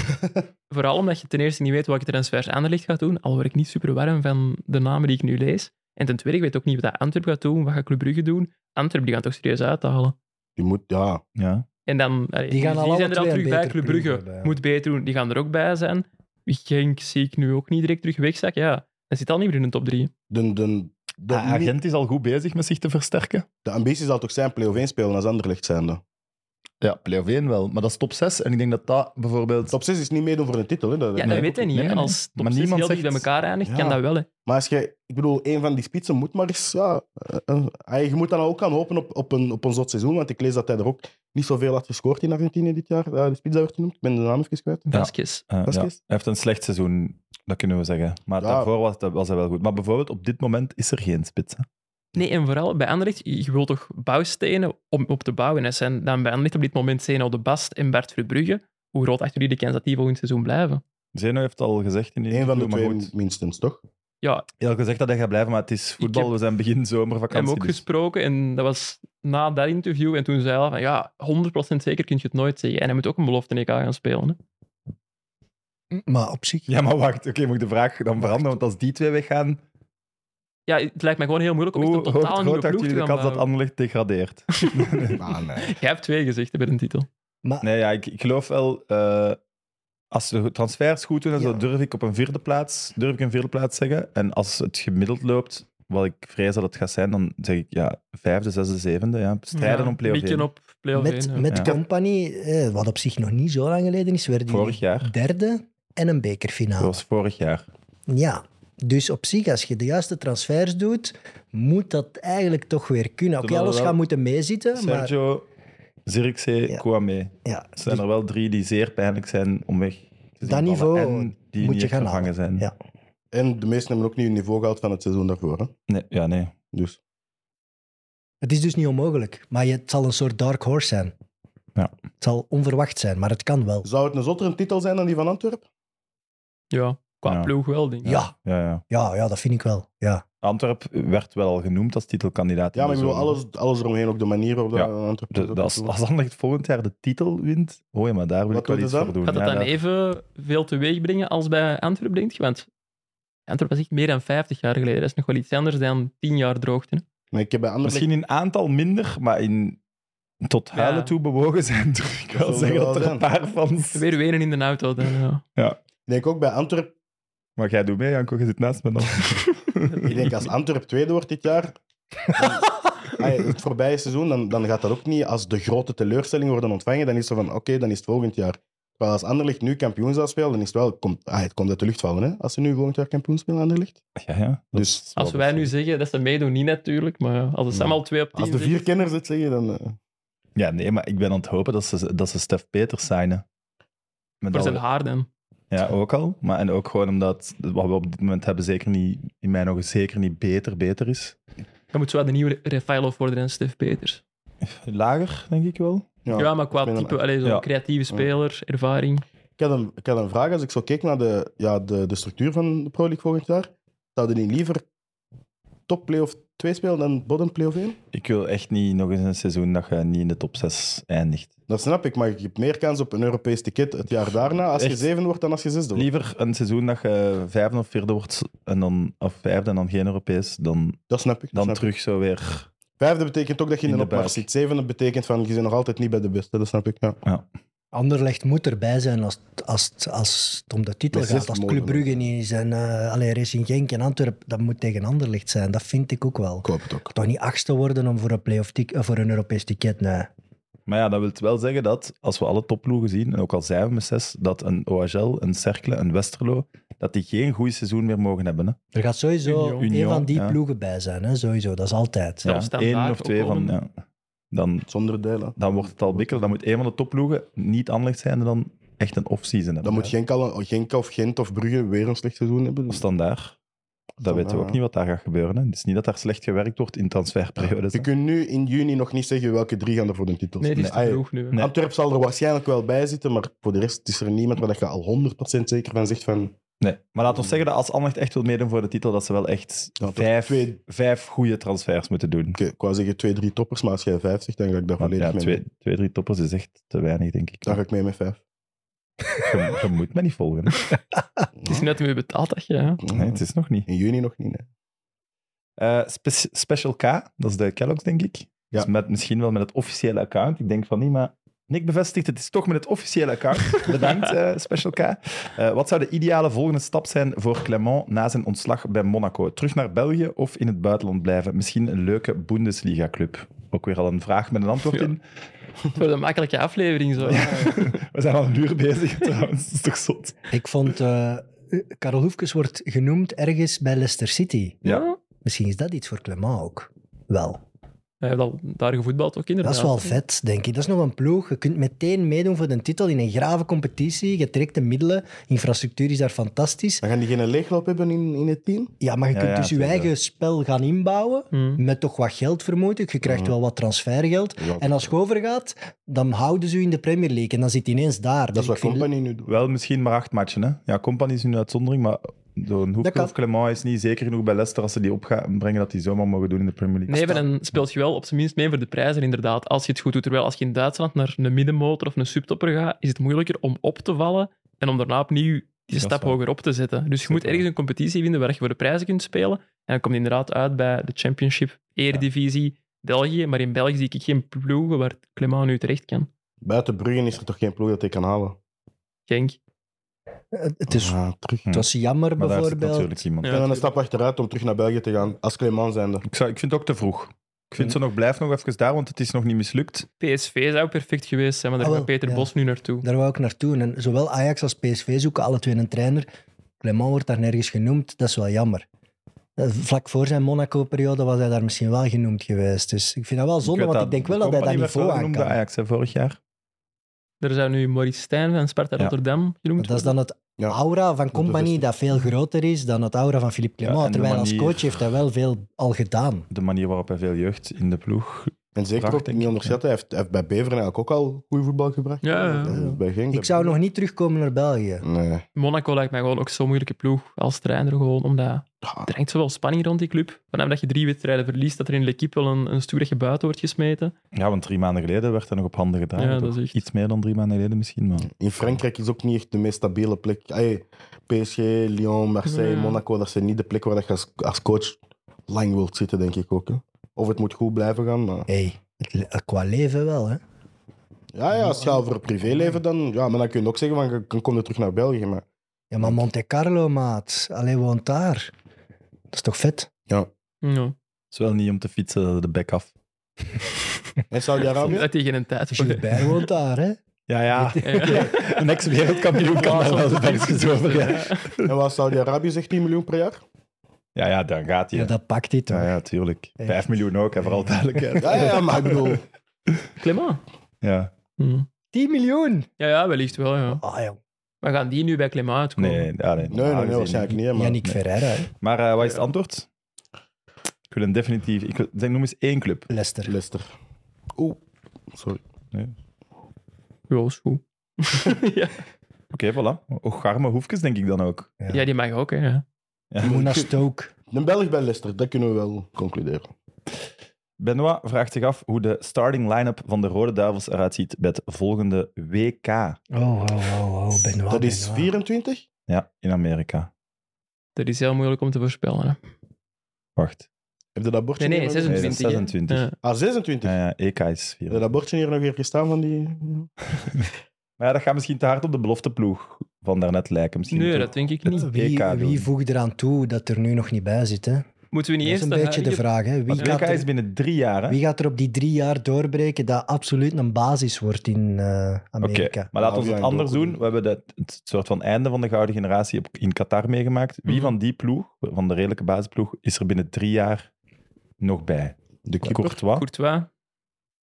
[SPEAKER 4] Vooral omdat je ten eerste niet weet welke transfers Anderlecht gaat doen, al word ik niet super warm van de namen die ik nu lees. En ten tweede, ik weet ook niet wat dat Antwerp gaat doen, wat gaat Club Brugge doen. Antwerp, die gaan toch serieus uithalen.
[SPEAKER 3] Die moet, ja.
[SPEAKER 2] Ja.
[SPEAKER 4] En dan, allee,
[SPEAKER 5] Die gaan al alle
[SPEAKER 4] zijn er al
[SPEAKER 5] twee een
[SPEAKER 4] terug bij.
[SPEAKER 5] betere
[SPEAKER 4] Club
[SPEAKER 5] ploeg
[SPEAKER 4] Brugge
[SPEAKER 5] hebben, ja.
[SPEAKER 4] moet beter doen, die gaan er ook bij zijn. Genk zie ik nu ook niet direct terug wegzakken. Ja, dat zit al niet meer in de top drie.
[SPEAKER 3] De, de, de,
[SPEAKER 2] De
[SPEAKER 4] Ah,
[SPEAKER 2] agent is al goed bezig met zich te versterken.
[SPEAKER 3] de ambitie zal toch zijn play-off 1 spelen als Anderlecht zijnde.
[SPEAKER 2] Ja, play-off 1 wel. Maar dat is top 6. En ik denk dat dat bijvoorbeeld...
[SPEAKER 3] Top 6 is niet meedoen voor een titel. Hè? Dat-
[SPEAKER 4] Ja,
[SPEAKER 3] nee.
[SPEAKER 4] dat weet hij niet.
[SPEAKER 2] nee,
[SPEAKER 4] hè.
[SPEAKER 2] nee.
[SPEAKER 4] Als top
[SPEAKER 2] Maar
[SPEAKER 4] zes
[SPEAKER 2] niemand
[SPEAKER 4] heel dicht bij
[SPEAKER 2] zegt-
[SPEAKER 4] elkaar eindigt,
[SPEAKER 3] Ja.
[SPEAKER 4] kan dat wel. Hè.
[SPEAKER 3] Maar als je, ik bedoel, een van die spitsen moet maar eens. Ja, eh, eh, eh, je moet dan ook gaan hopen op, op, een, op een zot seizoen. Want ik lees dat hij er ook niet zoveel had gescoord in Argentinië dit jaar. Ja, de spits dat werd genoemd. Ik ben de naam even kwijt.
[SPEAKER 4] Vasquez.
[SPEAKER 2] Eh, ja.
[SPEAKER 3] Vasquez?
[SPEAKER 2] Hij heeft een slecht seizoen, dat kunnen we zeggen. Maar
[SPEAKER 3] Ja.
[SPEAKER 2] daarvoor was, dat- was hij wel goed. Maar bijvoorbeeld op dit moment is er geen spits. hè.
[SPEAKER 4] Nee, en vooral bij Anderlecht, je je wilt toch bouwstenen om op te bouwen. En zijn dan bij Anderlecht op dit moment Zeno de Bast en Bert Verbrugge. Hoe groot achter jullie de kans dat die volgend seizoen blijven?
[SPEAKER 2] Zeno heeft al gezegd in die
[SPEAKER 3] Eén van de
[SPEAKER 2] interview,
[SPEAKER 3] twee
[SPEAKER 2] maar goed. [laughs]
[SPEAKER 3] minstens, toch?
[SPEAKER 4] Ja,
[SPEAKER 2] Hij had gezegd dat hij gaat blijven, maar het is voetbal.
[SPEAKER 4] heb
[SPEAKER 2] we zijn begin zomervakantie.
[SPEAKER 4] hem ook
[SPEAKER 2] dus-
[SPEAKER 4] gesproken en dat was na dat interview. En toen zei hij van ja, 100% zeker kun je het nooit zeggen. En hij moet ook een belofte in EK gaan spelen. Hè.
[SPEAKER 5] Maar op zich.
[SPEAKER 2] Ja, maar wacht. Oké, moet ik de vraag dan veranderen? Want als die twee weggaan,
[SPEAKER 4] Ja, het lijkt mij gewoon heel moeilijk om
[SPEAKER 2] hoe
[SPEAKER 4] echt een
[SPEAKER 2] groot
[SPEAKER 4] totaal nieuwe
[SPEAKER 2] groot acht
[SPEAKER 4] ploeg te
[SPEAKER 2] jullie de
[SPEAKER 4] gaan eh?
[SPEAKER 2] kans dat
[SPEAKER 4] bouwen.
[SPEAKER 2] Anderlecht degradeert?
[SPEAKER 3] Ah, nee.
[SPEAKER 4] Jij hebt twee gezichten bij een titel.
[SPEAKER 5] Maar
[SPEAKER 2] nee, ja, ik, ik geloof wel... eh, als de transfers goed doen, en zo
[SPEAKER 5] Ja.
[SPEAKER 2] durf ik op een vierde plaats, durf ik een vierde plaats zeggen. En als het gemiddeld loopt, wat ik vrees dat het gaat zijn, dan zeg ik ja, vijfde, zesde, zevende. Ja, strijden
[SPEAKER 4] Ja,
[SPEAKER 2] om play-off
[SPEAKER 4] mikken
[SPEAKER 2] één.
[SPEAKER 4] op play-off
[SPEAKER 5] met,
[SPEAKER 4] één, ja.
[SPEAKER 5] met
[SPEAKER 2] Ja.
[SPEAKER 5] Company, eh, wat op zich nog niet zo lang geleden is, werden
[SPEAKER 2] Vorig
[SPEAKER 5] die
[SPEAKER 2] jaar.
[SPEAKER 5] derde en een bekerfinale.
[SPEAKER 2] Dat was vorig jaar.
[SPEAKER 5] Ja, dus op zich, als je de juiste transfers doet, moet dat eigenlijk toch weer kunnen. Oké,
[SPEAKER 2] Terwijl
[SPEAKER 5] alles
[SPEAKER 2] wel-
[SPEAKER 5] gaat moeten meezitten, maar
[SPEAKER 2] Sergio, Zirkzee,
[SPEAKER 5] Ja.
[SPEAKER 2] Kouame.
[SPEAKER 5] ja, dus
[SPEAKER 2] Er zijn er wel drie die zeer pijnlijk zijn om weg te zien
[SPEAKER 5] Dat
[SPEAKER 2] vallen
[SPEAKER 5] niveau
[SPEAKER 2] En die
[SPEAKER 5] moet
[SPEAKER 2] niet
[SPEAKER 5] je
[SPEAKER 2] echt
[SPEAKER 5] gaan
[SPEAKER 2] vervangen zijn.
[SPEAKER 5] Ja.
[SPEAKER 3] En de meesten hebben ook niet hun niveau gehaald van het seizoen daarvoor. Hè?
[SPEAKER 2] Nee, ja, nee.
[SPEAKER 3] Dus
[SPEAKER 5] het is dus niet onmogelijk. Maar je- het zal een soort dark horse zijn.
[SPEAKER 2] Ja.
[SPEAKER 5] Het zal onverwacht zijn, maar het kan wel.
[SPEAKER 3] zou het een zottere titel zijn dan die van Antwerpen?
[SPEAKER 4] Ja, qua
[SPEAKER 2] Ja.
[SPEAKER 4] ploeg wel, denk ik.
[SPEAKER 5] Ja,
[SPEAKER 2] Ja, ja.
[SPEAKER 5] ja, ja dat vind ik wel. Ja.
[SPEAKER 2] Antwerp werd wel al genoemd als titelkandidaat. in
[SPEAKER 3] Ja, maar
[SPEAKER 2] de
[SPEAKER 3] ik bedoel,
[SPEAKER 2] zomer.
[SPEAKER 3] alles, alles eromheen, ook de manier waarop
[SPEAKER 2] Ja.
[SPEAKER 3] dat Antwerpen.
[SPEAKER 2] De- de- als als Anderlecht volgend jaar de titel wint, oh ja, maar daar wil
[SPEAKER 3] Wat
[SPEAKER 2] ik wel
[SPEAKER 3] wordt
[SPEAKER 2] iets
[SPEAKER 3] het dan?
[SPEAKER 2] voor doen.
[SPEAKER 4] Gaat dat
[SPEAKER 2] Ja,
[SPEAKER 4] dan
[SPEAKER 2] daar-
[SPEAKER 4] even veel teweeg brengen als bij Antwerpen, denk je? Want Antwerpen was echt meer dan 50 jaar geleden. Dat is nog wel iets anders dan 10 jaar droogte. hè.
[SPEAKER 3] Maar ik heb bij Anderlecht
[SPEAKER 2] Misschien in aantal minder, maar in tot huilen
[SPEAKER 4] Ja.
[SPEAKER 2] toe bewogen zijn, [laughs] durf ik wel
[SPEAKER 3] zal
[SPEAKER 2] zeggen
[SPEAKER 3] wel
[SPEAKER 2] dat er
[SPEAKER 3] zijn.
[SPEAKER 2] een paar van...
[SPEAKER 4] Weer wenen in de auto. Dan, ja.
[SPEAKER 3] Ik denk ook bij Antwerp.
[SPEAKER 2] Maar jij doet mee, Janko, je zit naast me dan.
[SPEAKER 3] Ik denk als Antwerp tweede wordt dit jaar. dan- Ai, het voorbije seizoen, dan, dan gaat dat ook niet als de grote teleurstelling worden ontvangen. Dan is het zo van, oké, dan is het volgend jaar. Terwijl als Anderlecht nu kampioen zou spelen, dan is het wel... Komt, ai, het komt uit de lucht vallen, hè. Als ze nu volgend jaar kampioen spelen, Anderlecht.
[SPEAKER 2] [laughs] Ja, ja. dat
[SPEAKER 3] Dus-
[SPEAKER 2] is wel
[SPEAKER 4] Als wij nu
[SPEAKER 2] best-
[SPEAKER 4] zeggen dat ze meedoen, niet natuurlijk. Maar als het Sam
[SPEAKER 3] Ja.
[SPEAKER 4] al 2 op 10
[SPEAKER 3] Als de vier kenners het zeggen, dan... eh,
[SPEAKER 2] Ja, nee, maar ik ben aan het hopen dat ze, dat ze Stef Peters signen. Met
[SPEAKER 4] voor
[SPEAKER 2] alle-
[SPEAKER 4] zijn haar dan.
[SPEAKER 2] Ja, ook al. Maar en ook gewoon omdat wat we op dit moment hebben zeker niet, in mijn ogen zeker niet beter, beter is.
[SPEAKER 4] Dan moet wel de nieuwe Refailov worden en Stef Peters.
[SPEAKER 2] Lager, denk ik wel.
[SPEAKER 4] Ja, maar qua
[SPEAKER 3] ik ben dan-
[SPEAKER 4] type, allee, zo'n
[SPEAKER 2] Ja.
[SPEAKER 4] creatieve speler, ervaring.
[SPEAKER 3] Ik had, een, ik had een vraag. Als ik zo keek naar de, ja, de, de structuur van de Pro League volgend jaar, zouden die liever top playoff 2 spelen dan bottom playoff 1?
[SPEAKER 2] Ik wil echt niet nog eens een seizoen dat je niet in de top 6 eindigt.
[SPEAKER 3] Dat snap ik, maar je hebt meer kans op een Europees ticket het jaar daarna als je
[SPEAKER 2] Echt?
[SPEAKER 3] zeven wordt dan als je zesde wordt.
[SPEAKER 2] Liever een seizoen dat je vijfde of vierde wordt, en dan, of vijfde en dan geen Europees, dan,
[SPEAKER 3] Dat snap ik. dat
[SPEAKER 2] dan
[SPEAKER 3] snap ik.
[SPEAKER 2] terug zo weer.
[SPEAKER 3] Vijfde betekent ook dat je in,
[SPEAKER 2] In
[SPEAKER 3] de
[SPEAKER 2] de
[SPEAKER 3] opmars
[SPEAKER 2] buik.
[SPEAKER 3] zit. Zevende betekent van je bent nog altijd niet bij de beste. Dat snap ik. Ja.
[SPEAKER 5] Anderlecht moet erbij zijn als, het- als, het- als het om de titel
[SPEAKER 3] Dat is
[SPEAKER 5] gaat.
[SPEAKER 3] echt
[SPEAKER 5] Als het
[SPEAKER 3] mooi,
[SPEAKER 5] Club Brugge niet is en eh allee, Racing Genk en Antwerpen, dat moet tegen Anderlecht zijn. Dat vind ik ook wel.
[SPEAKER 3] Ik hoop het ook.
[SPEAKER 5] Toch niet achtste worden om voor een, playoff tic- eh, voor een Europees ticket, nee.
[SPEAKER 2] Maar ja, dat wil wel zeggen dat als we alle topploegen zien, en ook al zijn we met zes, dat een OHL, een Cercle, een Westerlo, dat die geen goed seizoen meer mogen hebben. Hè.
[SPEAKER 5] Er gaat sowieso
[SPEAKER 4] Union.
[SPEAKER 5] een van die
[SPEAKER 2] Union, ja.
[SPEAKER 5] ploegen bij zijn, hè? sowieso. Dat is altijd.
[SPEAKER 4] Ja.
[SPEAKER 2] Ja,
[SPEAKER 4] standaard
[SPEAKER 2] één of twee van.
[SPEAKER 4] opkomen.
[SPEAKER 2] Ja. Dan,
[SPEAKER 3] Zonder delen.
[SPEAKER 2] dan wordt het al bikkel. Dan moet één van de topploegen niet aanlegd zijn en dan echt een off-season hebben.
[SPEAKER 3] Dan moet Genk, al een, Genk of Gent of Brugge weer een slecht seizoen hebben. Dus
[SPEAKER 2] Standaard. Dat
[SPEAKER 3] Standaard,
[SPEAKER 2] weten we ook
[SPEAKER 3] ja.
[SPEAKER 2] niet wat daar gaat gebeuren. Hè. Het is niet dat daar slecht gewerkt wordt in transferperiodes.
[SPEAKER 3] Je
[SPEAKER 2] hè.
[SPEAKER 3] kunt nu in juni nog niet zeggen welke drie gaan er voor de titel
[SPEAKER 4] Nee, het is
[SPEAKER 3] staan.
[SPEAKER 4] te
[SPEAKER 3] Ah,
[SPEAKER 4] vroeg nu. hè.
[SPEAKER 2] Nee.
[SPEAKER 3] Antwerp zal er waarschijnlijk wel bij zitten, maar voor de rest is er niemand waar je al 100% zeker van zegt van...
[SPEAKER 2] Nee. Maar laat ons zeggen dat als Anderlecht echt wil meedoen voor de titel, dat ze wel echt
[SPEAKER 3] Hmm. Ja, toch
[SPEAKER 2] vijf,
[SPEAKER 3] twee-
[SPEAKER 2] vijf goede transfers moeten doen.
[SPEAKER 3] Oké, ik wou zeggen twee, drie toppers, maar als jij vijf zegt, dan ga ik daar
[SPEAKER 2] Want
[SPEAKER 3] volledig
[SPEAKER 2] ja,
[SPEAKER 3] mee.
[SPEAKER 2] twee, twee, drie toppers is echt te weinig, denk ik.
[SPEAKER 3] Dan ga ik mee met vijf.
[SPEAKER 2] Je, je moet me niet
[SPEAKER 3] [laughs]
[SPEAKER 2] volgen. hè.
[SPEAKER 4] Het is net meer betaald dat je. hè.
[SPEAKER 2] Nee, het is nog niet.
[SPEAKER 3] In juni nog niet, nee.
[SPEAKER 2] Eh, Spe- Special K, dat is de Kellogg's, denk ik. Dus met, misschien wel met het officiële account. Ik denk van niet, maar Nick bevestigt het is toch met het officiële account. Bedankt, eh, Special K. Eh, wat zou de ideale volgende stap zijn voor Clement na zijn ontslag bij Monaco? Terug naar België of in het buitenland blijven? Misschien een leuke Bundesliga-club. Ook weer al een vraag met een antwoord
[SPEAKER 4] Ja.
[SPEAKER 2] in.
[SPEAKER 4] Voor de makkelijke aflevering zo.
[SPEAKER 2] We zijn al een uur bezig [laughs] trouwens, dat is toch zot?
[SPEAKER 5] Ik vond... eh Karel Hoefkes wordt genoemd ergens bij Leicester City.
[SPEAKER 2] Ja.
[SPEAKER 5] Misschien is dat iets voor Clement ook. Wel.
[SPEAKER 4] Hij heeft al daar gevoetbald ook
[SPEAKER 5] Dat
[SPEAKER 4] inderdaad.
[SPEAKER 5] is wel vet, denk ik. Dat is nog een ploeg. Je kunt meteen meedoen voor de titel in een grave competitie. Je trekt de middelen. Infrastructuur is daar fantastisch.
[SPEAKER 3] Dan gaan die geen leegloop hebben in, in het team.
[SPEAKER 5] Ja, maar je
[SPEAKER 2] Ja,
[SPEAKER 5] kunt
[SPEAKER 2] ja,
[SPEAKER 5] dus je
[SPEAKER 2] tuurlijk.
[SPEAKER 5] eigen spel gaan inbouwen.
[SPEAKER 4] Hmm.
[SPEAKER 5] Met toch wat geld, vermoed ik. Je krijgt
[SPEAKER 3] Mhm.
[SPEAKER 5] wel wat transfergeld.
[SPEAKER 3] Ja,
[SPEAKER 5] En als je overgaat, dan houden ze je in de Premier League. En dan zit hij ineens daar.
[SPEAKER 3] dat
[SPEAKER 5] Dus
[SPEAKER 3] is
[SPEAKER 5] ik
[SPEAKER 3] wat
[SPEAKER 5] vind-
[SPEAKER 3] Company nu doet.
[SPEAKER 2] Wel misschien maar acht matchen. Hè? Ja, Company is nu een uitzondering, maar zo'n
[SPEAKER 5] Dat
[SPEAKER 2] Hoefke
[SPEAKER 5] kan.
[SPEAKER 2] of Clement is niet zeker genoeg bij Leicester als ze die op gaan brengen dat die zomaar mogen doen in de Premier League.
[SPEAKER 4] Nee, maar dan speelt je wel op zijn minst mee voor de prijzen, inderdaad. Als je het goed doet. Terwijl als je in Duitsland naar een middenmotor of een subtopper gaat, is het moeilijker om op te vallen en om daarna opnieuw die
[SPEAKER 2] is
[SPEAKER 4] stap
[SPEAKER 2] waar.
[SPEAKER 4] hoger op te zetten. Dus je
[SPEAKER 2] Zeker
[SPEAKER 4] moet ergens
[SPEAKER 2] waar.
[SPEAKER 4] een competitie vinden waar je voor de prijzen kunt spelen. En dan komt inderdaad uit bij de Championship, Eredivisie, België. Maar in België zie ik geen ploegen waar Clement nu terecht kan.
[SPEAKER 3] Buiten Bruggen is er toch geen ploeg dat hij kan halen?
[SPEAKER 4] Genk.
[SPEAKER 5] Het- Het, is,
[SPEAKER 3] Ah, terug.
[SPEAKER 5] het was jammer,
[SPEAKER 2] Hm. Maar daar zit
[SPEAKER 5] bijvoorbeeld.
[SPEAKER 2] natuurlijk iemand.
[SPEAKER 4] Ja.
[SPEAKER 3] en dan een stap achteruit om terug naar België te gaan, als Clement zijnde.
[SPEAKER 2] Ik, zou, ik vind het ook te vroeg. Ik vind ze nog, blijf nog even daar, want het is nog niet mislukt.
[SPEAKER 4] PSV zou perfect geweest zijn, maar daar
[SPEAKER 5] Ah,
[SPEAKER 4] gaat
[SPEAKER 5] wel,
[SPEAKER 4] Peter
[SPEAKER 5] ja.
[SPEAKER 4] Bos nu naartoe.
[SPEAKER 5] Daar wou ik naartoe. En zowel Ajax als PSV zoeken alle twee een trainer. Clement wordt daar nergens genoemd. Dat is wel jammer. Eh, Vlak voor zijn Monaco-periode was hij daar misschien wel genoemd geweest. Dus ik vind dat wel zonde,
[SPEAKER 2] weet
[SPEAKER 5] want ik denk wel dat hij dat
[SPEAKER 2] Kompany werd
[SPEAKER 5] niveau
[SPEAKER 2] wel
[SPEAKER 5] aan
[SPEAKER 2] genoemd
[SPEAKER 5] kan.
[SPEAKER 2] bij Ajax hè, vorig jaar.
[SPEAKER 4] Er zou nu Maurice Stijn van Sparta
[SPEAKER 2] Ja.
[SPEAKER 4] Rotterdam genoemd
[SPEAKER 5] Want Dat is dan het
[SPEAKER 3] Ja.
[SPEAKER 5] aura van
[SPEAKER 3] bevestiging.
[SPEAKER 5] Company dat veel groter is dan het aura van Philippe
[SPEAKER 2] Ja,
[SPEAKER 5] Clement.
[SPEAKER 2] en de
[SPEAKER 5] Terwijl als
[SPEAKER 2] manier-
[SPEAKER 5] coach heeft hij wel veel al gedaan.
[SPEAKER 2] De manier waarop hij veel jeugd in de ploeg.
[SPEAKER 3] En zeker
[SPEAKER 2] Bracht,
[SPEAKER 3] ook
[SPEAKER 2] denk
[SPEAKER 3] niet
[SPEAKER 2] ik,
[SPEAKER 3] onderschatten, hij heeft, hij heeft bij Beveren eigenlijk ook al goed voetbal gebracht.
[SPEAKER 4] Ja, ja, ja.
[SPEAKER 3] Dat is Bij Genk.
[SPEAKER 5] Ik zou nog niet terugkomen naar België.
[SPEAKER 2] Hm.
[SPEAKER 3] Nee.
[SPEAKER 4] Monaco lijkt mij gewoon ook zo'n moeilijke ploeg als trainer. Gewoon omdat
[SPEAKER 3] Ah,
[SPEAKER 4] er hangt zoveel spanning rond die club. Vanaf dat je drie wedstrijden verliest, dat er in L'Equipe wel een, een stoer dat je buiten wordt gesmeten.
[SPEAKER 2] Ja, want drie maanden geleden werd hij nog op handen gedaan.
[SPEAKER 4] Ja, dat
[SPEAKER 2] toch?
[SPEAKER 4] is echt-
[SPEAKER 2] Iets meer dan drie maanden geleden misschien. Maar...
[SPEAKER 3] In Frankrijk is ook niet echt de meest stabiele plek. Ay, PSG, Lyon, Marseille,
[SPEAKER 4] Nee.
[SPEAKER 3] Monaco, dat zijn niet de plekken waar je als, als coach lang wilt zitten, denk ik ook. Hè. Of het moet goed blijven gaan. Maar...
[SPEAKER 5] hey, het le- eh, qua leven wel, hè.
[SPEAKER 3] Ja, ja, als je al voor privéleven dan... Ja, maar dan kun je ook zeggen, van, je- dan kom je terug naar België. Maar
[SPEAKER 5] Ja, maar Monte Carlo, maat. Alleen woont daar. Dat is toch vet?
[SPEAKER 4] Ja.
[SPEAKER 2] Het is wel niet om te fietsen de bek af.
[SPEAKER 3] En [laughs] Saudi-Arabië?
[SPEAKER 4] Dat die geen tijd
[SPEAKER 5] [laughs]
[SPEAKER 2] [laughs]
[SPEAKER 4] voor heeft.
[SPEAKER 5] Gilbert woont daar, hè.
[SPEAKER 2] Ja, [laughs] ja.
[SPEAKER 4] Ja.
[SPEAKER 2] Een
[SPEAKER 5] [laughs]
[SPEAKER 2] ex-wereldkampioen kan daar wel de bekjes over. Ja.
[SPEAKER 3] En wat Saudi-Arabië zegt 10 miljoen per jaar?
[SPEAKER 2] Ja, ja, dan gaat hij.
[SPEAKER 5] Ja,
[SPEAKER 2] hè.
[SPEAKER 5] dat pakt hij toch.
[SPEAKER 2] Ja, ja, tuurlijk.
[SPEAKER 5] Hey.
[SPEAKER 2] Vijf miljoen ook, hè, vooral duidelijkheid.
[SPEAKER 3] [laughs] Ja, ja, maar ik bedoel...
[SPEAKER 4] Clément.
[SPEAKER 2] Ja.
[SPEAKER 4] Hm.
[SPEAKER 5] 10 miljoen!
[SPEAKER 4] Ja, ja, wellicht wel. Ja.
[SPEAKER 5] Ah, joh.
[SPEAKER 4] Maar gaan die nu bij Clément uitkomen?
[SPEAKER 2] Nee, ja, nee,
[SPEAKER 3] Nee, nee, nee,
[SPEAKER 2] aangezien-
[SPEAKER 3] waarschijnlijk niet. hè, Maar...
[SPEAKER 5] Yannick Ferreira, hè.
[SPEAKER 2] Maar eh, wat is het antwoord? Ik wil een definitief... Ik wil- zeg, noem eens één club.
[SPEAKER 5] Leicester.
[SPEAKER 3] Leicester. Oeh, sorry.
[SPEAKER 4] Ja, is goed. ja.
[SPEAKER 2] Oké, voilà. Och, garme hoefjes denk ik dan ook.
[SPEAKER 4] ja, die mag ook. Hè. ja.
[SPEAKER 5] Je moet naar Stoke.
[SPEAKER 3] Een Belg bij Leicester, dat kunnen we wel concluderen.
[SPEAKER 2] Benoit vraagt zich af hoe de starting line-up van de Rode Duivels eruit ziet bij het volgende WK.
[SPEAKER 5] Oh, oh, oh, oh, Benoit.
[SPEAKER 3] dat is
[SPEAKER 5] Benoit.
[SPEAKER 3] 24?
[SPEAKER 2] Ja, in Amerika.
[SPEAKER 4] Dat is heel moeilijk om te voorspellen. Hè.
[SPEAKER 2] Wacht.
[SPEAKER 3] Heb je dat bordje
[SPEAKER 4] Nee, nee,
[SPEAKER 3] hier nog-
[SPEAKER 4] 26.
[SPEAKER 2] Nee, dat is 26.
[SPEAKER 4] Ja.
[SPEAKER 3] Ah, 26.
[SPEAKER 2] Eh, Ja, ja, EK is
[SPEAKER 3] Heb je
[SPEAKER 2] 4.
[SPEAKER 3] dat bordje hier nog even staan van die...
[SPEAKER 2] Maar ja, dat gaat misschien te hard op de belofteploeg van daarnet lijken. Misschien
[SPEAKER 4] Nee,
[SPEAKER 2] toch.
[SPEAKER 4] dat denk ik niet.
[SPEAKER 5] Wie,
[SPEAKER 2] WK doen.
[SPEAKER 5] wie voegt eraan toe dat er nu nog niet bij zit? Hè?
[SPEAKER 4] Moeten we
[SPEAKER 5] Dat
[SPEAKER 4] niet
[SPEAKER 5] is
[SPEAKER 4] eerst
[SPEAKER 5] een beetje de
[SPEAKER 4] huidige-
[SPEAKER 5] vraag. Hè? Wie,
[SPEAKER 2] Want
[SPEAKER 5] gaat
[SPEAKER 2] WK is
[SPEAKER 5] er,
[SPEAKER 2] binnen drie jaar, hè?
[SPEAKER 5] wie gaat er op die drie jaar doorbreken dat absoluut een basis wordt in eh,
[SPEAKER 2] Oké,
[SPEAKER 5] Amerika?
[SPEAKER 2] maar
[SPEAKER 3] Ja,
[SPEAKER 2] laten
[SPEAKER 3] we
[SPEAKER 2] we het
[SPEAKER 3] gaan
[SPEAKER 2] anders
[SPEAKER 3] het ook
[SPEAKER 2] doen.
[SPEAKER 3] doen.
[SPEAKER 2] We hebben dat, het soort van einde van de gouden generatie op- in Qatar meegemaakt. Wie
[SPEAKER 4] Mhm.
[SPEAKER 2] van die ploeg, van de redelijke basisploeg, is er binnen drie jaar nog bij?
[SPEAKER 3] De keeper.
[SPEAKER 2] Courtois?
[SPEAKER 4] Courtois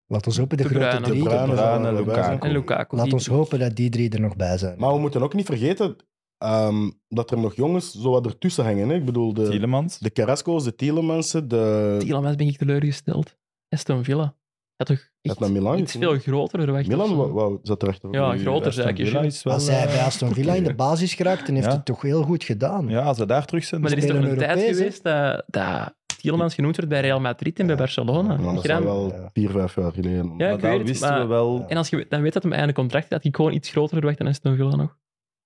[SPEAKER 5] Laat ons hopen de
[SPEAKER 4] De
[SPEAKER 5] grote
[SPEAKER 4] Bruyne.
[SPEAKER 3] De
[SPEAKER 5] drie.
[SPEAKER 2] Bruyne,
[SPEAKER 3] zou er
[SPEAKER 2] Lukaku.
[SPEAKER 3] wel bij zijn.
[SPEAKER 4] en Lukaku.
[SPEAKER 5] Laat
[SPEAKER 4] die-
[SPEAKER 5] ons hopen dat die drie er nog bij zijn.
[SPEAKER 3] Maar we moeten ook niet vergeten ehm, dat er nog jongens zo wat ertussen hangen. Hè? Ik bedoel, de,
[SPEAKER 2] Tielemans?
[SPEAKER 3] de Carrasco's, de Tielemansen, de...
[SPEAKER 4] Tielemans ben ik teleurgesteld. Aston Villa. Had toch
[SPEAKER 3] Had
[SPEAKER 4] echt
[SPEAKER 3] naar Milan
[SPEAKER 4] iets
[SPEAKER 3] gezien.
[SPEAKER 4] veel groter verwacht.
[SPEAKER 3] Milan
[SPEAKER 4] of
[SPEAKER 3] wou,
[SPEAKER 4] zo.
[SPEAKER 3] wou- zat erachter.
[SPEAKER 4] Ja, groter
[SPEAKER 3] eh,
[SPEAKER 2] Aston
[SPEAKER 4] zeker.
[SPEAKER 2] Villa
[SPEAKER 4] ja.
[SPEAKER 2] is wel,
[SPEAKER 5] Als hij bij
[SPEAKER 2] eh,
[SPEAKER 5] Aston Villa in de
[SPEAKER 2] hè?
[SPEAKER 5] basis geraakt, dan heeft
[SPEAKER 2] Ja.
[SPEAKER 5] hij het toch heel goed gedaan.
[SPEAKER 2] Ja, als ze daar terug zijn...
[SPEAKER 4] Maar er is toch
[SPEAKER 5] spelen
[SPEAKER 4] een tijd
[SPEAKER 5] Europees, hè?
[SPEAKER 4] geweest dat, dat Tielemans genoemd werd bij Real Madrid en bij Barcelona.
[SPEAKER 3] Ja,
[SPEAKER 4] Heb
[SPEAKER 3] dat
[SPEAKER 4] je
[SPEAKER 3] is
[SPEAKER 4] dan-
[SPEAKER 3] wel vier, vijf jaar geleden.
[SPEAKER 4] Ja,
[SPEAKER 2] maar daar
[SPEAKER 4] ik weet het,
[SPEAKER 2] wisten
[SPEAKER 4] maar-
[SPEAKER 2] we wel...
[SPEAKER 4] En als je dan weet dat hem einde contract had, ik gewoon iets groter verwacht dan Aston Villa nog.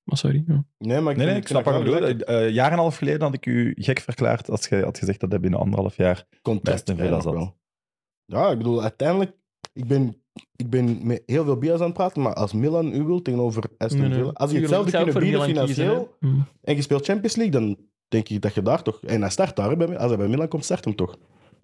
[SPEAKER 4] Maar sorry. ja.
[SPEAKER 3] Nee, maar ik,
[SPEAKER 2] Nee, nee,
[SPEAKER 3] vind-
[SPEAKER 2] ik snap
[SPEAKER 3] vind
[SPEAKER 2] wat je
[SPEAKER 3] wel
[SPEAKER 2] bedoelt. Eh, jaar en een half geleden had ik u gek verklaard als je had gezegd dat hij binnen anderhalf jaar...
[SPEAKER 3] contract
[SPEAKER 2] Best in Villa
[SPEAKER 3] nog
[SPEAKER 2] zat.
[SPEAKER 3] wel. Ja, ik bedoel, uiteindelijk, ik ben, ik ben met heel veel bias aan het praten, maar als Milan u wil tegenover Aston
[SPEAKER 4] Nee,
[SPEAKER 3] Villa,
[SPEAKER 4] nee.
[SPEAKER 3] als je hetzelfde
[SPEAKER 4] Tuurlijk, ik zou ook
[SPEAKER 3] kunnen
[SPEAKER 4] voor
[SPEAKER 3] bieden
[SPEAKER 4] Milan kiezen, hè.
[SPEAKER 3] financieel
[SPEAKER 4] Mm.
[SPEAKER 3] en je speelt Champions League, dan denk ik dat je daar toch... En hij start daar, hè, bij, als hij bij Milan komt, start hem toch?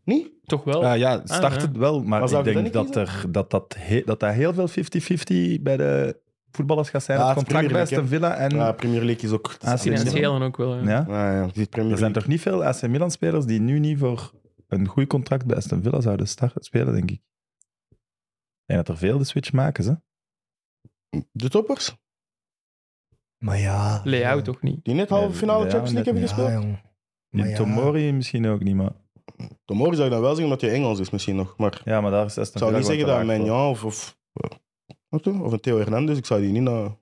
[SPEAKER 3] Niet?
[SPEAKER 4] Toch wel.
[SPEAKER 2] Ah, ja, start
[SPEAKER 4] Ah, ja.
[SPEAKER 2] het wel, maar
[SPEAKER 3] Maar zou
[SPEAKER 2] ik
[SPEAKER 3] je
[SPEAKER 2] denk
[SPEAKER 3] dat
[SPEAKER 2] dat,
[SPEAKER 3] niet
[SPEAKER 2] er, dat, dat, he- dat dat heel veel 50-50 bij de voetballers gaat zijn.
[SPEAKER 3] Ja,
[SPEAKER 2] het
[SPEAKER 3] het is
[SPEAKER 2] contract bij
[SPEAKER 3] Premier
[SPEAKER 2] Aston Villa en...
[SPEAKER 3] Ja, Premier League is ook... het is
[SPEAKER 2] Ah, zie je
[SPEAKER 3] alleen
[SPEAKER 2] dat?
[SPEAKER 3] Milan.
[SPEAKER 4] Financieel ook wel. Ja.
[SPEAKER 2] ja?
[SPEAKER 3] Ja, ja, het is Premier
[SPEAKER 2] Er zijn
[SPEAKER 3] League.
[SPEAKER 2] toch niet veel AC Milan-spelers die nu niet voor een goed contract bij Aston Villa zouden star- spelen, denk ik. En dat er veel de switch maken, ze.
[SPEAKER 3] De toppers,
[SPEAKER 5] Maar ja...
[SPEAKER 4] Leao toch niet.
[SPEAKER 3] die net halve
[SPEAKER 2] Ja,
[SPEAKER 3] finale
[SPEAKER 2] ja,
[SPEAKER 3] Champions League
[SPEAKER 2] net
[SPEAKER 3] hebben
[SPEAKER 5] Ja,
[SPEAKER 3] gespeeld.
[SPEAKER 5] jong.
[SPEAKER 2] In
[SPEAKER 5] Maar ja.
[SPEAKER 2] Tomori misschien ook niet, maar...
[SPEAKER 3] Tomorgen zou ik dan wel zeggen dat hij Engels is misschien nog, maar...
[SPEAKER 2] Ja, maar daar is
[SPEAKER 3] Ik
[SPEAKER 2] Aston
[SPEAKER 3] zou
[SPEAKER 2] Villa
[SPEAKER 3] niet zeggen
[SPEAKER 2] gewoon
[SPEAKER 3] dat
[SPEAKER 2] te laag voor.
[SPEAKER 3] Mignon of, of, wat dan? of een Theo Hernandez, ik zou die niet naar...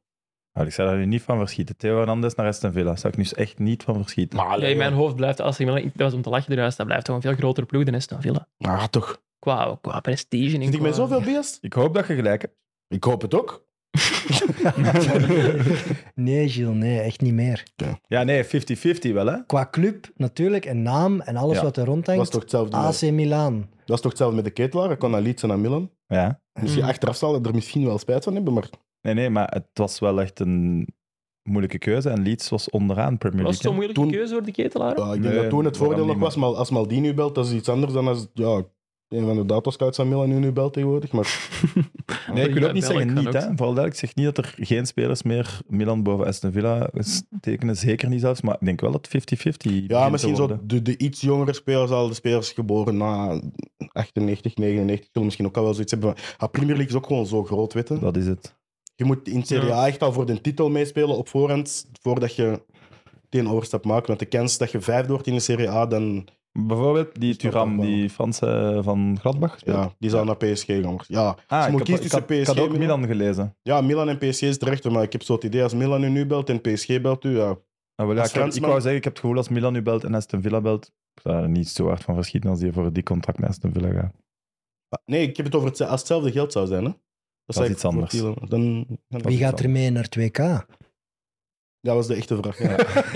[SPEAKER 2] Nou, ik zou daar nu niet van verschieten. Theo Hernandez naar Aston Villa. Zou ik nu echt niet van verschieten.
[SPEAKER 3] Maar
[SPEAKER 4] Ja,
[SPEAKER 3] allee,
[SPEAKER 4] in mijn
[SPEAKER 3] joh.
[SPEAKER 4] hoofd blijft Aston Villa... Dat was om te lachen eruit. Dat blijft toch een veel grotere ploeg dan Aston Villa.
[SPEAKER 3] Ah, toch.
[SPEAKER 4] Qua, qua prestige en
[SPEAKER 3] Zit ik
[SPEAKER 4] qua...
[SPEAKER 3] met zoveel bias?
[SPEAKER 2] Ik hoop dat je gelijk hebt.
[SPEAKER 3] Ik hoop het ook.
[SPEAKER 5] Nee, Gilles, nee, echt niet meer.
[SPEAKER 2] Ja, nee, 50-50 wel, hè?
[SPEAKER 5] Qua club natuurlijk en naam en alles
[SPEAKER 2] Ja.
[SPEAKER 5] wat er rond
[SPEAKER 3] Dat
[SPEAKER 5] hangt.
[SPEAKER 3] is toch hetzelfde.
[SPEAKER 4] Ah,
[SPEAKER 3] met-
[SPEAKER 5] AC Milan.
[SPEAKER 3] Dat is toch hetzelfde met de ketelaar. Hij kon naar Leeds en naar Milan.
[SPEAKER 2] Ja.
[SPEAKER 3] Misschien
[SPEAKER 4] Mm.
[SPEAKER 3] achteraf zal hij er misschien wel spijt van hebben, maar
[SPEAKER 2] Nee, nee, maar het was wel echt een moeilijke keuze. En Leeds was onderaan Premier
[SPEAKER 4] Was het zo'n
[SPEAKER 2] League.
[SPEAKER 4] moeilijke
[SPEAKER 3] Toen-
[SPEAKER 4] keuze voor de ketelaar?
[SPEAKER 3] ja, ik denk
[SPEAKER 2] Nee,
[SPEAKER 3] dat toen
[SPEAKER 2] waarom
[SPEAKER 3] het voordeel nog
[SPEAKER 2] niet,
[SPEAKER 3] was. Maar als Maldini belt, dat is iets anders dan als ja, een van de datoscouts aan Milan nu belt tegenwoordig. Maar
[SPEAKER 2] hè? Nee, ik wil ook niet
[SPEAKER 4] Ja,
[SPEAKER 2] zeggen
[SPEAKER 4] Belk
[SPEAKER 2] niet,
[SPEAKER 4] kan
[SPEAKER 2] hè.
[SPEAKER 4] ook.
[SPEAKER 2] Vooral duidelijk, ik zeg niet dat er geen spelers meer Milan boven Aston Villa tekenen. Zeker niet zelfs, maar ik denk wel dat 50-50 begint
[SPEAKER 3] ja,
[SPEAKER 2] te
[SPEAKER 3] misschien zo
[SPEAKER 2] worden.
[SPEAKER 3] de, de iets jongere spelers, al de spelers geboren na 98, 99, zullen misschien ook al wel zoiets hebben. van, Ah, Premier League is ook gewoon zo groot, weten.
[SPEAKER 2] Dat is het.
[SPEAKER 3] Je moet in Serie A echt al voor de titel meespelen op voorhand, voordat je die overstap maakt. Want de kans dat je vijf wordt in de Serie A, dan,
[SPEAKER 2] Bijvoorbeeld die
[SPEAKER 3] Snap ik
[SPEAKER 2] Turam,
[SPEAKER 3] wel.
[SPEAKER 2] die Franse van Gladbach. gespeeld.
[SPEAKER 3] ja, die zou naar PSG gaan. Maar Ja,
[SPEAKER 2] Ah,
[SPEAKER 3] ze
[SPEAKER 2] ik
[SPEAKER 3] moet
[SPEAKER 2] had,
[SPEAKER 3] kiezen
[SPEAKER 2] ik, had,
[SPEAKER 3] tussen
[SPEAKER 2] ik had
[SPEAKER 3] PSG
[SPEAKER 2] ook Milan gelezen.
[SPEAKER 3] ja, Milan en PSG is terecht, maar ik heb zo het idee, als Milan u nu belt en PSG belt u, ja.
[SPEAKER 2] Ah, wel, ja, ik,
[SPEAKER 3] Als
[SPEAKER 2] heb- ik
[SPEAKER 3] Fransman-
[SPEAKER 2] wou zeggen, ik heb het gevoel als Milan nu belt en Aston Villa belt, ik zou er niet zo hard van verschieten als die voor die contract met Aston Villa gaat.
[SPEAKER 3] Nee, ik heb het over het, als hetzelfde geld zou zijn, hè. Dat,
[SPEAKER 2] is
[SPEAKER 3] zou ik
[SPEAKER 2] iets anders.
[SPEAKER 3] Dan, dan,
[SPEAKER 5] Wie gaat er mee naar het WK?
[SPEAKER 3] Dat was de echte vraag.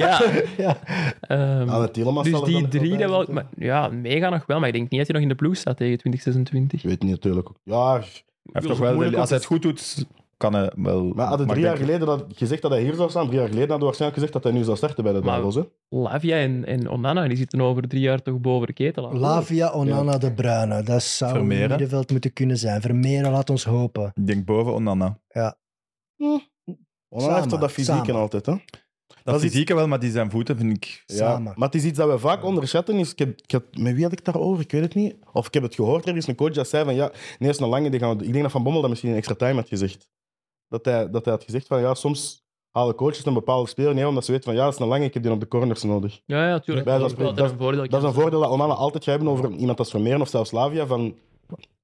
[SPEAKER 2] [laughs]
[SPEAKER 3] Ja.
[SPEAKER 4] [laughs] Ja.
[SPEAKER 5] Ja.
[SPEAKER 4] ehm,
[SPEAKER 3] Aan het Tielemans
[SPEAKER 4] dus
[SPEAKER 3] zal er
[SPEAKER 4] die
[SPEAKER 3] dan
[SPEAKER 4] drie,
[SPEAKER 3] nog wel
[SPEAKER 4] dat
[SPEAKER 3] bij
[SPEAKER 4] wel,
[SPEAKER 3] zitten.
[SPEAKER 4] maar, ja, meega nog wel, maar ik denk niet dat hij nog in de ploeg staat tegen 2026.
[SPEAKER 3] Ik weet niet, natuurlijk. ook. Ja,
[SPEAKER 2] Hij heeft
[SPEAKER 4] Dat
[SPEAKER 2] toch
[SPEAKER 4] is
[SPEAKER 2] wel,
[SPEAKER 4] moeilijk
[SPEAKER 2] de-
[SPEAKER 4] om
[SPEAKER 2] als hij het goed doet, kan hij wel.
[SPEAKER 3] maar hadden
[SPEAKER 2] maar
[SPEAKER 3] drie
[SPEAKER 2] ik
[SPEAKER 3] jaar
[SPEAKER 2] denk-
[SPEAKER 3] geleden dat, gezegd dat hij hier zou staan, drie jaar geleden hadden we waarschijnlijk gezegd dat hij nu zou starten bij de
[SPEAKER 4] Maar-
[SPEAKER 3] Davos, hè.
[SPEAKER 4] Lavia en, en Onana, die zitten over drie jaar toch boven de ketelaar.
[SPEAKER 5] Lavia, Onana, De Bruyne. Dat zou
[SPEAKER 2] Vermeer, hè?
[SPEAKER 5] in middenveld moeten kunnen zijn. Vermeer, laat ons hopen.
[SPEAKER 2] Ik denk boven Onana.
[SPEAKER 3] Onana heeft
[SPEAKER 5] Samen,
[SPEAKER 3] toch dat fysiek
[SPEAKER 5] samen.
[SPEAKER 3] en altijd, hè.
[SPEAKER 2] Dat,
[SPEAKER 3] is
[SPEAKER 2] is
[SPEAKER 3] iets-
[SPEAKER 2] fysieke wel, maar die zijn voeten vind ik.
[SPEAKER 3] Ja,
[SPEAKER 5] Samen.
[SPEAKER 3] maar het is iets dat we vaak onderschatten. Is, ik heb, ik had- met wie had ik het daarover? Ik weet het niet. Of ik heb het gehoord. Er is een coach dat zei van ja, nee, is een lange. Die gaan we, doen. ik denk dat Van Bommel dat misschien in extra time had gezegd. Dat hij, dat hij had gezegd van ja, soms halen coaches een bepaalde speler neer omdat ze weten van ja, dat is een lange. Ik heb die op de corners nodig.
[SPEAKER 4] Ja, ja, tuurlijk.
[SPEAKER 3] Bij
[SPEAKER 4] Dat
[SPEAKER 3] dat
[SPEAKER 4] is wel
[SPEAKER 3] spreken,
[SPEAKER 4] altijd een voordeel.
[SPEAKER 3] Dat is een voordeel dat Onana altijd gaat hebben over iemand als Vermeer of zelfs Slavia. Van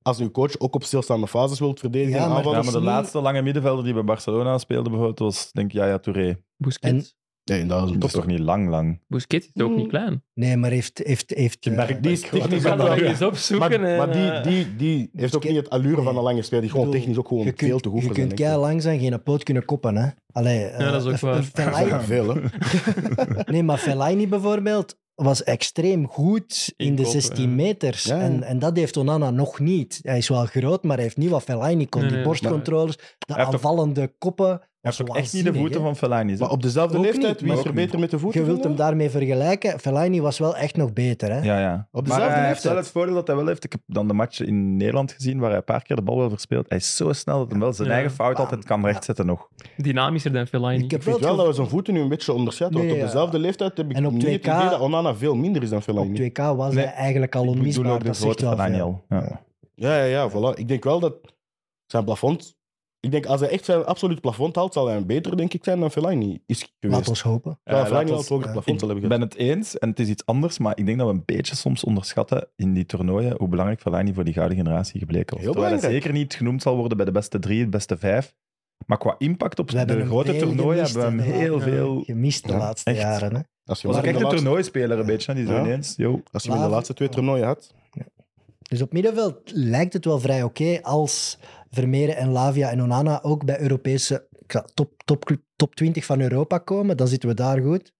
[SPEAKER 3] als uw coach ook op stilstaande fases wilt verdedigen en
[SPEAKER 5] Ja, maar-
[SPEAKER 2] Ja,
[SPEAKER 3] aanvallen.
[SPEAKER 2] maar de
[SPEAKER 5] niet-
[SPEAKER 2] laatste lange middenvelder die bij Barcelona speelde, bijvoorbeeld, was denk ik Yaya Touré.
[SPEAKER 4] Busquets.
[SPEAKER 3] Nee, dat is een
[SPEAKER 2] Dat is toch niet lang, lang?
[SPEAKER 4] Busquets is ook
[SPEAKER 3] Mm.
[SPEAKER 5] Hmm.
[SPEAKER 4] niet klein.
[SPEAKER 5] Nee, maar heeft... heeft, heeft eh,
[SPEAKER 2] merkt
[SPEAKER 3] Die is technisch
[SPEAKER 4] Ga
[SPEAKER 3] aan de
[SPEAKER 4] dat
[SPEAKER 3] lange.
[SPEAKER 4] eens opzoeken.
[SPEAKER 3] Maar,
[SPEAKER 4] en,
[SPEAKER 3] maar die,
[SPEAKER 4] eh,
[SPEAKER 3] die, die heeft ook niet het allure van een lange speler. Die
[SPEAKER 5] Ik
[SPEAKER 3] gewoon
[SPEAKER 5] bedoel,
[SPEAKER 3] technisch ook gewoon
[SPEAKER 5] je kunt,
[SPEAKER 3] veel te goed
[SPEAKER 5] Je
[SPEAKER 3] voor
[SPEAKER 5] kunt
[SPEAKER 3] zijn, denk
[SPEAKER 5] kei
[SPEAKER 3] ik.
[SPEAKER 5] lang zijn, geen poot kunnen koppen. Hè? Allee, eh,
[SPEAKER 4] dat is ook
[SPEAKER 5] een-
[SPEAKER 4] waar.
[SPEAKER 5] een
[SPEAKER 3] [laughs]
[SPEAKER 5] Fellaini-
[SPEAKER 3] Ja, veel, hè.
[SPEAKER 5] nee, maar Fellaini bijvoorbeeld was extreem goed in de
[SPEAKER 4] Inkoppen,
[SPEAKER 5] 16
[SPEAKER 4] ja.
[SPEAKER 5] meters.
[SPEAKER 3] Ja, ja.
[SPEAKER 5] En, en dat heeft Onana nog niet. Hij is wel groot, maar hij heeft niet wat Fellaini kon.
[SPEAKER 4] Nee,
[SPEAKER 5] die
[SPEAKER 4] nee,
[SPEAKER 5] borstcontroles, de
[SPEAKER 2] heeft toch-
[SPEAKER 5] aanvallende koppen.
[SPEAKER 2] Hij
[SPEAKER 5] was
[SPEAKER 2] heeft ook echt niet de
[SPEAKER 5] waanzinnig,
[SPEAKER 2] voeten
[SPEAKER 5] hè.
[SPEAKER 2] van Fellaini.
[SPEAKER 3] Maar
[SPEAKER 2] Zo.
[SPEAKER 3] op dezelfde
[SPEAKER 5] Ook
[SPEAKER 3] leeftijd,
[SPEAKER 5] niet,
[SPEAKER 3] wie is
[SPEAKER 2] maar
[SPEAKER 3] er
[SPEAKER 2] ook
[SPEAKER 3] beter met de voeten?
[SPEAKER 5] Je wilt hem
[SPEAKER 3] vinden?
[SPEAKER 5] daarmee vergelijken. Fellaini was wel echt nog beter. Hè?
[SPEAKER 2] Ja, ja.
[SPEAKER 3] Op
[SPEAKER 2] maar
[SPEAKER 3] dezelfde
[SPEAKER 2] hij heeft
[SPEAKER 3] leeftijd.
[SPEAKER 2] wel het voordeel dat hij wel heeft. Ik heb dan de match in Nederland gezien waar hij een paar keer de bal wel verspeelt. Hij is zo snel dat hij wel zijn
[SPEAKER 4] Ja.
[SPEAKER 2] eigen fout
[SPEAKER 3] Ah.
[SPEAKER 5] Bam.
[SPEAKER 2] altijd kan rechtzetten nog.
[SPEAKER 4] Dynamischer dan Fellaini.
[SPEAKER 5] Ik heb
[SPEAKER 3] Ik vind
[SPEAKER 5] het
[SPEAKER 3] wel dat we
[SPEAKER 5] gevoel-
[SPEAKER 3] zijn voeten nu een beetje onderschatten.
[SPEAKER 5] Nee,
[SPEAKER 3] want
[SPEAKER 5] ja.
[SPEAKER 3] op dezelfde leeftijd heb ik
[SPEAKER 5] En op
[SPEAKER 3] niet het
[SPEAKER 5] 2K
[SPEAKER 3] idee dat Onana veel minder is dan
[SPEAKER 5] Op
[SPEAKER 3] Fellaini.
[SPEAKER 5] 2K was
[SPEAKER 2] Nee,
[SPEAKER 5] hij eigenlijk al
[SPEAKER 2] Ik bedoel
[SPEAKER 5] onmisbaar.
[SPEAKER 2] ook de
[SPEAKER 5] Dat zegt
[SPEAKER 2] grote
[SPEAKER 5] wel
[SPEAKER 2] Fellaini
[SPEAKER 5] veel.
[SPEAKER 2] al. Ja.
[SPEAKER 3] Ja, ja, ja, voilà. Ik denk wel dat zijn plafond... Ik denk, als hij echt zijn absoluut plafond haalt, zal hij een beter denk ik, zijn dan Fellaini is geweest.
[SPEAKER 5] Laat ons hopen.
[SPEAKER 3] ja,
[SPEAKER 2] Ja,
[SPEAKER 3] Fellaini
[SPEAKER 2] laat
[SPEAKER 3] al
[SPEAKER 2] ons-
[SPEAKER 3] het hoger
[SPEAKER 5] eh,
[SPEAKER 3] plafond zal hebben
[SPEAKER 2] Ik
[SPEAKER 3] gehad.
[SPEAKER 2] ben het eens, en het is iets anders, maar ik denk dat we een beetje soms onderschatten in die toernooien hoe belangrijk Fellaini voor die gouden generatie gebleken was.
[SPEAKER 3] Heel
[SPEAKER 2] Terwijl hij
[SPEAKER 3] belangrijk.
[SPEAKER 2] zeker niet genoemd zal worden bij de beste drie, de beste vijf. Maar qua impact op
[SPEAKER 5] We hebben
[SPEAKER 2] de
[SPEAKER 5] hem
[SPEAKER 2] grote
[SPEAKER 5] veel
[SPEAKER 2] toernooien
[SPEAKER 5] gemist,
[SPEAKER 2] hebben we hem
[SPEAKER 5] hè,
[SPEAKER 2] heel
[SPEAKER 4] ja.
[SPEAKER 2] veel...
[SPEAKER 5] Gemist de
[SPEAKER 3] Ja,
[SPEAKER 5] laatste
[SPEAKER 2] echt.
[SPEAKER 5] jaren. Hè?
[SPEAKER 3] Als je
[SPEAKER 2] was
[SPEAKER 3] hem
[SPEAKER 2] ook
[SPEAKER 3] in
[SPEAKER 2] echt
[SPEAKER 3] de
[SPEAKER 2] een
[SPEAKER 3] laatste-
[SPEAKER 2] toernooispeler, een beetje, hè, die zo
[SPEAKER 3] Ja.
[SPEAKER 2] ineens... Yo.
[SPEAKER 3] Als je hem in de
[SPEAKER 5] Laat-
[SPEAKER 3] laatste twee toernooien
[SPEAKER 2] [laughs]
[SPEAKER 3] had...
[SPEAKER 5] Dus op middenveld lijkt het wel vrij oké als Vermeeren en Lavia en Onana ook bij Europese ik zou- top, top, top 20 van Europa komen. Dan zitten we daar goed.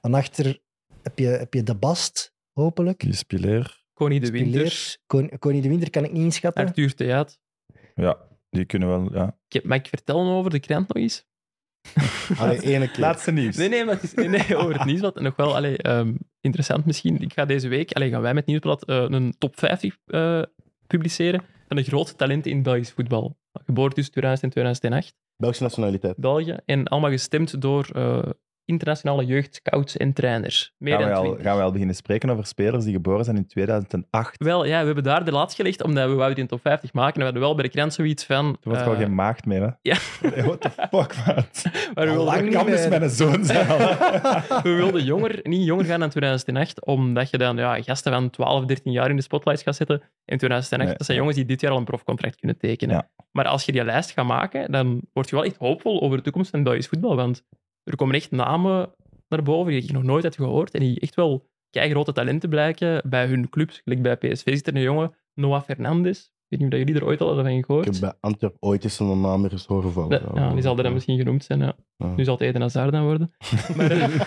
[SPEAKER 5] Van achter heb je, heb je De Bast, hopelijk.
[SPEAKER 2] Die speler,
[SPEAKER 4] Koning de Winter.
[SPEAKER 5] Spileers. Kon- Koning de Winter kan ik niet inschatten.
[SPEAKER 4] Arthur Theat.
[SPEAKER 2] ja, die kunnen wel... Ja.
[SPEAKER 4] Ik heb, mag ik vertellen over de krant nog eens?
[SPEAKER 3] Allee, ene keer.
[SPEAKER 2] Laatste nieuws.
[SPEAKER 4] Nee, nee, maar het is, nee, nee, over het nieuwsblad. Nog wel allee, ehm, interessant misschien. Ik ga deze week, allee, gaan wij met het nieuwsblad eh, een top 50 eh, publiceren van de grootste talenten in Belgisch voetbal. Geboren tussen 2000 en 2008,
[SPEAKER 3] Belgische nationaliteit.
[SPEAKER 4] België. En allemaal gestemd door eh, internationale jeugdscouts en trainers. Meer
[SPEAKER 2] Gaan we,
[SPEAKER 4] dan
[SPEAKER 2] al,
[SPEAKER 4] 20.
[SPEAKER 2] gaan we al beginnen spreken over spelers die geboren zijn in 2008?
[SPEAKER 4] Wel, ja, we hebben daar de laatste gelegd, omdat we wouden die in top 50 maken. En we hadden wel bij de krant zoiets van...
[SPEAKER 2] Er wordt
[SPEAKER 4] eh,
[SPEAKER 2] gewoon geen maagd meer, hè?
[SPEAKER 4] ja.
[SPEAKER 2] Nee, [laughs] what the fuck, man?
[SPEAKER 4] maar we wilden-
[SPEAKER 2] Dat kan dus mijn zoon zijn.
[SPEAKER 4] [laughs] We wilden jonger, niet jonger gaan dan 2008, omdat je dan ja, gasten van 12, 13 jaar in de spotlight gaat zetten. In 2008,
[SPEAKER 2] Nee.
[SPEAKER 4] dat zijn jongens die dit jaar al een profcontract kunnen tekenen.
[SPEAKER 2] Ja.
[SPEAKER 4] Maar als je die lijst gaat maken, dan word je wel echt hoopvol over de toekomst van Belgisch voetbal. Want er komen echt namen naar boven die ik nog nooit had gehoord. En die echt wel grote talenten blijken bij hun clubs. Gelijk bij PSV zit er een jongen, Noah Fernandes. Ik weet niet of dat jullie er ooit al hadden van
[SPEAKER 3] Ik
[SPEAKER 4] gehoord.
[SPEAKER 3] heb bij Antwerp ooit eens een naam ergens horen vallen.
[SPEAKER 4] Nee, ja, die zal er dan misschien Dus- genoemd zijn. Ja.
[SPEAKER 3] Ja.
[SPEAKER 4] Nu zal het Eden Hazard dan worden. Maar, eh,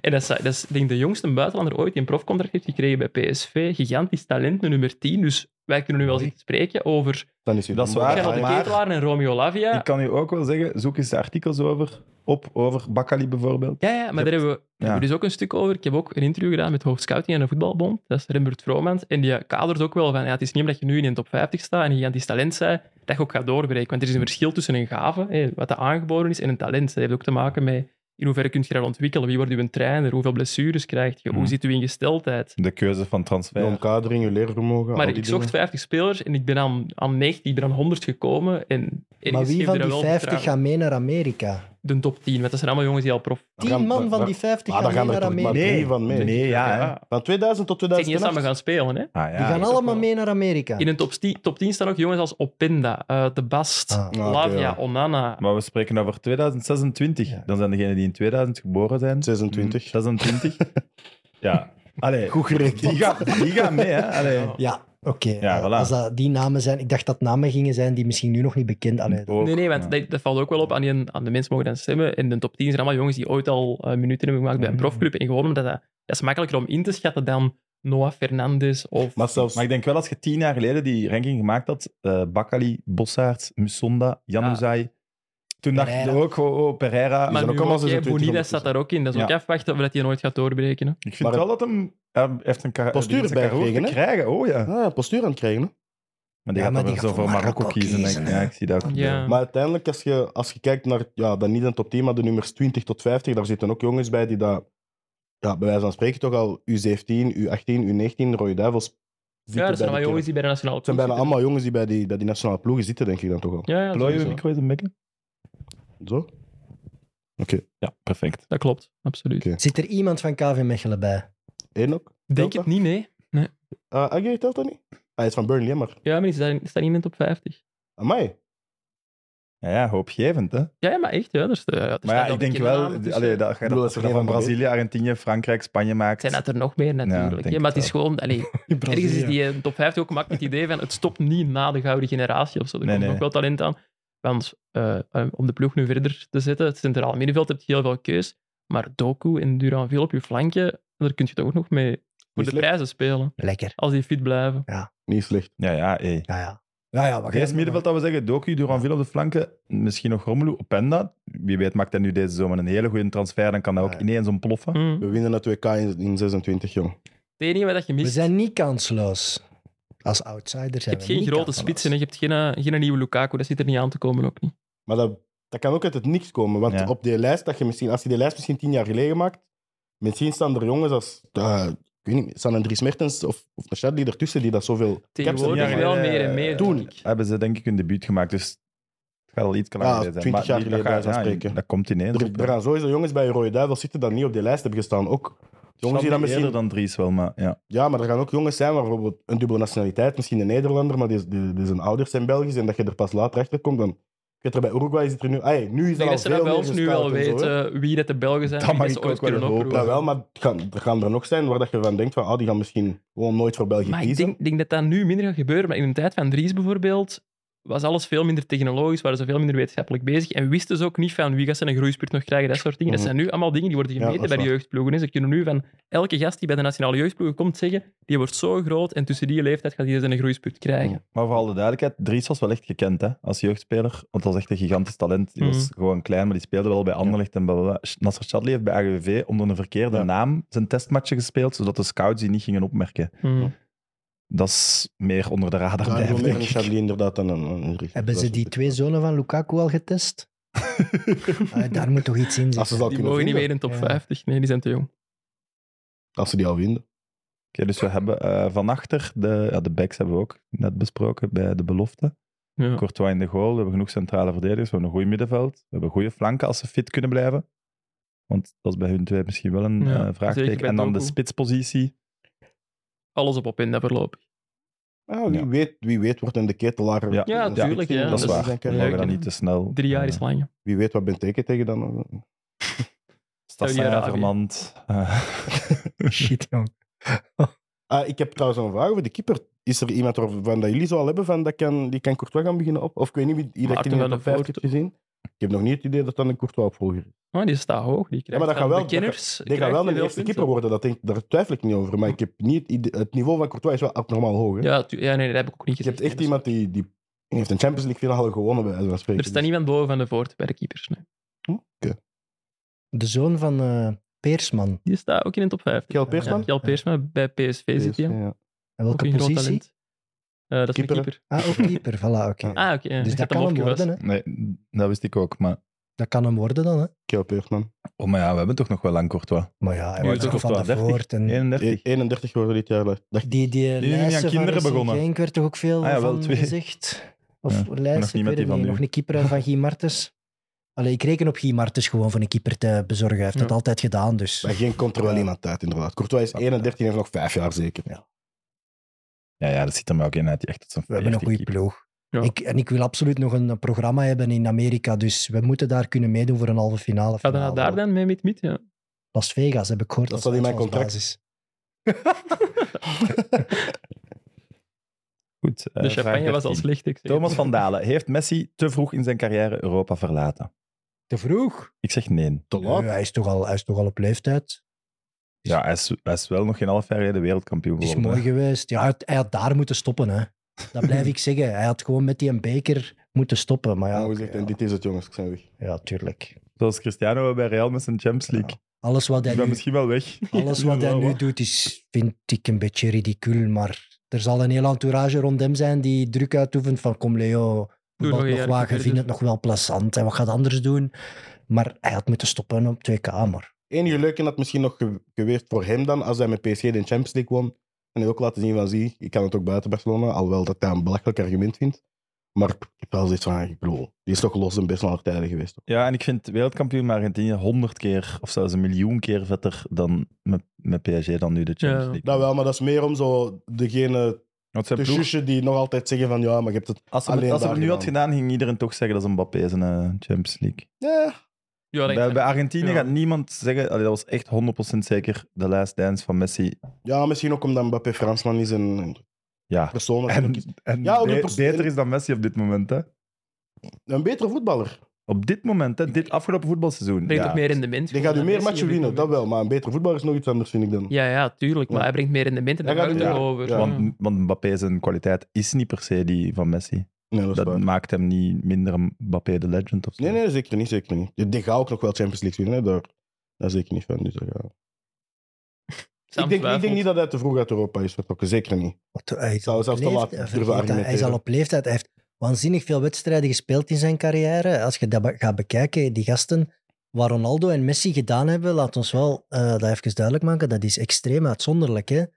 [SPEAKER 4] en dat is, dat is denk ik, de jongste buitenlander ooit die een profcontract heeft gekregen bij PSV. Gigantisch talent, de nummer 10. Dus wij kunnen nu wel zitten spreken over
[SPEAKER 3] Dan is hij
[SPEAKER 2] Dat is
[SPEAKER 3] dan
[SPEAKER 2] waar,
[SPEAKER 3] maar-
[SPEAKER 4] Gerald de
[SPEAKER 2] maar-
[SPEAKER 4] Ketelaar en Romeo Lavia.
[SPEAKER 2] Ik kan u ook wel zeggen, zoek eens de artikels over, op over Bakali bijvoorbeeld.
[SPEAKER 4] Ja, ja, maar daar hebben we daar hebben we dus ook een stuk over. Ik heb ook een interview gedaan met hoofdscouting aan de voetbalbond. Dat is Rembert Vromans. En die kadert ook wel van, ja, het is niet omdat je nu in de top 50 staat en een gigantisch talent zij, dat je ook gaat doorbreken. Want er is een verschil tussen een gave, hè, wat er aangeboren is, en een talent. Dat heeft ook te maken met in hoeverre kun je dat ontwikkelen. Wie wordt je een trainer? Hoeveel blessures krijg je? Hoe
[SPEAKER 2] Mhm.
[SPEAKER 4] zit je in gesteldheid?
[SPEAKER 2] De keuze van
[SPEAKER 3] Je
[SPEAKER 2] transfer. Ah,
[SPEAKER 3] omkadering, je leervermogen.
[SPEAKER 4] Maar
[SPEAKER 3] al die
[SPEAKER 4] ik zocht
[SPEAKER 3] dingen.
[SPEAKER 4] 50 spelers en ik ben aan, aan 90, ik ben aan 100 gekomen. En ergens
[SPEAKER 5] Maar
[SPEAKER 4] geeft
[SPEAKER 5] wie van
[SPEAKER 4] er
[SPEAKER 5] die
[SPEAKER 4] wel
[SPEAKER 5] 50
[SPEAKER 4] vertrouwen.
[SPEAKER 5] gaan mee naar Amerika?
[SPEAKER 4] De top 10, want dat zijn allemaal jongens die al prof...
[SPEAKER 3] Dan gaan-
[SPEAKER 5] 10 man
[SPEAKER 3] dan-
[SPEAKER 5] van
[SPEAKER 3] dan-
[SPEAKER 5] die
[SPEAKER 3] Ah,
[SPEAKER 5] 50 gaan
[SPEAKER 3] dan
[SPEAKER 5] mee
[SPEAKER 3] gaan
[SPEAKER 5] naar
[SPEAKER 3] er toch maar
[SPEAKER 5] Amerika.
[SPEAKER 3] drie van mee.
[SPEAKER 2] Nee, ja. hè.
[SPEAKER 4] Ja.
[SPEAKER 3] Van 2000 tot
[SPEAKER 4] Het is niet eens dat we
[SPEAKER 3] 2008.
[SPEAKER 4] gaan spelen, hè.
[SPEAKER 2] Ah,
[SPEAKER 5] Die
[SPEAKER 2] ja.
[SPEAKER 5] gaan
[SPEAKER 4] dat is
[SPEAKER 5] allemaal
[SPEAKER 4] wel-
[SPEAKER 5] mee naar Amerika.
[SPEAKER 4] In een top 10, top 10 staan ook jongens als Openda, eh De Bast,
[SPEAKER 5] Ah.
[SPEAKER 3] Ah, oké,
[SPEAKER 4] Lavia,
[SPEAKER 3] ja.
[SPEAKER 4] Onana.
[SPEAKER 2] Maar we spreken over 2026.
[SPEAKER 5] Ja.
[SPEAKER 2] Dan zijn degenen die in 2000 geboren zijn.
[SPEAKER 3] 26.
[SPEAKER 2] 26. ja. Allee,
[SPEAKER 3] Goed gerekend.
[SPEAKER 2] die gaan, die gaan mee, hè. Allee.
[SPEAKER 5] Ja, oké. Eh,
[SPEAKER 2] Ja, voilà.
[SPEAKER 5] Als dat die namen zijn, ik dacht dat namen gingen zijn die misschien nu nog niet bekend zijn.
[SPEAKER 2] Ook,
[SPEAKER 4] nee, nee, want
[SPEAKER 2] ja.
[SPEAKER 4] dat, dat valt ook wel op. Aan, die, aan de mensen mogen dan stemmen. In de top 10 zijn allemaal jongens die ooit al eh, minuten hebben gemaakt bij een profclub. En gewoon omdat dat, dat is makkelijker om in te schatten dan Noah Fernandes of...
[SPEAKER 3] Maar zelfs...
[SPEAKER 2] Maar ik denk wel, als je tien jaar geleden die ranking gemaakt had, eh Bakali, Bossaerts, Musonda, Januzaj, toen dacht je
[SPEAKER 5] Pereira.
[SPEAKER 2] ook, oh, oh, Pereira.
[SPEAKER 4] maar
[SPEAKER 3] ook
[SPEAKER 4] nu
[SPEAKER 3] allemaal
[SPEAKER 4] ook, hè,
[SPEAKER 3] 26
[SPEAKER 4] Bonilla staat daar ook in. Dat is ook
[SPEAKER 2] Ja.
[SPEAKER 4] afwachten of dat hij nooit gaat doorbreken. hè.
[SPEAKER 2] Ik vind
[SPEAKER 3] Maar-
[SPEAKER 2] wel dat hem... Hij heeft een kar-
[SPEAKER 3] Postuur
[SPEAKER 2] die heeft een
[SPEAKER 3] bij
[SPEAKER 2] karoot
[SPEAKER 3] gekregen,
[SPEAKER 2] te
[SPEAKER 3] hè?
[SPEAKER 2] krijgen, oh ja.
[SPEAKER 3] Ah, ja, postuur aan het krijgen. hè.
[SPEAKER 2] Maar die
[SPEAKER 5] Ja,
[SPEAKER 2] gaat
[SPEAKER 5] maar
[SPEAKER 2] dan
[SPEAKER 5] die
[SPEAKER 2] weer zo
[SPEAKER 5] gaat
[SPEAKER 2] voor
[SPEAKER 5] voor
[SPEAKER 2] Marokko
[SPEAKER 5] Marokko
[SPEAKER 2] kiezen. denk ik.
[SPEAKER 5] kiezen,
[SPEAKER 2] Ja,
[SPEAKER 5] hè.
[SPEAKER 2] ik zie dat ook.
[SPEAKER 4] Ja.
[SPEAKER 3] Maar uiteindelijk, als je, als je kijkt naar... Ja, dan niet een top 10, maar de nummers 20 tot 50, daar zitten ook jongens bij die dat... Ja, bij wijze van spreken toch al U17, U18, U19, Rode Duivels zitten
[SPEAKER 4] Ja,
[SPEAKER 3] bij
[SPEAKER 4] dat
[SPEAKER 3] die
[SPEAKER 4] zijn allemaal jongens die bij de nationale
[SPEAKER 3] Het zijn bijna
[SPEAKER 4] ploeg
[SPEAKER 3] allemaal jongens die bij die, bij die nationale ploegen zitten, denk ik dan toch al.
[SPEAKER 4] zitten. Ja, ja,
[SPEAKER 2] Plooi je
[SPEAKER 4] sowieso.
[SPEAKER 2] micro eens een beetje?
[SPEAKER 3] Zo?
[SPEAKER 2] Ja, perfect.
[SPEAKER 4] dat klopt. Absoluut.
[SPEAKER 3] Oké.
[SPEAKER 5] Zit er iemand van KV Mechelen bij?
[SPEAKER 3] Eén ook?
[SPEAKER 4] Denk het niet, nee.
[SPEAKER 3] Ah, Agge telt dat niet? Hij is van Burnley, hè, maar...
[SPEAKER 4] Ja, maar die staan die staan niet in de top 50.
[SPEAKER 3] Amai.
[SPEAKER 2] Ja, ja, hoopgevend, hè?
[SPEAKER 4] Ja, ja, maar echt. Ja, dus, eh, ja, er
[SPEAKER 2] Maar
[SPEAKER 4] staan
[SPEAKER 2] ja,
[SPEAKER 4] wel
[SPEAKER 2] ik denk
[SPEAKER 4] bekende
[SPEAKER 2] wel
[SPEAKER 4] namen
[SPEAKER 2] allee,
[SPEAKER 4] tussen.
[SPEAKER 2] dat, als je
[SPEAKER 3] Ik bedoel,
[SPEAKER 2] dat, als
[SPEAKER 3] dat is
[SPEAKER 2] je dat
[SPEAKER 3] er geen
[SPEAKER 2] van
[SPEAKER 3] van de
[SPEAKER 2] Brazilië, Argentinië, Frankrijk, Spanje maakt.
[SPEAKER 4] zijn dat er nog meer natuurlijk.
[SPEAKER 2] denk
[SPEAKER 4] hè, maar
[SPEAKER 2] het
[SPEAKER 4] het is
[SPEAKER 2] wel. [laughs]
[SPEAKER 4] gewoon, allee,
[SPEAKER 5] In Brazilië.
[SPEAKER 4] ergens is die eh, top 50 ook gemaakt met het idee van het stopt niet na de gouden generatie of zo. Er
[SPEAKER 2] Nee,
[SPEAKER 4] komt
[SPEAKER 2] nee.
[SPEAKER 4] nog wel talent aan. Want eh, eh, om de ploeg nu verder te zetten, het centraal middenveld heb je heel veel keus. Maar Doku en Duranville op je flankje, daar kun je toch ook nog mee voor de
[SPEAKER 3] slecht.
[SPEAKER 4] prijzen spelen.
[SPEAKER 5] Lekker.
[SPEAKER 4] Als die fit blijven.
[SPEAKER 3] Niet slecht.
[SPEAKER 2] Ja, ja, hé.
[SPEAKER 5] Ja, ja. Ja, ja, maar
[SPEAKER 2] Deze middenveld dat we zeggen, Doku, Duranville op de flanken, misschien nog Romelu, Openda. Wie weet maakt hij nu deze zomer een hele goede transfer, dan kan dat ook
[SPEAKER 5] Ja.
[SPEAKER 2] ineens ontploffen.
[SPEAKER 4] Mm.
[SPEAKER 3] We winnen het WK in, in 26, jong.
[SPEAKER 4] Het enige wat je
[SPEAKER 5] We
[SPEAKER 4] mist,
[SPEAKER 5] zijn niet kansloos. Als outsider
[SPEAKER 4] je
[SPEAKER 5] zijn
[SPEAKER 4] hebt
[SPEAKER 5] we
[SPEAKER 4] geen
[SPEAKER 5] niet
[SPEAKER 4] grote
[SPEAKER 5] kansloos.
[SPEAKER 4] spitsen. hè. Je hebt geen, eh, geen nieuwe Lukaku, dat zit er niet aan te komen ook niet.
[SPEAKER 3] Maar dat, dat kan ook uit het niks komen. Want
[SPEAKER 2] Ja.
[SPEAKER 3] op die lijst, dat je misschien, als je die lijst misschien tien jaar geleden maakt, misschien staan er jongens als... eh, ik weet niet, staan er Dries Mertens of, of een Chadli ertussen die dat zoveel...
[SPEAKER 4] Tegenwoordig
[SPEAKER 2] jaar
[SPEAKER 4] wel
[SPEAKER 2] geleden,
[SPEAKER 4] meer en meer.
[SPEAKER 2] toen.
[SPEAKER 4] denk ik.
[SPEAKER 2] Hebben ze denk ik hun debuut gemaakt, dus het gaat al iets langer
[SPEAKER 3] Ja,
[SPEAKER 2] geleden zijn.
[SPEAKER 3] 20 jaar
[SPEAKER 2] die- dat
[SPEAKER 3] geleden,
[SPEAKER 2] gaat-
[SPEAKER 3] bij wijze van
[SPEAKER 2] ja,
[SPEAKER 3] spreken.
[SPEAKER 2] Dat komt ineens. op,
[SPEAKER 3] Er,
[SPEAKER 2] hè.
[SPEAKER 3] er gaan sowieso jongens bij Rode Duivel zitten dat niet op die lijst hebben gestaan. Ook jongens die
[SPEAKER 2] Schat
[SPEAKER 3] dan
[SPEAKER 2] niet
[SPEAKER 3] misschien...
[SPEAKER 2] eerder dan Dries wel, maar ja.
[SPEAKER 3] Ja, maar er gaan ook jongens zijn waar bijvoorbeeld een dubbele nationaliteit, misschien een Nederlander, maar die, die, die zijn ouders zijn Belgisch en dat je er pas later achter komt, dan... Ik weet er bij Uruguay zit er nu... Ay, nu is dat
[SPEAKER 4] Ik
[SPEAKER 3] al
[SPEAKER 4] denk dat ze dat
[SPEAKER 3] veel
[SPEAKER 4] bij
[SPEAKER 3] meer
[SPEAKER 4] ons nu
[SPEAKER 3] gescout
[SPEAKER 4] wel
[SPEAKER 3] en zo, hè.
[SPEAKER 4] weten eh, wie dat de Belgen zijn.
[SPEAKER 2] Dat
[SPEAKER 4] wie
[SPEAKER 2] mag
[SPEAKER 4] dat ze
[SPEAKER 2] ik
[SPEAKER 4] ooit
[SPEAKER 2] ook wel
[SPEAKER 4] kunnen
[SPEAKER 2] hopen.
[SPEAKER 4] oproepen.
[SPEAKER 3] Dat wel, maar het gaan, er gaan er nog zijn waar dat je van denkt van, ah, die gaan misschien gewoon nooit voor België
[SPEAKER 4] Maar ik
[SPEAKER 3] kiezen.
[SPEAKER 4] denk, denk dat dat nu minder gaat gebeuren. Maar in de tijd van Dries bijvoorbeeld was alles veel minder technologisch, waren ze veel minder wetenschappelijk bezig en wisten ze ook niet van wie gaat zijn een groeispurt nog krijgen, dat soort dingen. Dat
[SPEAKER 3] Mhm.
[SPEAKER 4] zijn nu allemaal dingen die worden
[SPEAKER 3] Ja,
[SPEAKER 4] gemeten
[SPEAKER 3] dat is
[SPEAKER 4] bij de
[SPEAKER 3] waar.
[SPEAKER 4] jeugdploegen. hè. Ze kunnen nu van elke gast die bij de nationale jeugdploegen komt zeggen, die wordt zo groot en tussen die leeftijd gaat hij zijn een groeispurt krijgen.
[SPEAKER 2] Maar vooral de duidelijkheid, Dries was wel echt gekend hè, als jeugdspeler. Want dat was echt een gigantisch talent. Die was gewoon klein, maar die speelde wel bij Anderlecht en blablabla. Nasser Chadli heeft bij AGV onder een verkeerde
[SPEAKER 3] Ja.
[SPEAKER 2] naam zijn testmatchen gespeeld, zodat de scouts die niet gingen opmerken.
[SPEAKER 4] Hmm. [laughs]
[SPEAKER 2] Dat is meer onder de radar
[SPEAKER 3] Ja,
[SPEAKER 2] blijven,
[SPEAKER 3] wel meer
[SPEAKER 2] denk
[SPEAKER 3] een
[SPEAKER 2] ik.
[SPEAKER 3] Charlie inderdaad dan een, een Ulrich.
[SPEAKER 5] Hebben
[SPEAKER 3] Dat
[SPEAKER 5] ze
[SPEAKER 3] is
[SPEAKER 5] die
[SPEAKER 3] het.
[SPEAKER 5] twee zonen van Lukaku al getest?
[SPEAKER 3] Ah,
[SPEAKER 5] Allee, daar moet toch iets in
[SPEAKER 3] Als ze dat
[SPEAKER 5] zitten.
[SPEAKER 4] Die
[SPEAKER 3] kunnen
[SPEAKER 4] mogen
[SPEAKER 3] vinden.
[SPEAKER 4] niet meer in top
[SPEAKER 5] Ja.
[SPEAKER 4] 50. Nee, die zijn te jong.
[SPEAKER 3] Als ze die al vinden.
[SPEAKER 2] Oké, dus we hebben eh, van achter, de, ja, de backs hebben we ook net besproken bij de belofte.
[SPEAKER 4] Ja.
[SPEAKER 2] Courtois in de goal, we hebben genoeg centrale verdedigers, we hebben een goed middenveld, we hebben goede flanken als ze fit kunnen blijven. Want dat is bij hun twee misschien wel een
[SPEAKER 4] Ja,
[SPEAKER 2] eh,
[SPEAKER 4] zeker
[SPEAKER 2] vraagteken.
[SPEAKER 4] bij
[SPEAKER 2] En dan de
[SPEAKER 4] Doku.
[SPEAKER 2] spitspositie.
[SPEAKER 4] Alles op op in dat verloop.
[SPEAKER 3] Ah, wie,
[SPEAKER 2] Ja.
[SPEAKER 3] Weet, wie weet wordt hem de ketelaar.
[SPEAKER 2] Ja.
[SPEAKER 4] Ja, tuurlijk, ja. dus
[SPEAKER 2] Dat is
[SPEAKER 4] Dat is
[SPEAKER 2] waar.
[SPEAKER 3] zijn
[SPEAKER 2] We
[SPEAKER 3] carrière.
[SPEAKER 2] mogen dat
[SPEAKER 4] eh, leuk, hè?
[SPEAKER 2] niet te snel. eh,
[SPEAKER 4] Drie jaar is lang.
[SPEAKER 3] Wie weet wat Benteke tegen dan...
[SPEAKER 2] Stassijn,
[SPEAKER 4] Saudi-Arabië.
[SPEAKER 2] Fernand. eh, [laughs]
[SPEAKER 5] Shit, jong.
[SPEAKER 3] Ah, ik heb trouwens een vraag over de keeper. Is er iemand waarvan dat jullie zo al hebben van dat kan, die kan Courtois gaan beginnen op? Of ik weet niet wie die dat ik in
[SPEAKER 4] Maarten
[SPEAKER 3] de
[SPEAKER 4] van
[SPEAKER 3] top
[SPEAKER 4] der
[SPEAKER 3] 5 heb gezien. Ik heb nog niet het idee dat dat een Courtois-opvolger is.
[SPEAKER 4] Oh, die staat hoog. Die krijgt
[SPEAKER 3] dat
[SPEAKER 4] van
[SPEAKER 3] gaat wel-
[SPEAKER 4] de kenners.
[SPEAKER 3] Die gaat
[SPEAKER 4] krijgt
[SPEAKER 3] wel
[SPEAKER 4] die
[SPEAKER 3] een
[SPEAKER 4] wel
[SPEAKER 3] eerste
[SPEAKER 4] punten.
[SPEAKER 3] keeper worden, dat denk, daar twijfel ik niet over. Maar ik heb niet het idee- het niveau van Courtois is wel abnormaal hoog. Hè?
[SPEAKER 4] Ja, tu- ja, nee, dat heb ik ook niet
[SPEAKER 3] Je
[SPEAKER 4] gezien.
[SPEAKER 3] hebt echt iemand die, die die heeft een Champions League finale gewonnen bij wijze van spreken. Dus- Hm?
[SPEAKER 4] Er staat niemand boven van de voort bij de keepers. Nee.
[SPEAKER 5] De zoon van eh, Peersman.
[SPEAKER 4] Die staat ook in de top 5.
[SPEAKER 3] Kjell Peersman?
[SPEAKER 4] Ja, Kjell Peersma bij PSV zit hij.
[SPEAKER 3] Ja, ja.
[SPEAKER 5] En
[SPEAKER 4] Ook
[SPEAKER 5] welke
[SPEAKER 4] een groot
[SPEAKER 5] positie?
[SPEAKER 4] talent. Eh, dat is
[SPEAKER 3] Keeper,
[SPEAKER 4] mijn
[SPEAKER 3] hè?
[SPEAKER 4] keeper.
[SPEAKER 5] Ah, ook keeper. Voilà, oké.
[SPEAKER 3] Ja.
[SPEAKER 4] Ah, oké. ja.
[SPEAKER 5] Dus
[SPEAKER 4] Ik
[SPEAKER 5] dat
[SPEAKER 4] had
[SPEAKER 5] kan
[SPEAKER 4] hem
[SPEAKER 5] hem
[SPEAKER 4] opgewast.
[SPEAKER 5] worden, hè.
[SPEAKER 2] nee, dat wist ik ook. Maar,
[SPEAKER 5] Dat kan hem worden dan, hè.
[SPEAKER 3] Kjell Peersman.
[SPEAKER 2] oh, maar ja, we hebben toch nog wel lang Courtois.
[SPEAKER 5] Maar ja, hij
[SPEAKER 4] Nu
[SPEAKER 5] wordt
[SPEAKER 4] is het
[SPEAKER 5] toch
[SPEAKER 2] toch
[SPEAKER 5] van de
[SPEAKER 2] 30.
[SPEAKER 5] voort. En
[SPEAKER 2] 31.
[SPEAKER 3] 31 E- geworden dit jaar. Dacht ik.
[SPEAKER 5] die, die
[SPEAKER 2] nu niet aan
[SPEAKER 5] lijsten van
[SPEAKER 2] kinderen
[SPEAKER 5] Racing
[SPEAKER 2] begonnen.
[SPEAKER 5] Genk werd toch ook veel
[SPEAKER 2] Ah ja, wel
[SPEAKER 5] van
[SPEAKER 2] twee.
[SPEAKER 5] gezegd? Of
[SPEAKER 2] Ja, nog
[SPEAKER 5] lijst,
[SPEAKER 2] niet
[SPEAKER 5] ik
[SPEAKER 2] met
[SPEAKER 5] weet
[SPEAKER 2] die
[SPEAKER 5] het
[SPEAKER 2] van
[SPEAKER 5] niet.
[SPEAKER 2] nu.
[SPEAKER 5] Nog een keeper van Guy Martens. Allee, ik reken op Guy Martens gewoon voor een keeper te bezorgen. Hij heeft dat
[SPEAKER 4] Ja.
[SPEAKER 5] altijd gedaan, dus...
[SPEAKER 3] Maar geen komt er wel iemand uit, inderdaad. Courtois is 31 en heeft nog 5 jaar zeker.
[SPEAKER 2] Ja, ja, dat ziet er maar ook in uit. die Echt, dat is een
[SPEAKER 5] We hebben een
[SPEAKER 2] 40
[SPEAKER 5] goede
[SPEAKER 2] keeper.
[SPEAKER 5] ploeg.
[SPEAKER 4] Ja.
[SPEAKER 5] Ik, en ik wil absoluut nog een eh, programma hebben in Amerika, dus we moeten daar kunnen meedoen voor een halve finale.
[SPEAKER 4] Gaat hij
[SPEAKER 5] finale.
[SPEAKER 4] naar daar dan mee met Miet? Ja.
[SPEAKER 5] Las Vegas, heb ik gehoord.
[SPEAKER 3] Dat
[SPEAKER 5] als
[SPEAKER 3] staat in mijn
[SPEAKER 5] uitvalsbasis.
[SPEAKER 2] Goed, eh,
[SPEAKER 4] De
[SPEAKER 2] vraag
[SPEAKER 4] champagne was al
[SPEAKER 2] 13.
[SPEAKER 4] slecht. Ik zeg.
[SPEAKER 2] Thomas van Dalen. Heeft Messi te vroeg in zijn carrière Europa verlaten?
[SPEAKER 5] Te vroeg?
[SPEAKER 2] Ik zeg nee.
[SPEAKER 3] Te
[SPEAKER 5] Nee, hij, is toch al, hij is toch al op leeftijd.
[SPEAKER 2] Ja, hij is, hij is wel nog geen half jaar geleden wereldkampioen
[SPEAKER 5] Het is
[SPEAKER 2] geworden.
[SPEAKER 5] mooi geweest. Ja, hij had- hij had daar moeten stoppen, hè.
[SPEAKER 4] [laughs]
[SPEAKER 5] Dat blijf ik zeggen. Hij had gewoon met die een beker moeten stoppen. Maar ja,
[SPEAKER 4] Nou,
[SPEAKER 3] Ja,
[SPEAKER 5] oké,
[SPEAKER 3] gezegd, en dit is Nou, het jongens, ik zijn weg.
[SPEAKER 5] ja, ja, tuurlijk.
[SPEAKER 2] Zoals Cristiano bij Real met zijn Champions League.
[SPEAKER 5] Alles wat hij
[SPEAKER 2] Ik ben
[SPEAKER 5] nu,
[SPEAKER 2] misschien wel weg. [laughs]
[SPEAKER 4] [laughs]
[SPEAKER 5] alles wat hij nu doet, is, vind ik een beetje ridicuul. Maar er zal een heel entourage rond hem zijn die druk uitoefent van kom Leo,
[SPEAKER 4] Doe nog
[SPEAKER 5] voetbal
[SPEAKER 4] een
[SPEAKER 5] nog
[SPEAKER 4] jaar
[SPEAKER 5] wagen,
[SPEAKER 4] verder.
[SPEAKER 5] vind het nog wel plezant. En wat gaat anders doen? Maar hij had moeten stoppen op 2K. Maar
[SPEAKER 3] enige leuke had misschien nog ge- geweest voor hem dan, als hij met PSG de Champions League won. En hij ook laten zien van, zie, ik kan het ook buiten Barcelona, alhoewel dat hij een belachelijk argument vindt. Maar ik heb wel zoiets van, ik bedoel, die is toch los en best wel naar tijden geweest. Toch?
[SPEAKER 2] Ja, en ik vind wereldkampioen met Argentinië honderd keer of zelfs een miljoen keer vetter dan met, met PSG dan nu de Champions
[SPEAKER 4] Ja.
[SPEAKER 2] League.
[SPEAKER 3] Dat wel, maar dat is meer om zo degene
[SPEAKER 2] Want zijn
[SPEAKER 3] De
[SPEAKER 2] ploeg-
[SPEAKER 3] zusje die nog altijd zeggen van ja, maar je hebt het...
[SPEAKER 2] als ze
[SPEAKER 3] Dus alleen
[SPEAKER 2] het, als ze het
[SPEAKER 3] daar
[SPEAKER 2] nu had gedaan, ging iedereen toch zeggen dat ze Mbappé is in de Champions League.
[SPEAKER 3] Ja,
[SPEAKER 4] Ja, denk
[SPEAKER 2] Bij,
[SPEAKER 4] ik.
[SPEAKER 2] bij Argentinië
[SPEAKER 4] Ja.
[SPEAKER 2] gaat niemand zeggen... Allee, dat was echt 100% zeker de last dance van Messi.
[SPEAKER 3] ja, misschien ook omdat Mbappé Fransman is en
[SPEAKER 2] Ja.
[SPEAKER 3] persoonlijk ook is.
[SPEAKER 2] En, en
[SPEAKER 3] Ja,
[SPEAKER 2] be-
[SPEAKER 3] 100%.
[SPEAKER 2] beter is dan Messi op dit moment, hè.
[SPEAKER 3] een betere voetballer.
[SPEAKER 2] Op dit moment, hè. Dit afgelopen voetbalseizoen.
[SPEAKER 4] brengt
[SPEAKER 2] Ja.
[SPEAKER 4] ook meer rendement.
[SPEAKER 3] Die gaat u
[SPEAKER 4] Gewoon,
[SPEAKER 3] meer
[SPEAKER 4] Messi
[SPEAKER 3] matchen
[SPEAKER 4] op dit
[SPEAKER 3] winnen, dat
[SPEAKER 4] moment.
[SPEAKER 3] wel. Maar een betere voetballer is nog iets anders, vind ik dan.
[SPEAKER 4] Ja, ja, tuurlijk. Maar
[SPEAKER 3] Ja.
[SPEAKER 4] hij brengt meer rendement en
[SPEAKER 3] Hij
[SPEAKER 4] daar gaat
[SPEAKER 3] gaat
[SPEAKER 4] het
[SPEAKER 3] u- ja.
[SPEAKER 4] over.
[SPEAKER 3] Ja.
[SPEAKER 2] Want, want Mbappé zijn kwaliteit is niet per se die van Messi.
[SPEAKER 3] Nee, dat is
[SPEAKER 2] Dat
[SPEAKER 3] waar.
[SPEAKER 2] maakt hem niet minder een Mbappé de legend of zo.
[SPEAKER 3] Nee, nee, zeker niet, zeker niet. Die- Die gaat ook nog wel Champions League winnen, hè. Daar, daar zeker niet van. Dus daar gaan we.
[SPEAKER 4] Sam
[SPEAKER 3] ik, denk, ik denk
[SPEAKER 4] twijfelt.
[SPEAKER 3] niet dat hij te vroeg uit Europa is vertrokken, zeker niet.
[SPEAKER 5] Wat, hij, is
[SPEAKER 3] Zou
[SPEAKER 5] al op
[SPEAKER 3] zelfs te laat
[SPEAKER 5] leeftijd-
[SPEAKER 3] durven
[SPEAKER 5] vergeet dat, hij is
[SPEAKER 3] argumenteren.
[SPEAKER 5] al op leeftijd. Hij heeft waanzinnig veel wedstrijden gespeeld in zijn carrière. Als je dat be- gaat bekijken, die gasten, wat Ronaldo en Messi gedaan hebben, laat ons wel eh, dat even duidelijk maken, dat is extreem uitzonderlijk. Hè? Je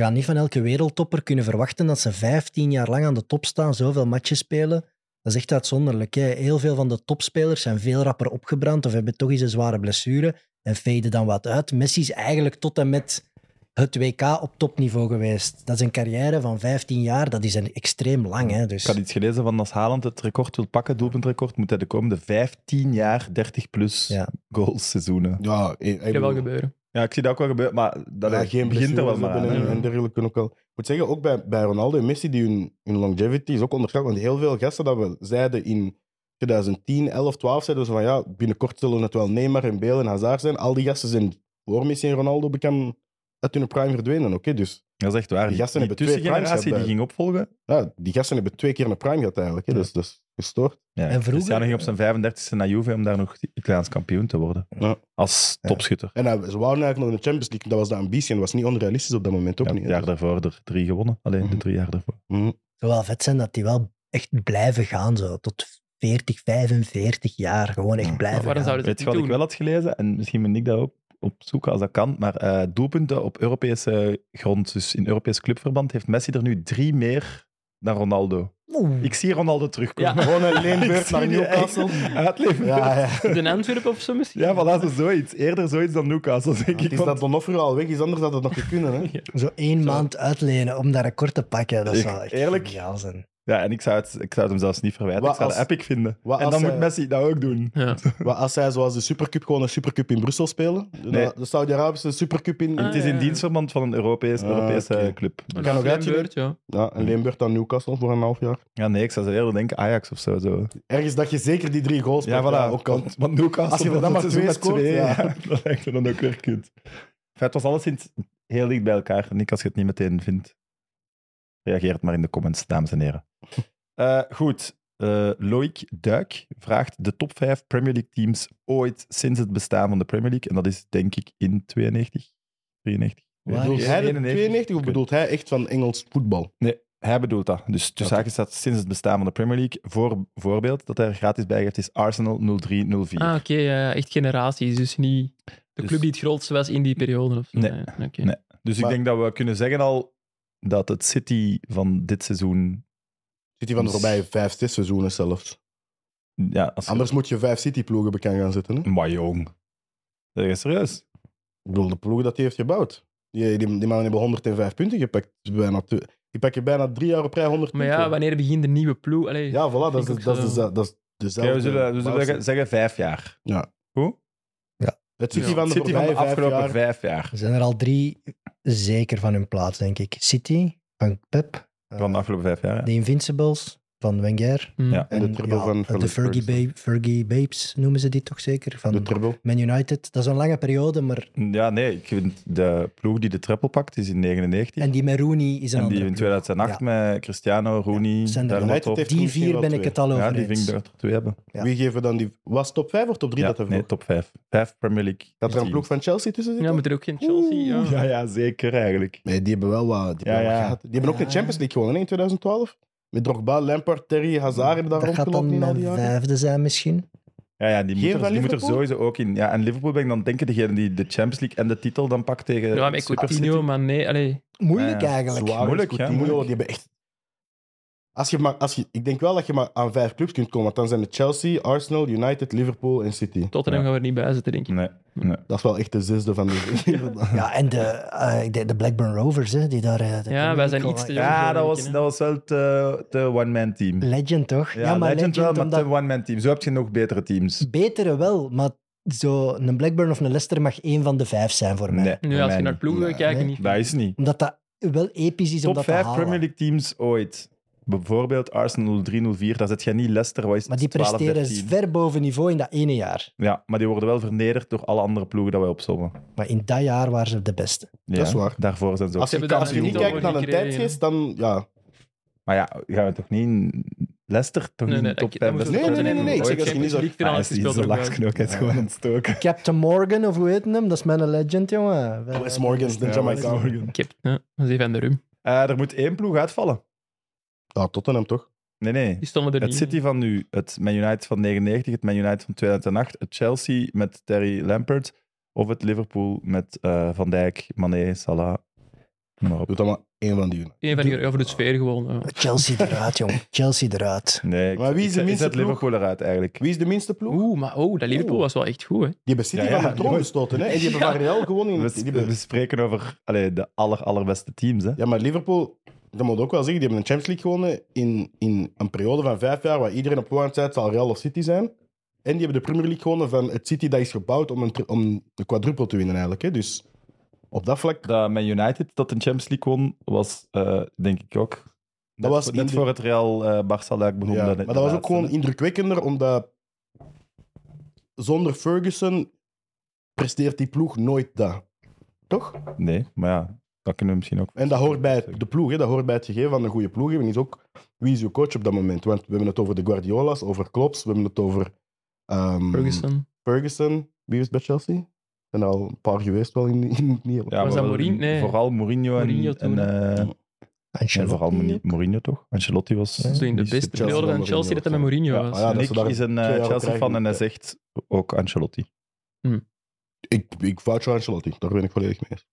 [SPEAKER 5] gaat niet van elke wereldtopper kunnen verwachten dat ze 15 jaar lang aan de top staan, zoveel matches spelen. Dat is echt uitzonderlijk. Hè? Heel veel van de topspelers zijn veel rapper opgebrand of hebben toch eens een zware blessure en faden dan wat uit. Messi is eigenlijk tot en met het WK op topniveau geweest. Dat is een carrière van 15 jaar, dat is een extreem lang. Hè? Dus
[SPEAKER 2] Ik had iets gelezen van als Haaland het record wil pakken, doelpuntrecord, moet hij de komende 15 jaar 30 plus
[SPEAKER 5] Ja.
[SPEAKER 2] goals seizoenen.
[SPEAKER 3] Ja, eh, ik, ik
[SPEAKER 4] Kan wel
[SPEAKER 3] bedoel-
[SPEAKER 4] gebeuren.
[SPEAKER 2] Ja, ik zie dat ook wel gebeuren, maar dat
[SPEAKER 3] ja,
[SPEAKER 2] hij
[SPEAKER 3] geen
[SPEAKER 2] begint er wel
[SPEAKER 3] blessures
[SPEAKER 2] maar aan.
[SPEAKER 3] hebben
[SPEAKER 2] hè.
[SPEAKER 3] En, en dergelijke kunnen ook wel. Ik moet zeggen, ook bij, bij Ronaldo en Messi, die hun, hun longevity is ook onderschat. Want heel veel gasten dat we zeiden in 2010, 11, 12, zeiden ze van ja, binnenkort zullen het wel Neymar en Bale en Hazard zijn. Al die gasten zijn voor Messi en Ronaldo bekend uit hun prime verdwenen. Oké, dus
[SPEAKER 2] Dat is echt waar.
[SPEAKER 3] Die
[SPEAKER 2] Die,
[SPEAKER 3] gasten
[SPEAKER 2] die
[SPEAKER 3] hebben twee primes
[SPEAKER 2] tussengeneratie die
[SPEAKER 3] gehad bij-
[SPEAKER 2] ging opvolgen.
[SPEAKER 3] ja, die gasten hebben twee keer een prime gehad eigenlijk. Hè,
[SPEAKER 2] Ja.
[SPEAKER 3] Dus dat is gestoord.
[SPEAKER 2] Ja,
[SPEAKER 5] En vroeger-
[SPEAKER 2] Cristiano ging op zijn 35e naar Juve om daar nog Italiaans kampioen te worden.
[SPEAKER 3] Ja.
[SPEAKER 2] Als topschutter.
[SPEAKER 3] En hij- ze waren eigenlijk nog in de Champions League. Dat was de ambitie en dat was niet onrealistisch op dat moment ook
[SPEAKER 2] Ja,
[SPEAKER 3] niet.
[SPEAKER 2] het
[SPEAKER 3] hè.
[SPEAKER 2] jaar daarvoor er drie gewonnen. Alleen de
[SPEAKER 3] Mhm.
[SPEAKER 2] drie jaar daarvoor.
[SPEAKER 3] Mhm.
[SPEAKER 5] het zou wel vet zijn dat die wel echt blijven gaan, zo, tot 40, 45 jaar. Gewoon echt
[SPEAKER 3] Ja,
[SPEAKER 5] blijven
[SPEAKER 4] waarom
[SPEAKER 5] gaan.
[SPEAKER 4] zouden ze
[SPEAKER 2] Weet je wat
[SPEAKER 4] het niet
[SPEAKER 2] ik wel
[SPEAKER 4] doen?
[SPEAKER 2] had gelezen? En misschien moet ik dat ook opzoeken als dat kan. Maar eh, doelpunten op Europese grond, dus in Europees clubverband, heeft Messi er nu drie meer dan Ronaldo.
[SPEAKER 5] Oeh.
[SPEAKER 2] Ik zie Ronaldo terugkomen.
[SPEAKER 3] Gewoon
[SPEAKER 2] [laughs]
[SPEAKER 3] een
[SPEAKER 2] Ik
[SPEAKER 3] [laughs] leenbeurt
[SPEAKER 2] zie
[SPEAKER 3] naar
[SPEAKER 2] die
[SPEAKER 3] Newcastle.
[SPEAKER 2] echt Uitleveren.
[SPEAKER 3] Ja, ja.
[SPEAKER 4] Den Antwerpen of zo misschien?
[SPEAKER 2] Ja, voilà, zo zoiets. Eerder zoiets dan Newcastle, denk
[SPEAKER 3] Het
[SPEAKER 2] ik.
[SPEAKER 3] is
[SPEAKER 2] want-
[SPEAKER 3] dat Donofrio al weg is, anders had het nog kunnen.
[SPEAKER 2] [laughs]
[SPEAKER 3] Hè?
[SPEAKER 5] Zo één maand uitlenen om dat record te pakken, dat
[SPEAKER 2] Ik-
[SPEAKER 5] zou echt
[SPEAKER 2] eerlijk?
[SPEAKER 5] geniaal zijn.
[SPEAKER 2] Ja, en ik zou, het, ik zou het hem zelfs niet verwijten.
[SPEAKER 3] Wat
[SPEAKER 2] ik zou het
[SPEAKER 3] als-
[SPEAKER 2] epic vinden.
[SPEAKER 3] wat
[SPEAKER 2] En
[SPEAKER 3] als
[SPEAKER 2] dan moet
[SPEAKER 3] hij-
[SPEAKER 2] Messi dat ook doen.
[SPEAKER 4] Ja.
[SPEAKER 3] Maar als zij zoals de Supercup gewoon een Supercup in Brussel spelen, de-
[SPEAKER 2] Nee.
[SPEAKER 3] de Saudi-Arabische Supercup in...
[SPEAKER 4] Ah,
[SPEAKER 2] het is
[SPEAKER 4] ja,
[SPEAKER 2] in
[SPEAKER 4] ja.
[SPEAKER 2] dienstverband van een Europees,
[SPEAKER 3] Ah,
[SPEAKER 2] Europese
[SPEAKER 3] oké.
[SPEAKER 2] club. Dus-
[SPEAKER 4] Een
[SPEAKER 3] kan ook
[SPEAKER 4] klein
[SPEAKER 3] uitgeleend.
[SPEAKER 4] beurt, ja.
[SPEAKER 3] Ja, een leenbeurt aan Newcastle voor een half jaar.
[SPEAKER 2] Ja, nee, ik zou ze eerder denken Ajax of zo. zo.
[SPEAKER 3] Ergens dat je zeker die drie goals
[SPEAKER 2] Ja,
[SPEAKER 3] pakt,
[SPEAKER 2] voilà.
[SPEAKER 3] ook kan.
[SPEAKER 2] want, [laughs] want Newcastle
[SPEAKER 3] Als je er dan
[SPEAKER 2] dat
[SPEAKER 3] maar
[SPEAKER 2] seizoen
[SPEAKER 3] twee
[SPEAKER 2] met
[SPEAKER 3] scoort,
[SPEAKER 2] twee,
[SPEAKER 3] ja.
[SPEAKER 2] ja, [laughs] dat lijkt me dan ook weer kut. Enfin, het was alleszins heel dicht bij elkaar. Nick, als je het niet meteen vindt, reageer het maar in de comments, dames en heren. [laughs] Eh, goed. Eh Loïc Duik vraagt de top 5 Premier League teams ooit sinds het bestaan van de Premier League. En dat is denk ik in 92, 93.
[SPEAKER 5] Waar
[SPEAKER 2] Ah,
[SPEAKER 3] Bedoelt
[SPEAKER 5] is-
[SPEAKER 3] hij de
[SPEAKER 2] 91?
[SPEAKER 3] 92 of bedoelt hij echt van Engels voetbal?
[SPEAKER 2] Hij bedoelt dat. Dus tussen haakjes staat sinds het bestaan van de Premier League. Voor, voorbeeld dat hij er gratis bij geeft is Arsenal 03-04.
[SPEAKER 4] Ah, oké. ja, echt generaties. Dus niet de
[SPEAKER 2] Dus-
[SPEAKER 4] club die het grootste was in die periode. Of zo.
[SPEAKER 2] Nee.
[SPEAKER 4] oké.
[SPEAKER 2] Nee. Dus
[SPEAKER 3] Maar-
[SPEAKER 2] ik denk dat we kunnen zeggen al dat het City van dit seizoen...
[SPEAKER 3] Zit hij van
[SPEAKER 2] Dus-
[SPEAKER 3] de voorbije vijf, zes seizoenen zelfs.
[SPEAKER 2] Ja, als je-
[SPEAKER 3] Anders moet je vijf City-ploegen bekend gaan zitten. Hè?
[SPEAKER 2] Maar jong. Zeg je serieus?
[SPEAKER 3] Ik bedoel, de ploegen dat hij heeft gebouwd. Die, die, die mannen hebben 105 punten gepakt. Dat is Bijna te- die pakken bijna drie jaar op rij 100
[SPEAKER 4] Maar
[SPEAKER 3] punten.
[SPEAKER 4] ja, wanneer begint de nieuwe ploeg? Allee,
[SPEAKER 3] Ja, voilà, dat
[SPEAKER 4] Vind ik
[SPEAKER 3] is,
[SPEAKER 4] ook
[SPEAKER 3] dat, is,
[SPEAKER 4] zo.
[SPEAKER 3] de- dat is dezelfde.
[SPEAKER 2] Oké, we zullen, we zullen
[SPEAKER 3] basis.
[SPEAKER 2] zeggen, zeggen vijf jaar.
[SPEAKER 3] Ja.
[SPEAKER 2] Hoe?
[SPEAKER 3] Het City
[SPEAKER 4] Ja.
[SPEAKER 3] van de
[SPEAKER 2] City van
[SPEAKER 3] voorbije
[SPEAKER 2] de
[SPEAKER 3] vijf
[SPEAKER 2] afgelopen
[SPEAKER 3] jaar.
[SPEAKER 2] vijf jaar.
[SPEAKER 5] Er zijn er al drie zeker van hun plaats, denk ik. City, van Pep. eh,
[SPEAKER 2] Van de afgelopen vijf jaar,
[SPEAKER 5] de
[SPEAKER 2] ja.
[SPEAKER 5] Invincibles, van Wenger.
[SPEAKER 4] hm.
[SPEAKER 2] Ja.
[SPEAKER 3] En de turbo van Philip
[SPEAKER 5] De Fergie, Ba- Fergie Babes noemen ze die toch zeker?
[SPEAKER 3] De
[SPEAKER 5] Van
[SPEAKER 3] turbo.
[SPEAKER 5] Man United. Dat is een lange periode, maar...
[SPEAKER 2] Ja, nee, ik vind de ploeg die de treble pakt is in 99.
[SPEAKER 5] En die met Rooney is een
[SPEAKER 2] En die
[SPEAKER 5] andere
[SPEAKER 2] in
[SPEAKER 5] ploeg.
[SPEAKER 2] 2008 met Cristiano, Rooney,
[SPEAKER 5] zijn er
[SPEAKER 2] daar
[SPEAKER 5] United
[SPEAKER 2] top.
[SPEAKER 3] heeft-
[SPEAKER 5] Die
[SPEAKER 3] Misschien
[SPEAKER 5] vier
[SPEAKER 3] wel
[SPEAKER 5] ben ik
[SPEAKER 3] twee.
[SPEAKER 5] het al over
[SPEAKER 2] Ja, die
[SPEAKER 5] eens.
[SPEAKER 2] vind ik er twee hebben.
[SPEAKER 5] Ja.
[SPEAKER 3] Wie geven dan die... Was het top 5 of top 3
[SPEAKER 2] Ja,
[SPEAKER 3] dat ervoor?
[SPEAKER 2] nee, top 5. Vijf Premier League.
[SPEAKER 3] Dat er een
[SPEAKER 2] teams.
[SPEAKER 3] ploeg van Chelsea tussen zit?
[SPEAKER 4] Ja, maar er ook geen Chelsea. ja.
[SPEAKER 2] Ja, ja, zeker eigenlijk.
[SPEAKER 3] Nee, die hebben wel wat... Die
[SPEAKER 2] Ja,
[SPEAKER 3] hebben, wel
[SPEAKER 2] ja.
[SPEAKER 3] wat gehad. Die hebben ook
[SPEAKER 5] Ja.
[SPEAKER 3] de Champions League gewonnen hè, in 2012. Met Drogba, Lampard, Terry, Hazard hebben daar
[SPEAKER 5] dat gaat
[SPEAKER 3] rondgelopen
[SPEAKER 5] dan
[SPEAKER 3] in al die
[SPEAKER 5] mijn
[SPEAKER 3] jaren.
[SPEAKER 5] vijfde zijn misschien.
[SPEAKER 2] Ja, ja die,
[SPEAKER 3] Geen
[SPEAKER 2] moet er,
[SPEAKER 3] van
[SPEAKER 2] die moet er
[SPEAKER 3] Liverpool?
[SPEAKER 2] sowieso ook in. Ja, en Liverpool ben ik dan denken degene die de Champions League en de titel dan pakt tegen
[SPEAKER 4] Ja, met
[SPEAKER 2] Super
[SPEAKER 4] Coutinho,
[SPEAKER 2] City.
[SPEAKER 4] maar nee. Allee,
[SPEAKER 5] Moeilijk
[SPEAKER 2] Ja, ja.
[SPEAKER 5] eigenlijk.
[SPEAKER 3] Suarez,
[SPEAKER 2] Moeilijk, ja,
[SPEAKER 3] Coutinho,
[SPEAKER 2] moeilijk.
[SPEAKER 3] Die hebben echt... Als je maar, als je, ik denk wel dat je maar aan vijf clubs kunt komen. Want dan zijn het Chelsea, Arsenal, United, Liverpool en City.
[SPEAKER 2] Ja.
[SPEAKER 4] Tottenham gaan we er niet bij zitten, denk ik.
[SPEAKER 2] Nee.
[SPEAKER 3] Dat is wel echt de [laughs] zesde van de
[SPEAKER 5] Ja, en de, eh, ik denk de Blackburn Rovers, hè, die daar... eh, de
[SPEAKER 4] Ja, wij zijn
[SPEAKER 5] Premier
[SPEAKER 4] iets te
[SPEAKER 5] League al-
[SPEAKER 4] jong.
[SPEAKER 2] Ja,
[SPEAKER 4] zo
[SPEAKER 2] dat was,
[SPEAKER 4] rekenen.
[SPEAKER 2] dat was wel te, te one-man team.
[SPEAKER 5] Legend, toch?
[SPEAKER 2] Ja, legend, wel, maar te one-man team. Zo heb je nog betere teams.
[SPEAKER 5] Betere wel, maar zo een Blackburn of een Leicester mag één van de vijf zijn voor mij.
[SPEAKER 2] Nee, voor
[SPEAKER 4] Nu, als
[SPEAKER 2] mij
[SPEAKER 4] je naar
[SPEAKER 2] niet.
[SPEAKER 4] ploegen wil
[SPEAKER 5] Nee.
[SPEAKER 4] kijken,
[SPEAKER 5] Nee.
[SPEAKER 4] niet.
[SPEAKER 2] Dat is niet.
[SPEAKER 5] Omdat dat wel episch is
[SPEAKER 2] Top
[SPEAKER 5] om dat te
[SPEAKER 2] 5
[SPEAKER 5] halen.
[SPEAKER 2] Premier League teams ooit. Bijvoorbeeld Arsenal 3-0-4, daar zit je niet Leicester, wat is
[SPEAKER 5] Maar die
[SPEAKER 2] het, 12,
[SPEAKER 5] presteren
[SPEAKER 2] 13.
[SPEAKER 5] ver boven niveau in dat ene jaar.
[SPEAKER 2] Ja, maar die worden wel vernederd door alle andere ploegen dat wij opzommen.
[SPEAKER 5] Maar in dat jaar waren ze de beste.
[SPEAKER 2] Ja,
[SPEAKER 3] Dat is waar.
[SPEAKER 2] Daarvoor zijn ze ook.
[SPEAKER 3] Als je,
[SPEAKER 4] hebben daar
[SPEAKER 3] als je
[SPEAKER 4] een
[SPEAKER 3] niet
[SPEAKER 4] titel
[SPEAKER 3] kijkt
[SPEAKER 4] voor
[SPEAKER 3] naar een
[SPEAKER 4] gekregen,
[SPEAKER 3] tijdgeest, dan ja.
[SPEAKER 2] Maar ja, gaan we toch niet in Leicester? Toch
[SPEAKER 4] Nee,
[SPEAKER 2] niet
[SPEAKER 4] nee,
[SPEAKER 2] in top
[SPEAKER 4] dat-
[SPEAKER 2] 5
[SPEAKER 4] dat
[SPEAKER 3] Nee,
[SPEAKER 4] moeten we
[SPEAKER 2] Leicester?
[SPEAKER 3] nee, nee, nee, nee, ik zeg als je niet zo-
[SPEAKER 2] Ah, hij
[SPEAKER 4] finale
[SPEAKER 2] is die
[SPEAKER 4] gespeeld
[SPEAKER 2] zo
[SPEAKER 4] ook
[SPEAKER 2] langs
[SPEAKER 4] wel.
[SPEAKER 2] knokken, gewoon ontstoken.
[SPEAKER 5] Captain Morgan, of hoe heet hem? Dat is mijn legend, jongen.
[SPEAKER 3] Wes Oh, Morgan, de
[SPEAKER 2] Ja, Wes
[SPEAKER 3] Jamaica.
[SPEAKER 4] Ik heb, ja, dat is even aan de rum.
[SPEAKER 2] Eh, er moet één ploeg uitvallen.
[SPEAKER 3] Ja, Tottenham toch?
[SPEAKER 2] Nee, nee.
[SPEAKER 4] Die stonden er
[SPEAKER 2] Het
[SPEAKER 4] niet.
[SPEAKER 2] City van nu, het Man United van 99, het Man United van 2008, het Chelsea met Terry Lampert of het Liverpool met eh, Van Dijk, Mané, Salah. Noem Maar op.
[SPEAKER 3] Doe dan maar één van die.
[SPEAKER 4] Een van die over de sfeer gewoon. ja.
[SPEAKER 5] Chelsea eruit, jongen. Chelsea eruit.
[SPEAKER 2] Nee, ik-
[SPEAKER 3] Maar wie is de
[SPEAKER 2] ik- ik
[SPEAKER 3] minste
[SPEAKER 2] zet
[SPEAKER 3] ploeg?
[SPEAKER 2] Liverpool eruit eigenlijk?
[SPEAKER 3] Wie is de minste ploeg?
[SPEAKER 4] Oeh, maar oh, dat Liverpool was wel echt goed, hè.
[SPEAKER 3] Die hebben City
[SPEAKER 2] Ja, ja,
[SPEAKER 3] van de troon
[SPEAKER 2] jongen.
[SPEAKER 3] gestoten, hè? En die hebben Varel gewonnen. In
[SPEAKER 2] We,
[SPEAKER 3] het,
[SPEAKER 2] s-
[SPEAKER 3] die
[SPEAKER 2] we
[SPEAKER 3] hebben-
[SPEAKER 2] spreken over allee, de aller, allerbeste teams. Hè?
[SPEAKER 3] ja, maar Liverpool, dat moet ik ook wel zeggen, die hebben de Champions League gewonnen in, in een periode van vijf jaar waar iedereen op voorhand zei, het zal Real of City zijn. En die hebben de Premier League gewonnen van het City dat is gebouwd om een, tri- om een quadruple te winnen eigenlijk. Hè? Dus op dat vlak, dat,
[SPEAKER 2] Dat Man United dat de Champions League won, was eh, denk ik ook. net
[SPEAKER 3] was
[SPEAKER 2] voor- net
[SPEAKER 3] in de-
[SPEAKER 2] voor het Real eh Barça luik begon.
[SPEAKER 3] ja,
[SPEAKER 2] dat-
[SPEAKER 3] maar dat was ook
[SPEAKER 2] laatste,
[SPEAKER 3] gewoon
[SPEAKER 2] hè.
[SPEAKER 3] indrukwekkender, omdat zonder Ferguson presteert die ploeg nooit dat. Toch?
[SPEAKER 2] Nee, maar ja, dat kunnen we misschien ook.
[SPEAKER 3] En dat hoort bij het- de ploeg, hè? dat hoort bij het gegeven van een goede ploeg. hebben is ook wie is je coach op dat moment? Want we hebben het over de Guardiola's, over Klops, we hebben het over ehm,
[SPEAKER 4] Ferguson.
[SPEAKER 3] Ferguson. Wie was bij Chelsea? Er zijn er al een paar geweest wel in, in Nederland.
[SPEAKER 2] Ja,
[SPEAKER 4] Was
[SPEAKER 2] maar
[SPEAKER 4] dat
[SPEAKER 2] wel-
[SPEAKER 4] Mourinho? Nee.
[SPEAKER 2] Vooral Mourinho, en-
[SPEAKER 4] Mourinho
[SPEAKER 2] en,
[SPEAKER 4] toen,
[SPEAKER 2] eh, en
[SPEAKER 5] Ancelotti.
[SPEAKER 2] vooral Mouni- Mourinho toch? Ancelotti was.
[SPEAKER 4] Dat is de
[SPEAKER 2] niet
[SPEAKER 4] beste
[SPEAKER 2] super-
[SPEAKER 4] periode van
[SPEAKER 3] Mourinho
[SPEAKER 4] Chelsea dat hij
[SPEAKER 3] was,
[SPEAKER 4] met Mourinho
[SPEAKER 3] ja.
[SPEAKER 4] was.
[SPEAKER 3] Ah, ja, dat
[SPEAKER 2] Nick
[SPEAKER 3] ze daar
[SPEAKER 2] is een eh,
[SPEAKER 3] twee jaar op
[SPEAKER 2] Chelsea fan
[SPEAKER 3] krijgen.
[SPEAKER 2] en hij zegt ook Ancelotti.
[SPEAKER 3] Ik, ik vouch voor Ancelotti, daar ben ik volledig mee eens.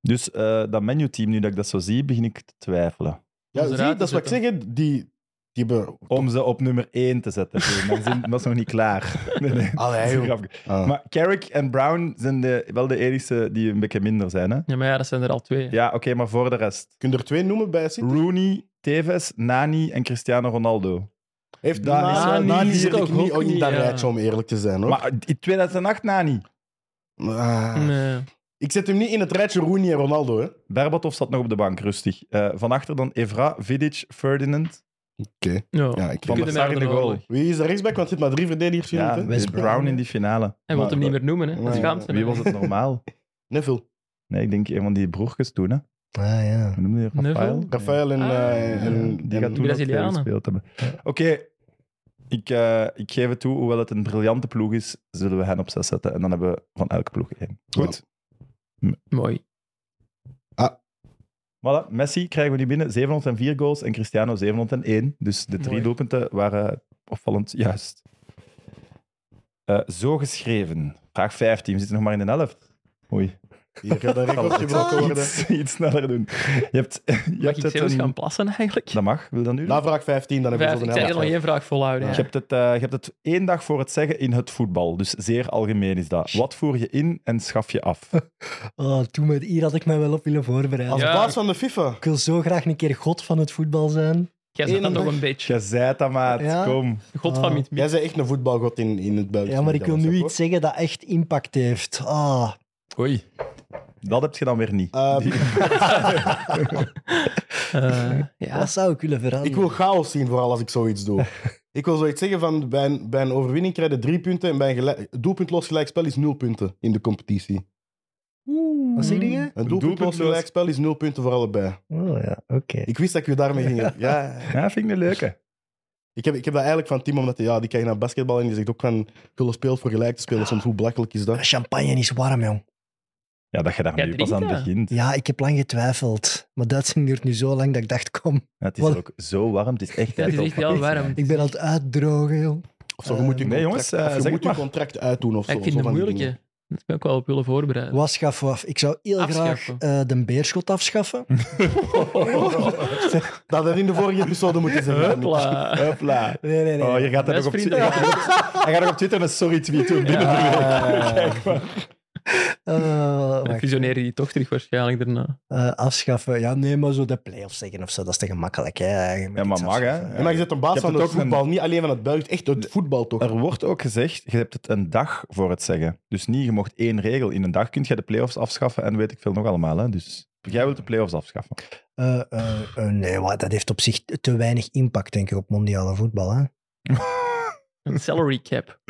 [SPEAKER 2] Dus eh, dat menu-team, nu dat ik dat zo zie, begin ik te twijfelen.
[SPEAKER 3] Ja,
[SPEAKER 4] Om ze
[SPEAKER 3] zie,
[SPEAKER 4] eruit
[SPEAKER 3] dat
[SPEAKER 4] te
[SPEAKER 3] is wat ik zeg, hè. die, die hebben...
[SPEAKER 2] Om ze op nummer 1 te zetten. Dan zijn, dat is nog niet [laughs] klaar. Nee, nee.
[SPEAKER 5] Allee, joh.
[SPEAKER 3] Ah.
[SPEAKER 2] Maar Carrick en Brown zijn de, wel de enigste die een beetje minder zijn. Hè?
[SPEAKER 4] Ja, maar ja, dat zijn er al twee.
[SPEAKER 2] Ja, oké, maar voor de rest.
[SPEAKER 3] kun je er twee noemen bij City?
[SPEAKER 2] Rooney, Tevez, Nani en Cristiano Ronaldo.
[SPEAKER 3] Heeft
[SPEAKER 2] Daar
[SPEAKER 3] Nani-
[SPEAKER 2] is wel-
[SPEAKER 3] Nani
[SPEAKER 4] Nani
[SPEAKER 3] zit
[SPEAKER 4] zit
[SPEAKER 3] ik
[SPEAKER 4] ook
[SPEAKER 3] niet
[SPEAKER 4] ook
[SPEAKER 3] in dat
[SPEAKER 4] niet, ja.
[SPEAKER 3] rijtje, om eerlijk te zijn. Hoor.
[SPEAKER 2] Maar eh, in 2008 Nani.
[SPEAKER 3] Ah.
[SPEAKER 4] Nee.
[SPEAKER 3] Ik zet hem niet in het rijtje Rooney en Ronaldo. Hè. Oké.
[SPEAKER 2] Berbatov zat nog op de bank, rustig. Eh vanachter dan Evra, Vidic, Ferdinand.
[SPEAKER 4] Ja.
[SPEAKER 3] Ja, ik
[SPEAKER 2] Van der
[SPEAKER 4] kunt
[SPEAKER 2] Sar
[SPEAKER 4] hem
[SPEAKER 2] in de
[SPEAKER 4] eigenlijk wel
[SPEAKER 2] goal.
[SPEAKER 4] nog.
[SPEAKER 3] Wie is de rechtsback? Want het zit maar drie verdedigers hier.
[SPEAKER 2] Ja,
[SPEAKER 3] hè?
[SPEAKER 5] West
[SPEAKER 2] Brown in die finale.
[SPEAKER 4] Hij wil hem niet meer noemen, hè. Dat
[SPEAKER 3] Nee.
[SPEAKER 4] schaamt hem,
[SPEAKER 2] Wie
[SPEAKER 4] hè.
[SPEAKER 2] was het normaal?
[SPEAKER 3] Neville.
[SPEAKER 2] Nee, ik denk een van die broertjes toen. Hè.
[SPEAKER 5] Ah, ja.
[SPEAKER 2] Hoe noemde je dat?
[SPEAKER 4] Neville?
[SPEAKER 2] Rafael?
[SPEAKER 3] Rafael en...
[SPEAKER 4] Ah.
[SPEAKER 3] eh, en-
[SPEAKER 2] Ja, die gaat
[SPEAKER 3] en-
[SPEAKER 2] toen ook veel
[SPEAKER 4] Brazilianen.
[SPEAKER 2] gespeeld hebben. Oké, ik, eh, ik geef het toe. Hoewel het een briljante ploeg is, zullen we hen op zes zetten. En dan hebben we van elke ploeg één. Goed.
[SPEAKER 4] Mooi.
[SPEAKER 2] Voilà, Messi krijgen we die binnen. 704 goals en Cristiano 701. Dus de drie
[SPEAKER 4] Mooi.
[SPEAKER 2] doelpunten waren opvallend juist. Eh, zo geschreven. Vraag 15. We zitten nog maar in de helft. Oei.
[SPEAKER 3] Hier gaat een record gebroken worden.
[SPEAKER 2] Iets, iets sneller doen. Je hebt, je
[SPEAKER 4] Mag
[SPEAKER 2] hebt
[SPEAKER 4] ik
[SPEAKER 2] het
[SPEAKER 4] zelfs
[SPEAKER 2] een-
[SPEAKER 4] gaan plassen, eigenlijk?
[SPEAKER 2] Dat mag. Wil dat nu? doen?
[SPEAKER 3] Na vraag 15, dan hebben
[SPEAKER 4] Vijf,
[SPEAKER 3] we
[SPEAKER 4] ik
[SPEAKER 3] zo'n
[SPEAKER 4] zei er nog
[SPEAKER 3] helft.
[SPEAKER 4] één vraag volhouden.
[SPEAKER 2] Je
[SPEAKER 4] ja.
[SPEAKER 2] hebt, het, eh, je hebt het één dag voor het zeggen in het voetbal. Dus zeer algemeen is dat. Wat voer je in en schaf je af?
[SPEAKER 5] Oh, toen met, hier had ik mij wel op willen voorbereiden.
[SPEAKER 3] Als
[SPEAKER 4] Ja.
[SPEAKER 3] baas van de FIFA.
[SPEAKER 5] Ik wil zo graag een keer god van het voetbal zijn.
[SPEAKER 4] Jij zit dan
[SPEAKER 3] Eén
[SPEAKER 4] nog
[SPEAKER 3] dag.
[SPEAKER 4] een beetje.
[SPEAKER 2] Je zei dat, maat.
[SPEAKER 5] Ja.
[SPEAKER 2] Kom.
[SPEAKER 4] God van
[SPEAKER 5] Ah.
[SPEAKER 4] niet
[SPEAKER 3] Jij bent echt een voetbalgod in, in het België.
[SPEAKER 5] Ja, maar ik wil nu iets zeggen dat echt impact heeft. Ah,
[SPEAKER 2] Oei. Dat heb je dan weer niet.
[SPEAKER 5] [laughs]
[SPEAKER 3] Eh,
[SPEAKER 2] Die-
[SPEAKER 4] Eh, [laughs] ja.
[SPEAKER 5] wat zou ik willen veranderen?
[SPEAKER 3] Ik wil chaos zien, vooral als ik zoiets doe.
[SPEAKER 5] [laughs]
[SPEAKER 3] ik wil zoiets zeggen van, bij een, bij een overwinning krijg je drie punten en bij een gelijk- doelpuntloos gelijkspel is nul punten in de competitie.
[SPEAKER 5] Wat zeg je?
[SPEAKER 3] Een
[SPEAKER 2] doelpuntloos-
[SPEAKER 3] doelpuntloos gelijkspel is nul punten voor allebei.
[SPEAKER 5] Oh ja, oké.
[SPEAKER 3] Ik wist dat ik je daarmee
[SPEAKER 5] [laughs]
[SPEAKER 3] ging. Ja,
[SPEAKER 2] Ja, vind ik een leuke.
[SPEAKER 3] Ik heb, ik heb dat eigenlijk van Tim, omdat hij, ja, die kijkt naar basketbal en die zegt ook van, Gullen speelt voor gelijk te spelen.
[SPEAKER 2] Ah.
[SPEAKER 3] Soms hoe belachelijk is dat?
[SPEAKER 5] Champagne is warm, jong.
[SPEAKER 2] Ja, dat je daar
[SPEAKER 4] Ja,
[SPEAKER 2] nu pas aan
[SPEAKER 4] drinken.
[SPEAKER 2] begint.
[SPEAKER 5] Ja, ik heb lang getwijfeld. Maar dat duurt nu zo lang dat ik dacht, kom.
[SPEAKER 2] Ja, het is
[SPEAKER 5] Wat-
[SPEAKER 2] ook zo warm. Het is echt,
[SPEAKER 4] [laughs] Ja, het is echt heel warm.
[SPEAKER 5] Ik ben aan het uitdrogen, joh.
[SPEAKER 3] Of zo, je moet je
[SPEAKER 2] Nee,
[SPEAKER 3] contract,
[SPEAKER 2] jongens, eh,
[SPEAKER 3] of je
[SPEAKER 2] zeg
[SPEAKER 3] moet
[SPEAKER 2] het
[SPEAKER 3] je
[SPEAKER 2] maar.
[SPEAKER 3] contract uitdoen of zo.
[SPEAKER 4] Ja, ik vind
[SPEAKER 3] zo
[SPEAKER 4] het
[SPEAKER 3] van die
[SPEAKER 4] moeilijk, hè.
[SPEAKER 3] dingen.
[SPEAKER 4] Dat ben ik wel op willen voorbereiden.
[SPEAKER 5] Wat schaffen we af? Ik zou heel
[SPEAKER 4] Afschaffen.
[SPEAKER 5] graag eh, de
[SPEAKER 2] [laughs]
[SPEAKER 5] beerschot afschaffen.
[SPEAKER 3] Dat had in de vorige episode moeten zeggen.
[SPEAKER 4] Hopla.
[SPEAKER 2] Hopla.
[SPEAKER 5] Nee, nee, nee.
[SPEAKER 2] Oh, je gaat dat
[SPEAKER 4] Dat
[SPEAKER 2] nog [laughs]
[SPEAKER 4] is
[SPEAKER 2] op Twitter.
[SPEAKER 4] vriendelijk.
[SPEAKER 2] Hij gaat nog op Twitter een sorry tweet doen binnen de week. [laughs] Kijk maar.
[SPEAKER 5] Eh,
[SPEAKER 4] Dan
[SPEAKER 5] wacht.
[SPEAKER 4] fusioneren die toch terug waarschijnlijk daarna.
[SPEAKER 5] Eh, afschaffen. Ja, nee, maar zo de play-offs zeggen of zo, dat is te gemakkelijk. Hè. Je moet
[SPEAKER 2] Ja,
[SPEAKER 5] iets
[SPEAKER 2] maar mag,
[SPEAKER 5] afschaffen.
[SPEAKER 2] hè?
[SPEAKER 3] En maar je zit een baas
[SPEAKER 2] Ik heb
[SPEAKER 3] van
[SPEAKER 2] het
[SPEAKER 3] het
[SPEAKER 2] ook een-
[SPEAKER 3] voetbal, niet alleen van het buiten, echt het voetbal toch?
[SPEAKER 2] Er wordt ook gezegd, je hebt het een dag voor het zeggen. Dus niet, je mocht één regel. In een dag kun je de play-offs afschaffen en weet ik veel nog allemaal. Hè? Dus jij wilt de play-offs afschaffen.
[SPEAKER 5] Eh, eh, eh, nee, maar dat heeft op zich te weinig impact, denk ik, op mondiale voetbal. Hè?
[SPEAKER 4] Een salary cap.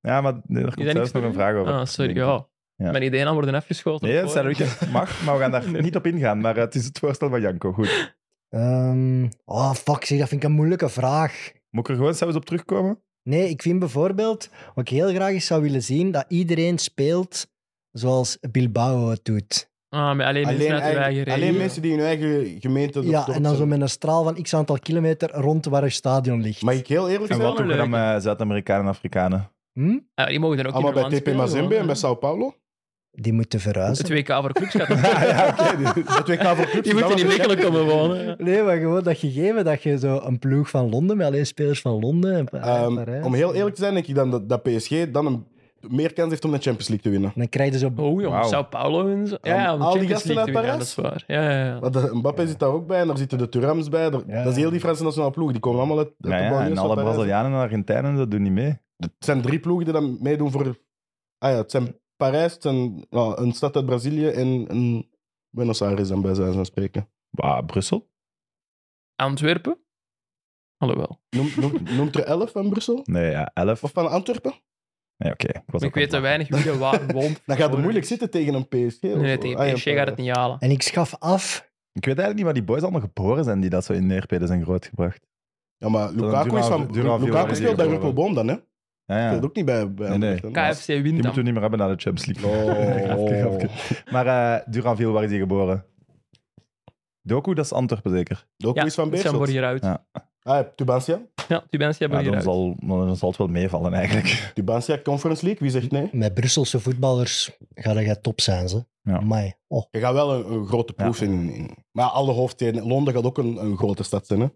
[SPEAKER 2] ja, maar nee, daar
[SPEAKER 4] Is
[SPEAKER 2] komt
[SPEAKER 4] dat
[SPEAKER 2] zelfs
[SPEAKER 4] niks
[SPEAKER 2] nog een
[SPEAKER 4] voor
[SPEAKER 2] vraag over.
[SPEAKER 4] Ah, sorry.
[SPEAKER 2] denk ik.
[SPEAKER 4] Ja.
[SPEAKER 2] Ja.
[SPEAKER 4] Mijn ideeën aan worden afgeschoten.
[SPEAKER 2] Nee, het zijn er
[SPEAKER 4] [laughs]
[SPEAKER 2] ook- mag, maar we gaan daar
[SPEAKER 4] Nee.
[SPEAKER 2] niet op ingaan. Maar het is het voorstel van Janko. Goed.
[SPEAKER 5] Ehm, oh, fuck, zeg, dat vind ik een moeilijke vraag.
[SPEAKER 2] Moet ik er gewoon zelfs op terugkomen?
[SPEAKER 5] Nee, ik vind bijvoorbeeld, wat ik heel graag eens zou willen zien, dat iedereen speelt zoals Bilbao het doet.
[SPEAKER 4] Ah, met alleen mensen
[SPEAKER 3] alleen,
[SPEAKER 4] uit
[SPEAKER 3] eigen-
[SPEAKER 4] hun eigen regio.
[SPEAKER 3] alleen mensen die in hun eigen gemeente...
[SPEAKER 5] Ja, en dan zo met een straal van x aantal kilometer rond waar het stadion ligt.
[SPEAKER 3] Mag ik heel eerlijk
[SPEAKER 2] En
[SPEAKER 3] zijn?
[SPEAKER 2] wat
[SPEAKER 4] wel een
[SPEAKER 2] doen we dan
[SPEAKER 4] leuke.
[SPEAKER 2] met Zuid-Amerikanen en Afrikanen?
[SPEAKER 5] Hm?
[SPEAKER 4] Ah, die mogen dan ook
[SPEAKER 3] Allemaal
[SPEAKER 4] in
[SPEAKER 3] bij
[SPEAKER 4] hun land
[SPEAKER 3] TP
[SPEAKER 4] spelen,
[SPEAKER 3] Mazembe
[SPEAKER 4] gewoon,
[SPEAKER 3] en bij Sao
[SPEAKER 2] [laughs]
[SPEAKER 3] Paulo?
[SPEAKER 5] Die moeten verhuizen.
[SPEAKER 4] Het WK voor clubs
[SPEAKER 3] [laughs]
[SPEAKER 4] gaat
[SPEAKER 2] Ah, [laughs] ja, oké.
[SPEAKER 3] Dat WK voor clubs.
[SPEAKER 4] Die moeten niet wekelijk komen wonen.
[SPEAKER 5] Nee, maar gewoon dat gegeven dat je zo een ploeg van Londen met alleen spelers van Londen en Pa-
[SPEAKER 3] Ehm,
[SPEAKER 5] Parijs.
[SPEAKER 3] om heel eerlijk te zijn, denk ik dan dat, dat PSG dan een, meer kans heeft om de Champions League te winnen.
[SPEAKER 5] Dan krijg je zo...
[SPEAKER 4] Oh jong,
[SPEAKER 2] Wauw.
[SPEAKER 4] Sao Paulo en zo. Ja,
[SPEAKER 3] Aan
[SPEAKER 4] ja, om de
[SPEAKER 3] al die
[SPEAKER 4] Champions
[SPEAKER 3] gasten
[SPEAKER 4] League
[SPEAKER 3] uit
[SPEAKER 4] te winnen,
[SPEAKER 3] Parijs?
[SPEAKER 4] Dat is waar. Ja, ja, ja.
[SPEAKER 3] Want de- Mbappé zit daar ook bij en daar zitten de Turams bij. daar-
[SPEAKER 5] Ja.
[SPEAKER 3] Dat is heel die Franse nationale ploeg. Die komen allemaal uit, uit de
[SPEAKER 2] Ja, ja,
[SPEAKER 3] banlieues
[SPEAKER 2] en
[SPEAKER 3] van
[SPEAKER 2] alle
[SPEAKER 3] Parijs.
[SPEAKER 2] Brazilianen en Argentijnen, dat doen niet mee.
[SPEAKER 3] Het zijn drie ploegen die dan meedoen voor... Ah ja, het zijn Parijs, het zijn, ja, een stad uit Brazilië en een Buenos Aires dan bij zijn van spreken.
[SPEAKER 2] Bah, Brussel?
[SPEAKER 4] Antwerpen? Alhoewel.
[SPEAKER 3] Noem, noem,
[SPEAKER 2] [laughs]
[SPEAKER 3] noemt er elf van Brussel?
[SPEAKER 2] Nee, ja, elf.
[SPEAKER 3] Of van Antwerpen?
[SPEAKER 2] Nee, oké. Ik, was
[SPEAKER 4] Maar
[SPEAKER 2] ook
[SPEAKER 4] ik weet te
[SPEAKER 2] aan het
[SPEAKER 4] weinig wie er waar
[SPEAKER 3] [laughs]
[SPEAKER 4] woont.
[SPEAKER 3] Dan gaat het moeilijk zitten tegen een PSG. of zo. Ah
[SPEAKER 4] Nee, nee, tegen
[SPEAKER 3] ja,
[SPEAKER 4] PSG gaat het niet halen.
[SPEAKER 5] En ik schaf af...
[SPEAKER 2] Ik weet eigenlijk niet waar die boys allemaal geboren zijn die dat zo in Neerpede zijn grootgebracht.
[SPEAKER 3] Ja, maar Lukaku,
[SPEAKER 2] Dura-
[SPEAKER 3] is van,
[SPEAKER 2] Dura- Dura-
[SPEAKER 3] Lukaku speelt bij
[SPEAKER 2] Dura-
[SPEAKER 3] Ruppelboom dan, hè?
[SPEAKER 2] Ja, ja.
[SPEAKER 3] Speelt ook niet bij, bij
[SPEAKER 2] Nee, nee.
[SPEAKER 3] Anderlecht, hè?
[SPEAKER 4] KFC wint
[SPEAKER 2] Die moeten we
[SPEAKER 4] dan.
[SPEAKER 2] niet meer hebben naar de Champions League. [laughs]
[SPEAKER 3] [laughs]
[SPEAKER 2] Grapje,
[SPEAKER 3] Oh.
[SPEAKER 2] grapje. Maar eh Duranville, waar is hij geboren? Doku, dat is Antwerpen zeker.
[SPEAKER 3] Doku
[SPEAKER 4] Ja,
[SPEAKER 3] is van
[SPEAKER 4] het
[SPEAKER 3] Beerschot.
[SPEAKER 4] zijn voor hieruit.
[SPEAKER 2] Ja.
[SPEAKER 3] Ah, Tubansia.
[SPEAKER 4] Ja, die mensen
[SPEAKER 2] Ja,
[SPEAKER 4] hebben
[SPEAKER 2] dan,
[SPEAKER 4] hieruit.
[SPEAKER 2] zal, dan zal het wel meevallen
[SPEAKER 3] [laughs]
[SPEAKER 2] eigenlijk.
[SPEAKER 3] Tubansia Conference League, wie zegt nee?
[SPEAKER 5] Met Brusselse voetballers ga je top zijn, ze.
[SPEAKER 2] Ja.
[SPEAKER 5] Amai. Oh.
[SPEAKER 3] Je gaat wel een, een grote proef in, in- Maar ja, alle hoofdsteden. Londen gaat ook een, een grote stad zijn, hè?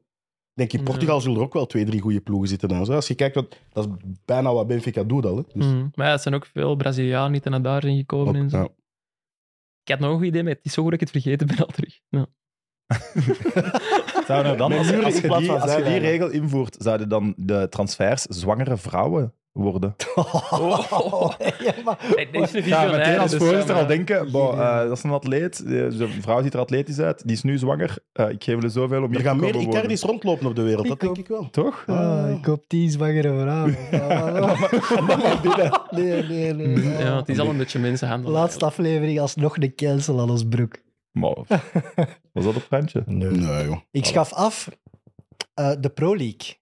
[SPEAKER 3] Denk je, Portugal zullen er ook wel twee, drie goede ploegen zitten dan. Zo. Als je kijkt, wat, dat is bijna wat Benfica doet al. Hè? Dus,
[SPEAKER 4] Mhm. Maar ja, het zijn ook veel Brazilianen die naar daar zijn gekomen
[SPEAKER 3] ook,
[SPEAKER 4] en zo.
[SPEAKER 3] ja.
[SPEAKER 4] Ik had nog een idee, maar het is zo goed dat ik het vergeten ben al terug. Ja.
[SPEAKER 2] Zou er dan,
[SPEAKER 3] Met
[SPEAKER 2] als, je-
[SPEAKER 3] muren
[SPEAKER 2] als
[SPEAKER 3] in
[SPEAKER 2] je
[SPEAKER 3] plaats
[SPEAKER 2] die,
[SPEAKER 3] van
[SPEAKER 2] als je die
[SPEAKER 3] zijlijnen.
[SPEAKER 2] regel invoert, zouden dan de transfers zwangere vrouwen worden?
[SPEAKER 4] Oh.
[SPEAKER 5] Ja, maar-
[SPEAKER 4] Hey, dit is een
[SPEAKER 2] Ja,
[SPEAKER 4] visionair,
[SPEAKER 2] meteen als
[SPEAKER 4] dus,
[SPEAKER 2] voorzitter
[SPEAKER 4] eh,
[SPEAKER 2] al denken, bo, eh, dat is een atleet, eh, de vrouw ziet er atletisch uit, die is nu zwanger, Eh, ik geef er zoveel om hier
[SPEAKER 3] Er
[SPEAKER 2] te
[SPEAKER 3] gaan
[SPEAKER 2] komen
[SPEAKER 3] meer
[SPEAKER 2] wonen.
[SPEAKER 3] Icardis rondlopen op de wereld, dat denk ik wel.
[SPEAKER 2] Toch?
[SPEAKER 5] Ah, ik hoop die zwangere
[SPEAKER 4] [laughs]
[SPEAKER 5] vrouw. nee, nee, nee.
[SPEAKER 4] Ja, het is al een beetje mensenhandel.
[SPEAKER 5] Laatste aflevering alsnog de cancel aan ons broek.
[SPEAKER 2] Maar, was dat een prentje?
[SPEAKER 3] Nee, joh.
[SPEAKER 5] Ik schaf af eh, de Pro League.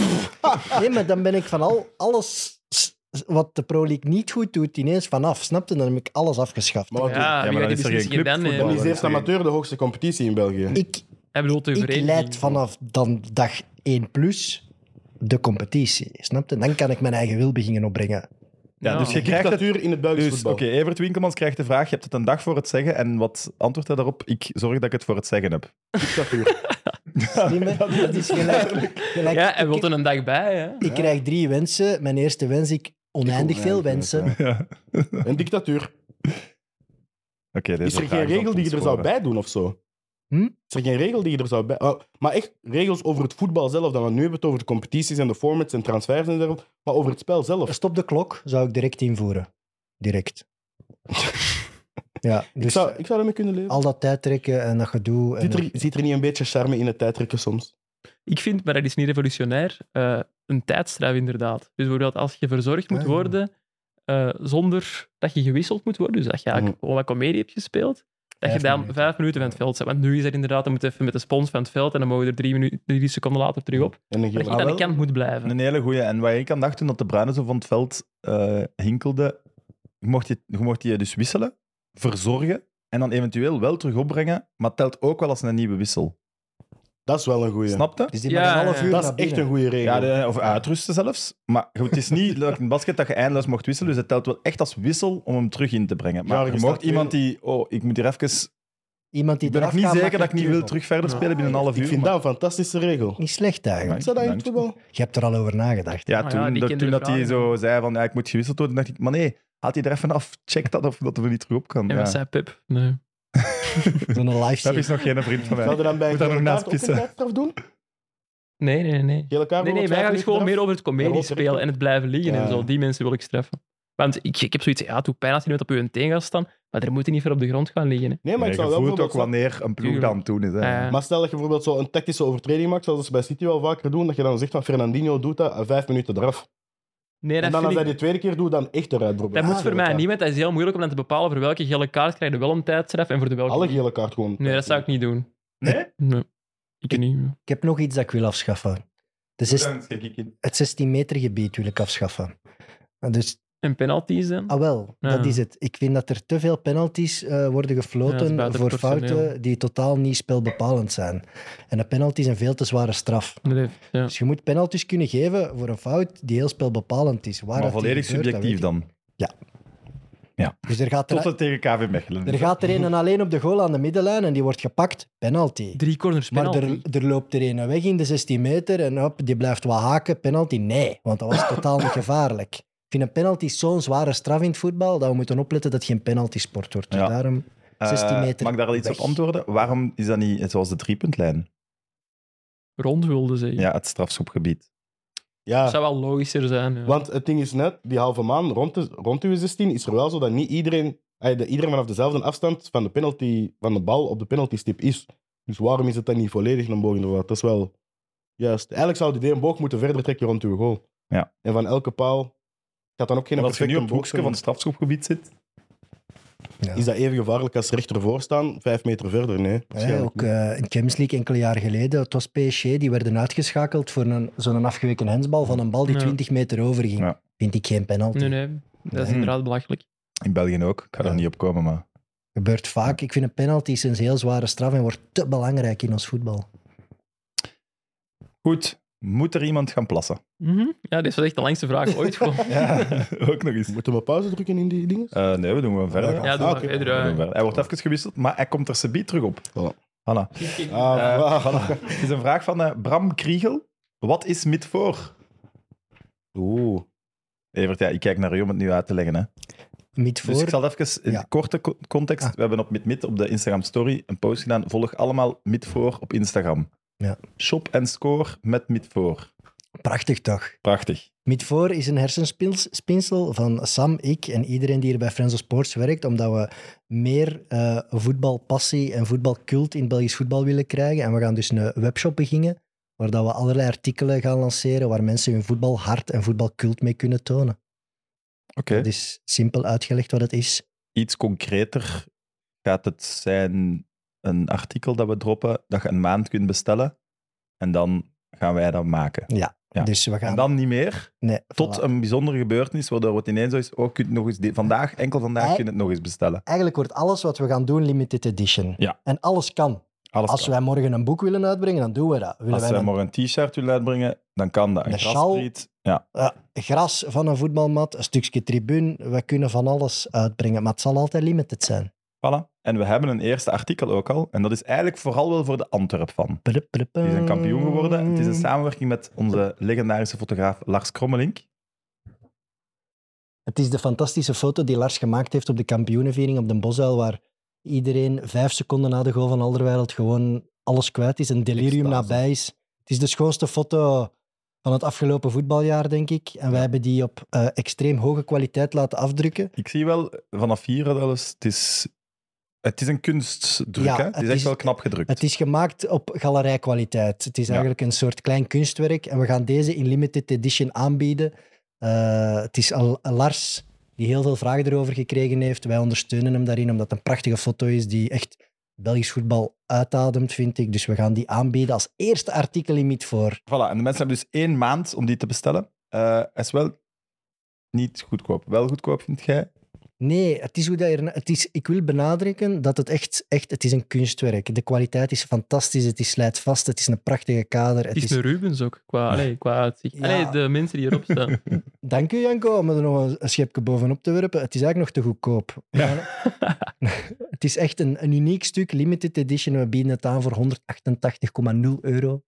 [SPEAKER 5] [laughs] nee, maar dan ben ik van al, alles s- wat de Pro League niet goed doet, ineens vanaf. Snap je? Dan heb ik alles afgeschaft.
[SPEAKER 3] Maar wat
[SPEAKER 4] eigenlijk. Ja,
[SPEAKER 2] maar
[SPEAKER 4] wie
[SPEAKER 2] dan
[SPEAKER 4] gaat die
[SPEAKER 2] is er geen
[SPEAKER 4] beslissingen dan
[SPEAKER 2] clubvoetbal.
[SPEAKER 3] Dan
[SPEAKER 4] nemen?
[SPEAKER 3] is eerst amateur de hoogste competitie in België.
[SPEAKER 5] Ik,
[SPEAKER 4] Hij bedoelt de
[SPEAKER 5] ik
[SPEAKER 4] vereniging.
[SPEAKER 5] leid vanaf dan dag 1 plus de competitie. Snap je? Dan kan ik mijn eigen wil beginnen [laughs] opbrengen.
[SPEAKER 2] Ja, dus je krijgt het...
[SPEAKER 3] Dictatuur in het Belgisch
[SPEAKER 2] Dus, oké,
[SPEAKER 3] voetbal.
[SPEAKER 2] Evert Winkelmans krijgt de vraag, je hebt het een dag voor het zeggen, en wat antwoordt hij daarop? Ik zorg dat ik het voor het zeggen heb.
[SPEAKER 3] Dictatuur.
[SPEAKER 5] Slim, hè? Dat is gelijk. gelijk-
[SPEAKER 4] Ja, hij wil er een dag bij. Hè?
[SPEAKER 5] Ik krijg drie wensen. Mijn eerste wens ik oneindig
[SPEAKER 3] Ik
[SPEAKER 5] veel
[SPEAKER 3] ook,
[SPEAKER 5] wensen.
[SPEAKER 3] ja.
[SPEAKER 2] Ja. Oké,
[SPEAKER 3] Een dictatuur.
[SPEAKER 2] deze
[SPEAKER 3] Is er
[SPEAKER 2] vraag
[SPEAKER 3] geen regel die je er zou
[SPEAKER 2] ontsporen.
[SPEAKER 3] bij doen of zo?
[SPEAKER 5] Hm?
[SPEAKER 3] Is er geen regel die je er zou bij... Oh, maar echt regels over het voetbal zelf. Dan we nu hebben het over de competities en de formats en transfers en dergelijke. Maar over het spel zelf.
[SPEAKER 5] Stop de klok zou ik direct invoeren. Direct.
[SPEAKER 2] [laughs]
[SPEAKER 5] ja, dus
[SPEAKER 3] Ik
[SPEAKER 2] eh,
[SPEAKER 3] zou, ik zou ermee kunnen leven.
[SPEAKER 5] al dat tijd trekken en dat gedoe. En
[SPEAKER 3] Zit er, zit er niet een beetje charme in het tijdrekken soms?
[SPEAKER 4] Ik vind, maar dat is niet revolutionair, eh, een tijdstraf inderdaad. Dus bijvoorbeeld als je verzorgd moet
[SPEAKER 5] Ah.
[SPEAKER 4] worden eh, zonder dat je gewisseld moet worden, dus dat je
[SPEAKER 2] Mm.
[SPEAKER 4] eigenlijk gewoon wat comedie hebt gespeeld, dat je
[SPEAKER 5] Vijf
[SPEAKER 4] dan
[SPEAKER 5] minuten.
[SPEAKER 4] vijf minuten van het veld zet. Want nu is dat inderdaad, dan moet je even met de spons van het veld en dan mogen we er drie, minu- drie seconden later terug op.
[SPEAKER 3] En dan
[SPEAKER 4] Maar dat je
[SPEAKER 2] Ah,
[SPEAKER 4] aan de
[SPEAKER 2] wel.
[SPEAKER 4] kant moet blijven.
[SPEAKER 2] Een hele goeie. En waar ik aan dacht toen dat de Bruinen zo van het veld eh, hinkelde, je mocht je, je mocht je dus wisselen, verzorgen en dan eventueel wel terug opbrengen, maar het telt ook wel als een nieuwe wissel.
[SPEAKER 3] dat is wel een goeie.
[SPEAKER 2] Snap je?
[SPEAKER 5] Dus die
[SPEAKER 4] Ja,
[SPEAKER 5] met een
[SPEAKER 4] ja,
[SPEAKER 5] half
[SPEAKER 4] ja.
[SPEAKER 5] uur
[SPEAKER 3] dat is
[SPEAKER 5] naar
[SPEAKER 3] echt
[SPEAKER 5] binnen.
[SPEAKER 3] een goede regel.
[SPEAKER 2] Ja, de- of uitrusten zelfs. Maar goed, het is niet leuk in basket dat je eindeloos mocht wisselen, dus het telt wel echt als wissel om hem terug in te brengen.
[SPEAKER 3] Ja,
[SPEAKER 2] Maar
[SPEAKER 3] je
[SPEAKER 2] je
[SPEAKER 3] staat
[SPEAKER 2] mocht iemand die, oh, ik moet hier even...
[SPEAKER 5] Iemand die
[SPEAKER 2] Ik ben nog
[SPEAKER 5] eraf
[SPEAKER 2] niet
[SPEAKER 5] gaat,
[SPEAKER 2] zeker dat
[SPEAKER 5] maakt
[SPEAKER 2] ik niet
[SPEAKER 5] een
[SPEAKER 2] wil
[SPEAKER 5] tunnel.
[SPEAKER 2] terug verder spelen binnen een half uur.
[SPEAKER 3] ik vind
[SPEAKER 2] maar-
[SPEAKER 3] dat een fantastische regel.
[SPEAKER 5] Niet slecht eigenlijk.
[SPEAKER 2] Dank.
[SPEAKER 3] Is dat dat in het
[SPEAKER 2] Dank.
[SPEAKER 3] voetbal?
[SPEAKER 5] Je hebt er al over nagedacht.
[SPEAKER 2] Ja,
[SPEAKER 4] Ah ja,
[SPEAKER 2] toen,
[SPEAKER 4] die
[SPEAKER 2] dat-
[SPEAKER 4] kinderen
[SPEAKER 2] toen dat hij
[SPEAKER 4] vragen
[SPEAKER 2] zo zei van ja, ik moet gewisseld worden, dacht ik, maar nee, haalt hij er even af, check dat of dat er niet terug op kan.
[SPEAKER 4] En wat
[SPEAKER 2] Ja.
[SPEAKER 4] zei Pep? Nee.
[SPEAKER 2] [laughs]
[SPEAKER 5] Zo'n live
[SPEAKER 2] Dat is
[SPEAKER 5] save.
[SPEAKER 2] nog geen vriend van mij.
[SPEAKER 3] Zou je dan bij een
[SPEAKER 2] Moet daar
[SPEAKER 3] gele
[SPEAKER 2] nog
[SPEAKER 3] kaart
[SPEAKER 2] naast
[SPEAKER 3] ook een
[SPEAKER 2] pissen.
[SPEAKER 3] tijdstraf doen?
[SPEAKER 4] Nee,
[SPEAKER 3] Gele kaart
[SPEAKER 4] nee, nee. Nee, nee,
[SPEAKER 3] bijvoorbeeld, vijf
[SPEAKER 4] wij gaan dus
[SPEAKER 3] minuten
[SPEAKER 4] gewoon
[SPEAKER 3] eraf?
[SPEAKER 4] meer over het comedie
[SPEAKER 3] Ja,
[SPEAKER 4] spelen en het blijven liggen en
[SPEAKER 3] Ja.
[SPEAKER 4] zo. Die mensen wil ik straffen. Want ik, ik heb zoiets, ja, het doet pijn als je net op je teen gaat staan, maar daar moet je niet voor op de grond gaan liggen. Hè.
[SPEAKER 3] Nee, maar
[SPEAKER 2] Maar
[SPEAKER 3] ik
[SPEAKER 2] je
[SPEAKER 3] zou wel
[SPEAKER 2] voelt ook
[SPEAKER 3] bijvoorbeeld snappen-
[SPEAKER 2] wanneer een ploeg
[SPEAKER 4] Tuurlijk.
[SPEAKER 2] dan toen is. Hè.
[SPEAKER 4] Eh,
[SPEAKER 3] Maar stel dat je bijvoorbeeld zo een tactische overtreding maakt, zoals ze bij City wel vaker doen, dat je dan zegt van Fernandinho doet dat, en vijf minuten eraf.
[SPEAKER 4] nee,
[SPEAKER 3] En
[SPEAKER 4] dat
[SPEAKER 3] dan als
[SPEAKER 4] vind
[SPEAKER 3] hij
[SPEAKER 4] ik...
[SPEAKER 3] de tweede keer doet, dan echt eruit, bijvoorbeeld.
[SPEAKER 4] Dat moet voor mij
[SPEAKER 3] Ja.
[SPEAKER 4] niet, want dat is heel moeilijk om dan te bepalen voor welke gele kaart krijg je wel een tijdstraf en voor de welke
[SPEAKER 3] Alle
[SPEAKER 4] niet.
[SPEAKER 3] gele kaart gewoon.
[SPEAKER 4] Nee, dat zou ik niet doen.
[SPEAKER 2] Nee?
[SPEAKER 4] Nee, ik niet.
[SPEAKER 5] Ik heb nog iets dat ik wil afschaffen. De zes- het 16 meter gebied wil ik afschaffen. En Dus,
[SPEAKER 4] En penalties dan?
[SPEAKER 5] ah wel,
[SPEAKER 4] Ja.
[SPEAKER 5] dat is het. Ik vind dat er te veel penalties eh, worden
[SPEAKER 4] Ja, dat
[SPEAKER 5] gefloten
[SPEAKER 4] is buiten
[SPEAKER 5] voor
[SPEAKER 4] het personeel.
[SPEAKER 5] fouten die totaal niet spelbepalend zijn. En de penalties een veel te zware straf.
[SPEAKER 4] Nee, ja.
[SPEAKER 5] Dus je moet penalties kunnen geven voor een fout die heel spelbepalend is. Waar dat
[SPEAKER 2] Maar
[SPEAKER 5] die
[SPEAKER 2] volledig
[SPEAKER 5] gebeurt, dat
[SPEAKER 2] subjectief
[SPEAKER 5] weet ik
[SPEAKER 2] dan.
[SPEAKER 5] niet. Dus er gaat er,
[SPEAKER 2] Tot het tegen KV Mechelen.
[SPEAKER 5] er, gaat er een en alleen op de goal aan de middenlijn en die wordt gepakt. Penalty.
[SPEAKER 4] Drie corners
[SPEAKER 5] Maar
[SPEAKER 4] penalty.
[SPEAKER 5] er, er loopt er een weg in de 16 meter en hop, die blijft wat haken. Penalty? Nee, want dat was totaal niet gevaarlijk. Ik vind een penalty zo'n zware straf in het voetbal dat we moeten opletten dat het geen penalty-sport wordt. Dus
[SPEAKER 2] Ja.
[SPEAKER 5] daarom,
[SPEAKER 2] Eh,
[SPEAKER 5] 16 meter
[SPEAKER 2] Mag ik daar al iets
[SPEAKER 5] weg.
[SPEAKER 2] op antwoorden? Waarom is dat niet zoals de driepuntlijn?
[SPEAKER 4] Rond wilde zeggen.
[SPEAKER 2] Ja, het strafschopgebied.
[SPEAKER 4] Dat
[SPEAKER 3] Ja,
[SPEAKER 4] zou wel logischer zijn. Ja.
[SPEAKER 3] want het ding is net, die halve maan rond, de, rond uw 16 is er wel zo dat niet iedereen, eh, dat iedereen vanaf dezelfde afstand van de, penalty, van de bal op de penaltystip is. Dus waarom is het dan niet volledig een boog inderdaad? Dat is wel juist. Eigenlijk zou die een boog moeten verder trekken rond uw goal.
[SPEAKER 2] Ja.
[SPEAKER 3] En van elke paal gaat dan ook geen
[SPEAKER 2] Want als je nu
[SPEAKER 3] perfecte
[SPEAKER 2] op het
[SPEAKER 3] boog
[SPEAKER 2] hoekje van het strafschopgebied zit,
[SPEAKER 5] Ja.
[SPEAKER 3] Is dat even gevaarlijk als ze rechtervoor staan, vijf meter verder? Nee,
[SPEAKER 5] hè,
[SPEAKER 3] waarschijnlijk
[SPEAKER 5] ook eh, in de Champions League enkele jaren geleden, het was PSG, die werden uitgeschakeld voor een- zo'n afgeweken hensbal van een bal die
[SPEAKER 4] Ja.
[SPEAKER 5] 20 meter overging.
[SPEAKER 2] Ja.
[SPEAKER 5] Vind ik geen penalty.
[SPEAKER 4] Nee, nee. Dat is
[SPEAKER 3] Hmm.
[SPEAKER 5] Nee.
[SPEAKER 4] inderdaad belachelijk.
[SPEAKER 2] in België ook, ik ga er
[SPEAKER 5] Ja.
[SPEAKER 2] niet op komen, maar...
[SPEAKER 5] Gebeurt vaak. Ik vind een penalty is een heel zware straf en wordt te belangrijk in ons voetbal.
[SPEAKER 2] Goed, moet er iemand gaan plassen?
[SPEAKER 4] Mhm. Ja, dit was echt de langste
[SPEAKER 3] [laughs]
[SPEAKER 4] vraag ooit. gewoon.
[SPEAKER 2] Ja, [laughs] ook nog eens.
[SPEAKER 3] niet. Moeten we pauze drukken in die dingen?
[SPEAKER 2] Eh, nee, we doen gewoon verder.
[SPEAKER 3] Ja,
[SPEAKER 4] Ja, doe
[SPEAKER 3] Ah,
[SPEAKER 4] maar
[SPEAKER 3] oké.
[SPEAKER 4] verder,
[SPEAKER 2] We doen
[SPEAKER 4] eh.
[SPEAKER 2] verder. Hij wordt even gewisseld, maar hij komt er subiet terug op.
[SPEAKER 3] Voilà.
[SPEAKER 2] Hanna.
[SPEAKER 3] Ah,
[SPEAKER 2] Eh,
[SPEAKER 3] wauw.
[SPEAKER 2] voilà. Het is een vraag van eh, Bram Kriegel. Wat is mid voor?
[SPEAKER 3] Oeh.
[SPEAKER 2] Evert, ja, ik kijk naar u om het nu uit te leggen. Hè.
[SPEAKER 5] Niet voor.
[SPEAKER 2] Dus ik zal het even in
[SPEAKER 5] Ja.
[SPEAKER 2] korte co- context.
[SPEAKER 5] Ah.
[SPEAKER 2] We hebben op MidMid op de Instagram Story een post gedaan. Volg allemaal Mid voor op Instagram.
[SPEAKER 5] Ja.
[SPEAKER 2] Shop en score met Mid voor.
[SPEAKER 5] Prachtig toch?
[SPEAKER 2] Prachtig.
[SPEAKER 5] Midvoor is een hersenspinsel van Sam, ik en iedereen die hier bij Friends of Sports werkt, omdat we meer eh, voetbalpassie en voetbalcult in Belgisch voetbal willen krijgen. En we gaan dus een webshop beginnen, waar dat we allerlei artikelen gaan lanceren, waar mensen hun voetbalhart en voetbalcult mee kunnen tonen.
[SPEAKER 2] Oké.
[SPEAKER 5] Het is simpel uitgelegd wat het is.
[SPEAKER 2] Iets concreter gaat het zijn een artikel dat we droppen, dat je een maand kunt bestellen. En dan gaan wij dat maken. Ja.
[SPEAKER 5] Dus we gaan...
[SPEAKER 2] En dan niet meer,
[SPEAKER 5] nee,
[SPEAKER 2] tot
[SPEAKER 5] voilà.
[SPEAKER 2] een bijzondere gebeurtenis, waardoor het ineens zo is, oh, je kunt nog eens, dit- vandaag, enkel vandaag,
[SPEAKER 5] Ei-
[SPEAKER 2] kun je het nog eens bestellen.
[SPEAKER 5] Eigenlijk wordt alles wat we gaan doen limited edition.
[SPEAKER 2] Ja.
[SPEAKER 5] En alles kan.
[SPEAKER 2] Alles
[SPEAKER 5] Als
[SPEAKER 2] kan.
[SPEAKER 5] wij morgen een boek willen uitbrengen, dan doen we dat. Willen
[SPEAKER 2] Als
[SPEAKER 5] wij
[SPEAKER 2] wij
[SPEAKER 5] een-
[SPEAKER 2] morgen een t-shirt willen uitbrengen, dan kan dat. Een
[SPEAKER 5] De
[SPEAKER 2] graspriet. Ja,
[SPEAKER 5] Ja, gras van een voetbalmat, een stukje tribune. We kunnen van alles uitbrengen, maar het zal altijd limited zijn.
[SPEAKER 2] voilà. En we hebben een eerste artikel ook al. En dat is eigenlijk vooral wel voor de Antwerp van.
[SPEAKER 5] Die
[SPEAKER 2] Die zijn kampioen geworden. Het is
[SPEAKER 5] Mm.
[SPEAKER 2] een samenwerking met onze legendarische fotograaf Lars Krommelink.
[SPEAKER 5] Het is de fantastische foto die Lars gemaakt heeft op de kampioenenviering op Den Bosuil, waar iedereen vijf seconden na de goal van Alderweireld gewoon alles kwijt is. Een delirium
[SPEAKER 3] Extase.
[SPEAKER 5] nabij is. Het is de schoonste foto van het afgelopen voetbaljaar, denk ik. En wij hebben die op eh, extreem hoge kwaliteit laten afdrukken.
[SPEAKER 2] Ik zie wel vanaf hier dat alles. Het is, het is een kunstdruk.
[SPEAKER 5] Ja,
[SPEAKER 2] hè? Het, is
[SPEAKER 5] het
[SPEAKER 2] echt
[SPEAKER 5] is-
[SPEAKER 2] wel knap gedrukt.
[SPEAKER 5] Het is gemaakt op galerijkwaliteit. Het is
[SPEAKER 2] Ja.
[SPEAKER 5] eigenlijk een soort klein kunstwerk. En we gaan deze in limited edition aanbieden. Eh, het is al Lars die heel veel vragen erover gekregen heeft. Wij ondersteunen hem daarin, omdat het een prachtige foto is die echt Belgisch voetbal uitademt, vind ik. Dus we gaan die aanbieden als eerste artikel in voor.
[SPEAKER 2] Voilà, en de mensen hebben dus één maand om die te bestellen. Eh is wel niet goedkoop. Wel goedkoop, vind jij?
[SPEAKER 5] Nee, het is hoe dat je erna- het is, ik wil benadrukken dat het echt, echt het is een kunstwerk is. De kwaliteit is fantastisch, het is slijtvast, het is een prachtige kader.
[SPEAKER 4] Het is een Rubens ook, qua, allee, qua uitzicht.
[SPEAKER 5] Ja.
[SPEAKER 4] Allee, de mensen die erop
[SPEAKER 2] [laughs]
[SPEAKER 4] staan.
[SPEAKER 5] Dank u, Janko, om er nog een- een schepje bovenop te werpen. Het is eigenlijk nog te goedkoop. [laughs] het is echt een, een uniek stuk, limited edition. We bieden het aan voor 188,0 euro.
[SPEAKER 3] [laughs]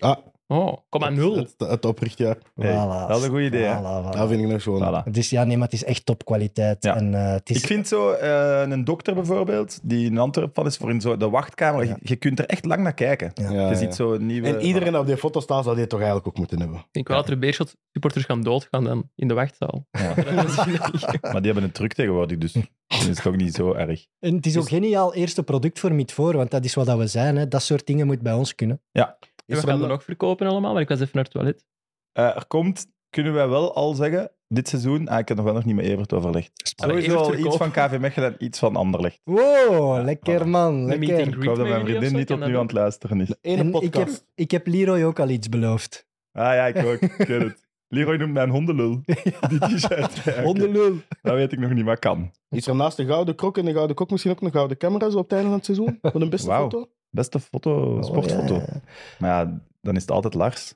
[SPEAKER 3] Ah,
[SPEAKER 4] Oh, kom maar nul.
[SPEAKER 3] Het, het oprichtjaar.
[SPEAKER 2] Hey,
[SPEAKER 5] Voilà.
[SPEAKER 2] dat is een goed idee, hè?
[SPEAKER 5] Voilà, voilà.
[SPEAKER 3] Dat vind ik nog gewoon.
[SPEAKER 2] Voilà.
[SPEAKER 5] Het is, ja, nee, maar het is echt topkwaliteit.
[SPEAKER 2] Ja.
[SPEAKER 5] En, eh, het is,
[SPEAKER 2] Ik vind zo eh, een dokter bijvoorbeeld, die in Antwerpen van is, voor in zo de wachtkamer,
[SPEAKER 5] Ja.
[SPEAKER 2] je, je kunt er echt lang naar kijken.
[SPEAKER 5] Ja.
[SPEAKER 2] je
[SPEAKER 3] Ja,
[SPEAKER 2] ziet
[SPEAKER 3] ja.
[SPEAKER 2] zo een nieuwe...
[SPEAKER 3] En iedereen dat op die foto staat, zou die toch eigenlijk ook moeten hebben.
[SPEAKER 4] Ik denk wel dat er Beerschot supporters gaan doodgaan dan in de wachtzaal.
[SPEAKER 2] Ja.
[SPEAKER 4] [laughs] Dat is
[SPEAKER 2] [laughs]
[SPEAKER 4] niet-
[SPEAKER 2] Maar die hebben het druk tegenwoordig,
[SPEAKER 4] [laughs]
[SPEAKER 2] dus dat is toch niet zo erg.
[SPEAKER 5] en het is ook geniaal eerste product voor Midvoor, want dat is wat dat we zijn. Hè. Dat soort dingen moet bij ons kunnen.
[SPEAKER 4] En
[SPEAKER 3] Is
[SPEAKER 4] we
[SPEAKER 3] er
[SPEAKER 4] gaan
[SPEAKER 3] een,
[SPEAKER 4] er nog verkopen allemaal, maar ik was even naar het toilet.
[SPEAKER 2] Eh, er komt, kunnen wij wel al zeggen, dit seizoen, ah, ik heb nog wel nog niet met Evert overlegd.
[SPEAKER 4] Allee,
[SPEAKER 2] Sowieso
[SPEAKER 4] Evert
[SPEAKER 2] al
[SPEAKER 4] verkoop.
[SPEAKER 2] iets van KV Mechelen en iets van Anderlecht.
[SPEAKER 5] Wow, lekker man,
[SPEAKER 4] Een meet and
[SPEAKER 5] lekker.
[SPEAKER 2] Ik
[SPEAKER 4] greet
[SPEAKER 2] hoop dat
[SPEAKER 4] met
[SPEAKER 2] mijn
[SPEAKER 4] jullie of
[SPEAKER 2] vriendin
[SPEAKER 4] zo,
[SPEAKER 2] niet
[SPEAKER 4] kan
[SPEAKER 2] tot nu
[SPEAKER 4] dat
[SPEAKER 2] aan het luisteren
[SPEAKER 4] [laughs]
[SPEAKER 2] is.
[SPEAKER 3] de ene
[SPEAKER 5] En ik, heb,
[SPEAKER 3] podcast.
[SPEAKER 5] ik heb Leroy ook al iets beloofd.
[SPEAKER 2] Ah ja, ik ook. Ik weet het. Leroy noemt mij een
[SPEAKER 4] [laughs]
[SPEAKER 2] hondenlul. Die t-shirt. Ja, oké.
[SPEAKER 5] Hondenlul.
[SPEAKER 2] Dat weet ik nog niet, maar kan.
[SPEAKER 3] Is er naast de gouden krok en de gouden kok misschien ook een gouden camera zo op het einde van het seizoen? Wat een beste
[SPEAKER 2] Wauw.
[SPEAKER 3] foto.
[SPEAKER 2] Beste foto,
[SPEAKER 5] Oh,
[SPEAKER 2] sportfoto.
[SPEAKER 5] ja, ja.
[SPEAKER 2] Maar ja, dan is het altijd Lars.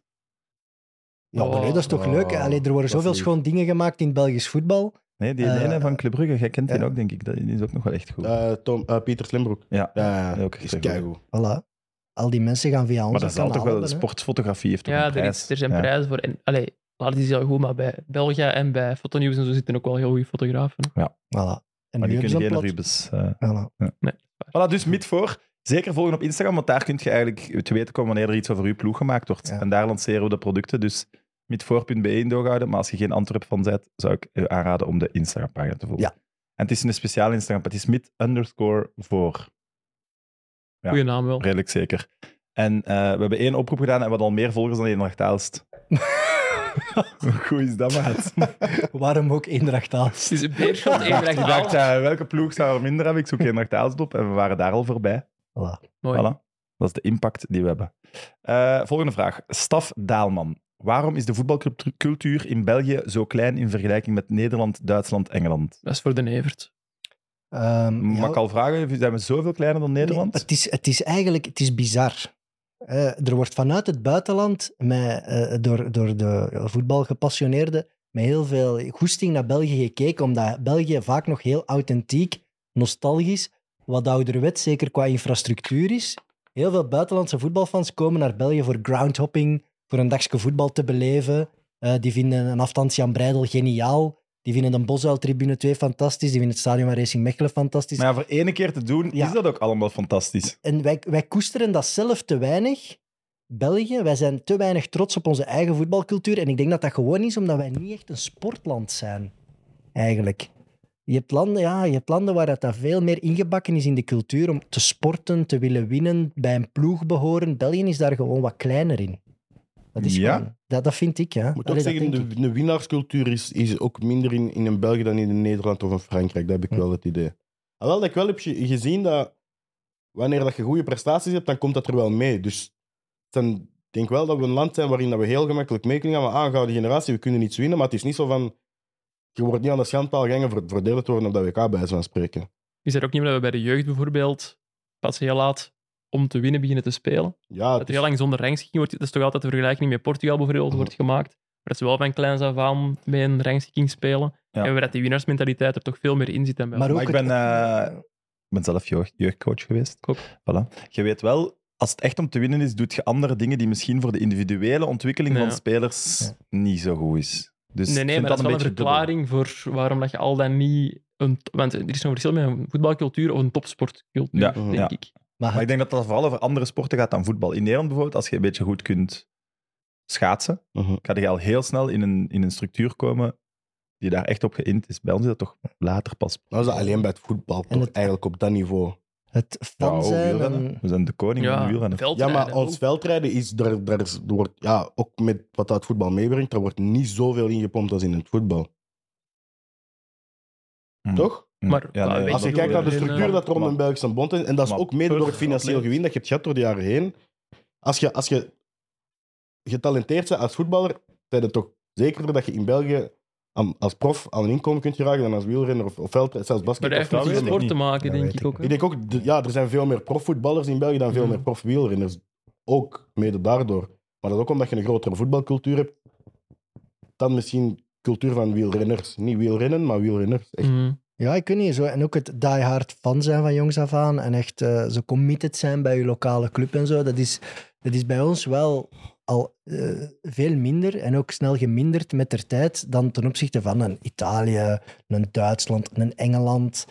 [SPEAKER 5] Ja, maar nee, dat is toch
[SPEAKER 3] Oh,
[SPEAKER 5] leuk. hè? Allee, er worden
[SPEAKER 3] dat
[SPEAKER 5] zoveel
[SPEAKER 3] is lief.
[SPEAKER 5] schoon dingen gemaakt in Belgisch voetbal.
[SPEAKER 2] Nee, die
[SPEAKER 5] Eh,
[SPEAKER 2] ene van Club Brugge, jij kent
[SPEAKER 5] ja.
[SPEAKER 2] die ook, denk ik. Dat die is ook nog wel echt goed.
[SPEAKER 3] Eh, Tom, eh, Pieter Slimbroek.
[SPEAKER 2] ja.
[SPEAKER 3] Ja,
[SPEAKER 2] Ook
[SPEAKER 3] is
[SPEAKER 2] echt
[SPEAKER 3] keigoed.
[SPEAKER 5] Voilà. Al die mensen gaan via ons.
[SPEAKER 2] Maar dat zal toch wel, sportfotografie heeft toch
[SPEAKER 4] Ja,
[SPEAKER 2] een
[SPEAKER 4] er,
[SPEAKER 2] prijs.
[SPEAKER 4] is, er zijn
[SPEAKER 2] Ja.
[SPEAKER 4] prijzen voor. En, allee, Lard is heel goed, maar bij België en bij Fotonews en zo zitten ook wel heel goede fotografen.
[SPEAKER 5] Voilà. En
[SPEAKER 2] Maar
[SPEAKER 5] nu
[SPEAKER 2] die
[SPEAKER 5] hebben
[SPEAKER 2] kunnen
[SPEAKER 5] ze een
[SPEAKER 2] geen
[SPEAKER 5] plat.
[SPEAKER 2] Rubens. eh.
[SPEAKER 5] Voilà.
[SPEAKER 2] Voilà, dus mid voor. Zeker volgen op Instagram, want daar kun je eigenlijk te weten komen wanneer er iets over uw ploeg gemaakt wordt.
[SPEAKER 5] Ja.
[SPEAKER 2] En daar lanceren we de producten. Dus midvoor.be in doorhouden. Maar als je geen Antwerp van bent, zou ik u aanraden om de Instagram-pagina te volgen.
[SPEAKER 5] Ja.
[SPEAKER 2] En het is een speciale Instagram, het is mid underscore voor. Ja.
[SPEAKER 4] Goeie naam wel.
[SPEAKER 2] Redelijk zeker. En eh, we hebben één oproep gedaan en we hadden al meer volgers dan Eendracht Aalst. [laughs] Hoe goed is dat, maat?
[SPEAKER 5] Waarom ook Eendracht Aalst?
[SPEAKER 4] Het is een
[SPEAKER 2] [laughs]
[SPEAKER 4] Beerschot, Eendracht
[SPEAKER 2] Ik dacht,
[SPEAKER 4] Aalst.
[SPEAKER 2] eh, welke ploeg zou er minder hebben? Ik zoek Eendracht Aalst op en we waren daar al voorbij.
[SPEAKER 5] Voilà.
[SPEAKER 4] Mooi.
[SPEAKER 2] Voilà. Dat is de impact die we hebben. Eh, volgende vraag. Staf Daalman. Waarom is de voetbalcultuur in België zo klein in vergelijking met Nederland, Duitsland, Engeland?
[SPEAKER 4] Dat is voor de Nevert.
[SPEAKER 5] Ehm, ja,
[SPEAKER 2] Mag ik al vragen, zijn we zoveel kleiner dan Nederland?
[SPEAKER 5] nee, het, is, het is eigenlijk het is bizar. Eh, er wordt vanuit het buitenland met, eh, door, door de voetbalgepassioneerden met heel veel goesting naar België gekeken, omdat België vaak nog heel authentiek, nostalgisch, wat ouderwet, zeker qua infrastructuur is. Heel veel buitenlandse voetbalfans komen naar België voor groundhopping, voor een dagje voetbal te beleven. Eh, die vinden een afstandje aan Breidel geniaal. Die vinden een Bosuil-tribune 2 fantastisch. Die vinden het stadion van Racing Mechelen fantastisch.
[SPEAKER 2] Maar ja, voor ene keer te doen,
[SPEAKER 5] Ja.
[SPEAKER 2] is dat ook allemaal fantastisch.
[SPEAKER 5] En wij, wij koesteren dat zelf te weinig. België, wij zijn te weinig trots op onze eigen voetbalcultuur. En ik denk dat dat gewoon is omdat wij niet echt een sportland zijn, eigenlijk. Je hebt landen, ja, je hebt landen waar dat, dat veel meer ingebakken is in de cultuur om te sporten, te willen winnen, bij een ploeg behoren. België is daar gewoon wat kleiner in. Dat, is
[SPEAKER 2] Ja.
[SPEAKER 5] gewoon- dat, dat vind ik, ja.
[SPEAKER 3] Ik moet ook
[SPEAKER 5] Allee, dat
[SPEAKER 3] zeggen,
[SPEAKER 5] denk ik.
[SPEAKER 3] de, de winnaarscultuur is, is ook minder in, in een België dan in een Nederland of een Frankrijk. Dat heb
[SPEAKER 5] Hm.
[SPEAKER 3] ik wel het idee. Al wel dat ik wel heb ge- gezien dat wanneer dat je goede prestaties hebt, dan komt dat er wel mee. Dus dan ik denk wel dat we een land zijn waarin dat we heel gemakkelijk mee kunnen gaan. Maar aangehouden generatie, we kunnen iets winnen. Maar het is niet zo van, je wordt niet aan de schandpaal gehangen voor verdeeld te worden op dat WK, bij wijze van spreken.
[SPEAKER 4] Is dat ook niet meer dat we bij de jeugd bijvoorbeeld pas heel laat om te winnen beginnen te spelen?
[SPEAKER 3] Ja,
[SPEAKER 4] Dat
[SPEAKER 3] het
[SPEAKER 4] er
[SPEAKER 3] is-
[SPEAKER 4] heel lang zonder rangschikking wordt. Dat is toch altijd de vergelijking met Portugal bijvoorbeeld wordt gemaakt. Maar dat ze wel van kleins af aan met een rangschikking spelen.
[SPEAKER 2] Ja.
[SPEAKER 4] En waar dat die winnaarsmentaliteit er toch veel meer in zit dan bij
[SPEAKER 5] Maar
[SPEAKER 4] ons.
[SPEAKER 5] ook
[SPEAKER 2] Maar ik
[SPEAKER 5] het-
[SPEAKER 2] ben, eh, Ik ben zelf jeugd- jeugdcoach geweest.
[SPEAKER 4] Ook.
[SPEAKER 2] Voilà. Je weet wel, als het echt om te winnen is, doet je andere dingen die misschien voor de individuele ontwikkeling
[SPEAKER 4] Ja.
[SPEAKER 2] van spelers
[SPEAKER 5] Ja.
[SPEAKER 2] niet zo goed is. Dus
[SPEAKER 4] nee,
[SPEAKER 2] ik
[SPEAKER 4] nee,
[SPEAKER 2] vind
[SPEAKER 4] maar dat is wel een,
[SPEAKER 2] beetje dubbel.
[SPEAKER 4] verklaring voor waarom dat je al dan niet... Een, t- want er is een verschil met een voetbalcultuur of een topsportcultuur,
[SPEAKER 2] Ja,
[SPEAKER 4] denk
[SPEAKER 2] ja.
[SPEAKER 4] ik.
[SPEAKER 5] Maar
[SPEAKER 2] Maar ik
[SPEAKER 5] het-
[SPEAKER 2] denk dat dat vooral over andere sporten gaat dan voetbal. In Nederland bijvoorbeeld, als je een beetje goed kunt schaatsen,
[SPEAKER 3] Mhm.
[SPEAKER 2] ga je al heel snel in een, in een structuur komen die daar echt op geïnt is. Bij ons is dat toch later pas.
[SPEAKER 3] Dat is dat alleen bij het voetbal, toch?
[SPEAKER 5] En het-
[SPEAKER 3] Eigenlijk op dat niveau.
[SPEAKER 5] het fan
[SPEAKER 2] Wauw,
[SPEAKER 5] zijn...
[SPEAKER 2] wielrennen.
[SPEAKER 5] en-
[SPEAKER 2] We zijn de koning van de wielrennen.
[SPEAKER 3] Ja,
[SPEAKER 4] veldrijden
[SPEAKER 3] maar als
[SPEAKER 4] ook.
[SPEAKER 3] veldrijden is, daar, daar is- er wordt, ja, ook met wat dat voetbal meebrengt, er wordt niet zoveel ingepompt als in het voetbal.
[SPEAKER 2] Mm.
[SPEAKER 3] Toch?
[SPEAKER 4] Maar-
[SPEAKER 2] Ja,
[SPEAKER 4] maar
[SPEAKER 2] nee,
[SPEAKER 4] Hm. weet
[SPEAKER 3] Als je
[SPEAKER 4] dat
[SPEAKER 3] kijkt naar de
[SPEAKER 4] doen eh, we
[SPEAKER 3] structuur
[SPEAKER 4] in,
[SPEAKER 3] dat er om een Belgische bond is, en dat is
[SPEAKER 2] maar
[SPEAKER 3] ook mede door
[SPEAKER 2] per
[SPEAKER 3] het financieel
[SPEAKER 2] atleet.
[SPEAKER 3] gewin dat je hebt gehad door de jaren heen. Als je, als je getalenteerd bent als voetballer, zijn het toch zekerder dat je in België aan- als prof aan een inkomen kunt geraken dan als wielrenner of, of veldrijder, zelfs
[SPEAKER 4] Maar
[SPEAKER 3] basket.
[SPEAKER 4] dat
[SPEAKER 3] of
[SPEAKER 4] heeft met
[SPEAKER 2] dat weet
[SPEAKER 4] die
[SPEAKER 2] ik
[SPEAKER 4] sport
[SPEAKER 2] niet.
[SPEAKER 4] te maken,
[SPEAKER 5] Dat
[SPEAKER 4] denk
[SPEAKER 5] weet
[SPEAKER 4] ik
[SPEAKER 5] ik
[SPEAKER 4] ook. hè.
[SPEAKER 3] Ik denk ook, de- ja, er zijn veel meer profvoetballers in België dan veel
[SPEAKER 4] Mhm.
[SPEAKER 3] meer profwielrenners. Ook mede daardoor. Maar dat is ook omdat je een grotere voetbalcultuur hebt dan misschien cultuur van wielrenners. Niet wielrennen, maar wielrenners. Echt.
[SPEAKER 4] Mhm.
[SPEAKER 5] Ja, ik weet niet. Zo, en ook het die hard fan zijn van jongs af aan en echt eh, zo committed zijn bij je lokale club en zo, dat is, dat is bij ons wel al eh, veel minder en ook snel geminderd met de tijd dan ten opzichte van een Italië, een Duitsland, een Engeland.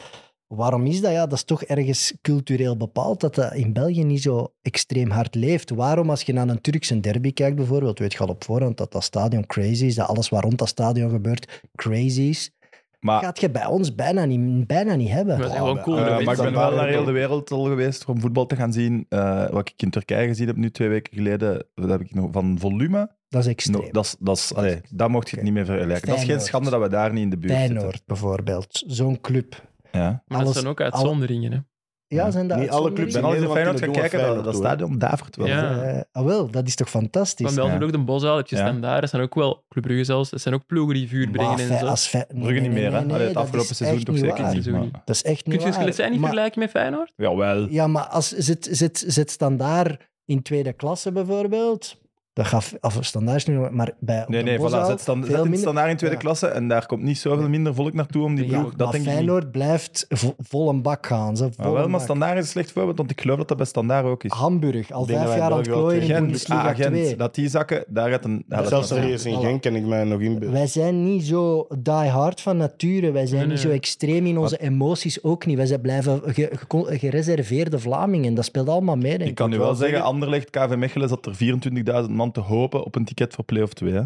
[SPEAKER 5] Waarom is dat? Ja, dat is toch ergens cultureel bepaald dat dat in België niet zo extreem hard leeft. Waarom, als je naar een Turkse derby kijkt bijvoorbeeld, weet je al op voorhand dat dat stadion crazy is, dat alles wat rond dat stadion gebeurt crazy is
[SPEAKER 2] Maar,
[SPEAKER 5] gaat je bij ons bijna niet, bijna niet hebben. Oh,
[SPEAKER 4] Maar- gewoon cool,
[SPEAKER 2] eh,
[SPEAKER 4] dat
[SPEAKER 2] maar
[SPEAKER 4] weet
[SPEAKER 2] ik ben
[SPEAKER 4] ik.
[SPEAKER 2] wel naar heel de wereld al geweest om voetbal te gaan zien. Eh, wat ik in Turkije gezien heb nu twee weken geleden, dat heb ik nog van volume.
[SPEAKER 5] Dat is
[SPEAKER 2] No,
[SPEAKER 5] extreem.
[SPEAKER 2] dat, is- dat, is- allee, dat mocht je het
[SPEAKER 5] Oké.
[SPEAKER 2] niet meer vergelijken. Dat is geen
[SPEAKER 5] Feyenoord.
[SPEAKER 2] schande dat we daar niet in de buurt zitten.
[SPEAKER 5] Feyenoord bijvoorbeeld, zo'n club.
[SPEAKER 2] Ja.
[SPEAKER 4] Maar dat
[SPEAKER 5] Alles-
[SPEAKER 4] zijn ook
[SPEAKER 5] alle-
[SPEAKER 4] uitzonderingen. Hè.
[SPEAKER 5] Ja,
[SPEAKER 2] Ja.
[SPEAKER 5] zijn dat
[SPEAKER 3] Niet alle
[SPEAKER 2] Ik
[SPEAKER 5] uitzonderingen?
[SPEAKER 2] ben al eens in
[SPEAKER 3] Nederland
[SPEAKER 2] Feyenoord gaan
[SPEAKER 3] kunnen doen
[SPEAKER 2] kijken,
[SPEAKER 3] wat
[SPEAKER 2] dat, dat stadion
[SPEAKER 3] Feyenoord
[SPEAKER 2] davert wel.
[SPEAKER 4] Ja.
[SPEAKER 5] Eh, ah, wel, dat is toch fantastisch.
[SPEAKER 4] Van België
[SPEAKER 2] ja.
[SPEAKER 4] ook de Bosuil, heb je
[SPEAKER 2] Ja.
[SPEAKER 4] standaard. Dat zijn ook wel Club Brugge zelfs. Dat zijn ook ploegen die vuur brengen
[SPEAKER 5] Maar
[SPEAKER 4] en
[SPEAKER 5] Fe-
[SPEAKER 4] zo.
[SPEAKER 5] als Fe- nee,
[SPEAKER 2] Brugge
[SPEAKER 5] nee,
[SPEAKER 2] niet meer, hè?
[SPEAKER 5] nee, nee,
[SPEAKER 2] Allee, het
[SPEAKER 5] dat
[SPEAKER 2] afgelopen
[SPEAKER 5] is
[SPEAKER 2] seizoen
[SPEAKER 5] echt
[SPEAKER 2] toch zeker
[SPEAKER 5] waar.
[SPEAKER 2] niet.
[SPEAKER 4] Seizoen
[SPEAKER 2] maar-
[SPEAKER 5] Dat is echt
[SPEAKER 4] Kun
[SPEAKER 5] niet
[SPEAKER 4] je het
[SPEAKER 5] waar.
[SPEAKER 4] zijn niet
[SPEAKER 5] Maar-
[SPEAKER 4] vergelijken met Feyenoord?
[SPEAKER 2] Jawel.
[SPEAKER 5] Ja, maar als, zit, zit, zit Standaar in tweede klasse bijvoorbeeld? Dat gaf, of Standaar is nu nog- maar bij op
[SPEAKER 2] Nee,
[SPEAKER 5] de
[SPEAKER 2] nee, voilà.
[SPEAKER 5] Bosuil
[SPEAKER 2] Zet, stand,
[SPEAKER 5] veel
[SPEAKER 2] zet in
[SPEAKER 5] minder.
[SPEAKER 2] standaard in tweede
[SPEAKER 5] Ja.
[SPEAKER 2] klasse en daar komt niet zoveel minder volk naartoe om die
[SPEAKER 4] Ja,
[SPEAKER 2] ploeg. dat
[SPEAKER 5] maar
[SPEAKER 2] denk ik niet.
[SPEAKER 5] Feyenoord blijft vo- vol een bak gaan. Ze, vol
[SPEAKER 2] Maar Ah, wel,
[SPEAKER 5] een
[SPEAKER 2] maar
[SPEAKER 5] bak.
[SPEAKER 2] standaard is een slecht voorbeeld, want ik geloof dat dat bij standaard ook is.
[SPEAKER 5] Hamburg, al
[SPEAKER 3] Ik denk dat
[SPEAKER 5] vijf
[SPEAKER 3] wij
[SPEAKER 5] jaar aan het
[SPEAKER 3] België wel
[SPEAKER 5] klooien in de
[SPEAKER 3] twee-
[SPEAKER 2] Gent,
[SPEAKER 5] Bundesliga
[SPEAKER 2] ah,
[SPEAKER 5] 2.
[SPEAKER 2] Gent, dat die zakken, daar had een... daar had
[SPEAKER 3] Zelfs
[SPEAKER 2] een-
[SPEAKER 3] er is in
[SPEAKER 5] Voilà.
[SPEAKER 3] Genk en ik mij nog in...
[SPEAKER 5] Wij zijn niet zo die-hard van nature. Wij zijn
[SPEAKER 4] Nee,
[SPEAKER 5] niet
[SPEAKER 4] nee.
[SPEAKER 5] zo extreem in onze emoties ook niet. Wij zijn blijven ge- ge- gereserveerde Vlamingen. Dat speelt allemaal mee, denk
[SPEAKER 2] Ik
[SPEAKER 5] ik.
[SPEAKER 2] kan nu
[SPEAKER 3] wel
[SPEAKER 2] wel zeggen,
[SPEAKER 3] zeggen-
[SPEAKER 2] Anderlecht, KV Mechelen zat er 24.000 man te hopen op een ticket voor play-off 2. Hè.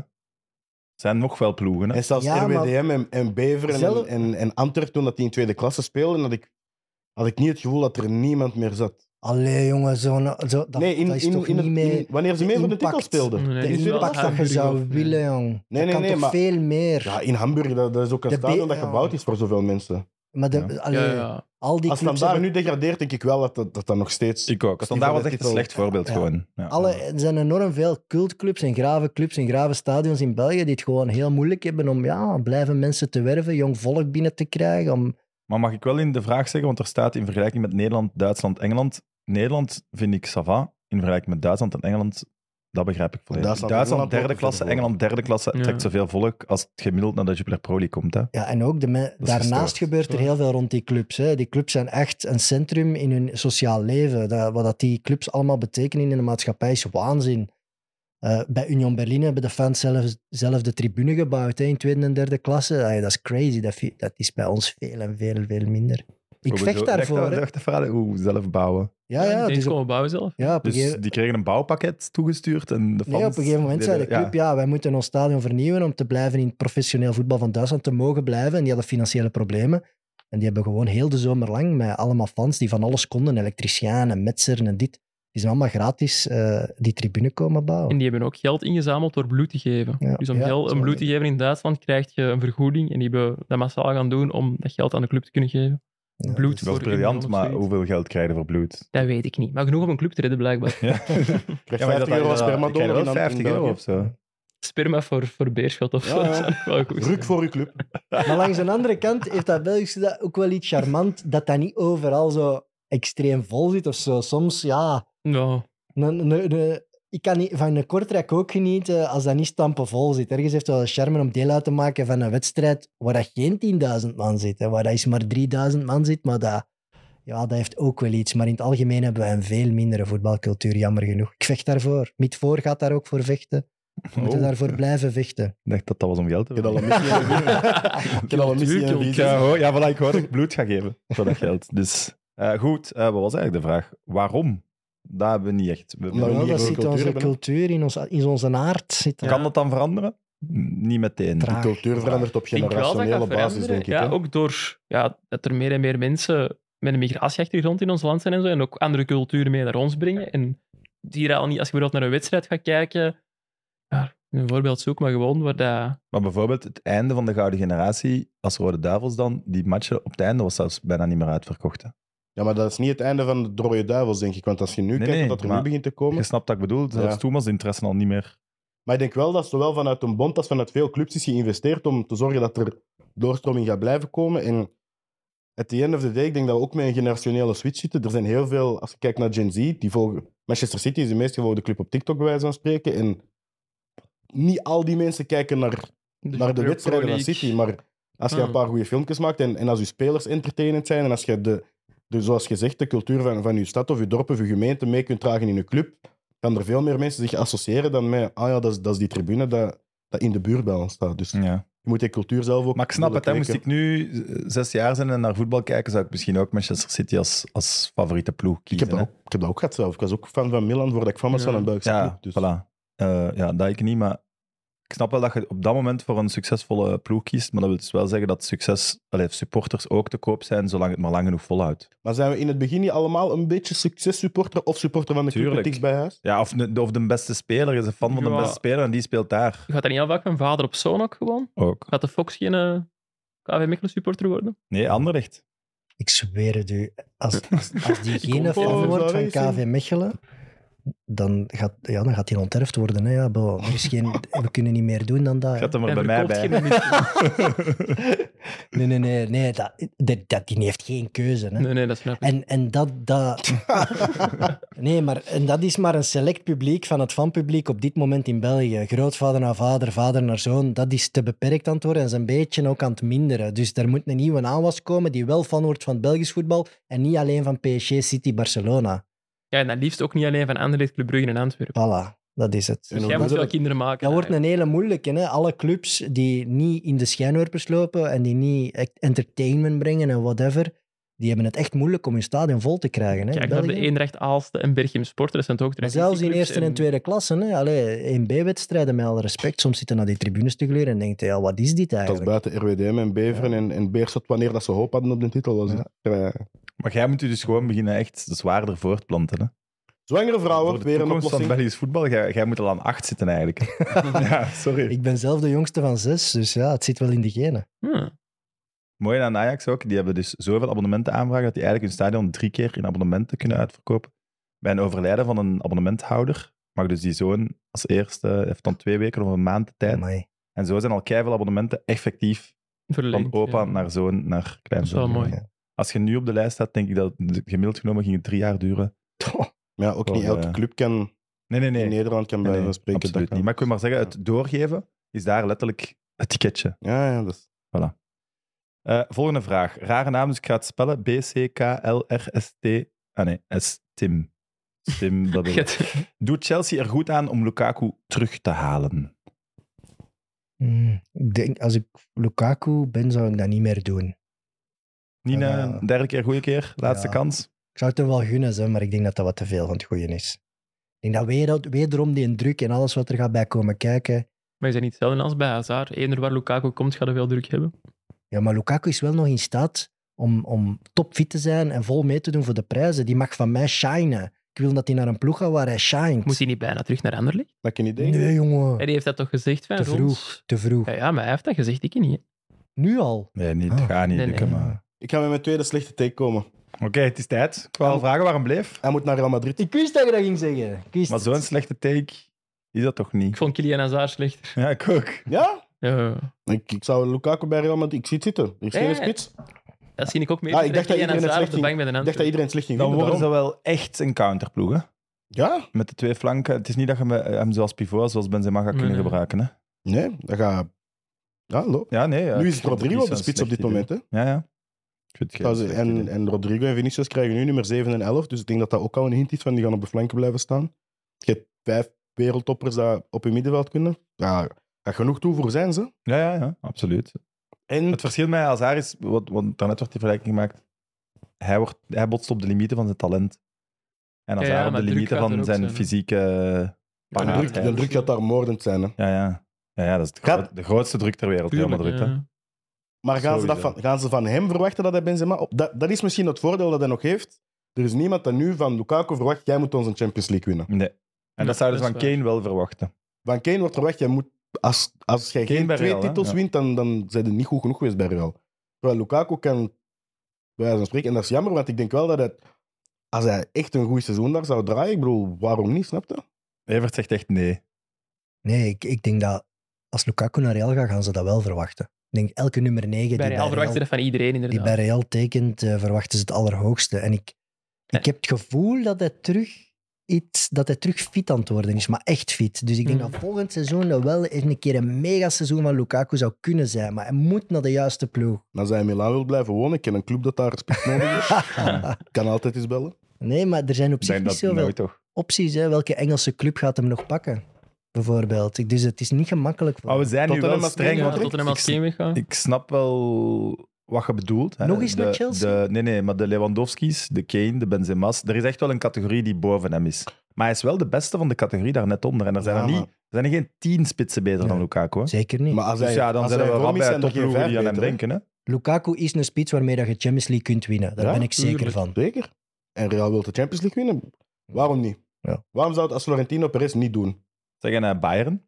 [SPEAKER 2] Zijn nog wel ploegen, hè.
[SPEAKER 3] En zelfs
[SPEAKER 5] Ja, maar-
[SPEAKER 3] RWDM en, en Beveren en-
[SPEAKER 5] Zelf-
[SPEAKER 3] en, en Antwerpen, toen dat die in tweede klasse speelden, had ik, had ik niet het gevoel dat er niemand meer zat.
[SPEAKER 5] Allee, jongen, zo, zo, dat,
[SPEAKER 3] nee, in,
[SPEAKER 5] dat is
[SPEAKER 3] in,
[SPEAKER 5] toch
[SPEAKER 3] in, het-
[SPEAKER 5] niet meer...
[SPEAKER 3] in- wanneer ze mee voor de
[SPEAKER 5] impact.
[SPEAKER 3] titel speelden.
[SPEAKER 4] Nee, nee,
[SPEAKER 3] in
[SPEAKER 5] de
[SPEAKER 4] is wel
[SPEAKER 3] tweede
[SPEAKER 5] impact
[SPEAKER 3] klasse.
[SPEAKER 5] dat je
[SPEAKER 4] Hamburg
[SPEAKER 5] zou
[SPEAKER 4] of- eh,
[SPEAKER 5] willen, jong.
[SPEAKER 3] nee,
[SPEAKER 5] dat kan
[SPEAKER 3] nee,
[SPEAKER 5] toch
[SPEAKER 3] maar-
[SPEAKER 5] veel meer.
[SPEAKER 3] Ja, in Hamburg, dat, dat is ook een
[SPEAKER 5] De
[SPEAKER 3] stadion
[SPEAKER 5] be-
[SPEAKER 3] dat gebouwd is voor zoveel mensen.
[SPEAKER 5] Maar de,
[SPEAKER 2] Ja.
[SPEAKER 5] allee,
[SPEAKER 4] Ja, ja.
[SPEAKER 5] al die
[SPEAKER 3] Als
[SPEAKER 5] clubs...
[SPEAKER 3] Standaard
[SPEAKER 5] hebben-
[SPEAKER 3] nu degradeert, denk ik wel dat dat, dat, dat nog steeds...
[SPEAKER 2] Ik ook. Standaard was echt een slecht voorbeeld,
[SPEAKER 5] Ja.
[SPEAKER 2] gewoon. Ja.
[SPEAKER 5] alle, er zijn enorm veel cultclubs en grave clubs en grave stadions in België die het gewoon heel moeilijk hebben om ja, blijven mensen te werven, jong volk binnen te krijgen, om
[SPEAKER 2] Maar mag ik wel in de vraag zeggen, want er staat in vergelijking met Nederland, Duitsland, Engeland. Nederland vind ik sava. In vergelijking met Duitsland en Engeland, dat begrijp ik volledig. Duitsland,
[SPEAKER 3] Duitsland, Engeland
[SPEAKER 2] derde
[SPEAKER 3] ook
[SPEAKER 2] klasse,
[SPEAKER 3] vervolgen.
[SPEAKER 2] Engeland derde klasse
[SPEAKER 4] Ja.
[SPEAKER 2] trekt zoveel volk als het gemiddeld naar de Jupiler Pro League komt. Hè.
[SPEAKER 5] Ja, en ook de me-
[SPEAKER 2] is
[SPEAKER 5] daarnaast
[SPEAKER 2] gestoord.
[SPEAKER 5] gebeurt er
[SPEAKER 4] Ja.
[SPEAKER 5] heel veel rond die clubs. Hè. Die clubs zijn echt een centrum in hun sociaal leven. Dat, wat dat die clubs allemaal betekenen in de maatschappij is waanzin. Eh, bij Union Berlin hebben de fans zelf, zelf de tribune gebouwd hè, in tweede en derde klasse. Ay, dat is crazy. Dat, vi- dat is bij ons veel en veel, veel minder. Ik vecht daarvoor. hè.
[SPEAKER 2] Hoe zelf bouwen.
[SPEAKER 5] Ja,
[SPEAKER 4] Die
[SPEAKER 5] ja,
[SPEAKER 4] eens
[SPEAKER 5] dus op,
[SPEAKER 4] komen bouwen zelf.
[SPEAKER 5] ja, op een
[SPEAKER 2] Dus
[SPEAKER 5] gegeven-
[SPEAKER 2] die kregen een bouwpakket toegestuurd en de fans...
[SPEAKER 5] Nee, op een gegeven moment zei de
[SPEAKER 2] deden-
[SPEAKER 5] club, ja. wij moeten ons stadion vernieuwen om te blijven in het professioneel voetbal van Duitsland te mogen blijven. En die hadden financiële problemen. En die hebben gewoon heel de zomer lang met allemaal fans die van alles konden, elektriciënen, metseren en dit, die zijn allemaal gratis eh, die tribune komen bouwen.
[SPEAKER 4] En die hebben ook geld ingezameld door bloed te geven.
[SPEAKER 5] Ja,
[SPEAKER 4] Dus om
[SPEAKER 5] ja,
[SPEAKER 4] geld,
[SPEAKER 5] zo
[SPEAKER 4] om bloed
[SPEAKER 5] is
[SPEAKER 4] te
[SPEAKER 5] het.
[SPEAKER 4] geven in Duitsland krijg je een vergoeding. En die hebben dat massaal gaan doen om dat geld aan de club te kunnen geven.
[SPEAKER 5] Ja, dus-
[SPEAKER 4] bloed
[SPEAKER 2] Dat
[SPEAKER 4] voor
[SPEAKER 2] is briljant,
[SPEAKER 4] iemand of
[SPEAKER 2] maar
[SPEAKER 4] zoiets.
[SPEAKER 2] hoeveel geld krijgen voor bloed?
[SPEAKER 4] Dat weet ik niet. Maar genoeg om een club te redden, blijkbaar.
[SPEAKER 2] [laughs]
[SPEAKER 4] [laughs]
[SPEAKER 2] Ja,
[SPEAKER 3] Krijg
[SPEAKER 2] maar
[SPEAKER 3] 50 euro als
[SPEAKER 2] inderdaad,
[SPEAKER 3] sperma
[SPEAKER 2] die krijgen
[SPEAKER 3] donor
[SPEAKER 2] eh, wel
[SPEAKER 3] in- in
[SPEAKER 2] 50 euro
[SPEAKER 3] België.
[SPEAKER 2] of zo.
[SPEAKER 4] Sperma voor, voor beerschot of
[SPEAKER 3] Ja,
[SPEAKER 4] zo.
[SPEAKER 3] ja.
[SPEAKER 4] Dat zou wel goed zijn.
[SPEAKER 3] Druk voor uw club.
[SPEAKER 5] Maar langs de andere kant heeft dat Belgische dat ook wel iets charmant, dat dat niet overal zo extreem vol zit of zo. Soms, ja,
[SPEAKER 4] Nou,
[SPEAKER 5] Een- een- een- ik kan niet, van een kortrek ook genieten eh, als dat niet stampenvol zit. Ergens heeft het wel een charme om deel uit te maken van een wedstrijd waar dat geen 10.000 man zit. Hè, waar dat is maar 3.000 man zit, maar dat, ja, dat heeft ook wel iets. Maar in het algemeen hebben wij een veel mindere voetbalcultuur, jammer genoeg. Ik vecht daarvoor. Miet Voor gaat daar ook voor vechten. We moeten
[SPEAKER 2] Oh,
[SPEAKER 5] daarvoor blijven vechten.
[SPEAKER 2] Ik dacht dat dat was om geld te
[SPEAKER 3] Ik heb al
[SPEAKER 2] verdienen.
[SPEAKER 3] een missie in de buurt. Ik heb al een missie in de buurt.
[SPEAKER 2] Ik, eh, hoor- ja, voilà, ik hoor dat ik bloed ga geven voor dat geld. Dus eh, goed, eh, wat was eigenlijk de vraag? Waarom? Daar hebben we niet echt. we-
[SPEAKER 3] Omdat we
[SPEAKER 5] Wel,
[SPEAKER 3] niet
[SPEAKER 5] dat
[SPEAKER 3] echt
[SPEAKER 5] zit in
[SPEAKER 3] cultuur
[SPEAKER 5] onze
[SPEAKER 3] hebben, hè?
[SPEAKER 5] cultuur, in, ons, in onze aard. Zit dat.
[SPEAKER 2] Kan dat dan veranderen? Hm, Niet meteen.
[SPEAKER 5] Traag.
[SPEAKER 3] De cultuur verandert op
[SPEAKER 4] ik denk wel dat gaat
[SPEAKER 3] generationele basis,
[SPEAKER 4] veranderen.
[SPEAKER 3] denk ik.
[SPEAKER 4] ja,
[SPEAKER 3] hè.
[SPEAKER 4] ook door ja, dat er meer en meer mensen met een migratieachtergrond in ons land zijn en zo. En ook andere culturen mee naar ons brengen. En die er al niet, als je bijvoorbeeld naar een wedstrijd gaat kijken. Ja, een voorbeeld zoek, maar gewoon waar dat.
[SPEAKER 2] Maar bijvoorbeeld het einde van de Gouden Generatie, als Rode Duivels dan, die matchen op het einde was zelfs bijna niet meer uitverkocht. hè.
[SPEAKER 3] Ja, maar dat is niet het einde van de rode duivels, denk ik. Want als je nu
[SPEAKER 2] Nee,
[SPEAKER 3] kijkt
[SPEAKER 2] nee,
[SPEAKER 3] wat er
[SPEAKER 2] maar-
[SPEAKER 3] nu begint te komen...
[SPEAKER 2] Je snapt wat ik bedoel, zelfs
[SPEAKER 3] Ja.
[SPEAKER 2] toen was de interesse al niet meer.
[SPEAKER 3] Maar ik denk wel dat zowel vanuit een bond als vanuit veel clubs is geïnvesteerd om te zorgen dat er doorstroming gaat blijven komen. En at the end of the day, ik denk dat we ook met een generationele switch zitten. Er zijn heel veel, als je kijkt naar Gen Z, die volgen, Manchester City is de meest gevolgde club op TikTok, bij wijze van spreken. En niet al die mensen kijken naar, naar de
[SPEAKER 4] Pro
[SPEAKER 3] Dus wedstrijden van
[SPEAKER 4] League.
[SPEAKER 3] City, maar Als je een
[SPEAKER 2] Ah.
[SPEAKER 4] Mm.
[SPEAKER 3] paar goede filmpjes maakt en, en als je spelers entertainend zijn en als je, de, de, zoals gezegd, de cultuur van, van je stad of je dorp of je gemeente mee kunt dragen in een club, gaan er veel meer mensen zich associëren dan met, ah ja, dat is, dat is die tribune dat, dat in de buurt bij ons staat. Dus
[SPEAKER 2] Ja.
[SPEAKER 3] je moet die cultuur zelf ook...
[SPEAKER 2] Hmm. Maar ik snap het, hè.
[SPEAKER 3] willen
[SPEAKER 2] moest ik
[SPEAKER 3] kweken.
[SPEAKER 2] nu eh, zes jaar zijn en naar voetbal kijken, zou ik misschien ook Manchester City als, als favoriete ploeg
[SPEAKER 3] Ik
[SPEAKER 2] kiezen.
[SPEAKER 3] heb, dat
[SPEAKER 2] hè.
[SPEAKER 3] ook, ik heb dat ook gehad zelf. Ik was ook fan van Milan voordat ik fan was
[SPEAKER 4] Ja.
[SPEAKER 3] van een Belgische
[SPEAKER 2] Ja,
[SPEAKER 3] club. Dus.
[SPEAKER 2] voilà. Eh, ja, dat ik niet, maar ik snap wel dat je op dat moment voor een succesvolle ploeg kiest, maar dat wil dus wel zeggen dat succes, allee, supporters ook te koop zijn, zolang het maar lang genoeg volhoudt.
[SPEAKER 3] Maar zijn we in het begin niet allemaal een beetje successupporter of supporter van de club met
[SPEAKER 2] Tuurlijk.
[SPEAKER 3] diks bij huis?
[SPEAKER 2] Ja, of de, of de beste speler is een fan van de
[SPEAKER 4] Ja.
[SPEAKER 2] beste speler en die speelt daar
[SPEAKER 4] Gaat dat niet heel vaak mijn vader op zoon ook gewoon?
[SPEAKER 2] ook.
[SPEAKER 4] Gaat de Fox geen eh, KV Mechelen supporter worden?
[SPEAKER 2] Nee, Anderlecht.
[SPEAKER 5] Ik zweer het u. Als, als, als die geen
[SPEAKER 4] hoop
[SPEAKER 5] fan
[SPEAKER 4] het.
[SPEAKER 5] wordt
[SPEAKER 3] Zou
[SPEAKER 5] van
[SPEAKER 3] je zien?
[SPEAKER 5] KV Mechelen, dan gaat, ja, dan gaat die onterfd worden. Hè. Ja, bon, er is geen, we kunnen niet meer doen dan dat.
[SPEAKER 2] Zet hem er bij
[SPEAKER 4] Hij
[SPEAKER 2] mij
[SPEAKER 4] verkoopt
[SPEAKER 2] bij.
[SPEAKER 4] geen minuut.
[SPEAKER 5] Nee, nee, nee. nee dat, dat, dat- die heeft geen keuze.
[SPEAKER 4] [laughs]
[SPEAKER 5] Hè.
[SPEAKER 4] Nee, nee, dat snap ik.
[SPEAKER 5] En, en dat... dat... nee, maar en dat is maar een select publiek van het fanpubliek op dit moment in België. Grootvader naar vader, vader naar zoon. Dat is te beperkt aan het worden en is een beetje ook aan het minderen. Dus daar moet een nieuwe aanwas komen die wel fan wordt van het Belgisch voetbal en niet alleen van PSG, City, Barcelona.
[SPEAKER 4] Ja, en dat liefst ook niet alleen van Anderlecht, Club Brugge en Antwerpen.
[SPEAKER 5] Voilà, dat is het.
[SPEAKER 3] En hoe
[SPEAKER 4] Dus Jij
[SPEAKER 3] doen
[SPEAKER 4] moet
[SPEAKER 3] ze
[SPEAKER 4] wel
[SPEAKER 3] dat?
[SPEAKER 4] kinderen maken.
[SPEAKER 5] Dat wordt een hele moeilijke. Hè? Alle clubs die niet in de schijnwerpers lopen en die niet echt entertainment brengen en whatever, die hebben het echt moeilijk om hun stadion vol te krijgen. Hè?
[SPEAKER 4] Kijk naar
[SPEAKER 5] België.
[SPEAKER 4] de Eendracht Aalste en Berchem Sporter. Dat zijn toch ook
[SPEAKER 5] Maar zelfs in
[SPEAKER 4] traditieclubs
[SPEAKER 5] eerste en tweede klasse, hè? Allee, 1B-wedstrijden met alle respect, soms zitten naar die tribunes te gluren en denken, ja, wat is dit
[SPEAKER 3] Dat is
[SPEAKER 5] eigenlijk?
[SPEAKER 3] buiten RWDM en Beveren en, en Beerschot, wanneer dat ze hoop hadden op de titel. Was het. Eh,
[SPEAKER 2] Maar jij moet u dus gewoon beginnen echt zwaarder voortplanten. Hè?
[SPEAKER 3] Zwangere
[SPEAKER 2] Voor
[SPEAKER 3] vrouwen,
[SPEAKER 2] de
[SPEAKER 3] weer een
[SPEAKER 2] toekomst
[SPEAKER 3] oplossing.
[SPEAKER 2] van Belgisch voetbal, jij, jij moet al aan acht zitten eigenlijk.
[SPEAKER 3] [laughs]
[SPEAKER 2] ja, sorry.
[SPEAKER 5] Ik ben zelf de jongste van zes, dus ja, het zit wel in de genen.
[SPEAKER 4] Hm.
[SPEAKER 2] Mooi aan Ajax ook. Die hebben dus zoveel abonnementen aanvragen dat die eigenlijk hun stadion drie keer in abonnementen kunnen uitverkopen. Bij een overlijden van een abonnementhouder mag dus die zoon als eerste, heeft dan twee weken of een maand de tijd.
[SPEAKER 5] Amai.
[SPEAKER 2] En zo zijn al keiveel abonnementen effectief van
[SPEAKER 4] Verlengd,
[SPEAKER 2] opa
[SPEAKER 4] ja. [laughs]
[SPEAKER 2] naar zoon naar
[SPEAKER 4] Dat is wel
[SPEAKER 2] kleinzoon.
[SPEAKER 4] mooi.
[SPEAKER 5] Ja.
[SPEAKER 2] Als je nu op de lijst staat, denk ik dat het gemiddeld genomen ging het drie jaar duren.
[SPEAKER 3] Maar ja, ook
[SPEAKER 2] Wel,
[SPEAKER 3] niet elke
[SPEAKER 2] eh,
[SPEAKER 3] club kan
[SPEAKER 2] Nee, nee, nee.
[SPEAKER 3] in Nederland kan
[SPEAKER 2] Nee,
[SPEAKER 3] bij
[SPEAKER 2] nee,
[SPEAKER 3] van spreken. dat
[SPEAKER 2] absoluut
[SPEAKER 3] kan.
[SPEAKER 2] niet. Maar ik wil maar zeggen, het doorgeven is daar letterlijk het ticketje.
[SPEAKER 3] Ja, ja, dat is...
[SPEAKER 2] Eh, volgende vraag. Rare naam, dus ik ga het spellen. B-C-K-L-R-S-T. Ah nee, S-Tim.
[SPEAKER 4] [laughs]
[SPEAKER 2] Tim, dat wil ik.
[SPEAKER 4] Get-
[SPEAKER 2] Doet Chelsea er goed aan om Lukaku terug te halen?
[SPEAKER 5] Hmm, Ik denk, als ik Lukaku ben, zou ik dat niet meer doen.
[SPEAKER 2] Nina,
[SPEAKER 5] Ja.
[SPEAKER 2] derde keer, goede keer. Laatste
[SPEAKER 5] Ah. Ja.
[SPEAKER 2] kans.
[SPEAKER 5] Ik zou het hem wel gunnen, hè, maar ik denk dat dat wat te veel van het goede is. Ik denk dat weer, wederom die druk en alles wat er gaat bij komen kijken.
[SPEAKER 4] Maar je bent niet hetzelfde als bij Hazard. Eender waar Lukaku komt, gaat er veel druk hebben.
[SPEAKER 5] Ja, maar Lukaku is wel nog in staat om, om topfit te zijn en vol mee te doen voor de prijzen. Die mag van mij shinen. Ik wil dat hij naar een ploeg gaat waar hij shined.
[SPEAKER 4] Moest hij niet bijna terug naar Anderlecht?
[SPEAKER 3] Maak je niet idee?
[SPEAKER 5] Nee,
[SPEAKER 4] En
[SPEAKER 5] jongen.
[SPEAKER 4] die heeft dat toch gezegd van
[SPEAKER 5] Te
[SPEAKER 4] Rons?
[SPEAKER 5] vroeg. Te vroeg.
[SPEAKER 4] Ja, ja, maar hij heeft dat gezegd, ik niet. hè.
[SPEAKER 5] Nu al.
[SPEAKER 2] Nee, niet,
[SPEAKER 5] Ah.
[SPEAKER 2] ga niet
[SPEAKER 4] Nee, nee.
[SPEAKER 2] lukken, maar...
[SPEAKER 3] Ik ga met mijn tweede slechte take komen.
[SPEAKER 2] Oké, het is tijd. Ik
[SPEAKER 4] Oh.
[SPEAKER 2] wou al vragen waarom bleef.
[SPEAKER 3] Hij moet naar Real Madrid.
[SPEAKER 5] Ik wist dat je dat ging zeggen. Ik wist
[SPEAKER 2] Maar zo'n
[SPEAKER 5] het.
[SPEAKER 2] slechte take is dat toch
[SPEAKER 4] Ik
[SPEAKER 2] niet?
[SPEAKER 4] vond Kylian Hazard slechter.
[SPEAKER 2] Ja, ik ook.
[SPEAKER 3] Ja?
[SPEAKER 4] Ja,
[SPEAKER 3] Ik, ik zou Lukaku bij Real Madrid... Ik zie het zitten. Er is
[SPEAKER 4] Ja,
[SPEAKER 3] geen
[SPEAKER 4] ja.
[SPEAKER 3] spits.
[SPEAKER 4] dat zie ik ook meer.
[SPEAKER 3] Ja, ik dacht dat
[SPEAKER 4] Kylian
[SPEAKER 3] iedereen het
[SPEAKER 4] Hazard op de
[SPEAKER 3] slecht
[SPEAKER 4] bank bij de
[SPEAKER 3] Ik dacht dat iedereen het slecht ging
[SPEAKER 2] Dan
[SPEAKER 3] vinden,
[SPEAKER 2] worden ze wel echt een counterploeg, hè?
[SPEAKER 3] daarom. Ja?
[SPEAKER 2] Met de twee flanken. Het is niet dat je hem- hem zoals pivot, zoals Benzema, gaat
[SPEAKER 4] Nee,
[SPEAKER 2] kunnen
[SPEAKER 4] nee.
[SPEAKER 2] gebruiken, hè?
[SPEAKER 3] Nee, dat gaat... Ja, loop.
[SPEAKER 2] Ja, nee. ja,
[SPEAKER 3] nu
[SPEAKER 2] ik
[SPEAKER 3] is het
[SPEAKER 2] vind niet
[SPEAKER 3] Rodrigo op de
[SPEAKER 2] zo'n
[SPEAKER 3] spits op dit
[SPEAKER 2] slecht idee.
[SPEAKER 3] moment, hè?
[SPEAKER 2] Ja, ja. Ik vind het geen
[SPEAKER 3] Trouwens,
[SPEAKER 2] slecht idee.
[SPEAKER 3] en, en Rodrigo en Vinicius krijgen nu nummer 7 en 11. Dus ik denk dat dat ook al een hint is van die gaan op de flanken blijven staan. Je hebt vijf wereldtoppers die op je middenveld kunnen. Ja, dat genoeg toe voor zijn ze.
[SPEAKER 2] Ja, ja, ja, absoluut.
[SPEAKER 3] En
[SPEAKER 2] Het verschil met Hazard is, want, want daarnet werd die vergelijking gemaakt, hij, wordt, hij botst op de limieten van zijn talent. En
[SPEAKER 4] ja,
[SPEAKER 2] Hazard op
[SPEAKER 4] maar
[SPEAKER 2] de
[SPEAKER 4] druk
[SPEAKER 2] limieten
[SPEAKER 4] gaat er
[SPEAKER 2] van
[SPEAKER 4] ook
[SPEAKER 2] zijn
[SPEAKER 4] zijn, hè.
[SPEAKER 2] fysieke...
[SPEAKER 3] de
[SPEAKER 2] Ja,
[SPEAKER 3] druk, de druk gaat daar moordend zijn. Hè.
[SPEAKER 2] Ja, ja. Ja, ja, dat is de,
[SPEAKER 3] Gaat-
[SPEAKER 2] groot- de grootste druk ter wereld, Real
[SPEAKER 4] Tuurlijk,
[SPEAKER 2] Madrid. hè.
[SPEAKER 4] ja.
[SPEAKER 3] Maar gaan ze, dat
[SPEAKER 2] Sowieso.
[SPEAKER 3] van, gaan ze van hem verwachten dat hij Benzema... Op, dat, dat is misschien het voordeel dat hij nog heeft. Er is niemand dat nu van Lukaku verwacht, jij moet ons een Champions League winnen.
[SPEAKER 2] Nee. En
[SPEAKER 4] Ja,
[SPEAKER 2] dat zouden ze
[SPEAKER 4] dat
[SPEAKER 2] van
[SPEAKER 4] is
[SPEAKER 2] Kane wel verwachten.
[SPEAKER 3] Van Kane wordt verwacht, jij moet, als, als jij
[SPEAKER 2] Kane
[SPEAKER 3] geen
[SPEAKER 2] bij
[SPEAKER 3] twee
[SPEAKER 2] Real, hè?
[SPEAKER 3] titels
[SPEAKER 2] Ja.
[SPEAKER 3] wint, dan, dan zijn ze niet goed genoeg geweest bij Real. Terwijl Lukaku kan, bij wijze van spreken, en dat is jammer, want ik denk wel dat hij, als hij echt een goed seizoen daar zou draaien, ik bedoel, waarom niet, snap je?
[SPEAKER 2] Evert zegt echt nee.
[SPEAKER 5] Nee, ik, ik denk dat als Lukaku naar Real gaat, gaan ze dat wel verwachten. Ik denk elke nummer 9
[SPEAKER 4] Bij
[SPEAKER 5] die
[SPEAKER 4] Real
[SPEAKER 5] bij Real,
[SPEAKER 4] verwachten dat van iedereen,
[SPEAKER 5] die bij
[SPEAKER 4] inderdaad.
[SPEAKER 5] Real tekent, eh, verwachten ze het allerhoogste. En ik, ik heb het gevoel dat hij terug iets dat hij terug fit aan het worden is, maar echt fit. Dus ik denk
[SPEAKER 4] Hmm.
[SPEAKER 5] dat volgend seizoen dat wel eens een keer een megaseizoen van Lukaku zou kunnen zijn. Maar hij moet naar de juiste ploeg.
[SPEAKER 3] Als hij in Milaan wil blijven wonen, ik ken een club dat daar [laughs] respect nodig
[SPEAKER 2] [laughs]
[SPEAKER 3] is. Ik kan altijd eens bellen.
[SPEAKER 5] Nee, maar er zijn op zich
[SPEAKER 2] Zijn
[SPEAKER 5] niet
[SPEAKER 2] dat
[SPEAKER 5] zoveel
[SPEAKER 2] nooit toch?
[SPEAKER 5] opties. Hè. Welke Engelse club gaat hem nog pakken? Bijvoorbeeld. Ik- Dus het is niet gemakkelijk voor
[SPEAKER 3] Oh,
[SPEAKER 2] Maar we zijn nu
[SPEAKER 3] Tottenham
[SPEAKER 2] wel
[SPEAKER 3] als
[SPEAKER 2] streng.
[SPEAKER 3] geen
[SPEAKER 4] Ja,
[SPEAKER 2] want
[SPEAKER 3] contract.
[SPEAKER 4] Tottenham als
[SPEAKER 2] ik,
[SPEAKER 4] geen weggaan.
[SPEAKER 2] ik snap wel wat je bedoelt. Hè.
[SPEAKER 5] Nog eens
[SPEAKER 2] de,
[SPEAKER 5] met Chelsea?
[SPEAKER 2] de- nee, nee, maar de Lewandowski's, de Kane, de Benzema's. Er is echt wel een categorie die boven hem is. Maar hij is wel de beste van de categorie daar net onder. En er zijn,
[SPEAKER 3] Ja,
[SPEAKER 2] er, niet,
[SPEAKER 3] maar-
[SPEAKER 2] er zijn er geen tien spitsen beter
[SPEAKER 5] Nee.
[SPEAKER 2] dan Lukaku. Hè.
[SPEAKER 5] Zeker niet.
[SPEAKER 3] Maar als hij,
[SPEAKER 2] Dus ja, dan
[SPEAKER 3] als
[SPEAKER 2] zijn we
[SPEAKER 3] hij
[SPEAKER 2] wel
[SPEAKER 3] vorm is,
[SPEAKER 2] bij
[SPEAKER 3] zijn er geen
[SPEAKER 2] topploegen
[SPEAKER 3] vijf
[SPEAKER 2] die aan hem
[SPEAKER 3] beter, hè?
[SPEAKER 2] denken. Hè?
[SPEAKER 5] Lukaku is een spits waarmee dat je Champions League kunt winnen. Daar
[SPEAKER 3] Ja,
[SPEAKER 5] ben ik zeker
[SPEAKER 4] tuurlijk.
[SPEAKER 5] van.
[SPEAKER 3] Zeker. En Real wil de Champions League winnen. Waarom niet?
[SPEAKER 5] Ja.
[SPEAKER 3] Waarom zou het als Florentino Perez niet doen?
[SPEAKER 2] Zeg, en eh, Bayern?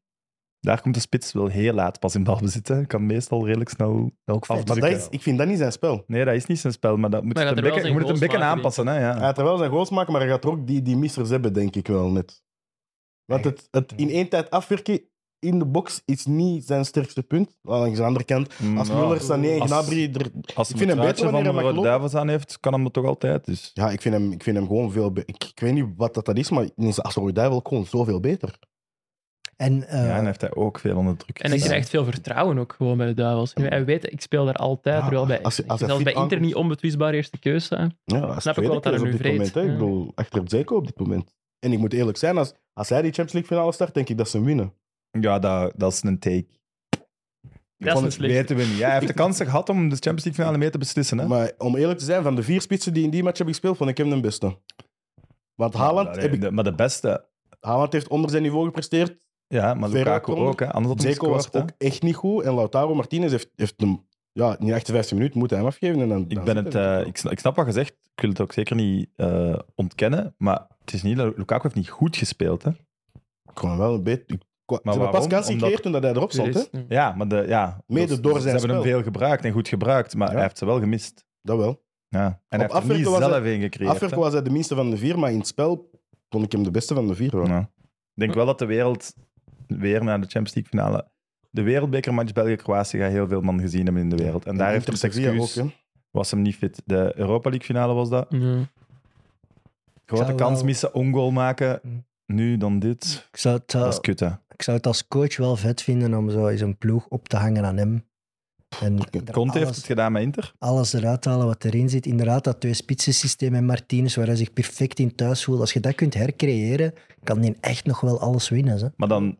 [SPEAKER 2] Daar komt de spits wel heel laat pas in balbezit. hè. Kan meestal redelijk snel
[SPEAKER 5] Ook vet.
[SPEAKER 3] Maar
[SPEAKER 2] afdrukken.
[SPEAKER 3] dat is, ik vind dat niet zijn spel.
[SPEAKER 2] Nee, dat is niet zijn spel, maar dat moet
[SPEAKER 4] Maar
[SPEAKER 2] je
[SPEAKER 4] hij
[SPEAKER 2] het een
[SPEAKER 4] gaat er
[SPEAKER 2] beetje, je
[SPEAKER 4] wel
[SPEAKER 2] moet het een
[SPEAKER 4] zijn
[SPEAKER 2] beetje
[SPEAKER 4] goals
[SPEAKER 2] aanpassen. Hè, ja.
[SPEAKER 3] Hij gaat er wel zijn goals maken, maar hij gaat er ook die, die missers hebben, denk ik wel net. Want het, het in één tijd afwerken in de box is niet zijn sterkste punt. Wel, Langs de andere kant, als
[SPEAKER 2] Ja.
[SPEAKER 3] Müller, Sané en
[SPEAKER 2] Mm, Nou, Als-
[SPEAKER 3] Gnabry... Er,
[SPEAKER 2] Als
[SPEAKER 3] Ik
[SPEAKER 2] hij
[SPEAKER 3] vind
[SPEAKER 2] het
[SPEAKER 3] hem beter
[SPEAKER 2] uitje van
[SPEAKER 3] wanneer hij mag
[SPEAKER 2] wat
[SPEAKER 3] lopen.
[SPEAKER 2] duivels aan heeft, kan hem dat toch altijd. Dus.
[SPEAKER 3] ja, ik vind, hem, ik vind hem gewoon veel... be- Ik, ik weet niet wat dat, dat is, maar in zijn Astro wel gewoon zoveel beter.
[SPEAKER 5] En, eh,
[SPEAKER 2] Ja, en heeft hij ook veel onder druk
[SPEAKER 4] En hij
[SPEAKER 2] gestaan.
[SPEAKER 4] krijgt veel vertrouwen ook gewoon bij de Duivels. Nu, Hij weet, ik speel daar altijd.
[SPEAKER 3] Ja,
[SPEAKER 4] terwijl bij,
[SPEAKER 3] als je- als hij
[SPEAKER 4] zelfs
[SPEAKER 3] fit
[SPEAKER 4] bij Inter
[SPEAKER 3] aankomt.
[SPEAKER 4] niet onbetwistbaar eerste keuze zijn.
[SPEAKER 3] Ja, als
[SPEAKER 4] Snap ik
[SPEAKER 3] tweede
[SPEAKER 4] wel dat hij
[SPEAKER 3] keus
[SPEAKER 4] er nu
[SPEAKER 3] op dit
[SPEAKER 4] vreet.
[SPEAKER 3] moment. hè.
[SPEAKER 4] Ja.
[SPEAKER 3] Ik bedoel, achter het zeker op dit moment. En ik moet eerlijk zijn, als, als hij die Champions League finale start, denk ik dat ze hem winnen.
[SPEAKER 2] Ja, dat, dat is een take.
[SPEAKER 4] Dat is
[SPEAKER 2] Van
[SPEAKER 4] een
[SPEAKER 2] het
[SPEAKER 4] slechte.
[SPEAKER 2] weten we niet. Ja, hij heeft de kans gehad om de Champions League finale mee te beslissen. Hè?
[SPEAKER 3] Maar om eerlijk te zijn, van de vier spitsen die in die match heb gespeeld, vond ik hem de beste. Want Haaland,
[SPEAKER 2] Ja,
[SPEAKER 3] heb ik,
[SPEAKER 2] de- maar de beste.
[SPEAKER 3] Haaland heeft onder zijn niveau gepresteerd.
[SPEAKER 2] Ja, maar
[SPEAKER 3] Vera
[SPEAKER 2] Lukaku
[SPEAKER 3] kon.
[SPEAKER 2] ook. Hè. Anders had hij
[SPEAKER 3] Zeko was
[SPEAKER 2] gescoord. hè.
[SPEAKER 3] ook echt niet goed. En Lautaro Martinez heeft, heeft hem... Ja, in de 58 minuten moet hij hem afgeven. En dan,
[SPEAKER 2] Ik,
[SPEAKER 3] dan
[SPEAKER 2] ben
[SPEAKER 3] zit
[SPEAKER 2] het,
[SPEAKER 3] hij er.
[SPEAKER 2] eh, ik, sna- ik snap wat je zegt. Ik wil het ook zeker niet eh, ontkennen. Maar het is niet dat Lukaku heeft niet goed gespeeld. Hè.
[SPEAKER 3] Ik vond hem wel een beetje... Ik, maar ze hebben
[SPEAKER 2] waarom?
[SPEAKER 3] pas kansen
[SPEAKER 2] Omdat-
[SPEAKER 3] gecreëerd toen dat hij erop stond. Hè?
[SPEAKER 4] Ja.
[SPEAKER 2] Ja, maar de, ja,
[SPEAKER 3] Mede
[SPEAKER 2] dus-
[SPEAKER 3] door
[SPEAKER 2] Ze
[SPEAKER 3] zijn
[SPEAKER 2] hebben hem
[SPEAKER 3] spel.
[SPEAKER 2] veel gebruikt en goed gebruikt. Maar
[SPEAKER 3] Ja.
[SPEAKER 2] hij heeft ze wel gemist.
[SPEAKER 3] Dat wel.
[SPEAKER 2] Ja. En hij heeft er
[SPEAKER 3] afwerken
[SPEAKER 2] niet
[SPEAKER 3] was hij-
[SPEAKER 2] zelf in gecreëerd. hè.
[SPEAKER 3] Afwerken was hij de minste van de vier, maar in het spel vond ik hem de beste van de vier. Hoor.
[SPEAKER 2] Ja. Ik denk wel dat de wereld weer naar de Champions League finale. De wereldbekermatch België-Kroatië gaat heel veel man gezien hebben in de wereld. En daar heeft
[SPEAKER 3] Inter
[SPEAKER 2] het excuus,
[SPEAKER 3] Sevilla ook, hè.
[SPEAKER 2] was hem niet fit. De Europa League finale was dat.
[SPEAKER 4] Ja.
[SPEAKER 2] Grote
[SPEAKER 5] Zou
[SPEAKER 2] kans
[SPEAKER 5] wel-
[SPEAKER 2] missen, ongoal maken. Nu dan dit.
[SPEAKER 5] ik, zou het, eh,
[SPEAKER 2] Dat is kut, hè.
[SPEAKER 5] ik zou het als coach wel vet vinden om zo eens een ploeg op te hangen aan hem. En er
[SPEAKER 2] Conte heeft het
[SPEAKER 5] alles,
[SPEAKER 2] gedaan met Inter.
[SPEAKER 5] alles eruit halen wat erin zit. Inderdaad, dat twee spitsen systeem en Martinez, waar hij zich perfect in thuis voelt. Als je dat kunt hercreëren, kan hij echt nog wel alles winnen. Hè?
[SPEAKER 2] Maar dan,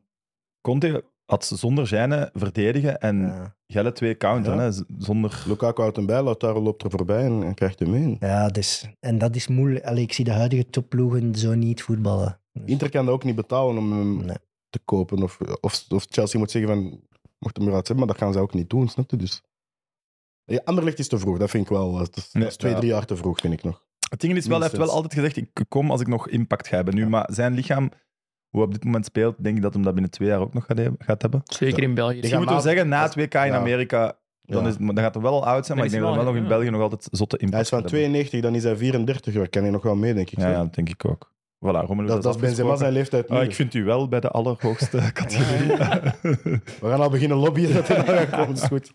[SPEAKER 2] Conte had ze zonder Zijne verdedigen
[SPEAKER 3] Mm.
[SPEAKER 2] en
[SPEAKER 5] Ja.
[SPEAKER 2] Gelle twee counteren.
[SPEAKER 3] Ja.
[SPEAKER 2] Hè. Z- Zonder...
[SPEAKER 3] Lukaku houdt hem bij, Lautaro loopt er voorbij en, en krijgt hem in.
[SPEAKER 5] Ja, dus, en dat is moeilijk. Allee, ik zie de huidige topploegen zo niet voetballen. Dus
[SPEAKER 3] Inter kan dat ook niet betalen om hem
[SPEAKER 5] Nee.
[SPEAKER 3] te kopen. Of, of, of Chelsea moet zeggen van, mocht hem eruit hebben, maar dat gaan ze ook niet doen, snap je? Dus. Ja, Anderlecht is te vroeg, dat vind ik wel. Dat is,
[SPEAKER 2] Nee,
[SPEAKER 3] dat is twee,
[SPEAKER 2] ja.
[SPEAKER 3] drie jaar te vroeg, vind ik nog.
[SPEAKER 2] Het ding is wel, hij heeft wel
[SPEAKER 3] Minstens.
[SPEAKER 2] altijd gezegd, ik kom als ik nog impact ga hebben. Nu, maar zijn lichaam, hoe hij op dit moment speelt, denk ik dat hem dat binnen twee jaar ook nog gaat he- gaat hebben.
[SPEAKER 4] Zeker in België.
[SPEAKER 2] Ik moet wel
[SPEAKER 3] maar-
[SPEAKER 2] zeggen, na het WK in
[SPEAKER 3] Ja.
[SPEAKER 2] Amerika, dan,
[SPEAKER 3] Ja.
[SPEAKER 2] is, maar dan gaat hij wel al oud zijn, maar ik
[SPEAKER 4] Dan
[SPEAKER 2] denk
[SPEAKER 4] is
[SPEAKER 2] dat hij wel
[SPEAKER 4] hij
[SPEAKER 2] nog
[SPEAKER 4] wel,
[SPEAKER 2] in
[SPEAKER 4] ja.
[SPEAKER 2] België nog altijd zotte impact
[SPEAKER 3] Hij is van
[SPEAKER 2] gaat
[SPEAKER 3] 92, dan is hij 34, daar kan hij nog wel mee, denk ik.
[SPEAKER 2] hebben. Ja, ja, dat denk ik ook. Voilà, Romelu,
[SPEAKER 3] dat, dat is Benzema zijn
[SPEAKER 2] afgesproken.
[SPEAKER 3] leeftijd nu.
[SPEAKER 2] Ah, ik vind u wel bij de
[SPEAKER 3] [laughs]
[SPEAKER 2] allerhoogste categorie. [laughs]
[SPEAKER 3] We gaan al beginnen lobbyen dat hij daar gaat komen, is goed.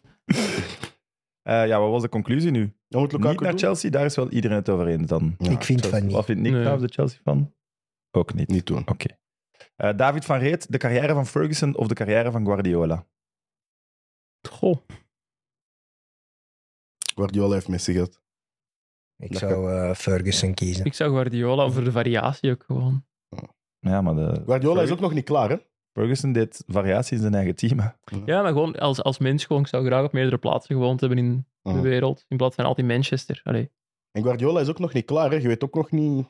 [SPEAKER 2] Eh, ja, wat was de conclusie nu?
[SPEAKER 3] Dan moet
[SPEAKER 2] Niet
[SPEAKER 3] Lukaku
[SPEAKER 2] naar
[SPEAKER 3] doen.
[SPEAKER 2] Chelsea, daar is wel iedereen het over eens dan.
[SPEAKER 3] Ja,
[SPEAKER 5] ik vind van niet.
[SPEAKER 2] Wat vindt Nick
[SPEAKER 4] Nee.
[SPEAKER 2] trouwens, de Chelsea van? Ook niet.
[SPEAKER 3] Niet doen.
[SPEAKER 2] Oké. Eh, David van Reet, de carrière van Ferguson of de carrière van Guardiola?
[SPEAKER 4] Goh.
[SPEAKER 3] Guardiola heeft Messi gehad.
[SPEAKER 5] Ik
[SPEAKER 3] Dat
[SPEAKER 5] zou eh, Ferguson kiezen.
[SPEAKER 4] Ik zou Guardiola voor de variatie ook gewoon.
[SPEAKER 2] Ja, maar de
[SPEAKER 3] Guardiola is ook nog niet klaar, hè?
[SPEAKER 2] Ferguson deed variatie in zijn eigen team. hè.
[SPEAKER 4] Ja, maar gewoon als, als mens gewoon. Ik zou graag op meerdere plaatsen gewoond hebben in de
[SPEAKER 3] Ja.
[SPEAKER 4] wereld. In plaats van altijd Manchester. Allee.
[SPEAKER 3] En Guardiola is ook nog niet klaar. Hè. Je weet ook nog niet...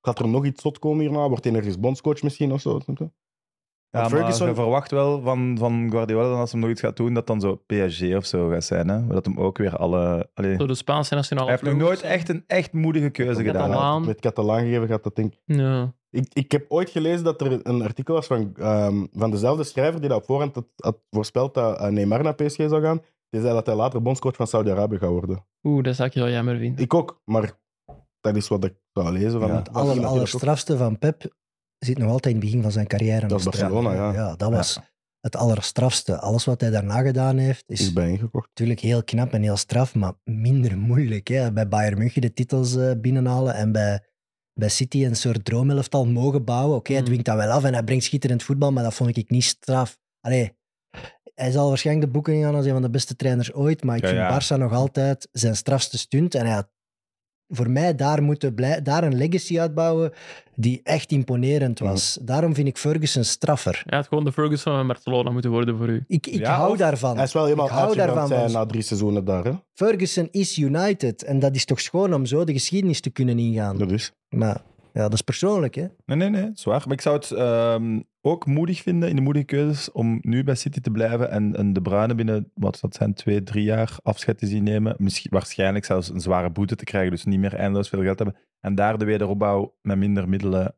[SPEAKER 3] Gaat er nog iets zot komen hierna? Wordt hij ergens bondscoach misschien of zo? snap je?
[SPEAKER 2] Ja, maar
[SPEAKER 3] Want Ferguson-
[SPEAKER 2] je verwacht wel van, van Guardiola dat als hij nog iets gaat doen, dat dan zo PSG of zo gaat zijn. Hè? Dat hem ook weer alle... Allee,
[SPEAKER 4] Door de Spaanse nationale
[SPEAKER 2] hij heeft nog
[SPEAKER 4] ploeg.
[SPEAKER 2] nooit echt een echt moedige keuze
[SPEAKER 4] Ja,
[SPEAKER 2] gedaan.
[SPEAKER 4] dat
[SPEAKER 2] hè.
[SPEAKER 4] wel.
[SPEAKER 3] Als het Met Catalaan gegeven gaat dat ding...
[SPEAKER 4] Ja.
[SPEAKER 3] Ik, ik heb ooit gelezen dat er een artikel was van, ehm, van dezelfde schrijver die dat op voorhand had, had voorspeld dat eh, Neymar naar PSG zou gaan. Die zei dat hij later bondscoach van Saudi-Arabië gaat worden.
[SPEAKER 4] Oeh, dat zou ik heel jammer vinden.
[SPEAKER 3] Ik ook, maar dat is wat ik zou lezen. Van,
[SPEAKER 2] Ja.
[SPEAKER 3] van
[SPEAKER 5] Het
[SPEAKER 3] iemand
[SPEAKER 5] aller,
[SPEAKER 3] die dat ook-
[SPEAKER 5] allerstrafste van Pep zit nog altijd in het begin van zijn carrière.
[SPEAKER 3] Dat is
[SPEAKER 5] nog straf.
[SPEAKER 3] Barcelona, ja.
[SPEAKER 5] dat was het allerstrafste. Alles wat hij daarna gedaan heeft, is
[SPEAKER 3] is bij ingekocht.
[SPEAKER 5] natuurlijk heel knap en heel straf, maar minder moeilijk. Hè? Bij Bayern München de titels eh, binnenhalen en bij bij City een soort droomelftal mogen bouwen. Oké, hij
[SPEAKER 4] Mm.
[SPEAKER 5] dwingt dat wel af en hij brengt schitterend voetbal, maar dat vond ik niet straf. Allee, hij zal waarschijnlijk de boeken gaan als een van de beste trainers ooit, maar ik
[SPEAKER 2] Ja,
[SPEAKER 5] vind
[SPEAKER 2] ja.
[SPEAKER 5] Barça nog altijd zijn strafste stunt. En hij had voor mij daar, moeten blij- daar een legacy uitbouwen die echt imponerend
[SPEAKER 2] Mm.
[SPEAKER 5] was. Daarom vind ik Ferguson straffer.
[SPEAKER 4] Hij had gewoon de Ferguson van Barcelona moeten worden voor u.
[SPEAKER 5] Ik, ik
[SPEAKER 2] Ja,
[SPEAKER 5] hou
[SPEAKER 2] of-
[SPEAKER 5] daarvan.
[SPEAKER 3] Hij is wel helemaal
[SPEAKER 5] Ik hou
[SPEAKER 3] uitgebrand
[SPEAKER 5] daarvan,
[SPEAKER 3] zijn
[SPEAKER 5] want-
[SPEAKER 2] dus-
[SPEAKER 3] na drie seizoenen daar. Hè?
[SPEAKER 5] Ferguson is United. En dat is toch schoon om zo de geschiedenis te kunnen ingaan.
[SPEAKER 3] Dat is.
[SPEAKER 5] Maar ja, dat is persoonlijk, hè?
[SPEAKER 2] Nee, nee, nee, zwaar. Maar ik zou het ehm, ook moedig vinden, in de moedige keuzes, om nu bij City te blijven en, en De Bruyne binnen, wat dat zijn, twee, drie jaar afscheid te zien nemen. Misschien, waarschijnlijk zelfs een zware boete te krijgen, dus niet meer eindeloos veel geld hebben. En daar de wederopbouw met minder middelen. Zou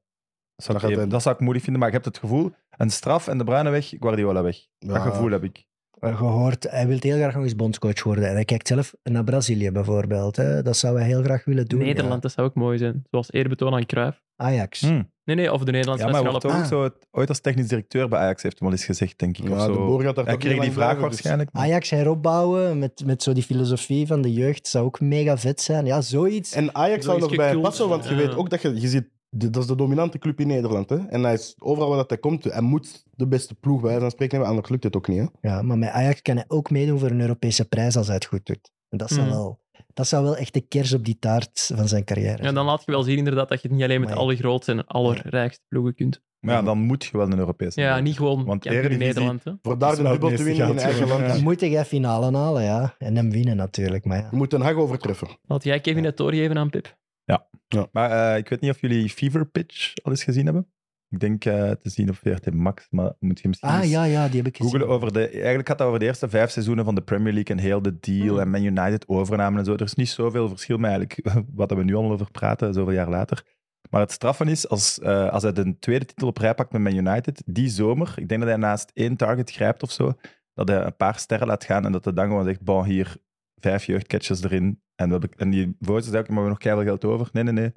[SPEAKER 3] Dat
[SPEAKER 2] ik
[SPEAKER 3] gaat
[SPEAKER 2] even-
[SPEAKER 3] in.
[SPEAKER 2] dat zou ik moedig vinden, maar ik heb het gevoel, een straf en De Bruyne weg, Guardiola weg. Dat
[SPEAKER 3] Ja.
[SPEAKER 2] gevoel heb ik.
[SPEAKER 5] Gehoord, hij wil heel graag nog eens bondscoach worden. En hij kijkt zelf naar Brazilië bijvoorbeeld. Hè? Dat zou hij heel graag willen doen.
[SPEAKER 4] Nederland, dat zou ook mooi zijn. Zoals eerbetoon aan Cruijff.
[SPEAKER 5] ja. Ajax.
[SPEAKER 2] Hm.
[SPEAKER 4] Nee, nee, of de Nederlandse
[SPEAKER 2] Ja, maar hij
[SPEAKER 4] nationale
[SPEAKER 2] wordt
[SPEAKER 4] ploeg.
[SPEAKER 2] ook
[SPEAKER 5] Ah.
[SPEAKER 2] zo, het- ooit als technisch directeur bij Ajax heeft hij wel eens gezegd, denk ik. of
[SPEAKER 3] Ja,
[SPEAKER 2] zo.
[SPEAKER 3] de boer gaat daar
[SPEAKER 2] Hij
[SPEAKER 3] toch
[SPEAKER 2] kreeg
[SPEAKER 3] niet
[SPEAKER 2] die
[SPEAKER 3] lang
[SPEAKER 2] vraag
[SPEAKER 3] blijven, dus-
[SPEAKER 2] waarschijnlijk. maar-
[SPEAKER 5] Ajax heropbouwen met, met zo die filosofie van de jeugd zou ook mega vet zijn. Ja, zoiets.
[SPEAKER 3] En Ajax zou
[SPEAKER 4] Zoiets
[SPEAKER 3] nog bij
[SPEAKER 4] gekult,
[SPEAKER 3] passen, want je
[SPEAKER 4] ja.
[SPEAKER 3] weet ook dat je, je ziet, de- dat is de dominante club in Nederland. Hè? En hij is, overal waar dat hij komt, hij moet de beste ploeg bij zijn spreken hebben, anders lukt het ook niet. Hè?
[SPEAKER 5] Ja, maar met Ajax kan hij ook meedoen voor een Europese prijs als hij het goed doet. En dat, zou
[SPEAKER 4] Hmm.
[SPEAKER 5] wel, dat zou wel echt de kers op die taart van zijn carrière
[SPEAKER 4] Ja,
[SPEAKER 5] zijn.
[SPEAKER 4] dan laat je wel zien inderdaad dat je het niet alleen met
[SPEAKER 5] Maar
[SPEAKER 4] de
[SPEAKER 5] ja.
[SPEAKER 4] allergrootste en allerrijkste ploegen kunt.
[SPEAKER 2] Maar ja, dan moet je wel een Europese.
[SPEAKER 4] Ja, niet gewoon
[SPEAKER 2] Want
[SPEAKER 4] kampioen in
[SPEAKER 2] Eredivisie-
[SPEAKER 4] Nederland. Hè.
[SPEAKER 3] Voor
[SPEAKER 2] Dat
[SPEAKER 3] daar
[SPEAKER 2] is
[SPEAKER 3] de
[SPEAKER 2] wel
[SPEAKER 3] dubbel
[SPEAKER 2] het
[SPEAKER 3] te
[SPEAKER 2] meeste
[SPEAKER 3] winnen in
[SPEAKER 2] geld,
[SPEAKER 3] eigen
[SPEAKER 2] ja.
[SPEAKER 3] land.
[SPEAKER 5] Dan moet jij finale halen, ja. En hem winnen natuurlijk, maar ja.
[SPEAKER 3] Je moet een Hag overtreffen.
[SPEAKER 4] Laat jij Kevin het doorgeven aan Pip.
[SPEAKER 2] Maar eh, ik weet niet of jullie Fever Pitch al eens gezien hebben. Ik denk eh, te zien op VRT Max, maar moet je misschien
[SPEAKER 5] Ah
[SPEAKER 2] eens
[SPEAKER 5] ja, ja, die heb ik gezien.
[SPEAKER 2] googlen over de... Eigenlijk gaat het over de eerste vijf seizoenen van de Premier League en heel de deal
[SPEAKER 4] Mhm.
[SPEAKER 2] en Man United overnamen en zo. Er is niet zoveel verschil met eigenlijk [laughs] wat we nu allemaal over praten, zoveel jaar later. Maar het straffen is, als, eh, als hij de tweede titel op rij pakt met Man United, die zomer, ik denk dat hij naast één target grijpt of zo, dat hij een paar sterren laat gaan en dat hij dan gewoon zegt, bon, hier, vijf jeugdcatches erin. En, we hebben, en die voice zegt, maar we hebben nog keihard geld over. Nee, nee, nee.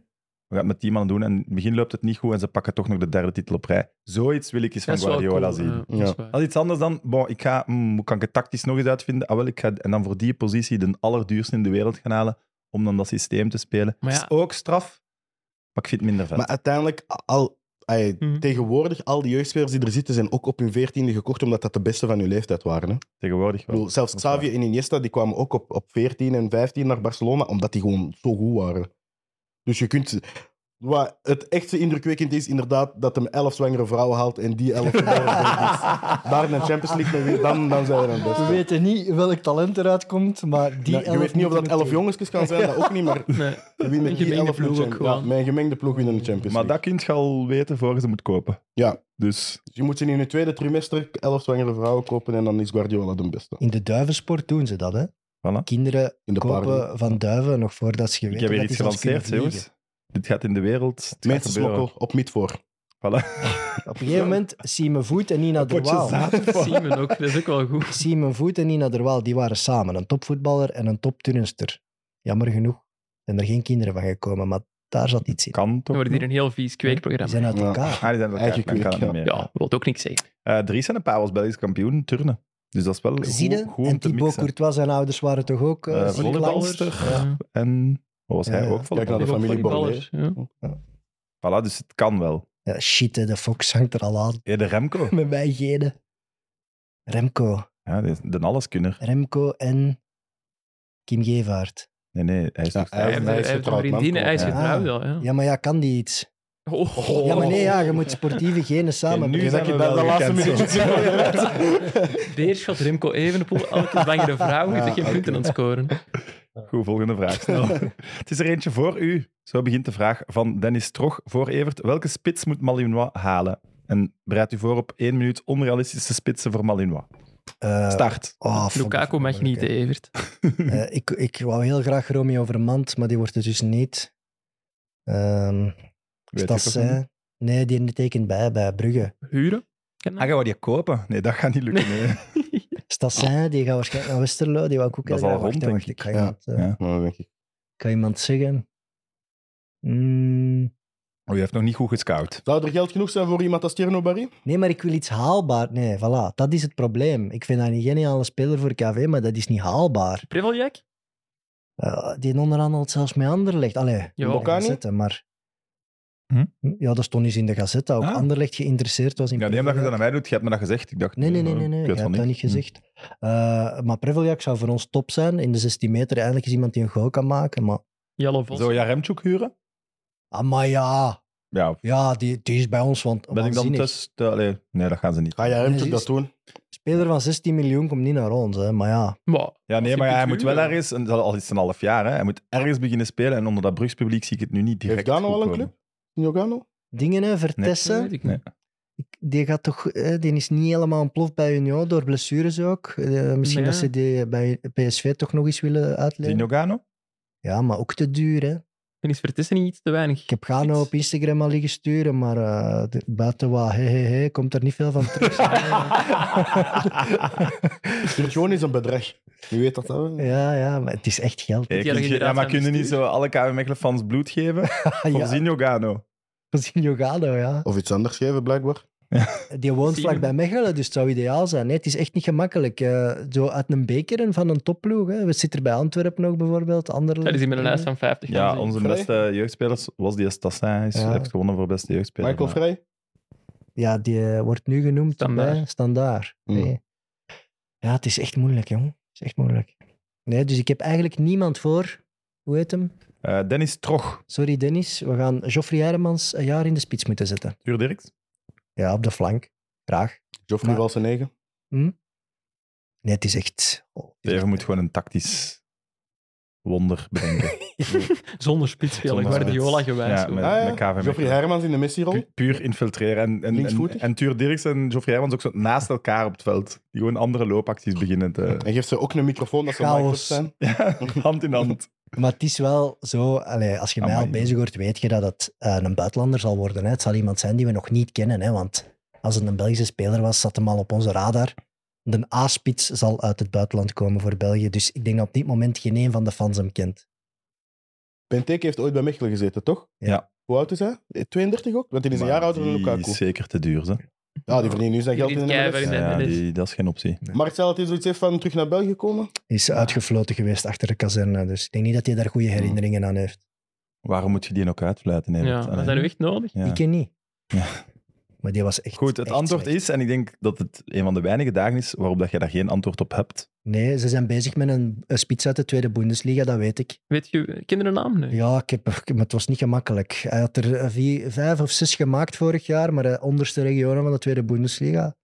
[SPEAKER 2] We gaan het met die man doen. En in het begin loopt het niet goed en ze pakken toch nog de derde titel op rij. Zoiets wil ik eens van
[SPEAKER 4] Dat is wel
[SPEAKER 2] Guardiola
[SPEAKER 4] cool,
[SPEAKER 2] zien.
[SPEAKER 4] eh, dat is waar.
[SPEAKER 2] Dat is iets anders dan, bon, ik ga, hmm, hoe kan ik het tactisch nog eens uitvinden? Ah, wel, ik ga, en dan voor die positie de allerduurste in de wereld gaan halen om dan dat systeem te spelen.
[SPEAKER 4] Maar ja.
[SPEAKER 2] is ook straf, maar ik vind het minder vet.
[SPEAKER 3] Maar uiteindelijk, al, ey,
[SPEAKER 4] Mhm.
[SPEAKER 3] tegenwoordig, al die jeugdspelers die er zitten, zijn ook op hun veertiende gekocht, omdat dat de beste van hun leeftijd waren. Hè?
[SPEAKER 2] Tegenwoordig
[SPEAKER 3] Ik
[SPEAKER 2] wel.
[SPEAKER 3] bedoel, zelfs
[SPEAKER 2] Dat is waar.
[SPEAKER 3] Xavi en Iniesta die kwamen ook op, op 14 en 15 naar Barcelona, omdat die gewoon zo goed waren. Dus je kunt... Wat het echte indrukwekkend is inderdaad dat hem elf zwangere vrouwen haalt en die elf vrouwen daar in de Champions League mee wint, dan, dan zijn we een
[SPEAKER 5] We
[SPEAKER 3] beste.
[SPEAKER 5] weten niet welk talent eruit komt, maar die
[SPEAKER 3] Ja, je weet niet of dat elf jongetjes kan zijn, dat ook niet, maar
[SPEAKER 4] Nee.
[SPEAKER 3] je wint met die
[SPEAKER 4] gemengde
[SPEAKER 3] elf
[SPEAKER 4] ploeg
[SPEAKER 3] een
[SPEAKER 4] ook
[SPEAKER 3] champ-
[SPEAKER 4] gewoon.
[SPEAKER 3] ja, Mijn gemengde ploeg wint een Champions
[SPEAKER 2] Maar
[SPEAKER 3] League.
[SPEAKER 2] dat kun je al weten voor je ze moet kopen.
[SPEAKER 3] Ja.
[SPEAKER 2] Dus
[SPEAKER 3] Dus je moet ze in het tweede trimester elf zwangere vrouwen kopen en dan is Guardiola de beste.
[SPEAKER 5] In de duivensport doen ze dat, hè?
[SPEAKER 2] Voilà.
[SPEAKER 5] Kinderen
[SPEAKER 3] In de
[SPEAKER 5] kopen
[SPEAKER 3] paarden.
[SPEAKER 5] van duiven nog voordat ze
[SPEAKER 2] ik
[SPEAKER 5] geweten
[SPEAKER 2] heb weer
[SPEAKER 5] dat
[SPEAKER 2] iets
[SPEAKER 5] die zelfs
[SPEAKER 2] gelanceerd,
[SPEAKER 5] kunnen
[SPEAKER 2] jongens. Dit gaat in de wereld. het gaat
[SPEAKER 3] Mensensmokkel op mid voor.
[SPEAKER 2] gebeuren. Voilà.
[SPEAKER 5] vliegen. Op een gegeven moment Simon Voet en Nina
[SPEAKER 2] Potje
[SPEAKER 4] [laughs]
[SPEAKER 5] Derwaal.
[SPEAKER 2] zaad.
[SPEAKER 4] Simon ook, dat is ook wel goed.
[SPEAKER 5] Simon Voet en Nina Derwaal, die waren samen een topvoetballer en een topturnster. Jammer genoeg zijn er geen kinderen van gekomen, maar daar zat iets in.
[SPEAKER 2] Kan
[SPEAKER 4] Dan
[SPEAKER 2] toch?
[SPEAKER 4] wordt hier een heel vies
[SPEAKER 5] Die
[SPEAKER 4] kweekprogramma.
[SPEAKER 5] zijn uit
[SPEAKER 3] Ja.
[SPEAKER 5] elkaar.
[SPEAKER 2] Ah, die zijn elkaar.
[SPEAKER 3] Eigen
[SPEAKER 2] Dan kan het niet
[SPEAKER 3] kweek,
[SPEAKER 2] meer.
[SPEAKER 4] Ja, wil ook niks zeggen.
[SPEAKER 2] Eh, Dries en een paar was Belgisch kampioen turnen. Dus dat is wel
[SPEAKER 5] Zie
[SPEAKER 2] goed,
[SPEAKER 5] je?
[SPEAKER 2] goed om
[SPEAKER 5] En
[SPEAKER 2] te
[SPEAKER 5] Thibaut
[SPEAKER 2] mixen.
[SPEAKER 5] Courtois, zijn ouders waren toch ook eh,
[SPEAKER 2] Eh,
[SPEAKER 5] ziek lang?
[SPEAKER 2] volleyballers.
[SPEAKER 4] Ja.
[SPEAKER 2] En wat was hij
[SPEAKER 5] Ja, ja.
[SPEAKER 2] ook?
[SPEAKER 3] Kijk naar de
[SPEAKER 2] Volleybal.
[SPEAKER 3] familie
[SPEAKER 4] Volleyballers, ja.
[SPEAKER 2] Voilà, dus het kan wel.
[SPEAKER 5] Ja, shit, hè, de Fox hangt er al aan.
[SPEAKER 2] Ja, de Remco.
[SPEAKER 5] Met [laughs] mijn genen. Remco.
[SPEAKER 2] Ja, die is de alleskunner.
[SPEAKER 5] Remco en Kim Gevaert.
[SPEAKER 2] Nee, nee, hij is
[SPEAKER 3] Ja,
[SPEAKER 2] nog
[SPEAKER 3] hij
[SPEAKER 4] Hij
[SPEAKER 2] vrij.
[SPEAKER 3] is
[SPEAKER 4] heeft- hij heeft een
[SPEAKER 3] getrouwd, man.
[SPEAKER 4] vriendin, hij is
[SPEAKER 2] Ja.
[SPEAKER 4] getrouwd al. Ja.
[SPEAKER 5] Ja, maar ja, kan die iets?
[SPEAKER 4] Oh,
[SPEAKER 5] Ja, maar nee, ja, je moet
[SPEAKER 2] [laughs]
[SPEAKER 5] sportieve genen samen.
[SPEAKER 2] nu zijn
[SPEAKER 3] Dat
[SPEAKER 2] we
[SPEAKER 3] je dat de
[SPEAKER 2] wel
[SPEAKER 3] laatste
[SPEAKER 2] gekend,
[SPEAKER 3] minuutjes
[SPEAKER 5] [laughs]
[SPEAKER 4] Beerschot, Remco Evenepoel, elke zwangere vrouw is
[SPEAKER 3] Ja,
[SPEAKER 4] dat je
[SPEAKER 3] oké.
[SPEAKER 4] punten aan het scoren.
[SPEAKER 2] Goed, volgende
[SPEAKER 5] [laughs]
[SPEAKER 2] vraag snel. het is er eentje voor u. Zo begint de vraag van Dennis Trog voor Evert. Welke spits moet Malinois halen? En bereid u voor op één minuut onrealistische spitsen voor Malinois.
[SPEAKER 5] Eh,
[SPEAKER 2] Start.
[SPEAKER 5] oh, vond ik
[SPEAKER 4] Lukaku
[SPEAKER 5] het
[SPEAKER 4] mag
[SPEAKER 5] moeilijk,
[SPEAKER 4] niet,
[SPEAKER 5] hè.
[SPEAKER 4] Evert.
[SPEAKER 5] Eh, ik, ik wou heel graag Romeo Vermand, maar die wordt het dus niet. Ehm
[SPEAKER 2] Weet je
[SPEAKER 5] Stas,
[SPEAKER 2] het ook
[SPEAKER 5] hè?
[SPEAKER 2] niet?
[SPEAKER 5] Nee, die tekent bij, bij Brugge.
[SPEAKER 4] Huren?
[SPEAKER 2] Ah, gaan we die kopen? Nee, dat gaat niet lukken. Nee.
[SPEAKER 5] Stassin, die gaat waarschijnlijk naar Westerlo. Die wou ik ook
[SPEAKER 2] Ah. Dat
[SPEAKER 5] heel
[SPEAKER 2] is al
[SPEAKER 5] graag. Wacht,
[SPEAKER 2] rond,
[SPEAKER 5] wacht,
[SPEAKER 2] denk
[SPEAKER 5] ik ga
[SPEAKER 3] ik.
[SPEAKER 5] iemand, eh,
[SPEAKER 2] Ja.
[SPEAKER 3] Ja, denk ik.
[SPEAKER 5] ik ga iemand zeggen. Mm,
[SPEAKER 2] Oh, je heeft nog niet goed gescout.
[SPEAKER 3] Zou er geld genoeg zijn voor iemand als Tierno Barry?
[SPEAKER 5] nee, maar ik wil iets haalbaar. Nee, voilà. Dat is het probleem. Ik vind dat een geniale speler voor KV, maar dat is niet haalbaar.
[SPEAKER 4] Preveljak?
[SPEAKER 5] Eh, die onderhandelt zelfs met Anderlecht. Allee,
[SPEAKER 4] Jawel.
[SPEAKER 5] ik kan
[SPEAKER 3] Bocani?
[SPEAKER 5] zetten, maar
[SPEAKER 2] Hm?
[SPEAKER 5] Ja, dat stond eens in de Gazette. Ook
[SPEAKER 2] Ah.
[SPEAKER 5] Anderlecht geïnteresseerd was in
[SPEAKER 2] Ja, nee, omdat
[SPEAKER 5] Preveliak.
[SPEAKER 2] je dat aan mij doet, je hebt me dat gezegd. Ik dacht,
[SPEAKER 5] Nee, nee, nee,
[SPEAKER 2] eh,
[SPEAKER 5] nee, nee.
[SPEAKER 2] ik
[SPEAKER 5] je
[SPEAKER 2] weet
[SPEAKER 5] hebt
[SPEAKER 2] van
[SPEAKER 5] dat niet
[SPEAKER 2] niks.
[SPEAKER 5] gezegd. Eh, maar Preveliak zou voor ons top zijn. In de 16 meter eigenlijk is iemand die een goal kan maken. Maar,
[SPEAKER 4] Jelle
[SPEAKER 2] Hm.
[SPEAKER 4] Vos.
[SPEAKER 2] Zou je Remchuk huren?
[SPEAKER 5] ah, maar ja,
[SPEAKER 2] Ja,
[SPEAKER 5] ja die, die is bij ons want,
[SPEAKER 2] ben ik dan
[SPEAKER 5] waanzinnig.
[SPEAKER 2] tussen... te- allee, nee, dat gaan ze niet.
[SPEAKER 3] Ga jij hem
[SPEAKER 5] Nee,
[SPEAKER 3] toch dat doen?
[SPEAKER 5] Speler van 16 miljoen komt niet naar ons. Hè. Maar ja,
[SPEAKER 4] Maar,
[SPEAKER 2] Ja, nee,
[SPEAKER 4] Als je
[SPEAKER 2] maar hij
[SPEAKER 4] kunt
[SPEAKER 2] moet wel
[SPEAKER 4] huren.
[SPEAKER 2] ergens, en dat al is een half jaar, hè, hij moet ergens beginnen spelen. En onder dat Brugspubliek zie ik het nu niet direct.
[SPEAKER 3] Heeft Gano
[SPEAKER 2] goed
[SPEAKER 3] al een
[SPEAKER 2] komen.
[SPEAKER 3] club? Jogano?
[SPEAKER 5] dingen hè, Vertessen.
[SPEAKER 4] dat weet ik niet.
[SPEAKER 5] Ik- Die, gaat toch, hè, die is niet helemaal ontploft bij Union, door blessures ook. Eh, misschien
[SPEAKER 4] Nee.
[SPEAKER 5] dat ze die bij PSV toch nog eens willen uitleggen.
[SPEAKER 2] Zinogano?
[SPEAKER 5] Ja, maar ook te duur. Hè.
[SPEAKER 4] Dan is Vertessen niet iets te weinig.
[SPEAKER 5] Ik heb Gano
[SPEAKER 4] Iets.
[SPEAKER 5] op Instagram al liggen sturen, maar eh, de- buiten wat he, he, he, komt er niet veel van
[SPEAKER 4] [laughs]
[SPEAKER 5] terug.
[SPEAKER 3] Stuurt gewoon eens een bedrag. Wie weet dat dat wel.
[SPEAKER 5] ja, ja, maar het is echt geld.
[SPEAKER 2] Hey,
[SPEAKER 4] die
[SPEAKER 2] kun
[SPEAKER 4] hadden
[SPEAKER 2] je- ja,
[SPEAKER 4] inderdaad
[SPEAKER 2] maar
[SPEAKER 4] aan
[SPEAKER 2] kunnen niet
[SPEAKER 4] bestuur.
[SPEAKER 2] zo alle KW Mechelen-fans bloed
[SPEAKER 3] [laughs]
[SPEAKER 2] geven?
[SPEAKER 5] [laughs] Ja,
[SPEAKER 2] Voor Zinogano.
[SPEAKER 5] dat is in Jogano, ja.
[SPEAKER 3] Of iets anders geven, blijkbaar.
[SPEAKER 5] Die woont
[SPEAKER 4] Zie je.
[SPEAKER 5] vlakbij Mechelen, dus het zou ideaal zijn. Nee, het is echt niet gemakkelijk. Eh, zo uit een beker en van een topploeg. Hè. We zitten bij Antwerpen nog bijvoorbeeld. Anderlecht.
[SPEAKER 4] Dat is in met een lijst van 50. gaan
[SPEAKER 2] Ja,
[SPEAKER 4] zien.
[SPEAKER 2] onze
[SPEAKER 3] Vrij.
[SPEAKER 2] beste jeugdspelers was die Stassin. Hij is-
[SPEAKER 5] Ja.
[SPEAKER 2] heeft gewonnen voor beste jeugdspeler.
[SPEAKER 3] Michael
[SPEAKER 2] maar-
[SPEAKER 3] Vrij?
[SPEAKER 5] Ja, die eh, wordt nu genoemd
[SPEAKER 4] Standaard.
[SPEAKER 5] bij Standaard.
[SPEAKER 3] Mm.
[SPEAKER 5] Nee. Ja, het is echt moeilijk, jong. Het is echt moeilijk. Nee, dus ik heb eigenlijk niemand voor. Hoe heet hem?
[SPEAKER 2] Eh, Dennis Troch.
[SPEAKER 5] Sorry, Dennis. We gaan Geoffrey Hermans een jaar in de spits moeten zetten.
[SPEAKER 2] Tuur Dirks?
[SPEAKER 5] Ja, op de flank. Graag.
[SPEAKER 3] Joffrey
[SPEAKER 5] Maar-
[SPEAKER 3] wel zijn eigen.
[SPEAKER 5] Nee, het is echt... oh, het is echt-
[SPEAKER 2] Steven
[SPEAKER 5] [laughs]
[SPEAKER 2] moet gewoon een tactisch wonder
[SPEAKER 3] [laughs]
[SPEAKER 2] bedenken.
[SPEAKER 4] Zonder spits spelen,
[SPEAKER 2] Zonder spits.
[SPEAKER 4] Guardiola gewijs.
[SPEAKER 2] Ja,
[SPEAKER 4] hoor.
[SPEAKER 2] met-
[SPEAKER 3] Ah,
[SPEAKER 2] met KV
[SPEAKER 3] ja. Joffrey
[SPEAKER 2] Mechelen.
[SPEAKER 3] Hermans in de missierol.
[SPEAKER 2] Pu- puur infiltreren. En, en, en,
[SPEAKER 3] Linksvoetig?
[SPEAKER 2] en Tuur Dirks en Geoffrey Hermans ook zo naast elkaar op het veld. Die gewoon andere loopacties beginnen te...
[SPEAKER 3] En geeft ze ook een microfoon dat ze
[SPEAKER 5] Chaos.
[SPEAKER 3] Michael zijn.
[SPEAKER 2] Ja, [laughs] hand in hand.
[SPEAKER 5] Maar het is wel zo, allee, als je mij al
[SPEAKER 2] Amai.
[SPEAKER 5] bezig hoort, weet je dat het eh, een buitenlander zal worden. Hè. Het zal iemand zijn die we nog niet kennen. Hè, want als het een Belgische speler was, zat hem al op onze radar. De A-spits zal uit het buitenland komen voor België. Dus ik denk dat op dit moment geen een van de fans hem kent.
[SPEAKER 3] Benteke heeft ooit bij Mechelen gezeten, toch?
[SPEAKER 2] Ja.
[SPEAKER 3] Hoe oud is hij? 32 ook? Want hij [laughs] is een
[SPEAKER 2] Maar
[SPEAKER 3] jaar ouder dan
[SPEAKER 2] die
[SPEAKER 3] Lukaku.
[SPEAKER 2] is zeker te duur, ze.
[SPEAKER 3] Ja, die verdient nu zijn geld in de
[SPEAKER 4] Die
[SPEAKER 3] MLS.
[SPEAKER 4] keihard in de-
[SPEAKER 2] Ja,
[SPEAKER 4] MLS.
[SPEAKER 2] die, dat is geen optie.
[SPEAKER 3] Maar hetzelfde is zoiets heeft van terug naar België komen.
[SPEAKER 5] Is uitgefloten geweest achter de kazerne. Dus ik denk niet dat hij daar goede herinneringen aan heeft.
[SPEAKER 2] Waarom moet je die ook uitfluiten? Nee,
[SPEAKER 4] Ja,
[SPEAKER 2] dat-
[SPEAKER 4] dat
[SPEAKER 2] allee.
[SPEAKER 4] zijn nu echt nodig.
[SPEAKER 2] Ja.
[SPEAKER 5] Ik ken niet.
[SPEAKER 2] Ja.
[SPEAKER 5] Maar die was echt.
[SPEAKER 2] Goed, het
[SPEAKER 5] echt
[SPEAKER 2] antwoord
[SPEAKER 5] slecht.
[SPEAKER 2] is, en ik denk dat het een van de weinige dagen is waarop dat je daar geen antwoord op hebt.
[SPEAKER 5] Nee, ze zijn bezig met een, een spits uit de Tweede Bundesliga, dat weet ik.
[SPEAKER 4] Weet je, ken je de naam nu?
[SPEAKER 5] Ja, ik heb, ik- maar het was niet gemakkelijk. Hij had er eh, vier- vijf of zes gemaakt vorig jaar, maar de onderste regionen van de Tweede Bundesliga.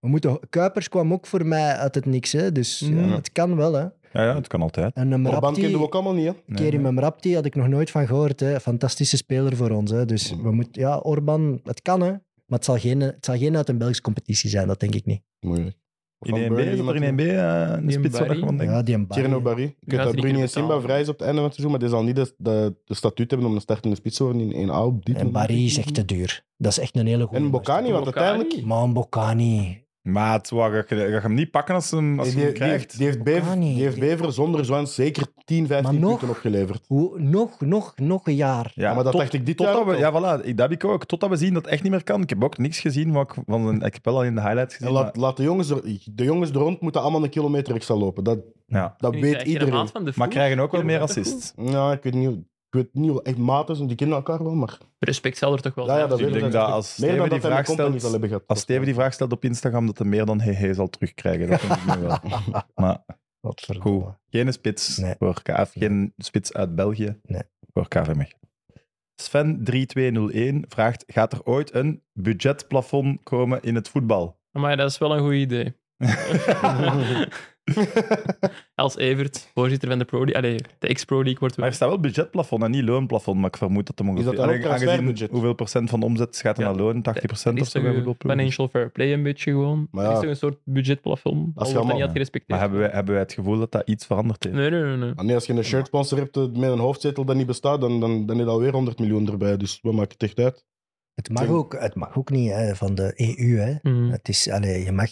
[SPEAKER 5] We moeten, Kuipers kwam ook voor mij uit het niks, hè? dus ja,
[SPEAKER 4] Mhm.
[SPEAKER 5] het kan wel. Hè?
[SPEAKER 2] Ja, ja het kan altijd.
[SPEAKER 5] En een
[SPEAKER 3] Maar
[SPEAKER 5] Mrapti,
[SPEAKER 3] kennen we ook allemaal niet, hè?
[SPEAKER 2] Nee,
[SPEAKER 5] Kerim
[SPEAKER 2] nee.
[SPEAKER 5] Mrapti had ik nog nooit van gehoord. Hè? Fantastische speler voor ons. Hè? Dus we moeten, ja, Orban, het kan hè. Maar het zal, geen, het zal geen uit een Belgische competitie zijn, dat denk ik niet.
[SPEAKER 3] Moeilijk. Of
[SPEAKER 2] In
[SPEAKER 3] van
[SPEAKER 2] 1B,
[SPEAKER 3] Burnley
[SPEAKER 2] is er
[SPEAKER 3] iemand-
[SPEAKER 2] in 1B eh, een
[SPEAKER 4] Die
[SPEAKER 2] spits waar je
[SPEAKER 4] Barry.
[SPEAKER 2] gewoon denkt?
[SPEAKER 5] Ja, die een
[SPEAKER 3] Thierno Barry. Ik weet
[SPEAKER 4] gaat
[SPEAKER 3] dat
[SPEAKER 4] die
[SPEAKER 3] Bruni
[SPEAKER 4] keer
[SPEAKER 3] en Simba
[SPEAKER 4] betalen.
[SPEAKER 3] vrij is op het einde van het seizoen, maar die zal niet de, de, de statuut hebben om een startende spits te worden in 1A op dit
[SPEAKER 5] En
[SPEAKER 3] moment.
[SPEAKER 5] Barry is echt te duur. Dat is echt een hele goede.
[SPEAKER 3] En Bocani, want
[SPEAKER 4] Bocani.
[SPEAKER 3] uiteindelijk...
[SPEAKER 5] Man, Bocani.
[SPEAKER 2] Maat, waar ga je, ga je hem niet pakken als, hem, als
[SPEAKER 3] Die,
[SPEAKER 2] je hem
[SPEAKER 3] die,
[SPEAKER 2] krijgt?
[SPEAKER 3] heeft, die, heeft Bever,
[SPEAKER 5] Bocani.
[SPEAKER 3] die heeft Bever zonder Zwans zeker 10, 15
[SPEAKER 5] Maar nog-
[SPEAKER 3] punten opgeleverd.
[SPEAKER 5] Hoe, nog, nog, nog een jaar.
[SPEAKER 2] ja,
[SPEAKER 3] maar dat
[SPEAKER 2] tot-
[SPEAKER 3] dacht ik dit jaar
[SPEAKER 2] totdat
[SPEAKER 3] ook
[SPEAKER 2] we,
[SPEAKER 3] al.
[SPEAKER 2] Ja, voilà, ik, dat heb ik ook. Totdat we zien dat het echt niet meer kan. Ik heb ook niks gezien, wat ik, van, zijn- ik heb wel al in de highlights
[SPEAKER 3] En
[SPEAKER 2] gezien.
[SPEAKER 3] laat, laat de, jongens er, de jongens er rond moeten allemaal een kilometer extra lopen. Dat,
[SPEAKER 2] maar, ja.
[SPEAKER 3] dat
[SPEAKER 4] Nu
[SPEAKER 3] weet
[SPEAKER 4] krijg je de
[SPEAKER 3] iedereen.
[SPEAKER 4] maat van de
[SPEAKER 2] maar
[SPEAKER 4] Voer.
[SPEAKER 2] krijgen ook wel meer
[SPEAKER 4] Inderdaad, dat
[SPEAKER 2] assists.
[SPEAKER 3] Ja, ik weet niet... hoe- Ik weet niet hoe echt maat is, want die kennen elkaar wel, maar...
[SPEAKER 4] Respect zal er toch wel
[SPEAKER 3] Ja, ja, dat
[SPEAKER 2] ik
[SPEAKER 3] weet
[SPEAKER 2] denk
[SPEAKER 3] ik.
[SPEAKER 2] dat als
[SPEAKER 3] Meer
[SPEAKER 2] Steven die
[SPEAKER 3] dan dat hij met
[SPEAKER 2] vraag
[SPEAKER 3] Company
[SPEAKER 2] stelt-
[SPEAKER 3] zal hebben gehad.
[SPEAKER 2] Als Steven die vraag stelt op Instagram, dat hij meer dan hehe zal terugkrijgen. Dat denk ik
[SPEAKER 5] [laughs]
[SPEAKER 2] nu wel. Maar
[SPEAKER 5] Godverdomme.
[SPEAKER 2] goed, geen spits
[SPEAKER 5] Nee.
[SPEAKER 2] voor KF, geen spits uit België
[SPEAKER 5] Nee.
[SPEAKER 2] voor KV Mechelen. Sven3201 vraagt, gaat er ooit een budgetplafond komen in het voetbal?
[SPEAKER 4] Maar dat is wel een goed idee. [laughs] Als Evert, voorzitter van de Pro League, allee, de ex-Pro League wordt
[SPEAKER 2] Maar
[SPEAKER 4] wel.
[SPEAKER 2] er staat wel budgetplafond en niet loonplafond, maar ik vermoed dat hem ongeveer...
[SPEAKER 3] Is dat dan ook
[SPEAKER 2] Allee, aangezien
[SPEAKER 3] transferbudget?
[SPEAKER 2] Hoeveel procent van de omzet gaat er
[SPEAKER 4] Ja,
[SPEAKER 2] naar loon? 80 procent of
[SPEAKER 4] is
[SPEAKER 2] zo
[SPEAKER 4] toch eh,
[SPEAKER 2] bij
[SPEAKER 4] een
[SPEAKER 2] voetbalploegen?
[SPEAKER 4] financial fair play een beetje gewoon.
[SPEAKER 3] Maar
[SPEAKER 4] Er
[SPEAKER 3] ja.
[SPEAKER 4] is toch een soort budgetplafond. Als
[SPEAKER 3] je
[SPEAKER 4] je
[SPEAKER 3] allemaal-
[SPEAKER 4] niet had gerespecteerd.
[SPEAKER 2] Maar hebben wij, hebben wij het gevoel dat dat iets veranderd heeft?
[SPEAKER 4] Nee, nee, nee. nee.
[SPEAKER 3] Ah, nee, als je een shirt sponsor hebt eh, met een hoofdzetel dat niet bestaat, dan, dan, dan is dat alweer 100 miljoen erbij. Dus wat maakt het echt uit?
[SPEAKER 5] Het mag
[SPEAKER 3] Tegen-
[SPEAKER 5] ook, het mag ook niet hè, van de EU. Hè.
[SPEAKER 4] Mm.
[SPEAKER 5] Het is, allee, je mag...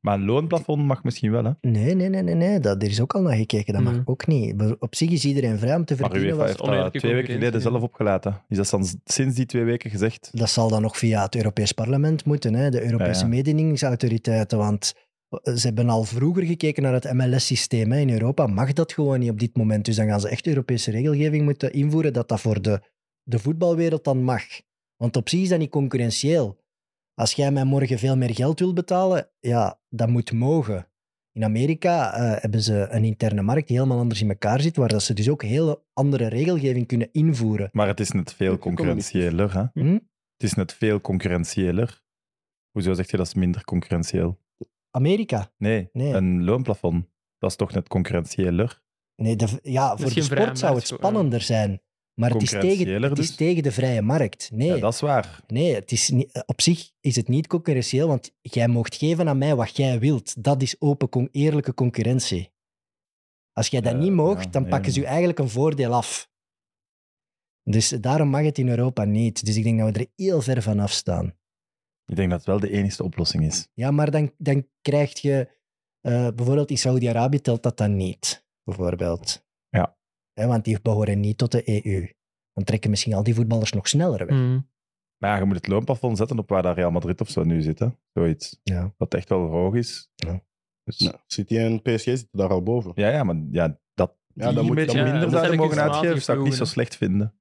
[SPEAKER 2] Maar een loonplafond mag misschien wel, hè?
[SPEAKER 5] Nee, nee, nee, nee, nee. Dat, er is ook al naar gekeken. Dat mag
[SPEAKER 4] Mhm.
[SPEAKER 5] ook niet. Maar Op zich is iedereen vrij om te
[SPEAKER 2] Maar
[SPEAKER 5] verdienen.
[SPEAKER 2] UEFA
[SPEAKER 5] wat-
[SPEAKER 2] heeft dat
[SPEAKER 4] oneerlijke
[SPEAKER 2] twee weken
[SPEAKER 4] concurrentie,
[SPEAKER 2] geleden zelf
[SPEAKER 4] ja.
[SPEAKER 2] opgelaten. Is dat dan sinds die twee weken gezegd?
[SPEAKER 5] Dat zal dan nog via het Europees Parlement moeten, hè, de Europese
[SPEAKER 2] Ja, ja.
[SPEAKER 5] mededingingsautoriteiten. Want eh, ze hebben al vroeger gekeken naar het MLS-systeem. In Europa mag dat gewoon niet op dit moment. Dus dan gaan ze echt Europese regelgeving moeten invoeren dat dat voor de, de voetbalwereld dan mag. Want op zich is dat niet concurrentieel. Als jij mij morgen veel meer geld wil betalen, ja, dat moet mogen. In Amerika eh, hebben ze een interne markt die helemaal anders in elkaar zit, waar dat ze dus ook hele andere regelgeving kunnen invoeren.
[SPEAKER 2] Maar het is net veel concurrentieeler. Hè?
[SPEAKER 5] Hm?
[SPEAKER 2] Het is net veel concurrentieeler. Hoezo zeg je dat is minder concurrentieel?
[SPEAKER 5] Amerika?
[SPEAKER 2] Nee,
[SPEAKER 5] Nee.
[SPEAKER 2] een loonplafond. Dat is toch net concurrentieeler?
[SPEAKER 5] Nee, de, ja, voor de
[SPEAKER 4] geen vrije
[SPEAKER 5] sport zou het
[SPEAKER 4] markt, voor-
[SPEAKER 5] spannender zijn. Maar het is, tegen,
[SPEAKER 2] Concurrentieeler
[SPEAKER 5] het is
[SPEAKER 2] dus?
[SPEAKER 5] tegen de vrije markt. Nee,
[SPEAKER 2] Ja, dat is waar.
[SPEAKER 5] nee het is niet, op zich is het niet concurrentieel, want jij moogt geven aan mij wat jij wilt. Dat is open, con- eerlijke concurrentie. Als jij dat
[SPEAKER 2] Eh,
[SPEAKER 5] niet moogt,
[SPEAKER 2] ja,
[SPEAKER 5] dan
[SPEAKER 2] nee,
[SPEAKER 5] pakken ze je
[SPEAKER 2] maar-
[SPEAKER 5] eigenlijk een voordeel af. Dus daarom mag het in Europa niet. Dus ik denk dat we er heel ver van afstaan.
[SPEAKER 2] Ik denk dat het wel de enigste oplossing is.
[SPEAKER 5] Ja, maar dan, dan krijg je... eh, bijvoorbeeld in Saudi-Arabië telt dat dan niet, bijvoorbeeld.
[SPEAKER 2] Ja.
[SPEAKER 5] Hè, want die behoren niet tot de EU. Dan trekken misschien al die voetballers nog sneller weg.
[SPEAKER 4] Mm.
[SPEAKER 2] Maar ja, je moet het loonplafond zetten op waar dat Real Madrid of zo nu zit. Hè? Zoiets.
[SPEAKER 5] Ja.
[SPEAKER 2] Dat echt wel hoog is.
[SPEAKER 5] Ja.
[SPEAKER 2] Dus, ja.
[SPEAKER 3] Ja, City en PSG zitten daar al boven.
[SPEAKER 2] Ja, maar ja, dat
[SPEAKER 3] Ja,
[SPEAKER 2] die
[SPEAKER 3] dan moet
[SPEAKER 2] een
[SPEAKER 3] je
[SPEAKER 2] beetje eh,
[SPEAKER 4] ja,
[SPEAKER 2] minder
[SPEAKER 4] dat
[SPEAKER 2] zouden
[SPEAKER 4] zijn
[SPEAKER 2] mogen
[SPEAKER 4] kunstmatige
[SPEAKER 2] uitgeven, zou ik niet zo
[SPEAKER 4] ploegen, hè.
[SPEAKER 2] slecht vinden.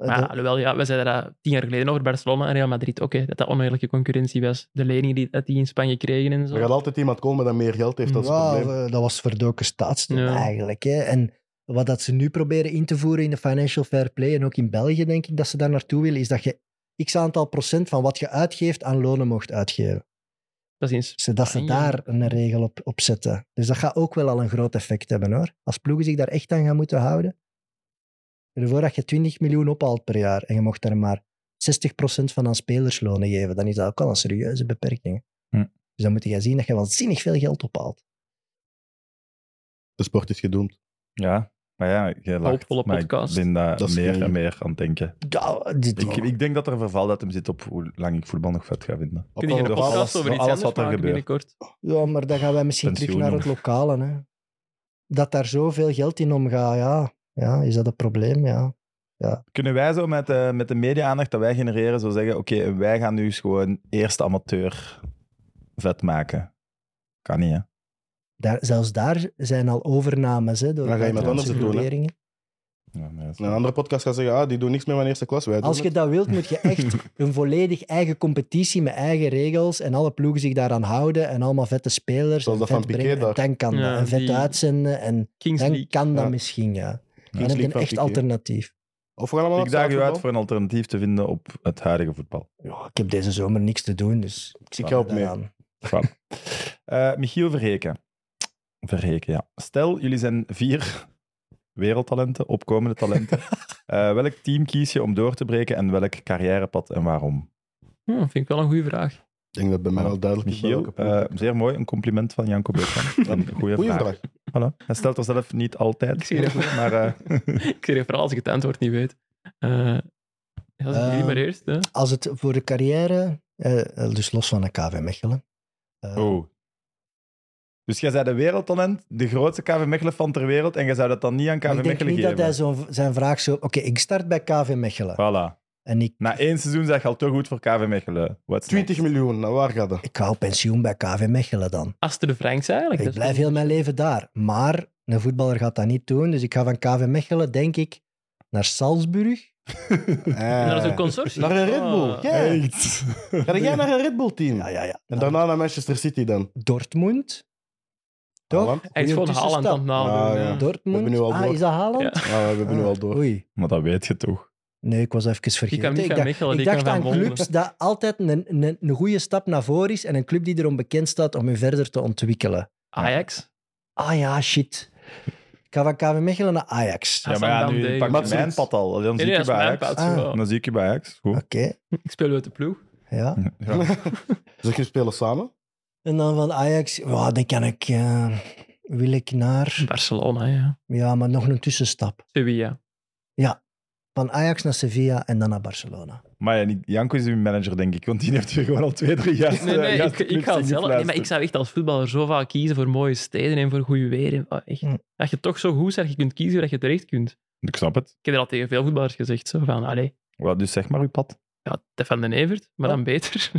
[SPEAKER 4] Maar ja, alhoewel, ja, we zeiden dat tien jaar geleden over Barcelona en Real Madrid. Oké, dat dat oneerlijke concurrentie was. De leningen die, dat die in Spanje kregen en zo.
[SPEAKER 3] Er gaat altijd iemand komen dat meer geld heeft dan
[SPEAKER 5] Ja,
[SPEAKER 3] probleem.
[SPEAKER 5] we- eh, dat was verdoken staatssteun
[SPEAKER 4] Ja.
[SPEAKER 5] eigenlijk. Hè. En wat dat ze nu proberen in te voeren in de financial fair play, en ook in België denk ik dat ze daar naartoe willen, is dat je x aantal procent van wat je uitgeeft aan lonen mocht uitgeven.
[SPEAKER 4] Dat is in
[SPEAKER 5] Dus dat ze
[SPEAKER 4] Ah, ja.
[SPEAKER 5] daar een regel op, op zetten. Dus dat gaat ook wel al een groot effect hebben hoor. Als ploegen zich daar echt aan gaan moeten houden. Stel je voor dat je 20 miljoen ophaalt per jaar en je mocht daar maar 60% van aan spelerslonen geven, dan is dat ook al een serieuze beperking. hè.
[SPEAKER 2] Hm.
[SPEAKER 5] Dus dan moet je zien dat je waanzinnig veel geld ophaalt.
[SPEAKER 3] De sport is gedoemd.
[SPEAKER 2] Ja, maar ja, je lacht,
[SPEAKER 4] Hoopvolle
[SPEAKER 2] maar
[SPEAKER 4] podcast.
[SPEAKER 2] Ik ben daar
[SPEAKER 3] Dat is
[SPEAKER 2] meer
[SPEAKER 3] geen-
[SPEAKER 2] en meer aan het denken.
[SPEAKER 5] Ja, dit,
[SPEAKER 2] Ik, ik denk dat er een vervaldatum zit op hoe lang ik voetbal nog vet ga vinden.
[SPEAKER 3] Op
[SPEAKER 4] Kun je
[SPEAKER 3] alle
[SPEAKER 4] een
[SPEAKER 2] Door
[SPEAKER 3] gevallen.
[SPEAKER 4] podcast
[SPEAKER 2] alles-
[SPEAKER 4] over
[SPEAKER 2] door
[SPEAKER 4] iets
[SPEAKER 2] alles
[SPEAKER 4] anders
[SPEAKER 2] wat er
[SPEAKER 4] maken
[SPEAKER 2] gebeurt.
[SPEAKER 4] binnenkort?
[SPEAKER 5] ja, maar dan gaan wij misschien terug
[SPEAKER 2] Pensioenen.
[SPEAKER 5] naar het lokale. Hè. Dat daar zoveel geld in omgaat, ja. ja is dat een probleem? Ja.
[SPEAKER 2] Kunnen wij zo met, eh, met de media-aandacht dat wij genereren, zo zeggen: Oké, eh, wij gaan nu eens gewoon eerst amateur vet maken? Kan niet, hè?
[SPEAKER 5] Daar, zelfs daar zijn al overnames hè, door
[SPEAKER 3] Dan ga je met
[SPEAKER 5] buitenlandse
[SPEAKER 3] anders doen, hè.
[SPEAKER 5] groeperingen.
[SPEAKER 2] Ja, nee, dat is-
[SPEAKER 3] Een andere podcast gaat zeggen, ah, die doen niks meer van eerste klas. Wij doen
[SPEAKER 5] Als je
[SPEAKER 3] het.
[SPEAKER 5] dat wilt, moet je
[SPEAKER 3] [laughs]
[SPEAKER 5] echt een volledig eigen competitie met eigen regels en alle ploegen zich daaraan houden en allemaal vette spelers.
[SPEAKER 3] Zoals
[SPEAKER 5] en
[SPEAKER 3] dat van
[SPEAKER 5] vet
[SPEAKER 3] Piqué
[SPEAKER 5] brengen. En
[SPEAKER 3] daar.
[SPEAKER 5] dan kan
[SPEAKER 4] Ja,
[SPEAKER 5] dat. En vet
[SPEAKER 4] die-
[SPEAKER 5] uitzenden en
[SPEAKER 4] Kings
[SPEAKER 5] dan
[SPEAKER 4] League.
[SPEAKER 5] kan dat
[SPEAKER 3] Ja.
[SPEAKER 5] misschien, ja. Dan
[SPEAKER 3] Kings
[SPEAKER 5] heb je een
[SPEAKER 3] League
[SPEAKER 5] echt
[SPEAKER 3] van Piqué.
[SPEAKER 5] alternatief.
[SPEAKER 3] Of we gaan allemaal
[SPEAKER 2] ik
[SPEAKER 3] naar
[SPEAKER 2] daag u uit
[SPEAKER 3] zaterdag.
[SPEAKER 2] voor een alternatief te vinden op het huidige voetbal.
[SPEAKER 5] Ja, ik heb deze zomer niks te doen, dus ik zit
[SPEAKER 3] Ik help mee.
[SPEAKER 5] daaraan.
[SPEAKER 2] Voilà. Eh, Michiel Verheken. Verheken, ja. Stel, jullie zijn vier wereldtalenten, opkomende talenten. Eh, welk team kies je om door te breken en welk carrièrepad en waarom?
[SPEAKER 4] Hm, vind ik wel een goede vraag.
[SPEAKER 3] Ik denk dat bij mij wel duidelijk is. bij
[SPEAKER 2] Michiel,
[SPEAKER 3] welke ploeg.
[SPEAKER 2] eh, zeer mooi. Een compliment van Janko Beukman. Een goede
[SPEAKER 3] Eh, Goeie
[SPEAKER 2] vraag.
[SPEAKER 3] vraag.
[SPEAKER 2] Voilà. Hij stelt er zelf niet
[SPEAKER 4] Ik
[SPEAKER 2] altijd.
[SPEAKER 4] zie het.
[SPEAKER 2] Maar eh,
[SPEAKER 4] Ik zeg vooral als ik het antwoord niet weet. Eh, ja, dat is jullie
[SPEAKER 5] Ehm,
[SPEAKER 4] maar eerst. Hè.
[SPEAKER 5] als het voor de carrière, eh, eh, dus los van de KV Mechelen. eh,
[SPEAKER 2] Oh. Dus jij zei de wereldtalent, de grootste KV Mechelen van ter wereld, en jij zou dat dan niet aan KV
[SPEAKER 5] maar ik
[SPEAKER 2] Mechelen
[SPEAKER 5] denk
[SPEAKER 2] geven?
[SPEAKER 5] niet dat hij zo, zijn vraag zo... Oké, ik start bij KV Mechelen.
[SPEAKER 2] Voilà.
[SPEAKER 5] En ik,
[SPEAKER 2] Na één seizoen zeg je al te goed voor KV Mechelen. What's
[SPEAKER 3] 20
[SPEAKER 2] next?
[SPEAKER 3] miljoen, nou, waar gaat dat?
[SPEAKER 5] ik ga op pensioen bij KV Mechelen dan.
[SPEAKER 4] Aster de Franks eigenlijk.
[SPEAKER 5] Ik
[SPEAKER 4] dat is
[SPEAKER 5] blijf heel mijn leven daar. Maar een voetballer gaat dat niet doen. Dus ik ga van KV Mechelen, denk ik, naar Salzburg.
[SPEAKER 4] En dat is
[SPEAKER 3] Eh,
[SPEAKER 4] een consortium.
[SPEAKER 3] Naar een Red Bull,
[SPEAKER 4] Ah.
[SPEAKER 3] ja.
[SPEAKER 2] Echt?
[SPEAKER 3] Ga jij naar een Red Bull team?
[SPEAKER 5] Ja, ja, ja.
[SPEAKER 3] En
[SPEAKER 5] Naar
[SPEAKER 3] daarna naar Manchester City dan.
[SPEAKER 5] Dortmund. Toch?
[SPEAKER 3] Haaland?
[SPEAKER 4] Hij is
[SPEAKER 5] Goeie
[SPEAKER 4] gewoon Haaland aan het
[SPEAKER 5] tussenstap.
[SPEAKER 4] nadoen.
[SPEAKER 3] Ah, ja.
[SPEAKER 4] ja.
[SPEAKER 5] Dortmund.
[SPEAKER 3] We hebben nu al
[SPEAKER 5] ah,
[SPEAKER 3] door.
[SPEAKER 5] is dat Haaland?
[SPEAKER 4] Ja.
[SPEAKER 3] Ah, we hebben nu
[SPEAKER 5] Ah,
[SPEAKER 3] al door.
[SPEAKER 5] Oei.
[SPEAKER 2] Maar dat weet je toch.
[SPEAKER 5] Nee, ik was even vergeten.
[SPEAKER 4] Die kan niet
[SPEAKER 5] Ik
[SPEAKER 4] gaan
[SPEAKER 5] dacht-
[SPEAKER 4] Mechelen,
[SPEAKER 5] Ik
[SPEAKER 4] die
[SPEAKER 5] dacht
[SPEAKER 4] kan
[SPEAKER 5] aan
[SPEAKER 4] gaan
[SPEAKER 5] clubs
[SPEAKER 4] Wolven.
[SPEAKER 5] dat altijd een, een, een goede stap naar voren is en een club die erom bekend staat om je verder te ontwikkelen.
[SPEAKER 4] Ajax.
[SPEAKER 5] Ah ja, shit. Ik ga van KV Mechelen naar Ajax.
[SPEAKER 2] Ja,
[SPEAKER 4] Hassan
[SPEAKER 2] maar ja,
[SPEAKER 4] Dam
[SPEAKER 2] nu
[SPEAKER 4] deed
[SPEAKER 2] pak
[SPEAKER 4] het.
[SPEAKER 2] je mijn pad al. Dan
[SPEAKER 4] Nee,
[SPEAKER 2] zie
[SPEAKER 4] nee,
[SPEAKER 2] ik
[SPEAKER 4] dat
[SPEAKER 2] je bij
[SPEAKER 4] is mijn
[SPEAKER 2] Ajax.
[SPEAKER 4] pad.
[SPEAKER 5] Ah.
[SPEAKER 4] ja.
[SPEAKER 2] Dan zie ik je bij Ajax. Goed.
[SPEAKER 5] Oké,
[SPEAKER 4] Ik speel uit de ploeg.
[SPEAKER 5] ja.
[SPEAKER 2] [laughs]
[SPEAKER 4] [laughs]
[SPEAKER 2] Ja.
[SPEAKER 3] [laughs] Zeg, je spelen samen?
[SPEAKER 5] En dan van Ajax, ja, dan kan ik... eh, wil ik naar...
[SPEAKER 4] Barcelona, ja.
[SPEAKER 5] Ja, maar nog een tussenstap.
[SPEAKER 2] [laughs]
[SPEAKER 4] Sevilla.
[SPEAKER 5] Van Ajax naar Sevilla en dan naar Barcelona. [laughs]
[SPEAKER 2] Maar ja, niet- Janko is uw manager, denk ik. Want die heeft hier gewoon al twee, drie jaar...
[SPEAKER 4] Nee, nee,
[SPEAKER 2] eh,
[SPEAKER 4] ik, ik ga het zelf. Nee, maar ik zou echt als voetballer zo vaak kiezen voor mooie steden en voor goede weer. En, oh, echt.
[SPEAKER 2] Mm.
[SPEAKER 5] Hm.
[SPEAKER 4] Dat je toch zo goed bent, je kunt kiezen waar je terecht kunt.
[SPEAKER 2] Ik snap het.
[SPEAKER 4] Ik heb er al tegen veel voetballers gezegd. Zo van, allee,
[SPEAKER 2] Ja, dus zeg maar uw pad.
[SPEAKER 4] ja, Stefan de Evert, maar dan beter.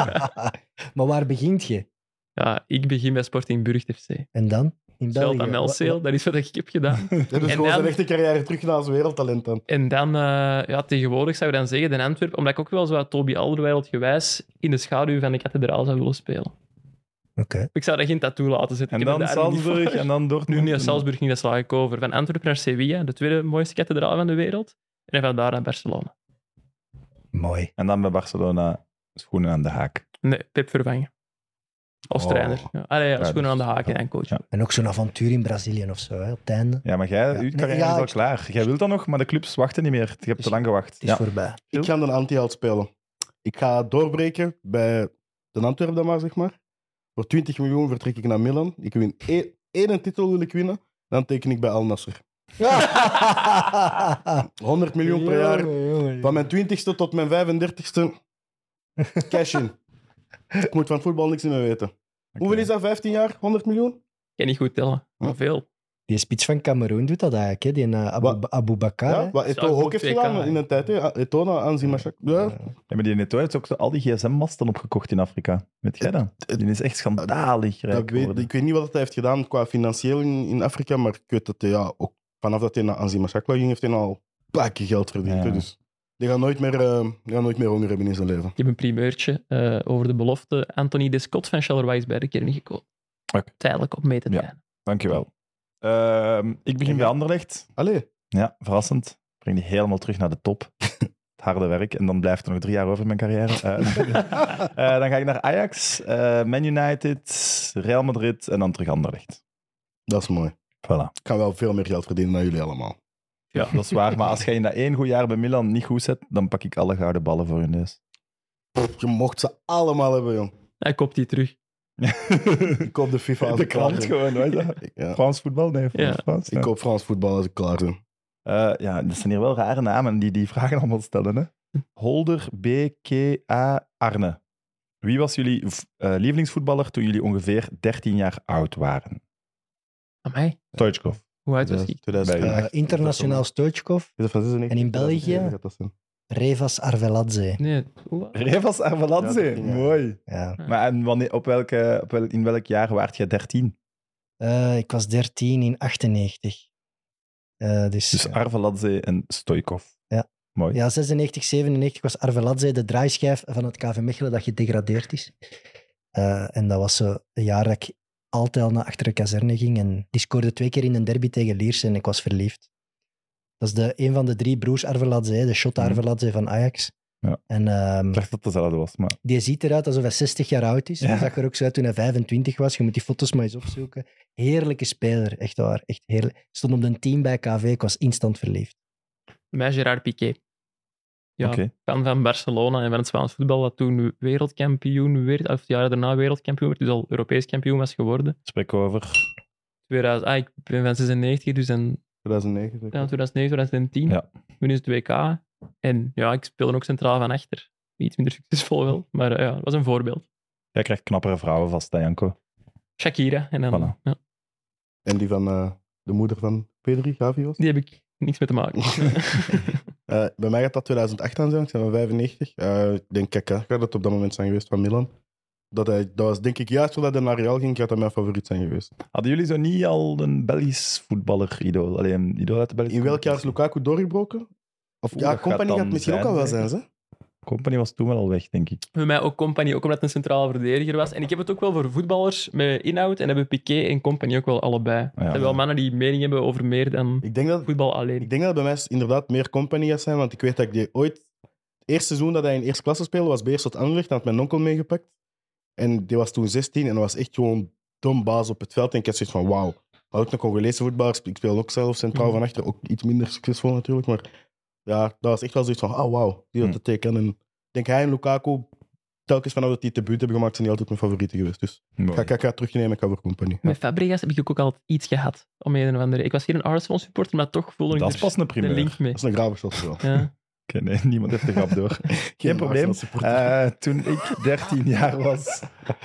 [SPEAKER 4] [laughs]
[SPEAKER 5] maar waar begint je?
[SPEAKER 4] ja, ik begin bij Sporting Burgt FC.
[SPEAKER 5] En dan? in
[SPEAKER 4] Zelda
[SPEAKER 5] België.
[SPEAKER 4] Melceel, dat is wat ik heb
[SPEAKER 2] [laughs]
[SPEAKER 4] gedaan.
[SPEAKER 3] Dus gewoon
[SPEAKER 4] dan-
[SPEAKER 3] zijn echte carrière terug naar zijn wereldtalent dan.
[SPEAKER 4] En dan, eh, ja, tegenwoordig zou je dan zeggen, in Antwerpen, omdat ik ook wel zo wat Toby Alderweireld gewijs in de schaduw van de kathedraal zou willen spelen.
[SPEAKER 5] Oké.
[SPEAKER 4] Ik zou daar geen tattoo laten zetten.
[SPEAKER 2] En
[SPEAKER 4] Ik heb
[SPEAKER 2] dan
[SPEAKER 4] het daar niet voor.
[SPEAKER 2] Salzburg en dan Dortmund.
[SPEAKER 4] Nu niet
[SPEAKER 2] en-
[SPEAKER 4] naar Salzburg, niet, dat sla ik over. Van Antwerpen naar Sevilla, de tweede mooiste kathedraal van de wereld. En van daar naar Barcelona.
[SPEAKER 5] Mooi.
[SPEAKER 2] En dan bij Barcelona schoenen aan de haak.
[SPEAKER 4] Nee, Pep vervangen. Als
[SPEAKER 2] Oh.
[SPEAKER 4] trainer. Ja. Allee, ja,
[SPEAKER 2] Ja,
[SPEAKER 4] schoenen aan de
[SPEAKER 2] dus-
[SPEAKER 4] haak
[SPEAKER 2] ja.
[SPEAKER 4] en coach.
[SPEAKER 2] Ja.
[SPEAKER 5] En ook zo'n avontuur in Brazilië of zo, hè, op het einde.
[SPEAKER 2] Ja, maar jij,
[SPEAKER 5] Ja.
[SPEAKER 2] uw carrière
[SPEAKER 5] Nee, ja,
[SPEAKER 2] is al
[SPEAKER 5] ik-
[SPEAKER 2] klaar. Jij wilt dat nog, maar de clubs wachten niet meer. Je hebt
[SPEAKER 5] is-
[SPEAKER 2] te lang gewacht.
[SPEAKER 5] Het is
[SPEAKER 2] Ja.
[SPEAKER 5] voorbij.
[SPEAKER 3] Ik ga een anti-held spelen. Ik ga doorbreken bij de Antwerpen dan maar, zeg maar. Voor 20 miljoen vertrek ik naar Milan. Ik win één, één titel wil ik winnen. Dan teken ik bij Al Nasser. 100 [laughs] miljoen per jaar.
[SPEAKER 5] Jongen, jongen,
[SPEAKER 3] Van mijn 20ste tot mijn 35ste. Cash [laughs] in. Ik moet van voetbal niks meer weten. Hoeveel is dat? 15 jaar? 100 miljoen?
[SPEAKER 4] Ik kan niet goed tellen. Maar veel.
[SPEAKER 5] Die spits van Cameroen doet dat eigenlijk, hè? die eh, Abu,
[SPEAKER 3] Wat?
[SPEAKER 5] Abu Bakar.
[SPEAKER 3] Ja, wat
[SPEAKER 4] Zou
[SPEAKER 3] Eto'o
[SPEAKER 4] ik
[SPEAKER 3] ook heeft
[SPEAKER 4] ook
[SPEAKER 3] gedaan
[SPEAKER 4] WK,
[SPEAKER 3] in een tijd. hè. Ah, Eto'o na aanzien Machak. Ja.
[SPEAKER 2] Ja, maar die Neto heeft ook zo al die gsm-masten opgekocht in Afrika. Weet jij dat? Die is echt schandalig
[SPEAKER 3] Dat
[SPEAKER 2] rijk
[SPEAKER 3] weet,
[SPEAKER 2] geworden.
[SPEAKER 3] ik weet niet wat hij heeft gedaan qua financieel in, in Afrika, maar ik weet dat hij ja, ook vanaf dat hij naar Anzi Machakla ging, heeft hij nou al pakken geld verdiend.
[SPEAKER 2] Ja.
[SPEAKER 3] hè. Dus die gaat nooit meer, eh, die gaat nooit meer honger hebben in zijn leven.
[SPEAKER 4] Ik heb een primeurtje eh, over de belofte. Anthony Descott van Charleroi is bij de kern gekomen.
[SPEAKER 2] Oké.
[SPEAKER 4] Tijdelijk op mee te
[SPEAKER 2] Ja.
[SPEAKER 4] trainen.
[SPEAKER 2] Dankjewel. Ehm, ik begin
[SPEAKER 3] Ja.
[SPEAKER 2] bij Anderlecht.
[SPEAKER 3] Allee,
[SPEAKER 2] Ja, verrassend. Breng die helemaal terug naar de top. Het harde werk. En dan blijft er nog drie jaar over in mijn carrière. [laughs] Eh, eh, dan ga ik naar Ajax, eh, Man United, Real Madrid en dan terug Anderlecht.
[SPEAKER 3] dat is mooi.
[SPEAKER 2] Voilà.
[SPEAKER 3] Ik kan wel veel meer geld verdienen dan jullie allemaal.
[SPEAKER 2] Ja, dat is waar. Maar als jij in dat één goed jaar bij Milan niet goed zet, dan pak ik alle gouden ballen voor je [laughs] neus.
[SPEAKER 3] Pff, je mocht ze allemaal hebben, jong.
[SPEAKER 4] Hij koopt die terug.
[SPEAKER 3] Ik koop de FIFA als
[SPEAKER 2] de
[SPEAKER 3] ik klaar
[SPEAKER 2] krant
[SPEAKER 3] ben.
[SPEAKER 2] gewoon, weet je.
[SPEAKER 3] Ik- Ja.
[SPEAKER 2] Frans voetbal? Nee, Frans.
[SPEAKER 4] Ja.
[SPEAKER 2] Frans, ja.
[SPEAKER 3] Ik koop Frans voetbal als ik klaar ben.
[SPEAKER 2] Eh, ja, dat zijn hier wel rare namen die die vragen allemaal stellen. Hè? Holder BKA Arne. Wie was jullie v- eh, lievelingsvoetballer toen jullie ongeveer 13 jaar oud waren?
[SPEAKER 4] Amai.
[SPEAKER 2] Stoichkov.
[SPEAKER 4] Hoe uit was die?
[SPEAKER 5] Eh,
[SPEAKER 3] 2008.
[SPEAKER 5] internationaal Stoichkov,
[SPEAKER 3] Is dat van 96?
[SPEAKER 5] En in België?
[SPEAKER 3] 2007 gaat dat zijn.
[SPEAKER 5] Revas Arveladze.
[SPEAKER 4] Nee. hoe-
[SPEAKER 2] Revas Arveladze.
[SPEAKER 3] Ja, 13 jaar.
[SPEAKER 2] Mooi.
[SPEAKER 5] Ja.
[SPEAKER 2] Maar en wanneer, op welke, op wel, in welk jaar waart je 13?
[SPEAKER 5] Eh, ik was 13 in 98. Eh, dus
[SPEAKER 2] Dus Arveladze en Stoikov.
[SPEAKER 5] Ja.
[SPEAKER 2] Mooi.
[SPEAKER 5] ja, 96, 97 was Arveladze de draaischijf van het KV Mechelen dat gedegradeerd is. Eh, en dat was zo een jaar dat ik altijd al naar achter de kazerne ging. En die scoorde twee keer in een derby tegen Liers en ik was verliefd. Dat is de, een van de drie broers Arveladze, de shot
[SPEAKER 2] Mhm.
[SPEAKER 5] Arveladze van Ajax.
[SPEAKER 2] Ja.
[SPEAKER 5] En ehm,
[SPEAKER 2] Ik dacht dat het dezelfde was, maar...
[SPEAKER 5] die ziet eruit alsof hij 60 jaar oud is.
[SPEAKER 2] Ja.
[SPEAKER 5] Hij zag er ook zo uit toen hij 25 was. Je moet die foto's maar eens opzoeken. Heerlijke speler, echt waar. Echt heerlijk. Stond op een team bij KV, ik was instant verliefd.
[SPEAKER 4] Mij Gerard Piqué. Ja,
[SPEAKER 2] Oké.
[SPEAKER 4] fan van Barcelona en van het Spaans voetbal, dat toen wereldkampioen werd, of het jaar daarna wereldkampioen werd, dus al Europees kampioen was geworden.
[SPEAKER 2] Spreek over.
[SPEAKER 4] 2000, ah, ik ben van 96, dus in
[SPEAKER 3] 2009.
[SPEAKER 4] ja, 2009, 2010.
[SPEAKER 2] Ja.
[SPEAKER 4] Toen is het WK. En ja, ik speelde ook centraal van achter. Iets minder succesvol wel, maar eh, ja, het was een voorbeeld.
[SPEAKER 2] Jij krijgt knappere vrouwen vast, hè, Janko.
[SPEAKER 4] Shakira. En dan,
[SPEAKER 2] Voilà.
[SPEAKER 4] ja,
[SPEAKER 3] En die van eh, de moeder van Pedri, Gavi was?
[SPEAKER 4] die heb ik niks mee te
[SPEAKER 2] [laughs]
[SPEAKER 4] maken.
[SPEAKER 3] [laughs] Eh, bij mij gaat dat 2008 aan zijn, ik ben van 95. Eh, ik denk Kaka gaat dat op dat moment zijn geweest van Milan. Dat, hij, dat was denk ik juist voordat hij naar Real ging, gaat dat mijn favoriet zijn geweest.
[SPEAKER 2] Hadden jullie zo niet al een Belgisch voetballer-idool? Alleen een idool uit de Belgische
[SPEAKER 3] In welk jaar is
[SPEAKER 2] competitie?
[SPEAKER 3] Lukaku doorgebroken? Of,
[SPEAKER 2] Oeh,
[SPEAKER 3] ja,
[SPEAKER 2] dat gaat
[SPEAKER 3] Company
[SPEAKER 2] dan
[SPEAKER 3] gaat misschien ook
[SPEAKER 2] zijn,
[SPEAKER 3] al wel
[SPEAKER 2] denk
[SPEAKER 3] zijn,
[SPEAKER 2] ik.
[SPEAKER 3] ze.
[SPEAKER 2] Company was toen wel al weg, denk ik.
[SPEAKER 4] Bij mij ook Company, ook omdat het een centrale verdediger was. En ik heb het ook wel voor voetballers met inhoud. En hebben Piqué en Company ook wel allebei. Het zijn wel mannen die mening hebben over meer dan
[SPEAKER 3] Ik denk dat,
[SPEAKER 4] voetbal alleen.
[SPEAKER 3] ik denk dat bij mij inderdaad meer Company gaat zijn, want ik weet dat ik die ooit... Het eerste seizoen dat hij in eerste klasse speelde, was Beerschot Anderlecht, dan had mijn onkel meegepakt. En die was toen 16 en was echt gewoon dom baas op het veld. En ik had zoiets van, wauw. Had ook een Congolese voetballer, ik speel ook zelf
[SPEAKER 2] Mhm.
[SPEAKER 3] centraal van achter, ook iets minder succesvol natuurlijk. Maar ja, dat was echt wel zoiets van, ah wauw, die had
[SPEAKER 2] Mhm.
[SPEAKER 3] het teken. En ik denk hij en Lukaku, telkens vanaf dat die het debuut hebben gemaakt, zijn die altijd mijn favorieten geweest. Dus ik ga Kaka terugnemen, ik ga voor Company.
[SPEAKER 4] Met Fabregas heb ik ook altijd iets gehad. Om een of andere. Ik was geen Arsenal supporter, maar toch voelde ik
[SPEAKER 2] Dat
[SPEAKER 4] er
[SPEAKER 2] is pas een
[SPEAKER 4] de
[SPEAKER 2] primeur.
[SPEAKER 4] link mee.
[SPEAKER 3] Dat is een grave shot
[SPEAKER 2] [laughs]
[SPEAKER 3] wel.
[SPEAKER 4] Ja.
[SPEAKER 2] Oké, nee, niemand heeft de grap door. Geen probleem. Eh, toen ik 13 jaar was,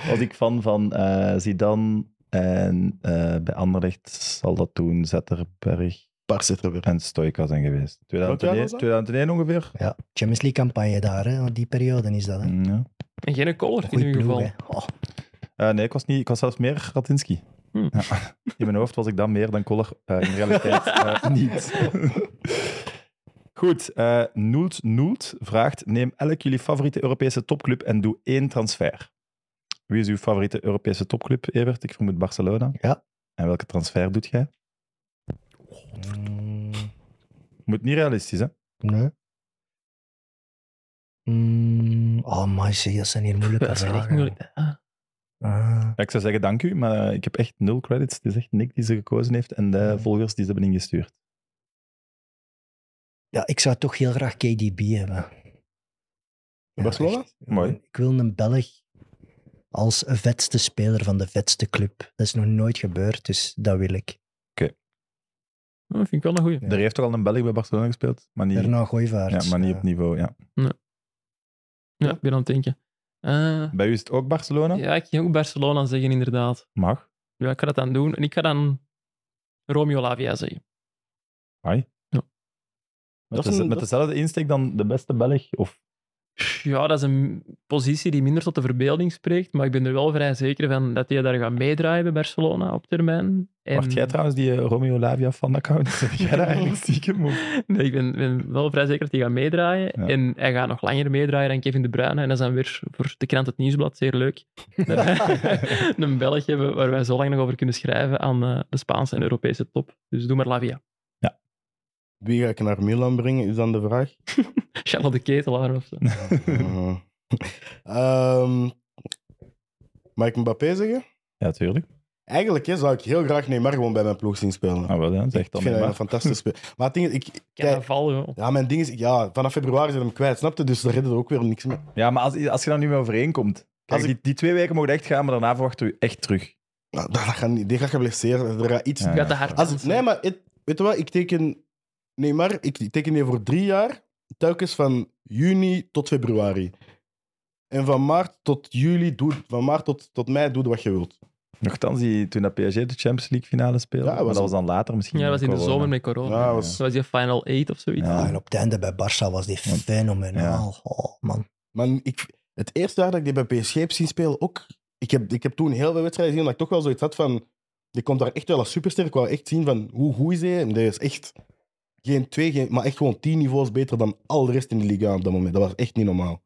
[SPEAKER 2] was ik fan van eh, Zidane. En eh, bij Anderlecht zal dat toen Zetterberg
[SPEAKER 3] Paar zitten weer.
[SPEAKER 2] en Stoika zijn geweest.
[SPEAKER 3] jaar
[SPEAKER 2] 2001,
[SPEAKER 3] was dat?
[SPEAKER 2] 2001 ongeveer?
[SPEAKER 5] Ja. Champions League campagne daar, hè? Oh, die periode is dat. Hè?
[SPEAKER 2] Mm, ja.
[SPEAKER 4] En geen color in
[SPEAKER 5] Goeie
[SPEAKER 4] ieder
[SPEAKER 5] ploeg,
[SPEAKER 4] geval.
[SPEAKER 5] hè. Oh,
[SPEAKER 2] Eh, nee, ik was, niet, ik was zelfs meer Radinski.
[SPEAKER 5] Hmm.
[SPEAKER 2] [laughs] In mijn hoofd was ik dan meer dan Koller. eh, in
[SPEAKER 5] [laughs]
[SPEAKER 2] realiteit eh, niet. Goed, eh Noelt Noelt vraagt: neem elk jullie favoriete Europese topclub en doe één transfer. Wie is uw favoriete Europese topclub, Evert? Ik vermoed Barcelona.
[SPEAKER 5] Ja.
[SPEAKER 2] En welke transfer doet jij?
[SPEAKER 5] Mm,
[SPEAKER 2] Moet niet realistisch, hè?
[SPEAKER 5] nee. Mm, oh, maar zeg, dat zijn hier
[SPEAKER 4] [laughs]
[SPEAKER 5] moeilijke
[SPEAKER 4] Dat zijn echt
[SPEAKER 5] vragen.
[SPEAKER 4] moeilijk. Ah.
[SPEAKER 5] Ah.
[SPEAKER 2] Ja, ik zou zeggen dank u, maar ik heb echt nul credits. Het is echt Nick die ze gekozen heeft en de volgers die ze hebben ingestuurd.
[SPEAKER 5] Ja, ik zou toch heel graag KDB hebben. Ja,
[SPEAKER 3] Barcelona?
[SPEAKER 5] echt.
[SPEAKER 2] Mooi.
[SPEAKER 5] Ik wil een Belg als vetste speler van de vetste club. Dat is nog nooit gebeurd, dus dat wil ik.
[SPEAKER 4] Dat vind ik wel een goeie.
[SPEAKER 5] Ja.
[SPEAKER 2] Er heeft toch al een Belg bij Barcelona gespeeld, maar niet,
[SPEAKER 5] Daarna Gooivaarts.
[SPEAKER 2] ja, maar niet op niveau. Ja.
[SPEAKER 4] Ja, ik ben aan het denken. Eh,
[SPEAKER 2] Bij u is het ook Barcelona?
[SPEAKER 4] ja, ik ging ook Barcelona zeggen, inderdaad.
[SPEAKER 2] Mag.
[SPEAKER 4] Ja, ik ga dat dan doen. En ik ga dan Romeo Lavia zeggen.
[SPEAKER 2] Met,
[SPEAKER 3] Dat is
[SPEAKER 2] de-
[SPEAKER 3] een-
[SPEAKER 2] met
[SPEAKER 3] dat-
[SPEAKER 2] dezelfde insteek dan de beste Belg? Of
[SPEAKER 4] Ja, dat is een positie die minder tot de verbeelding spreekt, maar ik ben er wel vrij zeker van dat hij daar gaat meedraaien bij Barcelona op termijn. En...
[SPEAKER 2] wacht jij trouwens die eh, Romeo Lavia van account? [laughs] Zeg jij dat
[SPEAKER 3] [laughs]
[SPEAKER 2] eigenlijk stiekem? Of?
[SPEAKER 4] Nee, ik ben, ben wel vrij zeker dat hij gaat meedraaien.
[SPEAKER 2] Ja.
[SPEAKER 4] En hij gaat nog langer meedraaien dan Kevin De Bruyne. En dat is dan weer voor de krant Het Nieuwsblad zeer leuk. [laughs] Dat wij een Belg hebben waar wij zo lang nog over kunnen schrijven aan eh, de Spaanse en Europese top. Dus doe maar [laughs] Lavia.
[SPEAKER 3] Wie ga ik naar Milan brengen, is dan de vraag.
[SPEAKER 4] Charlotte de Ketelaar of zo.
[SPEAKER 3] Mhm. Ehm, mag ik Mbappé zeggen?
[SPEAKER 2] Ja, tuurlijk.
[SPEAKER 3] Eigenlijk hè, zou ik heel graag Neymar gewoon bij mijn ploeg zien spelen.
[SPEAKER 2] Ah, wel, dan zeg
[SPEAKER 3] ik
[SPEAKER 2] dan.
[SPEAKER 3] vind dat een
[SPEAKER 2] maar.
[SPEAKER 3] fantastisch speel. Maar het ding is, ik, kijk,
[SPEAKER 4] Carnaval, joh.
[SPEAKER 3] ja, mijn ding is, ik- ja, vanaf februari zijn we hem kwijt, snapte? Dus daar redden we ook weer niks mee.
[SPEAKER 2] Ja, maar als, als je daar niet mee overeenkomt. Kijk,
[SPEAKER 3] Als ik-
[SPEAKER 2] die, die twee weken mogen echt gaan, maar daarna verwachten we u echt terug.
[SPEAKER 3] Nou, dat, dat gaat niet, die gaat geblesseerd. Er gaat iets
[SPEAKER 2] Ja.
[SPEAKER 4] Gaat te hard.
[SPEAKER 3] Als,
[SPEAKER 4] dansen.
[SPEAKER 3] nee, maar het- weet je wat? Ik teken Neymar, ik teken die voor drie jaar, telkens van juni tot februari. En van maart tot juli, doe, van maart tot, tot mei, doe wat je wilt.
[SPEAKER 2] Nochtans, die, toen dat PSG de Champions League finale speelde,
[SPEAKER 3] Ja, was
[SPEAKER 2] maar dat
[SPEAKER 3] een-
[SPEAKER 2] was dan later misschien.
[SPEAKER 4] Ja, dat was in de
[SPEAKER 2] corona.
[SPEAKER 4] zomer met corona.
[SPEAKER 3] Ja,
[SPEAKER 4] Dat
[SPEAKER 3] was-
[SPEAKER 4] was... die Final 8 of zoiets.
[SPEAKER 2] Ja.
[SPEAKER 5] Ja, Ah, en op het einde bij Barça was die
[SPEAKER 2] Ja.
[SPEAKER 5] fenomenaal. Oh, man.
[SPEAKER 3] Maar ik, het eerste jaar dat ik die bij PSG heb zien spelen, ook, ik, heb, ik heb toen heel veel wedstrijden gezien, dat ik toch wel zoiets had van, die komt daar echt wel als superster. Ik wou echt zien van, hoe goed is hij? En die is echt geen twee, geen, maar echt gewoon tien niveaus beter dan al de rest in de liga op dat moment. Dat was echt niet normaal.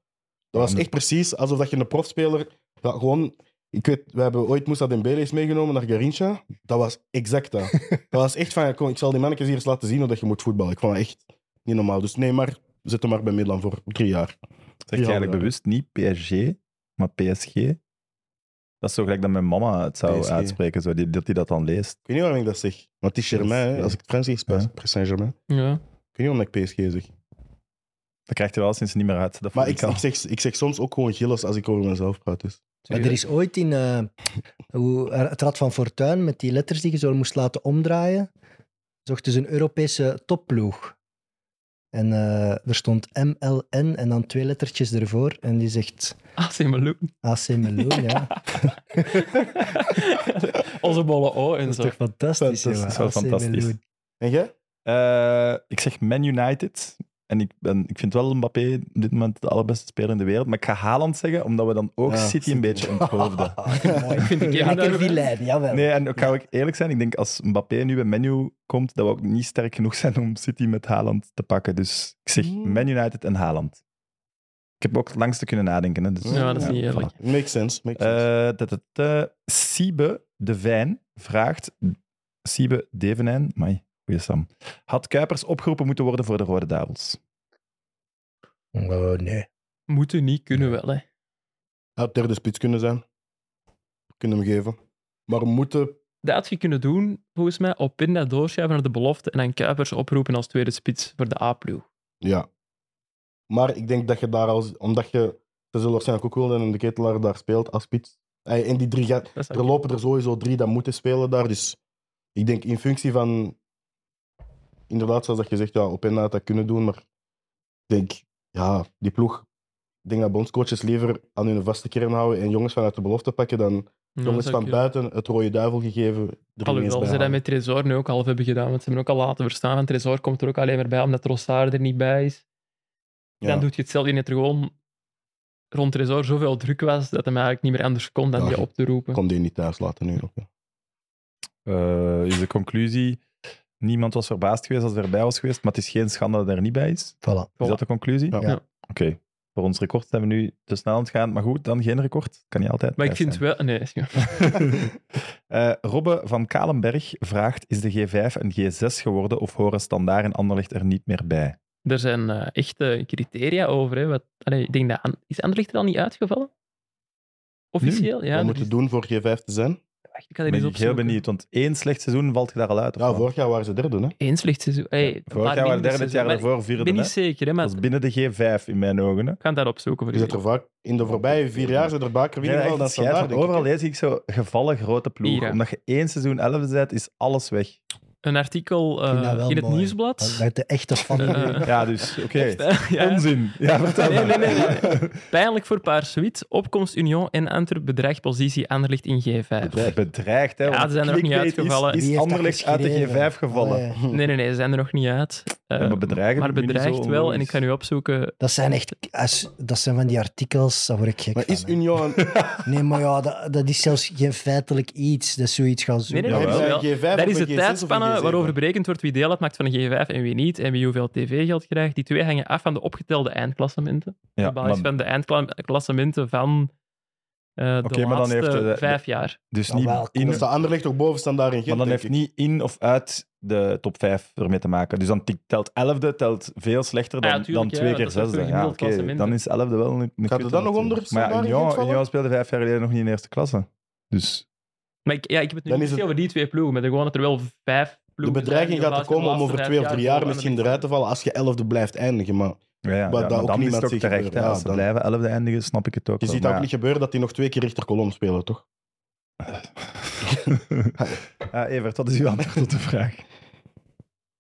[SPEAKER 3] Dat was echt precies alsof dat je een profspeler, dat gewoon... Ik weet, we hebben ooit Moussa Dembele eens meegenomen naar Garincha. Dat was exact dat. dat was echt van, kom, ik zal die mannetjes hier eens laten zien hoe dat je moet voetballen. Ik vond dat echt niet normaal. Dus nee, maar zet hem maar bij Milan voor drie jaar.
[SPEAKER 2] Zeg je eigenlijk
[SPEAKER 3] Ja.
[SPEAKER 2] bewust niet PSG, maar PSG? Dat is zo gelijk dat mijn mama het zou
[SPEAKER 3] PSG.
[SPEAKER 2] uitspreken, zo, die, dat die dat dan leest.
[SPEAKER 3] Ik weet niet waarom ik dat zeg. Want het is Germain, hè. als ik het Frans zeg, is het
[SPEAKER 2] Ja.
[SPEAKER 3] Paris Saint-Germain. Ik
[SPEAKER 4] Ja.
[SPEAKER 3] weet niet waarom ik PSG zeg.
[SPEAKER 2] Dat krijgt hij wel sinds niet meer uit. Dat
[SPEAKER 3] Maar
[SPEAKER 2] vond
[SPEAKER 3] ik,
[SPEAKER 2] al.
[SPEAKER 3] ik, zeg, ik zeg soms ook gewoon gilles als ik over mezelf praat. Dus.
[SPEAKER 5] Maar er is ooit in eh, hoe, het Rad van Fortuin, met die letters die je zo moest laten omdraaien, zochten ze een Europese topploeg. En eh, er stond MLN en dan twee lettertjes ervoor. En die zegt
[SPEAKER 4] Ah, zeg maar, Lou.
[SPEAKER 5] AC Meloen, ja.
[SPEAKER 4] [laughs] Onze bolle O en
[SPEAKER 5] Dat is
[SPEAKER 4] zo.
[SPEAKER 5] toch fantastisch,
[SPEAKER 2] Dat is
[SPEAKER 5] jongen?
[SPEAKER 2] wel
[SPEAKER 5] AC
[SPEAKER 2] fantastisch.
[SPEAKER 5] Meloen.
[SPEAKER 3] En jij?
[SPEAKER 2] Eh, ik zeg Man United. En ik, ben, ik vind wel Mbappé op dit moment de allerbeste speler in de wereld. Maar ik ga Haaland zeggen, omdat we dan ook
[SPEAKER 3] Ja,
[SPEAKER 2] City een
[SPEAKER 3] City. [laughs]
[SPEAKER 2] beetje onthoofden.
[SPEAKER 5] Mooi. [laughs]
[SPEAKER 4] vind ik
[SPEAKER 5] Lekker
[SPEAKER 4] inderdaad-
[SPEAKER 5] vilijn, jawel.
[SPEAKER 2] Nee, en ik ga ook eerlijk zijn. Ik denk als Mbappé nu bij Menu komt, dat we ook niet sterk genoeg zijn om City met Haaland te pakken. Dus ik zeg
[SPEAKER 4] Mm.
[SPEAKER 3] Hmm.
[SPEAKER 2] Man United en Haaland. Ik heb ook het langste kunnen nadenken. Hè, dus,
[SPEAKER 4] Ja, dat is niet eerlijk.
[SPEAKER 2] voilà.
[SPEAKER 3] Makes sense. Makes sense.
[SPEAKER 2] Eh, dat het, eh, Siebe de Vijn vraagt... Siebe Devenijn, Mai, goeie Sam. Had Kuipers opgeroepen moeten worden voor de Rode Duivels?
[SPEAKER 5] Oh, nee.
[SPEAKER 4] Moeten niet, kunnen wel, hè.
[SPEAKER 3] Had derde spits kunnen zijn. Kunnen hem geven. Maar we moeten...
[SPEAKER 4] Dat had je kunnen doen, volgens mij, op Pinda doorschuiven naar de belofte en dan Kuipers oproepen als tweede spits voor de A-ploeg.
[SPEAKER 3] Ja. Maar ik denk dat je daar als... Omdat je... Ze zullen waarschijnlijk ook willen en de ketelaar daar speelt als spits. Ey, En die drie... ga-
[SPEAKER 4] Dat zou
[SPEAKER 3] Er
[SPEAKER 4] ik-
[SPEAKER 3] lopen er sowieso drie dat moeten spelen daar. Dus ik denk in functie van. Inderdaad, zoals dat je zegt, ja, op en had dat kunnen doen. Maar ik denk, ja, die ploeg. Ik denk dat bondscoaches liever aan hun vaste kern houden en jongens vanuit de belofte pakken dan
[SPEAKER 4] Ja, dat
[SPEAKER 3] jongens
[SPEAKER 4] zou
[SPEAKER 3] van
[SPEAKER 4] ik-
[SPEAKER 3] buiten het rode duivel gegeven. Er ineens
[SPEAKER 4] Alhoewel
[SPEAKER 3] bij
[SPEAKER 4] ze dat
[SPEAKER 3] halen.
[SPEAKER 4] met Tresor nu ook half hebben gedaan, want ze hebben ook al laten verstaan van Tresor komt er ook alleen maar bij omdat Rossard er niet bij is.
[SPEAKER 3] Ja.
[SPEAKER 4] Dan doet je hetzelfde in het gewoon rond Tresor zoveel druk was dat hem eigenlijk niet meer anders kon dan
[SPEAKER 3] Ja,
[SPEAKER 4] die
[SPEAKER 3] je-
[SPEAKER 4] op te roepen.
[SPEAKER 3] Ik kon die niet thuis laten nu. ook, ja.
[SPEAKER 2] Eh, is de conclusie. Niemand was verbaasd geweest als hij erbij was geweest, maar het is geen schande dat hij er niet bij is.
[SPEAKER 5] Voilà.
[SPEAKER 2] Is dat de conclusie?
[SPEAKER 3] Ja.
[SPEAKER 2] Oké. Voor ons record zijn we nu te snel aan het gaan. Maar goed, dan geen record. Kan niet altijd.
[SPEAKER 4] Maar ik
[SPEAKER 2] thuis
[SPEAKER 4] vind
[SPEAKER 2] zijn.
[SPEAKER 4] wel... Nee, is niet waar.
[SPEAKER 2] [laughs] Eh, Robbe van Kalenberg vraagt: Is de G5 een G6 geworden of horen Standaard en Anderlecht er niet meer bij?
[SPEAKER 4] [laughs] er zijn eh, echte criteria over. Hè, wat, allee, ik denk dat, An- is Anderlecht er al niet uitgevallen? Officieel? Ja,
[SPEAKER 3] Wat
[SPEAKER 4] er
[SPEAKER 3] moet je
[SPEAKER 4] is-
[SPEAKER 3] doen voor G5 te zijn?
[SPEAKER 4] Wacht, ik ga
[SPEAKER 2] Ik
[SPEAKER 4] er eens
[SPEAKER 2] ben
[SPEAKER 4] opzoeken.
[SPEAKER 2] heel benieuwd, want één slecht seizoen valt je daar al uit. of
[SPEAKER 3] Ja,
[SPEAKER 2] wat?
[SPEAKER 3] vorig jaar waren ze derde, hè?
[SPEAKER 4] Eén slecht seizoen. Hey, een
[SPEAKER 2] Vorig
[SPEAKER 4] paar
[SPEAKER 2] jaar waren
[SPEAKER 4] minder
[SPEAKER 2] derde, het jaar
[SPEAKER 4] seizoenen. Maar
[SPEAKER 2] daarvoor vierde.
[SPEAKER 4] Ik ben niet
[SPEAKER 2] hè?
[SPEAKER 4] zeker, hè, maar
[SPEAKER 2] Dat is binnen de G5 in mijn ogen. Hè.
[SPEAKER 4] ik ga dat opzoeken voor
[SPEAKER 3] Je zit Dus er
[SPEAKER 4] jullie.
[SPEAKER 3] vaak, in de voorbije vier jaar zijn er vaker
[SPEAKER 2] Ja,
[SPEAKER 3] winnen
[SPEAKER 2] echt
[SPEAKER 3] dan
[SPEAKER 2] een schijf,
[SPEAKER 3] standaard,
[SPEAKER 2] want
[SPEAKER 3] denk ik,
[SPEAKER 2] overal
[SPEAKER 3] hè.
[SPEAKER 2] lees ik zo gevallen grote ploegen.
[SPEAKER 4] Hier, hè.
[SPEAKER 2] Omdat je één seizoen 11 bent, is alles weg.
[SPEAKER 4] Een artikel
[SPEAKER 5] vind
[SPEAKER 4] eh,
[SPEAKER 5] dat wel
[SPEAKER 4] in het
[SPEAKER 5] mooi.
[SPEAKER 4] nieuwsblad.
[SPEAKER 5] Dat de echte
[SPEAKER 4] [laughs]
[SPEAKER 5] fan. [laughs]
[SPEAKER 4] Eh,
[SPEAKER 2] Ja, dus oké.
[SPEAKER 4] echt, hè? Ja.
[SPEAKER 2] Onzin. Ja, vertel
[SPEAKER 4] Nee, nee,
[SPEAKER 2] maar.
[SPEAKER 4] nee, nee. Pijnlijk voor Paars-Wit. Opkomst Union en Antwerp bedreigt positie Anderlecht in
[SPEAKER 2] [laughs]
[SPEAKER 4] G5.
[SPEAKER 2] Bedreigd, hè?
[SPEAKER 4] Ja,
[SPEAKER 2] want
[SPEAKER 4] ze zijn er ook niet
[SPEAKER 2] clickbait Is,
[SPEAKER 4] uitgevallen.
[SPEAKER 5] Wie
[SPEAKER 2] is
[SPEAKER 5] heeft dat
[SPEAKER 2] Anderlecht uit de
[SPEAKER 5] geschreven? Oh,
[SPEAKER 2] G5 gevallen?
[SPEAKER 5] Allee,
[SPEAKER 4] Nee, nee, nee, ze zijn er nog niet uit. Eh,
[SPEAKER 2] Ja, maar bedreigen
[SPEAKER 4] maar
[SPEAKER 2] doen we niet
[SPEAKER 4] bedreigt
[SPEAKER 2] zo
[SPEAKER 4] wel.
[SPEAKER 2] onlogisch.
[SPEAKER 4] En ik ga nu opzoeken.
[SPEAKER 5] dat zijn echt... als- Dat zijn van die artikels, daar word ik gek
[SPEAKER 3] Maar is
[SPEAKER 5] van, hè.
[SPEAKER 2] [laughs]
[SPEAKER 3] Union
[SPEAKER 5] Nee, maar ja, dat, dat is zelfs geen feitelijk iets. Dat is zoiets gaan
[SPEAKER 4] Nee,
[SPEAKER 5] zoeken.
[SPEAKER 4] nee,
[SPEAKER 3] Ja,
[SPEAKER 4] nee,
[SPEAKER 2] Jawel.
[SPEAKER 4] nee,
[SPEAKER 3] wel. G5
[SPEAKER 4] nee. Dat
[SPEAKER 3] of
[SPEAKER 4] is
[SPEAKER 3] een
[SPEAKER 4] de
[SPEAKER 3] G6 of een
[SPEAKER 4] tijdspanne
[SPEAKER 3] G7?
[SPEAKER 4] waarover berekend wordt wie deel uitmaakt van een G5 en wie niet. En wie hoeveel tv-geld krijgt. Die twee hangen af van de opgetelde eindklassementen.
[SPEAKER 2] Ja,
[SPEAKER 4] op basis
[SPEAKER 2] maar-
[SPEAKER 4] van de eindklassementen van eh, de
[SPEAKER 2] Oké, maar dan
[SPEAKER 4] laatste
[SPEAKER 2] heeft de- de-
[SPEAKER 4] vijf jaar.
[SPEAKER 2] dus
[SPEAKER 5] Ja,
[SPEAKER 2] niet
[SPEAKER 5] wel,
[SPEAKER 2] in,
[SPEAKER 3] Dan staat Anderlecht toch boven standaard in
[SPEAKER 2] maar
[SPEAKER 3] Gent,
[SPEAKER 2] dan
[SPEAKER 3] denk
[SPEAKER 2] heeft
[SPEAKER 3] ik.
[SPEAKER 2] niet in of uit de top 5 ermee te maken. Dus dan tikt- telt 11e telt veel slechter dan,
[SPEAKER 4] Ah, ja, tuurlijk,
[SPEAKER 2] dan
[SPEAKER 4] ja,
[SPEAKER 2] twee
[SPEAKER 4] dat
[SPEAKER 2] keer
[SPEAKER 4] is ook
[SPEAKER 2] 6e.
[SPEAKER 4] een
[SPEAKER 2] Ja,
[SPEAKER 4] gemiddeld
[SPEAKER 2] oké,
[SPEAKER 4] klassement,
[SPEAKER 2] dan
[SPEAKER 4] hè.
[SPEAKER 2] is 11e wel een, een
[SPEAKER 3] Gaat
[SPEAKER 2] kutte
[SPEAKER 3] er dan nog
[SPEAKER 2] natuurlijk.
[SPEAKER 3] onder
[SPEAKER 2] Maar ja,
[SPEAKER 3] Standaard in Gent
[SPEAKER 2] Union,
[SPEAKER 3] vallen?
[SPEAKER 2] Union speelde vijf jaar geleden nog niet in eerste klasse. Dus
[SPEAKER 4] Maar ik, ja, ik heb het nu
[SPEAKER 3] Dan
[SPEAKER 4] niet
[SPEAKER 3] is het-
[SPEAKER 4] over die twee ploegen. Maar gewoon dat er wel vijf
[SPEAKER 3] De
[SPEAKER 4] ploegen
[SPEAKER 3] bedreiging
[SPEAKER 4] zijn die
[SPEAKER 3] gaat er
[SPEAKER 4] laatste-
[SPEAKER 3] komen om
[SPEAKER 4] laatste
[SPEAKER 3] over
[SPEAKER 4] vijf
[SPEAKER 3] twee of drie
[SPEAKER 4] door
[SPEAKER 3] jaar
[SPEAKER 4] aan de
[SPEAKER 3] misschien
[SPEAKER 4] beste-
[SPEAKER 3] eruit te vallen als je elfde blijft eindigen. Maar
[SPEAKER 2] ja, ja, ja,
[SPEAKER 3] Wat dat
[SPEAKER 2] maar
[SPEAKER 3] ook
[SPEAKER 2] dan is
[SPEAKER 3] niemand
[SPEAKER 2] het ook
[SPEAKER 3] zich
[SPEAKER 2] terecht.
[SPEAKER 3] gebeurt,
[SPEAKER 2] hè.
[SPEAKER 3] ja,
[SPEAKER 2] Als ze
[SPEAKER 3] dan-
[SPEAKER 2] blijven 11e eindigen, snap ik het ook.
[SPEAKER 3] je
[SPEAKER 2] wel,
[SPEAKER 3] ziet
[SPEAKER 2] maar
[SPEAKER 3] ook niet gebeuren dat die nog twee keer rechter kolom spelen, toch?
[SPEAKER 2] [laughs] ja, Evert, wat is uw antwoord op de vraag?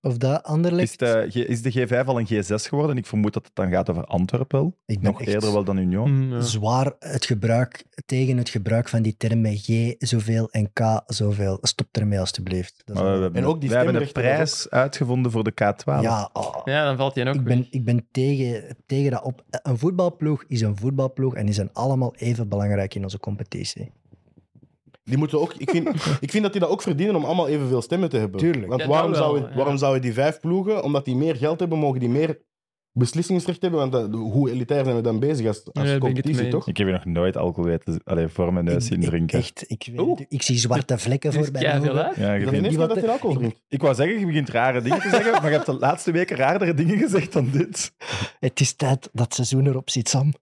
[SPEAKER 5] Of dat Anderlecht...
[SPEAKER 2] Is eh, de, G- is de G5 al een G6 geworden? Ik vermoed dat het dan gaat over Antwerpen wel.
[SPEAKER 5] ik ben
[SPEAKER 2] Nog
[SPEAKER 5] echt
[SPEAKER 2] eerder wel dan
[SPEAKER 3] Hmm.
[SPEAKER 2] Union.
[SPEAKER 4] Mm, ja.
[SPEAKER 5] zwaar het gebruik, tegen het gebruik van die termen G zoveel en K zoveel. Stop ermee alstublieft. Dat is
[SPEAKER 2] Maar we
[SPEAKER 5] een-
[SPEAKER 2] hebben,
[SPEAKER 3] En ook die
[SPEAKER 2] we hebben de
[SPEAKER 3] stemrechten was
[SPEAKER 2] prijs uitgevonden voor de K12.
[SPEAKER 5] ja, ah,
[SPEAKER 4] Ja, dan valt hij ook
[SPEAKER 5] ik
[SPEAKER 4] weg.
[SPEAKER 5] ben, ik ben tegen, tegen dat op. Een voetbalploeg is een voetbalploeg en die zijn allemaal even belangrijk in onze competitie.
[SPEAKER 3] Die moeten ook, ik,
[SPEAKER 4] [laughs]
[SPEAKER 3] vind, ik vind dat die dat ook verdienen om allemaal evenveel stemmen te hebben.
[SPEAKER 5] Tuurlijk.
[SPEAKER 3] Want
[SPEAKER 4] Ja,
[SPEAKER 3] waarom,
[SPEAKER 4] dat wel,
[SPEAKER 3] zou je,
[SPEAKER 4] ja.
[SPEAKER 3] waarom zou je die vijf ploegen, omdat die meer geld hebben, mogen die meer beslissingsrecht hebben? Want dat- hoe elitair zijn we dan bezig als, als
[SPEAKER 4] Nee, daar ben ik het mee
[SPEAKER 3] competitie,
[SPEAKER 4] eens.
[SPEAKER 3] toch?
[SPEAKER 2] Ik heb je nog nooit alcohol weten, allee, voor mijn neus
[SPEAKER 5] Ik-
[SPEAKER 2] zien
[SPEAKER 5] ik-
[SPEAKER 2] drinken.
[SPEAKER 5] Echt, ik, weet
[SPEAKER 4] Oeh.
[SPEAKER 5] het, ik zie
[SPEAKER 4] [laughs]
[SPEAKER 5] zwarte vlekken
[SPEAKER 4] Er is
[SPEAKER 5] voor mijn
[SPEAKER 4] keiveel
[SPEAKER 5] ogen.
[SPEAKER 4] uit.
[SPEAKER 2] Ja, je
[SPEAKER 3] Dat is
[SPEAKER 2] vindt-
[SPEAKER 3] de
[SPEAKER 5] niet
[SPEAKER 3] eerste
[SPEAKER 5] wat
[SPEAKER 3] keer dat hij alcohol drinkt.
[SPEAKER 2] Ik wou zeggen, je begint rare dingen te zeggen, maar je hebt de laatste weken raardere dingen gezegd dan dit.
[SPEAKER 5] Het is tijd dat seizoen erop zit, Sam.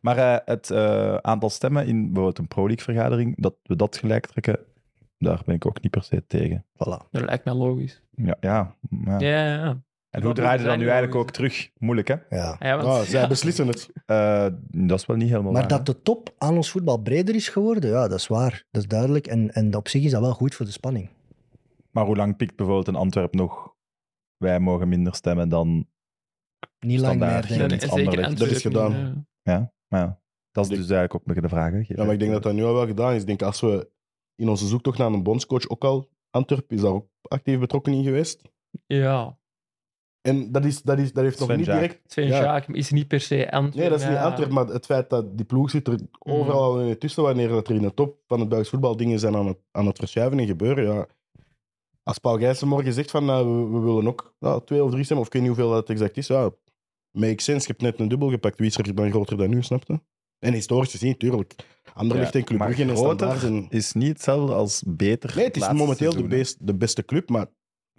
[SPEAKER 2] Maar eh, het eh, aantal stemmen in bijvoorbeeld een Pro League-vergadering, dat we dat gelijk trekken, daar ben ik ook niet per se tegen.
[SPEAKER 5] Voilà.
[SPEAKER 4] Dat lijkt mij logisch.
[SPEAKER 2] Ja, ja, ja.
[SPEAKER 4] Ja, ja, ja.
[SPEAKER 2] En hoe
[SPEAKER 4] dat
[SPEAKER 2] draaide
[SPEAKER 4] moet
[SPEAKER 2] dat nu
[SPEAKER 4] zijn,
[SPEAKER 2] eigenlijk ook
[SPEAKER 4] logisch.
[SPEAKER 2] terug? Moeilijk, hè?
[SPEAKER 5] Ja.
[SPEAKER 4] Ja, want-
[SPEAKER 3] Ah, zij
[SPEAKER 4] ja.
[SPEAKER 3] beslissen het.
[SPEAKER 2] Eh, dat is wel niet helemaal
[SPEAKER 5] Maar
[SPEAKER 2] waar,
[SPEAKER 5] dat de top aan ons voetbal breder is geworden, ja, dat is waar. Dat is duidelijk. En, en op zich is dat wel goed voor de spanning.
[SPEAKER 2] hè. Maar hoe lang pikt bijvoorbeeld een Antwerp nog? Wij mogen minder stemmen dan...
[SPEAKER 5] Niet lang
[SPEAKER 2] Standaard,
[SPEAKER 5] meer, denk
[SPEAKER 4] Ja,
[SPEAKER 5] ik.
[SPEAKER 4] nee,
[SPEAKER 2] iets
[SPEAKER 4] en zeker
[SPEAKER 2] anders.
[SPEAKER 4] Antwerpen,
[SPEAKER 3] Dat is gedaan.
[SPEAKER 4] ja.
[SPEAKER 2] Maar ja, dat is dus eigenlijk ook nog de vraag. hè. Geef
[SPEAKER 3] Ja, maar ik denk dat dat nu al wel gedaan is. Ik denk als we in onze zoektocht naar een bondscoach ook al, Antwerp is daar ook actief betrokken in geweest.
[SPEAKER 4] Ja,
[SPEAKER 3] En dat, is, dat, is, dat heeft nog
[SPEAKER 2] Sven
[SPEAKER 3] niet
[SPEAKER 2] Jaak.
[SPEAKER 3] direct.
[SPEAKER 4] Sven
[SPEAKER 3] Ja.
[SPEAKER 4] Jaak is niet per se Antwerpen.
[SPEAKER 3] Nee, dat is niet
[SPEAKER 4] ja.
[SPEAKER 3] Antwerp, maar het feit dat die ploeg zit er overal al in tussen wanneer dat er in de top van het Belgisch voetbal dingen zijn aan het, aan het verschuiven en gebeuren. Ja. Als Paul Gijssen morgen zegt van nou, we, we willen ook nou, twee of drie stemmen, of ik weet niet hoeveel dat exact is, ja, makes sense. Je hebt net een dubbel gepakt. Wie is er dan groter dan nu, snapte? En historisch gezien, tuurlijk. Anderlicht
[SPEAKER 2] Ja,
[SPEAKER 3] en Club
[SPEAKER 2] maar
[SPEAKER 3] Brugge en
[SPEAKER 2] groter
[SPEAKER 3] Standaard en-
[SPEAKER 2] is niet hetzelfde als beter.
[SPEAKER 3] Nee, het is
[SPEAKER 2] laatste
[SPEAKER 3] momenteel
[SPEAKER 2] seizoen,
[SPEAKER 3] de,
[SPEAKER 2] hè.
[SPEAKER 3] best- de beste club, maar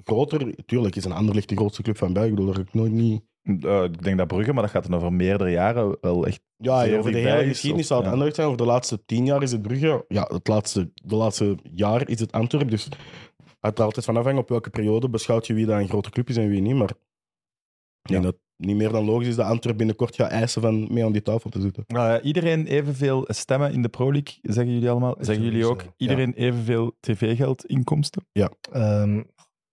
[SPEAKER 3] groter, tuurlijk is een Anderlecht de grootste club van België. Ik bedoel, daar heb ik nooit niet...
[SPEAKER 2] Eh, ik denk dat Brugge, maar dat gaat dan over meerdere jaren wel echt.
[SPEAKER 3] Ja,
[SPEAKER 2] Zeer
[SPEAKER 3] over de
[SPEAKER 2] dichtbij
[SPEAKER 3] hele
[SPEAKER 2] is,
[SPEAKER 3] geschiedenis
[SPEAKER 2] of-
[SPEAKER 3] zou het
[SPEAKER 2] ja.
[SPEAKER 3] Anderlecht zijn. Over de laatste tien jaar is het Brugge. Ja, het laatste, de laatste jaar is het Antwerp. Dus het er altijd van afhangen op welke periode beschouwt je wie dat een grote club is en wie niet. Maar ik
[SPEAKER 2] Ja.
[SPEAKER 3] denk dat het niet meer dan logisch is dat Antwerp binnenkort gaat eisen van mee aan die tafel te zitten.
[SPEAKER 2] Eh, iedereen evenveel stemmen in de Pro League, zeggen jullie allemaal.
[SPEAKER 5] is
[SPEAKER 2] Zeggen jullie ook
[SPEAKER 5] sowieso,
[SPEAKER 2] iedereen evenveel tv-geld inkomsten?
[SPEAKER 5] Ehm,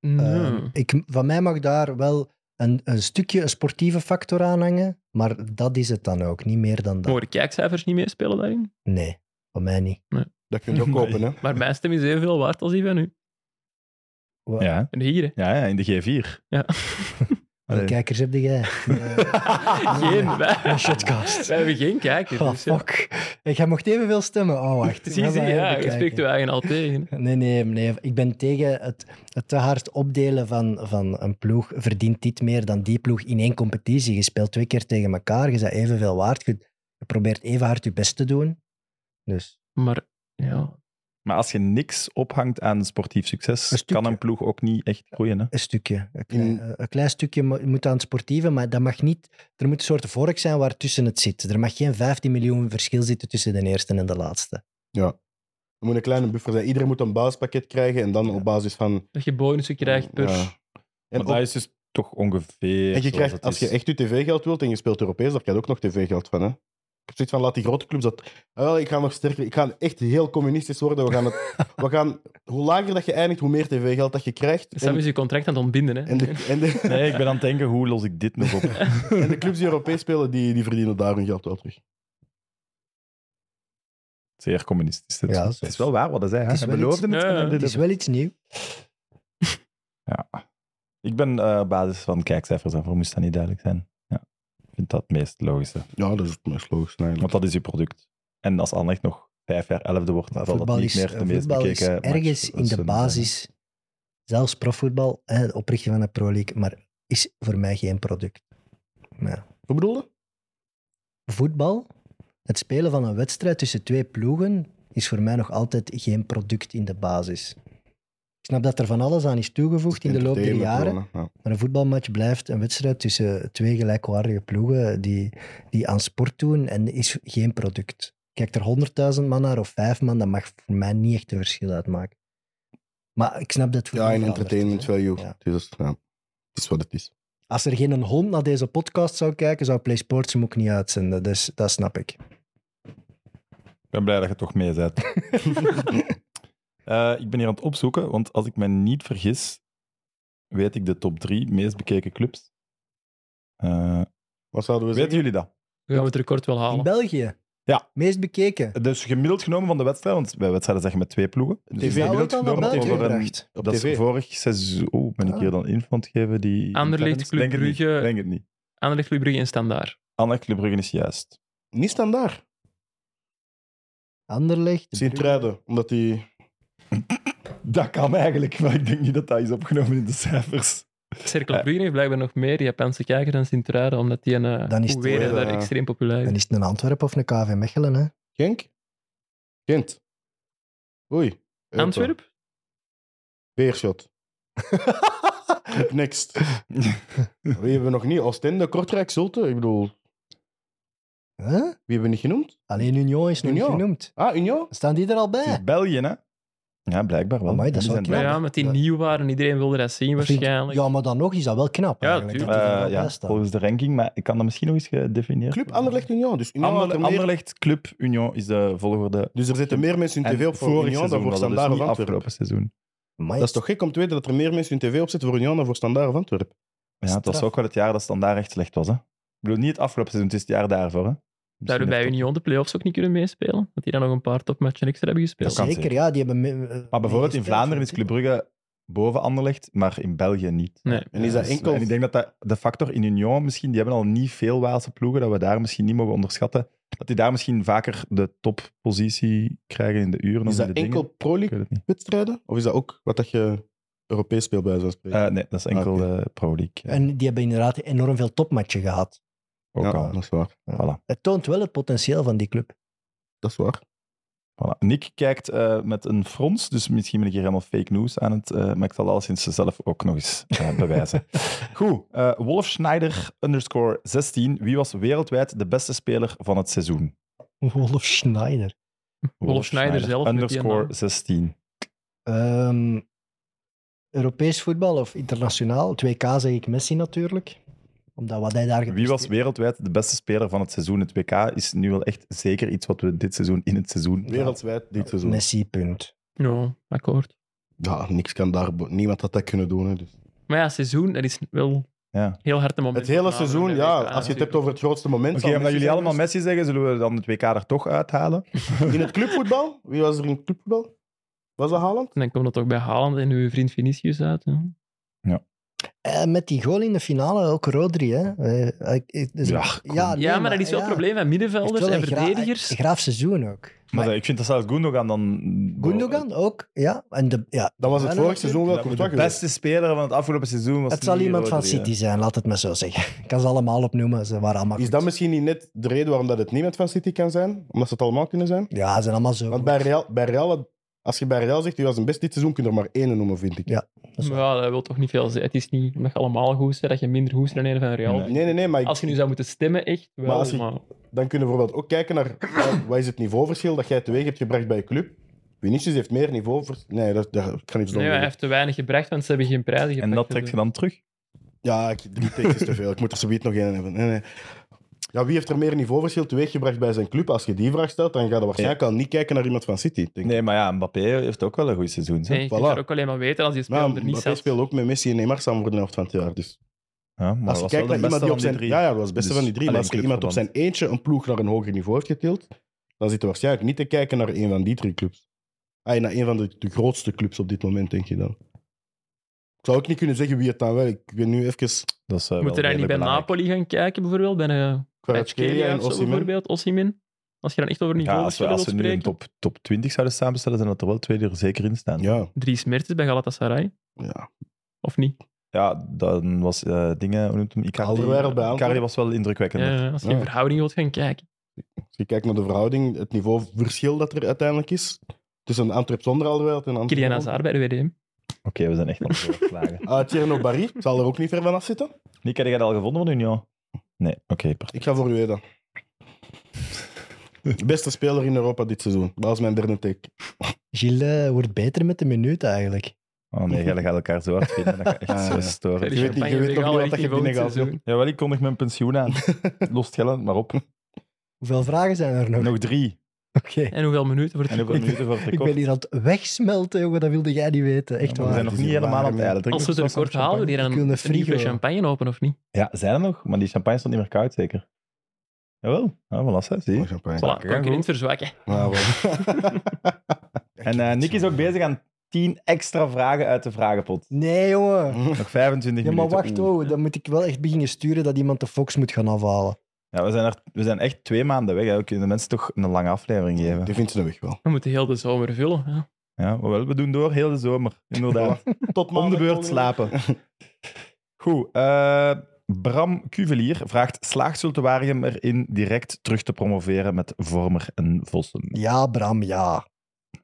[SPEAKER 4] Nee.
[SPEAKER 3] Eh,
[SPEAKER 5] Ehm, ik, van mij mag daar wel een, een stukje een sportieve factor aan hangen, maar dat is het dan ook, niet meer dan dat.
[SPEAKER 4] Mogen de kijkcijfers niet meespelen daarin?
[SPEAKER 5] Nee, van mij niet.
[SPEAKER 3] Dat kun je ook
[SPEAKER 2] Nee.
[SPEAKER 3] kopen, hè.
[SPEAKER 4] Maar mijn stem is evenveel waard als die van u.
[SPEAKER 5] Wa-
[SPEAKER 2] Ja,
[SPEAKER 4] En hier, hè.
[SPEAKER 2] ja, ja in de G4.
[SPEAKER 4] Ja.
[SPEAKER 5] Hoeveel
[SPEAKER 2] [laughs] Allee.
[SPEAKER 5] kijkers heb
[SPEAKER 4] [laughs]
[SPEAKER 5] jij?
[SPEAKER 4] eh.
[SPEAKER 5] Eh, [laughs]
[SPEAKER 4] Geen, wij,
[SPEAKER 5] Een shotcast.
[SPEAKER 4] wij hebben geen kijkers.
[SPEAKER 5] [laughs]
[SPEAKER 3] Ah,
[SPEAKER 5] Oh,
[SPEAKER 4] Dus, ja.
[SPEAKER 5] fuck. Ik, jij mocht evenveel stemmen. Oh, wacht.
[SPEAKER 4] Zie,
[SPEAKER 5] Maar
[SPEAKER 4] zie,
[SPEAKER 5] wij
[SPEAKER 4] ja,
[SPEAKER 5] hebben
[SPEAKER 4] je spreekt
[SPEAKER 5] kijken.
[SPEAKER 4] je eigen al tegen.
[SPEAKER 5] Nee, nee, nee. Ik ben tegen het, het te hard opdelen van, van een ploeg. Verdient dit meer dan die ploeg in één competitie? Je speelt twee keer tegen elkaar. Je bent evenveel waard. Je, je probeert even hard je best te doen. Dus
[SPEAKER 4] Maar ja,
[SPEAKER 2] Maar als je niks ophangt aan sportief
[SPEAKER 5] Een
[SPEAKER 2] succes,
[SPEAKER 5] stukje.
[SPEAKER 2] kan een ploeg ook niet echt groeien. Hè?
[SPEAKER 5] een stukje. Een
[SPEAKER 3] In-
[SPEAKER 5] klein, een klein stukje mo- moet aan het sportieve, maar dat mag niet... Er moet een soort vork zijn waar tussen het zit. Er mag geen 15 miljoen verschil zitten tussen de eerste en de laatste.
[SPEAKER 3] Er moet een kleine buffer zijn. Iedereen moet een basispakket krijgen en dan op basis van...
[SPEAKER 4] dat je bonussen krijgt per...
[SPEAKER 3] Ja. En,
[SPEAKER 2] Maar
[SPEAKER 3] op-
[SPEAKER 2] dat is dus toch ongeveer.
[SPEAKER 3] en je
[SPEAKER 2] zoals
[SPEAKER 3] krijgt,
[SPEAKER 2] het
[SPEAKER 3] als je
[SPEAKER 2] is.
[SPEAKER 3] echt je tv-geld wilt en je speelt Europees, daar krijg je ook nog tv-geld van. Hè? Ik heb zoiets van, laat die grote clubs dat... Ah, wel, ik ga nog sterker... Ik ga echt heel communistisch worden. We gaan [laughs] het, we gaan, hoe lager dat je eindigt, hoe meer tv-geld dat je krijgt.
[SPEAKER 4] Sam is je contract aan het ontbinden, hè.
[SPEAKER 3] en, de, en, de, [laughs]
[SPEAKER 2] Nee, ik ben aan het denken, hoe los ik dit nog op?
[SPEAKER 3] en de clubs die Europees spelen, die, die verdienen daar hun geld wel terug.
[SPEAKER 2] Zeer communistisch. dit.
[SPEAKER 5] Ja,
[SPEAKER 2] het is wel waar wat hij zei. Hè?
[SPEAKER 5] Het is
[SPEAKER 2] Hij
[SPEAKER 5] wel
[SPEAKER 2] beloofde
[SPEAKER 4] iets-
[SPEAKER 2] het. en
[SPEAKER 4] Ja,
[SPEAKER 2] hij deed
[SPEAKER 5] Het is
[SPEAKER 2] het.
[SPEAKER 5] wel iets nieuws.
[SPEAKER 2] Ja. Ik ben eh, op basis van kijkcijfers en voor moest dat niet duidelijk zijn. Ja. Ik vind dat het meest logische.
[SPEAKER 3] Ja, dat is het meest logisch.
[SPEAKER 2] Want
[SPEAKER 3] eigenlijk.
[SPEAKER 2] dat is je product. En als Anderlecht nog vijf jaar elfde wordt,
[SPEAKER 5] Maar
[SPEAKER 2] dan zal
[SPEAKER 5] voetbal
[SPEAKER 2] dat niet
[SPEAKER 5] is,
[SPEAKER 2] meer de meest
[SPEAKER 5] voetbal is
[SPEAKER 2] bekeken match
[SPEAKER 5] ergens in de
[SPEAKER 2] tussen-
[SPEAKER 5] basis, zelfs profvoetbal, hè, de oprichting van de Pro League, maar is voor mij geen product. Maar
[SPEAKER 3] Wat bedoelde?
[SPEAKER 5] voetbal, het spelen van een wedstrijd tussen twee ploegen, is voor mij nog altijd geen product in de basis. Ik snap dat er van alles aan is toegevoegd in de loop der jaren. Maar een voetbalmatch blijft een wedstrijd tussen twee gelijkwaardige ploegen die, die aan sport doen en is geen product. Kijk er honderdduizend man naar of vijf man, dat mag voor mij niet echt een verschil uitmaken. Maar ik snap dat voor
[SPEAKER 3] Ja, in entertainment value.
[SPEAKER 5] Ja.
[SPEAKER 3] Dus, ja. Het is wat het is.
[SPEAKER 5] Als er geen een hond naar deze podcast zou kijken, zou Play Sports hem ook niet uitzenden. Dus dat snap ik.
[SPEAKER 2] Ik ben blij dat je toch mee
[SPEAKER 5] [laughs]
[SPEAKER 2] bent. Eh, ik ben hier aan het opzoeken, want als ik me niet vergis, weet ik de top drie meest bekeken clubs. Eh,
[SPEAKER 3] Wat zouden we
[SPEAKER 2] weten
[SPEAKER 3] zeggen?
[SPEAKER 2] jullie dat?
[SPEAKER 4] We gaan het record wel
[SPEAKER 5] In
[SPEAKER 4] halen.
[SPEAKER 5] België?
[SPEAKER 2] Ja.
[SPEAKER 5] Meest bekeken.
[SPEAKER 2] Dus gemiddeld genomen van de wedstrijd, want bij wedstrijden zeg je met twee ploegen. Dus
[SPEAKER 3] TV
[SPEAKER 5] Zou
[SPEAKER 2] gemiddeld
[SPEAKER 5] het al naar
[SPEAKER 2] genomen
[SPEAKER 5] België
[SPEAKER 2] over een-
[SPEAKER 5] gebracht?
[SPEAKER 3] Op
[SPEAKER 2] dat is
[SPEAKER 3] tv.
[SPEAKER 2] vorig seizoen. Oh, ben ik hier dan info aan het geven? Die
[SPEAKER 4] Anderlecht, Club
[SPEAKER 2] Denk het niet,
[SPEAKER 4] Brugge.
[SPEAKER 2] Denk het niet.
[SPEAKER 4] Anderlecht, Club Brugge en Standaard.
[SPEAKER 2] Anderlecht, Club Brugge is juist.
[SPEAKER 3] Niet standaard.
[SPEAKER 5] Anderlecht?
[SPEAKER 3] Sint-Truiden, omdat die...
[SPEAKER 2] Dat kan eigenlijk, maar ik denk niet dat dat is opgenomen in de cijfers.
[SPEAKER 4] Cercle Brugge heeft blijkbaar nog meer Japanse kijkers dan Sint-Truiden, omdat die een eh,
[SPEAKER 5] Dan is het
[SPEAKER 4] Oewer,
[SPEAKER 3] wel,
[SPEAKER 4] daar
[SPEAKER 3] eh,
[SPEAKER 4] extreem populair
[SPEAKER 5] Dan
[SPEAKER 4] is.
[SPEAKER 5] is het een Antwerpen of een KV Mechelen, hè?
[SPEAKER 3] Genk? Gent. Oei.
[SPEAKER 4] Antwerp?
[SPEAKER 3] Beerschot. Up
[SPEAKER 2] [laughs]
[SPEAKER 3] [laughs] next. Wie hebben we nog niet? Oostende, Kortrijk, Zulte. Ik bedoel, wie
[SPEAKER 5] Huh?
[SPEAKER 3] hebben we niet genoemd?
[SPEAKER 5] Alleen Union is nog niet
[SPEAKER 3] Union.
[SPEAKER 5] genoemd.
[SPEAKER 3] Ah, Union?
[SPEAKER 5] Staan die er al
[SPEAKER 2] Het
[SPEAKER 5] bij?
[SPEAKER 2] is België, hè? Ja, blijkbaar wel.
[SPEAKER 5] Amai, dat is
[SPEAKER 2] Die
[SPEAKER 5] wel
[SPEAKER 2] zijn
[SPEAKER 4] Maar
[SPEAKER 5] knap.
[SPEAKER 2] wel-
[SPEAKER 4] ja, met die
[SPEAKER 5] Ja.
[SPEAKER 4] nieuw waren, iedereen wilde dat zien
[SPEAKER 5] Dat vind ik-
[SPEAKER 4] waarschijnlijk.
[SPEAKER 5] Ja, maar dan nog is dat wel knap.
[SPEAKER 4] Ja,
[SPEAKER 5] eigenlijk,
[SPEAKER 4] tuurlijk.
[SPEAKER 5] dat die er
[SPEAKER 2] Eh,
[SPEAKER 5] wel bij
[SPEAKER 2] ja,
[SPEAKER 5] staan.
[SPEAKER 2] volgens de ranking, maar ik kan dat misschien nog eens gedefinieerd
[SPEAKER 3] Club
[SPEAKER 2] worden.
[SPEAKER 3] Anderlecht, Union. Dus, Union had
[SPEAKER 2] Ander,
[SPEAKER 3] er meer-
[SPEAKER 2] Anderlecht, Club, Union is de volgorde.
[SPEAKER 3] dus er zitten meer mensen in
[SPEAKER 2] En
[SPEAKER 3] tv op voor
[SPEAKER 2] vorig
[SPEAKER 3] Union dan
[SPEAKER 2] seizoen
[SPEAKER 3] voor
[SPEAKER 2] was dat, dus
[SPEAKER 3] Standaard
[SPEAKER 2] niet
[SPEAKER 3] of Antwerpen.
[SPEAKER 2] afgelopen seizoen.
[SPEAKER 5] Amai.
[SPEAKER 3] Dat is toch gek om te weten dat er meer mensen in tv op zitten voor Union dan voor Standaard of Antwerpen?
[SPEAKER 2] Ja, het was
[SPEAKER 5] Straf.
[SPEAKER 2] ook wel het jaar dat Standaard echt slecht was. Hè? Ik bedoel, niet het afgelopen seizoen, het is het jaar daarvoor. Hè?
[SPEAKER 4] Zouden bij
[SPEAKER 2] niet.
[SPEAKER 4] Union de play-offs ook niet kunnen meespelen? Dat die dan nog een paar topmatchen extra hebben gespeeld.
[SPEAKER 2] Dat kan
[SPEAKER 5] Zeker,
[SPEAKER 2] zeker.
[SPEAKER 5] ja. Die hebben me- eh,
[SPEAKER 2] Maar bijvoorbeeld in
[SPEAKER 5] meegespeeld,
[SPEAKER 2] Vlaanderen is Club Brugge boven Anderlecht, maar in België niet.
[SPEAKER 4] Nee.
[SPEAKER 3] En is dat
[SPEAKER 2] Dus-
[SPEAKER 3] enkel...
[SPEAKER 2] En ik denk dat, dat de factor in Union misschien, die hebben al niet veel Waalse ploegen, dat we daar misschien niet mogen onderschatten. Dat die daar misschien vaker de toppositie krijgen in de uren
[SPEAKER 3] Is
[SPEAKER 2] of in
[SPEAKER 3] dat
[SPEAKER 2] de
[SPEAKER 3] enkel
[SPEAKER 2] dingen.
[SPEAKER 3] Pro
[SPEAKER 2] Ik
[SPEAKER 3] League
[SPEAKER 2] weet het niet.
[SPEAKER 3] wedstrijden? Of is dat ook wat dat je Europees speelt bij zo'n spreken?
[SPEAKER 2] Eh, nee, dat is enkel
[SPEAKER 3] Ah, Oké.
[SPEAKER 2] eh, Pro League. eh,
[SPEAKER 5] En die hebben inderdaad enorm veel topmatchen gehad.
[SPEAKER 2] ook
[SPEAKER 3] ja,
[SPEAKER 2] al.
[SPEAKER 3] dat is waar.
[SPEAKER 2] Voilà.
[SPEAKER 5] Het toont wel het potentieel van die
[SPEAKER 4] [laughs]
[SPEAKER 5] club.
[SPEAKER 3] Dat is waar.
[SPEAKER 2] Voilà. Nick kijkt eh, met een frons, dus misschien ben ik hier helemaal fake news aan het. eh, maar ik zal alleszins zelf ook nog eens
[SPEAKER 4] [laughs]
[SPEAKER 2] eh, bewijzen. Goed, eh Wolf Schneider underscore 16. Wie was wereldwijd de beste speler van het seizoen?
[SPEAKER 5] Wolf Schneider.
[SPEAKER 4] Wolf Schneider zelf met die
[SPEAKER 2] Underscore
[SPEAKER 4] naam.
[SPEAKER 2] 16.
[SPEAKER 5] Ehm, Europees voetbal of internationaal? 2K zeg ik Messi natuurlijk. Omdat wat hij daar
[SPEAKER 2] Wie was
[SPEAKER 5] gepresteerd-
[SPEAKER 2] wereldwijd de beste speler van het seizoen? Het WK is nu wel echt zeker iets wat we dit seizoen in het seizoen.
[SPEAKER 3] Wereldwijd dit seizoen.
[SPEAKER 5] Messi, punt.
[SPEAKER 4] Ja, akkoord.
[SPEAKER 3] Ja, niks kan daar... bo- Niemand had dat kunnen doen. Hè, dus.
[SPEAKER 4] Maar ja, seizoen, dat is wel
[SPEAKER 2] Ja.
[SPEAKER 4] heel hard een moment.
[SPEAKER 3] Het hele
[SPEAKER 4] van Vlaanderen
[SPEAKER 3] seizoen,
[SPEAKER 4] en
[SPEAKER 3] ja.
[SPEAKER 4] WK
[SPEAKER 3] Als je het hebt
[SPEAKER 4] natuurlijk.
[SPEAKER 3] over het grootste moment...
[SPEAKER 2] Oké,
[SPEAKER 3] zal
[SPEAKER 2] omdat
[SPEAKER 3] Messi
[SPEAKER 2] jullie
[SPEAKER 3] zijn
[SPEAKER 2] allemaal
[SPEAKER 3] geweest.
[SPEAKER 2] Messi zeggen, dus- zullen we dan het WK er toch uithalen?
[SPEAKER 3] dus In het clubvoetbal? Wie was er in het clubvoetbal? Was dat Haaland?
[SPEAKER 5] Ah,
[SPEAKER 4] En dan komt dat toch bij Haaland en uw vriend Vinicius uit. hè.
[SPEAKER 5] eh, met die goal in de finale ook Rodri. Hè? Eh, ik- ik- dus-
[SPEAKER 2] Ja, kom.
[SPEAKER 5] nee,
[SPEAKER 4] ja, maar dat is wel
[SPEAKER 5] ja.
[SPEAKER 4] het probleem van
[SPEAKER 5] Heeft
[SPEAKER 4] middenvelders
[SPEAKER 5] wel
[SPEAKER 4] en
[SPEAKER 5] een gra-
[SPEAKER 4] verdedigers.
[SPEAKER 5] een graaf seizoen ook.
[SPEAKER 2] Maar dat- ik vind dat zelfs Gundogan dan...
[SPEAKER 5] Gundogan ook, ja. En de, ja.
[SPEAKER 3] Dan was het
[SPEAKER 5] Ja,
[SPEAKER 3] vorig
[SPEAKER 5] natuurlijk.
[SPEAKER 3] seizoen wel
[SPEAKER 2] Dat moet
[SPEAKER 3] Courtois
[SPEAKER 2] De
[SPEAKER 3] geweest.
[SPEAKER 2] beste speler van het afgelopen seizoen was
[SPEAKER 5] Het zal
[SPEAKER 2] niet
[SPEAKER 5] iemand van
[SPEAKER 2] Rodri, hè.
[SPEAKER 5] City zijn, laat het maar zo zeggen. [laughs] Ik kan ze allemaal opnoemen, ze waren allemaal
[SPEAKER 3] Is
[SPEAKER 5] goed.
[SPEAKER 3] dat misschien niet net de reden waarom dat het niemand van City kan zijn? Omdat ze het allemaal kunnen zijn?
[SPEAKER 5] Ja, ze zijn allemaal zo
[SPEAKER 3] Want
[SPEAKER 5] goed.
[SPEAKER 3] bij Real, bij Real had- als je bij Real zegt, die was een best dit seizoen, kun je er maar één noemen, vind ik.
[SPEAKER 5] Ja. dat is
[SPEAKER 4] Maar ja, dat wil toch niet veel zeggen. Het is niet, je mag allemaal goed zijn dat je minder goed bent dan een van Real.
[SPEAKER 2] Nee.
[SPEAKER 3] Nee, nee, nee, maar ik-
[SPEAKER 4] Als je nu zou moeten stemmen, echt wel.
[SPEAKER 3] Maar
[SPEAKER 4] Maar
[SPEAKER 3] als je- dan kunnen we bijvoorbeeld ook kijken naar eh, wat is het niveauverschil dat jij teweeg hebt gebracht bij je club. Vinicius heeft meer niveauvers. Nee, dat, dat ik ga niet zo
[SPEAKER 4] Nee, maar hij heeft te weinig gebracht, want ze hebben geen prijzen Dus gepakt.
[SPEAKER 2] En dat trekt je dan terug?
[SPEAKER 3] Ja, ik, drie takes is te veel. Ik moet er zoiets nog één hebben. Nee, nee. Ja, wie heeft er meer niveauverschil teweeggebracht bij zijn club? Als je die vraag stelt, dan ga je waarschijnlijk al niet kijken naar iemand van City. Denk. ik.
[SPEAKER 2] Nee, maar ja, Mbappé heeft ook wel een goed seizoen. Hè?
[SPEAKER 4] Nee, je kunt
[SPEAKER 3] Voilà.
[SPEAKER 4] dat ook alleen maar weten als die
[SPEAKER 3] Maar
[SPEAKER 4] speler er niet
[SPEAKER 3] Mbappé
[SPEAKER 4] zat.
[SPEAKER 3] speelde ook met Messi en Neymar samen voor de helft van het jaar. Dus
[SPEAKER 2] Ja, maar
[SPEAKER 3] als je
[SPEAKER 2] was wel
[SPEAKER 3] kijkt
[SPEAKER 2] de
[SPEAKER 3] naar iemand
[SPEAKER 2] beste
[SPEAKER 3] die
[SPEAKER 2] van
[SPEAKER 3] op zijn...
[SPEAKER 2] drie.
[SPEAKER 3] Ja, ja, dat was het beste
[SPEAKER 2] Dus
[SPEAKER 3] van die drie. Maar
[SPEAKER 2] alleen
[SPEAKER 3] als je iemand op zijn
[SPEAKER 2] clubverband.
[SPEAKER 3] eentje een ploeg naar een hoger niveau heeft getild, dan zit je waarschijnlijk niet te kijken naar een van die drie clubs. Ah, naar een van de, de grootste clubs op dit moment, denk je dan. Ik zou ook niet kunnen zeggen wie het dan wel... Ik ben nu even...
[SPEAKER 2] Dat is, eh, wel
[SPEAKER 4] Moet je daar niet
[SPEAKER 2] redelijk
[SPEAKER 4] bij
[SPEAKER 2] belangrijk.
[SPEAKER 4] Napoli gaan kijken, bijvoorbeeld? Bij een
[SPEAKER 3] Kvaratskhelia en Osimhen.
[SPEAKER 4] bijvoorbeeld, Osimhen. Als je dan echt over
[SPEAKER 2] Ja, als we,
[SPEAKER 4] niveauverschillen
[SPEAKER 2] als we
[SPEAKER 4] wilt
[SPEAKER 2] nu een
[SPEAKER 4] spreken.
[SPEAKER 2] top, top 20 zouden samenstellen, dan dat er wel twee er zeker in staan. Ja,
[SPEAKER 3] Ja,
[SPEAKER 4] Drie smertes bij Galatasaray,
[SPEAKER 3] ja.
[SPEAKER 4] of niet?
[SPEAKER 2] dan was eh, dingen, hoe noemt hem? Icardi,
[SPEAKER 3] Alderweireld bij Antwerpen.
[SPEAKER 2] Icardi was wel indrukwekkend.
[SPEAKER 4] Ja, Eh, als je
[SPEAKER 3] Ja.
[SPEAKER 4] in verhouding wilt gaan kijken.
[SPEAKER 3] Als Dus je kijkt naar de verhouding, het niveauverschil dat er uiteindelijk is tussen Antwerp zonder Alderweireld en Antwerp...
[SPEAKER 4] Kylian Hazard bij de WDM.
[SPEAKER 2] Oké, we zijn echt aan het
[SPEAKER 4] [laughs]
[SPEAKER 2] doorslagen.
[SPEAKER 3] Ah, Tierno Barry zal er ook niet ver van af zitten.
[SPEAKER 2] Nick, had jij dat al gevonden van Union? Nee, oké. perfect.
[SPEAKER 3] Ik ga voor Ueda. Beste speler in Europa dit seizoen. Dat is mijn derde take.
[SPEAKER 5] Gilles eh, wordt beter met de minuut eigenlijk.
[SPEAKER 2] Oh nee, jullie gaan elkaar zo hard vinden. Dat gaat
[SPEAKER 3] [laughs]
[SPEAKER 2] echt
[SPEAKER 3] Ah,
[SPEAKER 2] zo
[SPEAKER 3] ja.
[SPEAKER 4] Ja,
[SPEAKER 2] storen.
[SPEAKER 4] die
[SPEAKER 3] je weet
[SPEAKER 4] champagne
[SPEAKER 3] nog niet
[SPEAKER 4] weghalen,
[SPEAKER 3] wat
[SPEAKER 4] echt
[SPEAKER 3] dat je
[SPEAKER 4] niet volgend
[SPEAKER 3] binnengehaald
[SPEAKER 4] seizoen.
[SPEAKER 2] Jawel, ik kondig mijn pensioen
[SPEAKER 3] [laughs]
[SPEAKER 2] aan. Lost Gellen maar op.
[SPEAKER 5] Hoeveel vragen zijn er nog? [laughs]
[SPEAKER 2] Nog drie.
[SPEAKER 5] Oké.
[SPEAKER 4] En hoeveel minuten wordt
[SPEAKER 2] En
[SPEAKER 4] het
[SPEAKER 2] hoeveel minuten voor het
[SPEAKER 5] Ik ben
[SPEAKER 2] record?
[SPEAKER 5] hier aan het wegsmelten, jongen, dat wilde jij niet weten. Echt
[SPEAKER 2] Ja, maar we
[SPEAKER 5] waar.
[SPEAKER 2] zijn
[SPEAKER 3] Het
[SPEAKER 2] nog
[SPEAKER 3] is
[SPEAKER 2] niet
[SPEAKER 3] hier
[SPEAKER 2] helemaal
[SPEAKER 3] warm,
[SPEAKER 2] aan het eilen. Drink
[SPEAKER 4] [laughs] Als we
[SPEAKER 2] nog
[SPEAKER 4] het
[SPEAKER 2] eens wat
[SPEAKER 4] record halen, we
[SPEAKER 2] champagne.
[SPEAKER 4] hier aan
[SPEAKER 5] Ik
[SPEAKER 4] een
[SPEAKER 5] wil een
[SPEAKER 4] nieuwe
[SPEAKER 5] frigo.
[SPEAKER 4] champagne open, of niet?
[SPEAKER 2] Ja, zijn er nog, maar die champagne stond niet meer koud, zeker. Jawel, ja, voilà, hè, zie je.
[SPEAKER 3] Oh, champagne.
[SPEAKER 4] Voilà, concurrent verzwakken.
[SPEAKER 3] Ja, Ah, wel.
[SPEAKER 2] En eh, Nick is ook bezig aan 10 extra vragen uit de vragenpot.
[SPEAKER 5] Nee, jongen.
[SPEAKER 2] Nog 25
[SPEAKER 5] Ja, maar
[SPEAKER 2] Mm, minuten.
[SPEAKER 5] wacht,
[SPEAKER 2] Oeh.
[SPEAKER 5] oh, dan moet ik wel echt beginnen sturen dat iemand de Fox moet gaan afhalen.
[SPEAKER 2] Ja, we, zijn er, we zijn echt twee maanden weg. Hè. We kunnen de mensen toch een lange aflevering geven.
[SPEAKER 3] Die vindt ze de weg wel.
[SPEAKER 4] We moeten heel de zomer vullen. hè.
[SPEAKER 2] Ja, maar wel, we doen door heel de zomer. Inderdaad.
[SPEAKER 3] Tot
[SPEAKER 2] Om de beurt slapen. Goed. eh, Bram Cuvelier vraagt: slaagt Zultuarium erin direct terug te promoveren met Vormer en Vossen?
[SPEAKER 5] Ja, Bram, ja.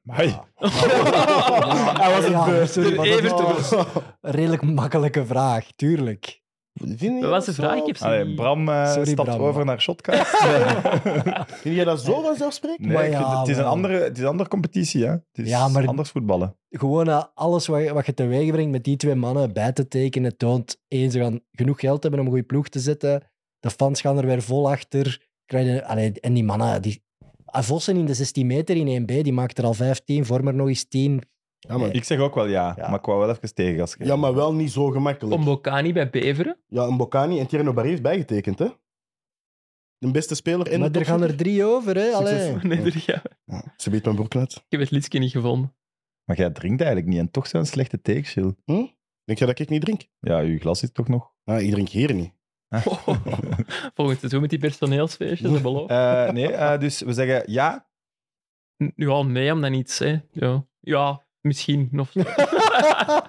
[SPEAKER 2] Hoi.
[SPEAKER 3] Hij was het
[SPEAKER 5] Ja,
[SPEAKER 3] beu.
[SPEAKER 5] sorry, maar dat
[SPEAKER 4] Even
[SPEAKER 5] was een redelijk makkelijke vraag, tuurlijk.
[SPEAKER 3] Vind
[SPEAKER 4] Dat
[SPEAKER 3] jij
[SPEAKER 4] was de
[SPEAKER 3] zo-
[SPEAKER 4] vraag, ik heb
[SPEAKER 2] [laughs]
[SPEAKER 4] ze
[SPEAKER 2] Allee,
[SPEAKER 4] niet-
[SPEAKER 2] Bram eh,
[SPEAKER 5] Sorry,
[SPEAKER 2] stapt
[SPEAKER 5] Bram.
[SPEAKER 2] over naar
[SPEAKER 5] [laughs]
[SPEAKER 2] Shotcast.
[SPEAKER 3] Vind jij dat zo vanzelfsprekend?
[SPEAKER 2] Nee,
[SPEAKER 5] Maar
[SPEAKER 2] ik vind
[SPEAKER 5] ja,
[SPEAKER 2] het, het is een
[SPEAKER 5] wel.
[SPEAKER 2] andere, het is een andere competitie, hè? Het is
[SPEAKER 5] Ja, maar-
[SPEAKER 2] anders voetballen.
[SPEAKER 5] Gewoon eh, alles wat, je- wat je teweeg brengt met die twee mannen bij te tekenen, toont één, ze gaan genoeg geld hebben om een goede ploeg te zetten. De fans gaan er weer vol achter. Krijg je- allee, en die mannen, die... Ah, Vossen in de 16 meter in 1B, die maakt er al 15, Vormer nog eens Eh, 10.
[SPEAKER 3] Ja, maar,
[SPEAKER 2] Ik zeg ook wel ja,
[SPEAKER 5] Ja.
[SPEAKER 2] maar ik wou wel even tegengas geven.
[SPEAKER 3] ja, maar wel niet zo gemakkelijk.
[SPEAKER 4] Om Bocani
[SPEAKER 3] [laughs]
[SPEAKER 4] bij Beveren.
[SPEAKER 3] Ja, een Bocani en Tierno Barry heeft bijgetekend, hè? De beste speler in
[SPEAKER 5] maar
[SPEAKER 3] de
[SPEAKER 5] er gaan er drie over, hè? Allee.
[SPEAKER 3] Succes.
[SPEAKER 4] Nee, daar gaan we.
[SPEAKER 3] Ja, ze biedt mijn broek uit.
[SPEAKER 4] Ik heb het liedje niet gevonden.
[SPEAKER 2] Maar jij drinkt eigenlijk niet en toch zo'n slechte take, Gilles.
[SPEAKER 3] Denk jij dat ik niet drink?
[SPEAKER 2] Ja, uw glas is toch nog.
[SPEAKER 3] Ah, ik drink hier niet.
[SPEAKER 4] [laughs] Oh. Volgend seizoen met die personeelsfeestjes, dat beloof ik.
[SPEAKER 2] Eh, nee, eh, dus we zeggen ja.
[SPEAKER 4] Nu al mee, om dan iets, hè. Ja, ja misschien. Of...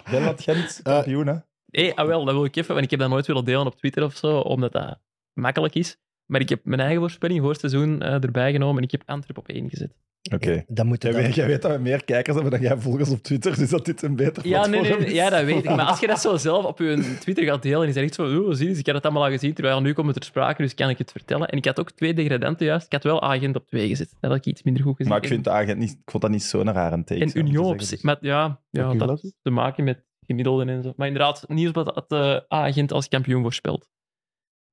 [SPEAKER 2] Gelderland Gent,
[SPEAKER 3] Eh,
[SPEAKER 2] kampioen, hè?
[SPEAKER 4] Hé, ah wel, dat wil ik even, want ik heb dat nooit willen delen op Twitter of zo, omdat dat makkelijk is. Maar ik heb mijn eigen voorspelling voor het seizoen eh, erbij genomen en ik heb Antwerp op één gezet.
[SPEAKER 2] Oké.
[SPEAKER 5] Dan Eh, moet
[SPEAKER 2] Jij
[SPEAKER 5] het dan-
[SPEAKER 2] weet, jij weet dat we meer kijkers hebben dan jij volgers op Twitter, dus dat dit een beter
[SPEAKER 4] Ja, nee,
[SPEAKER 2] platform
[SPEAKER 4] nee,
[SPEAKER 2] is.
[SPEAKER 4] nee, ja, dat weet ik. Maar als je dat zo zelf op je Twitter gaat delen, is dat echt zo, oh, zie eens, ik had het allemaal al gezien, terwijl nu komt het ter sprake, dus kan ik het vertellen. En ik had ook twee degradanten juist. Ik had wel agent op twee gezet. Dat had ik iets minder goed gezien.
[SPEAKER 2] Maar ik vind, de agent niet, ik vond dat niet zo'n rare take.
[SPEAKER 4] En
[SPEAKER 2] zou ik
[SPEAKER 4] Union
[SPEAKER 2] moeten
[SPEAKER 4] op zich.
[SPEAKER 2] zeggen. dus.
[SPEAKER 4] Maar ja, ja
[SPEAKER 3] Heb je
[SPEAKER 4] dat
[SPEAKER 3] glas?
[SPEAKER 4] heeft te maken met gemiddelden en zo. Maar inderdaad, nieuwsblad had eh agent als kampioen voorspeld.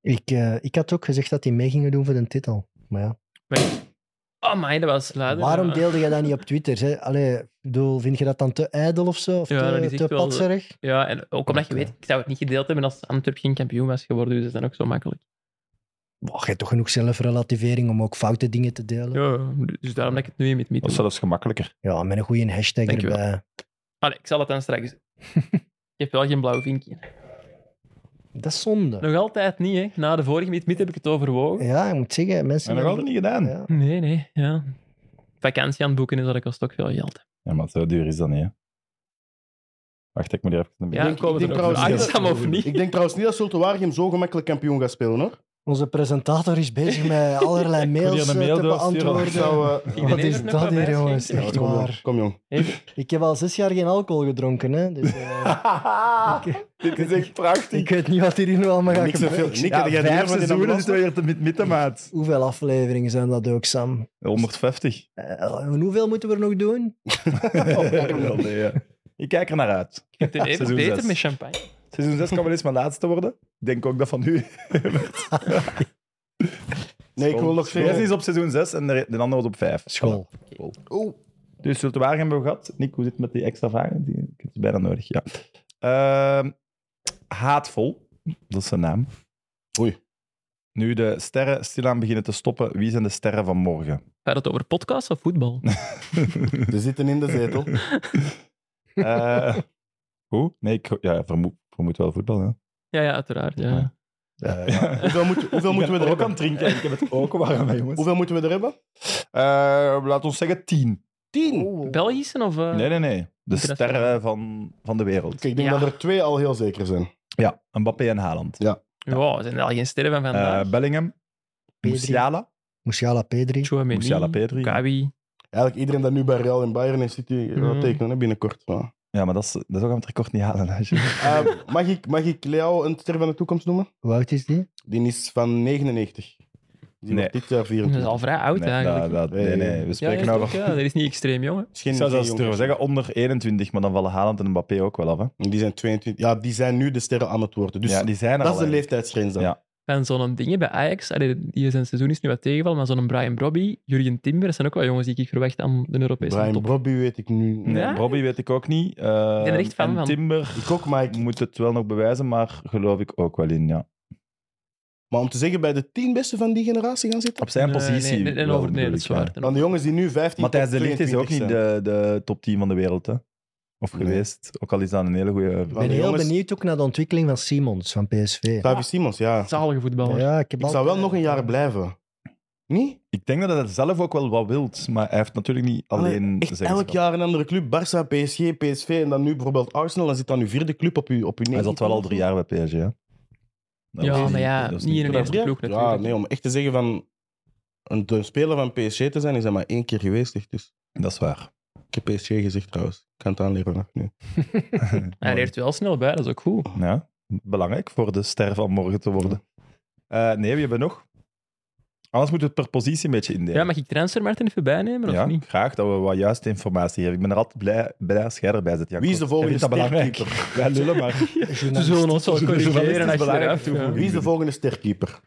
[SPEAKER 5] Ik, eh, ik had ook gezegd dat die mee gingen doen voor de titel. Maar ja.
[SPEAKER 4] Oh, maar dat was luider.
[SPEAKER 5] Waarom
[SPEAKER 4] Ja.
[SPEAKER 5] deelde jij dat niet op Twitter? Hè? Allee, ik bedoel, vind je dat dan te ijdel of zo? Of
[SPEAKER 4] Ja, dat is
[SPEAKER 5] te,
[SPEAKER 4] echt
[SPEAKER 5] te
[SPEAKER 4] wel-
[SPEAKER 5] patserig?
[SPEAKER 4] Ja, en ook omdat je weet, ik zou het niet gedeeld hebben als Antwerp geen kampioen was geworden, dus dat is dan ook zo makkelijk.
[SPEAKER 5] Boah, je hebt toch genoeg zelfrelativering om ook foute dingen te delen? Ja,
[SPEAKER 4] Ja, dus daarom dat ik het nu in met
[SPEAKER 2] Dat
[SPEAKER 4] Miet
[SPEAKER 2] is zelfs gemakkelijker.
[SPEAKER 5] met een goede hashtag
[SPEAKER 4] Dank je wel.
[SPEAKER 5] erbij.
[SPEAKER 4] [laughs] Allee, ik zal het dan straks doen. ik heb wel geen blauw vinkje.
[SPEAKER 5] Dat is zonde.
[SPEAKER 4] Nog altijd niet, hè. Na de vorige meet, meet heb ik het overwogen.
[SPEAKER 5] Ja, ik moet zeggen, mensen...
[SPEAKER 2] En nog altijd niet gedaan. Ja,
[SPEAKER 5] Ja.
[SPEAKER 4] Nee, nee, ja. Vakantie aan het boeken is dat kost ook veel geld.
[SPEAKER 2] maar zo duur is dat niet, hè. Wacht, ik moet hier even een
[SPEAKER 4] Ja,
[SPEAKER 2] beetje...
[SPEAKER 4] ik komen we
[SPEAKER 3] denk
[SPEAKER 4] er ook Ah,
[SPEAKER 3] trouwens niet
[SPEAKER 4] langzaam
[SPEAKER 3] dat-
[SPEAKER 4] of niet?
[SPEAKER 3] Ik denk trouwens niet dat Zulte Waregem zo gemakkelijk kampioen gaat spelen, hoor.
[SPEAKER 5] Onze presentator is bezig met allerlei
[SPEAKER 2] hier
[SPEAKER 5] mails
[SPEAKER 2] een
[SPEAKER 5] eh,
[SPEAKER 2] mail
[SPEAKER 5] te
[SPEAKER 2] doorsturen.
[SPEAKER 5] beantwoorden.
[SPEAKER 3] Ik zou... eh,
[SPEAKER 4] Ik
[SPEAKER 5] Wat
[SPEAKER 4] ben
[SPEAKER 5] is
[SPEAKER 4] even
[SPEAKER 5] dat
[SPEAKER 4] nog wel
[SPEAKER 5] hier,
[SPEAKER 4] bij,
[SPEAKER 5] jongens?
[SPEAKER 4] schenk.
[SPEAKER 5] Echt
[SPEAKER 3] kom, jong.
[SPEAKER 5] waar.
[SPEAKER 3] Kom, jong.
[SPEAKER 4] Even-
[SPEAKER 5] Ik heb al zes jaar geen alcohol gedronken, hè. Dus,
[SPEAKER 2] [laughs]
[SPEAKER 5] eh, ik,
[SPEAKER 2] Dit is echt prachtig.
[SPEAKER 5] ik weet niet wat hier nu allemaal gaat
[SPEAKER 3] Niks te veel-
[SPEAKER 5] gebeuren.
[SPEAKER 2] Ja,
[SPEAKER 3] niks- Nikke, jij doet
[SPEAKER 2] vijf
[SPEAKER 3] helemaal niet
[SPEAKER 2] seizoenen
[SPEAKER 3] aan
[SPEAKER 2] zitten we hier te mit- mitten, maat.
[SPEAKER 5] Hoeveel afleveringen zijn dat ook, Sam?
[SPEAKER 2] [laughs] 150.
[SPEAKER 5] Eh, en hoeveel moeten we er nog doen?
[SPEAKER 2] Wel, nee, Oh, ja. Ik kijk er naar uit.
[SPEAKER 4] Ik vind het even
[SPEAKER 2] Seizoen
[SPEAKER 4] beter
[SPEAKER 2] zes.
[SPEAKER 4] met champagne.
[SPEAKER 2] Seizoen 6 kan wel eens mijn laatste worden. Ik denk ook dat van nu.
[SPEAKER 3] Nee, ik wil nog
[SPEAKER 2] Jij is
[SPEAKER 3] veel...
[SPEAKER 2] op seizoen 6 en de, de ander was op 5.
[SPEAKER 5] School. Oh.
[SPEAKER 3] Oeh.
[SPEAKER 2] Dus Zulte Waregem hebben we gehad. Nick, hoe zit het met die extra vragen? Die, ik heb ze bijna nodig, ja. Ehm, haatvol, dat is zijn naam.
[SPEAKER 3] Oei.
[SPEAKER 2] Nu de sterren stilaan beginnen te stoppen, wie zijn de sterren van morgen?
[SPEAKER 4] Gaat het over podcast of
[SPEAKER 2] [laughs]
[SPEAKER 4] voetbal?
[SPEAKER 3] Ze zitten in de zetel. [laughs]
[SPEAKER 4] [laughs]
[SPEAKER 2] Eh, hoe? Nee, ik ja, vermoed, vermoed wel voetbal, hè.
[SPEAKER 4] Ja, ja, uiteraard. Ja.
[SPEAKER 2] Eh,
[SPEAKER 3] Hoeveel, moet, hoeveel
[SPEAKER 2] ik
[SPEAKER 3] moeten we
[SPEAKER 2] ben
[SPEAKER 3] er
[SPEAKER 2] ook aan
[SPEAKER 3] hebben?
[SPEAKER 2] het drinken. en Ik heb het
[SPEAKER 3] [laughs]
[SPEAKER 2] ook warm, [laughs] hè, jongens.
[SPEAKER 3] Hoeveel moeten we er hebben?
[SPEAKER 2] Eh, laat ons zeggen tien.
[SPEAKER 3] Tien.
[SPEAKER 4] Belgische of... eh,
[SPEAKER 2] Nee, nee, nee. De
[SPEAKER 4] Internationaal.
[SPEAKER 2] sterren van, van de wereld.
[SPEAKER 3] Kijk, ik denk
[SPEAKER 4] Ja.
[SPEAKER 3] dat er twee al heel zeker zijn.
[SPEAKER 2] Ja, Mbappé en Haaland.
[SPEAKER 4] Wow, zijn er al geen sterren van vandaag?
[SPEAKER 2] Eh, Bellingham,
[SPEAKER 5] Pedri.
[SPEAKER 2] Musiala,
[SPEAKER 5] Musiala P3.
[SPEAKER 4] Chouameni,
[SPEAKER 2] Musiala, Pedri.
[SPEAKER 4] Kawi.
[SPEAKER 3] Eigenlijk iedereen dat nu bij Real en Bayern is, zit die
[SPEAKER 4] Mm.
[SPEAKER 3] dat tekenen hè, binnenkort. Ja.
[SPEAKER 2] Ja, maar dat, is, dat gaan we het record niet halen. hè, Gilles.
[SPEAKER 3] Eh, mag, ik, mag ik Leo een ster van de toekomst noemen?
[SPEAKER 5] Hoe oud is die?
[SPEAKER 3] Die is van 99. Die
[SPEAKER 2] Nee.
[SPEAKER 3] wordt dit jaar
[SPEAKER 4] Dat is
[SPEAKER 3] 24.
[SPEAKER 4] al vrij oud
[SPEAKER 2] nee, dat-
[SPEAKER 4] eigenlijk.
[SPEAKER 2] dat- nee, nee, we
[SPEAKER 4] ja,
[SPEAKER 2] spreken
[SPEAKER 4] ja,
[SPEAKER 2] over...
[SPEAKER 4] toch, ja, dat is niet extreem, jongen.
[SPEAKER 3] Is geen-
[SPEAKER 2] Ik zou
[SPEAKER 3] geen
[SPEAKER 2] zelfs
[SPEAKER 3] jong
[SPEAKER 2] durven zeggen onder 21, maar dan vallen Haaland en Mbappé ook wel af. Hè?
[SPEAKER 3] Die zijn 22. Ja, die zijn nu de sterren aan het worden. Dus
[SPEAKER 2] ja, die zijn er
[SPEAKER 3] dat
[SPEAKER 2] al
[SPEAKER 3] is de
[SPEAKER 2] eigenlijk.
[SPEAKER 3] leeftijdsgrens dan.
[SPEAKER 2] Ja.
[SPEAKER 4] En zo'n dingen bij Ajax, allee, die zijn seizoen is nu wat tegenval, maar zo'n Brian Brobby, Jurgen Timber, dat zijn ook wel jongens die ik verwacht aan de Europese
[SPEAKER 3] Brian
[SPEAKER 4] top.
[SPEAKER 3] Brobby weet ik nu.
[SPEAKER 2] Nee,
[SPEAKER 4] Ja?
[SPEAKER 2] Robbie weet ik ook niet. Eh,
[SPEAKER 4] ben er echt fan
[SPEAKER 2] en
[SPEAKER 4] van.
[SPEAKER 2] Timber
[SPEAKER 3] Ik ook, maar, ik-
[SPEAKER 2] moet het wel nog bewijzen, maar geloof ik ook wel in, ja.
[SPEAKER 3] maar om te zeggen, bij de tien beste van die generatie gaan zitten.
[SPEAKER 2] Op zijn
[SPEAKER 4] Nee,
[SPEAKER 2] positie.
[SPEAKER 4] Nee, nee, nee,
[SPEAKER 2] wel,
[SPEAKER 4] over, nee
[SPEAKER 2] bedoel
[SPEAKER 4] dat is
[SPEAKER 2] ik, ja.
[SPEAKER 4] waar.
[SPEAKER 3] Van de jongens die nu 15
[SPEAKER 2] Matthijs
[SPEAKER 3] tot
[SPEAKER 2] de Ligt is ook
[SPEAKER 3] 22
[SPEAKER 2] niet
[SPEAKER 3] zijn.
[SPEAKER 2] de, de top 10 van de wereld, hè? Of
[SPEAKER 3] Nee.
[SPEAKER 2] geweest. Ook al is dat een hele goede.
[SPEAKER 5] Ik ben
[SPEAKER 3] die
[SPEAKER 5] heel
[SPEAKER 3] jongens-
[SPEAKER 5] benieuwd ook naar de ontwikkeling van Simons van PSV.
[SPEAKER 3] Xavi Simons, Ah, ja.
[SPEAKER 4] Zalige voetballer.
[SPEAKER 5] Ja, ik, heb
[SPEAKER 3] Ik zou wel nog een jaar blijven. Niet?
[SPEAKER 2] Ik denk dat hij dat zelf ook wel wat wilt, maar hij heeft natuurlijk niet alleen.
[SPEAKER 3] Echt
[SPEAKER 2] zeggenschap.
[SPEAKER 3] elk jaar een andere club. Barça, PSG, PSV en dan nu bijvoorbeeld Arsenal. Dan zit dan uw vierde club op uw op uw
[SPEAKER 2] Hij zat wel al
[SPEAKER 3] 19e.
[SPEAKER 2] drie jaar bij PSG. Hè? Dat
[SPEAKER 4] Ja,
[SPEAKER 2] was
[SPEAKER 4] maar ja,
[SPEAKER 2] dat was
[SPEAKER 4] niet in een
[SPEAKER 2] dat was
[SPEAKER 4] eerste ploeg
[SPEAKER 3] Ja,
[SPEAKER 4] natuurlijk.
[SPEAKER 3] nee, om echt te zeggen van een de speler van PSG te zijn, is hij maar één keer geweest. Echt. Dus
[SPEAKER 2] Dat is
[SPEAKER 4] [laughs]
[SPEAKER 2] waar.
[SPEAKER 3] ik heb PSG gezegd trouwens. Ik kan het aanleren vanaf nu.
[SPEAKER 4] Hij leert wel snel bij, dat is ook goed.
[SPEAKER 2] Ja, belangrijk voor de ster van morgen te worden. Eh, nee, wie hebben we nog? Anders moeten we het per positie een beetje indelen.
[SPEAKER 4] Ja, mag ik transfermarkt even bijnemen of
[SPEAKER 2] Ja,
[SPEAKER 4] niet?
[SPEAKER 2] graag dat we wat juiste informatie hebben. Ik ben er altijd blij, blij als jij erbij zit. Jacob.
[SPEAKER 3] Wie is de volgende
[SPEAKER 2] Ik vind dat
[SPEAKER 3] sterkeeper?
[SPEAKER 2] belangrijk. [laughs] Wij lullen maar.
[SPEAKER 4] Ze zullen ons wel
[SPEAKER 2] journalist is
[SPEAKER 4] corrigeren als je
[SPEAKER 2] belangrijk
[SPEAKER 4] eraf
[SPEAKER 2] toevoegen.
[SPEAKER 4] ja.
[SPEAKER 3] Wie is de volgende sterkeeper?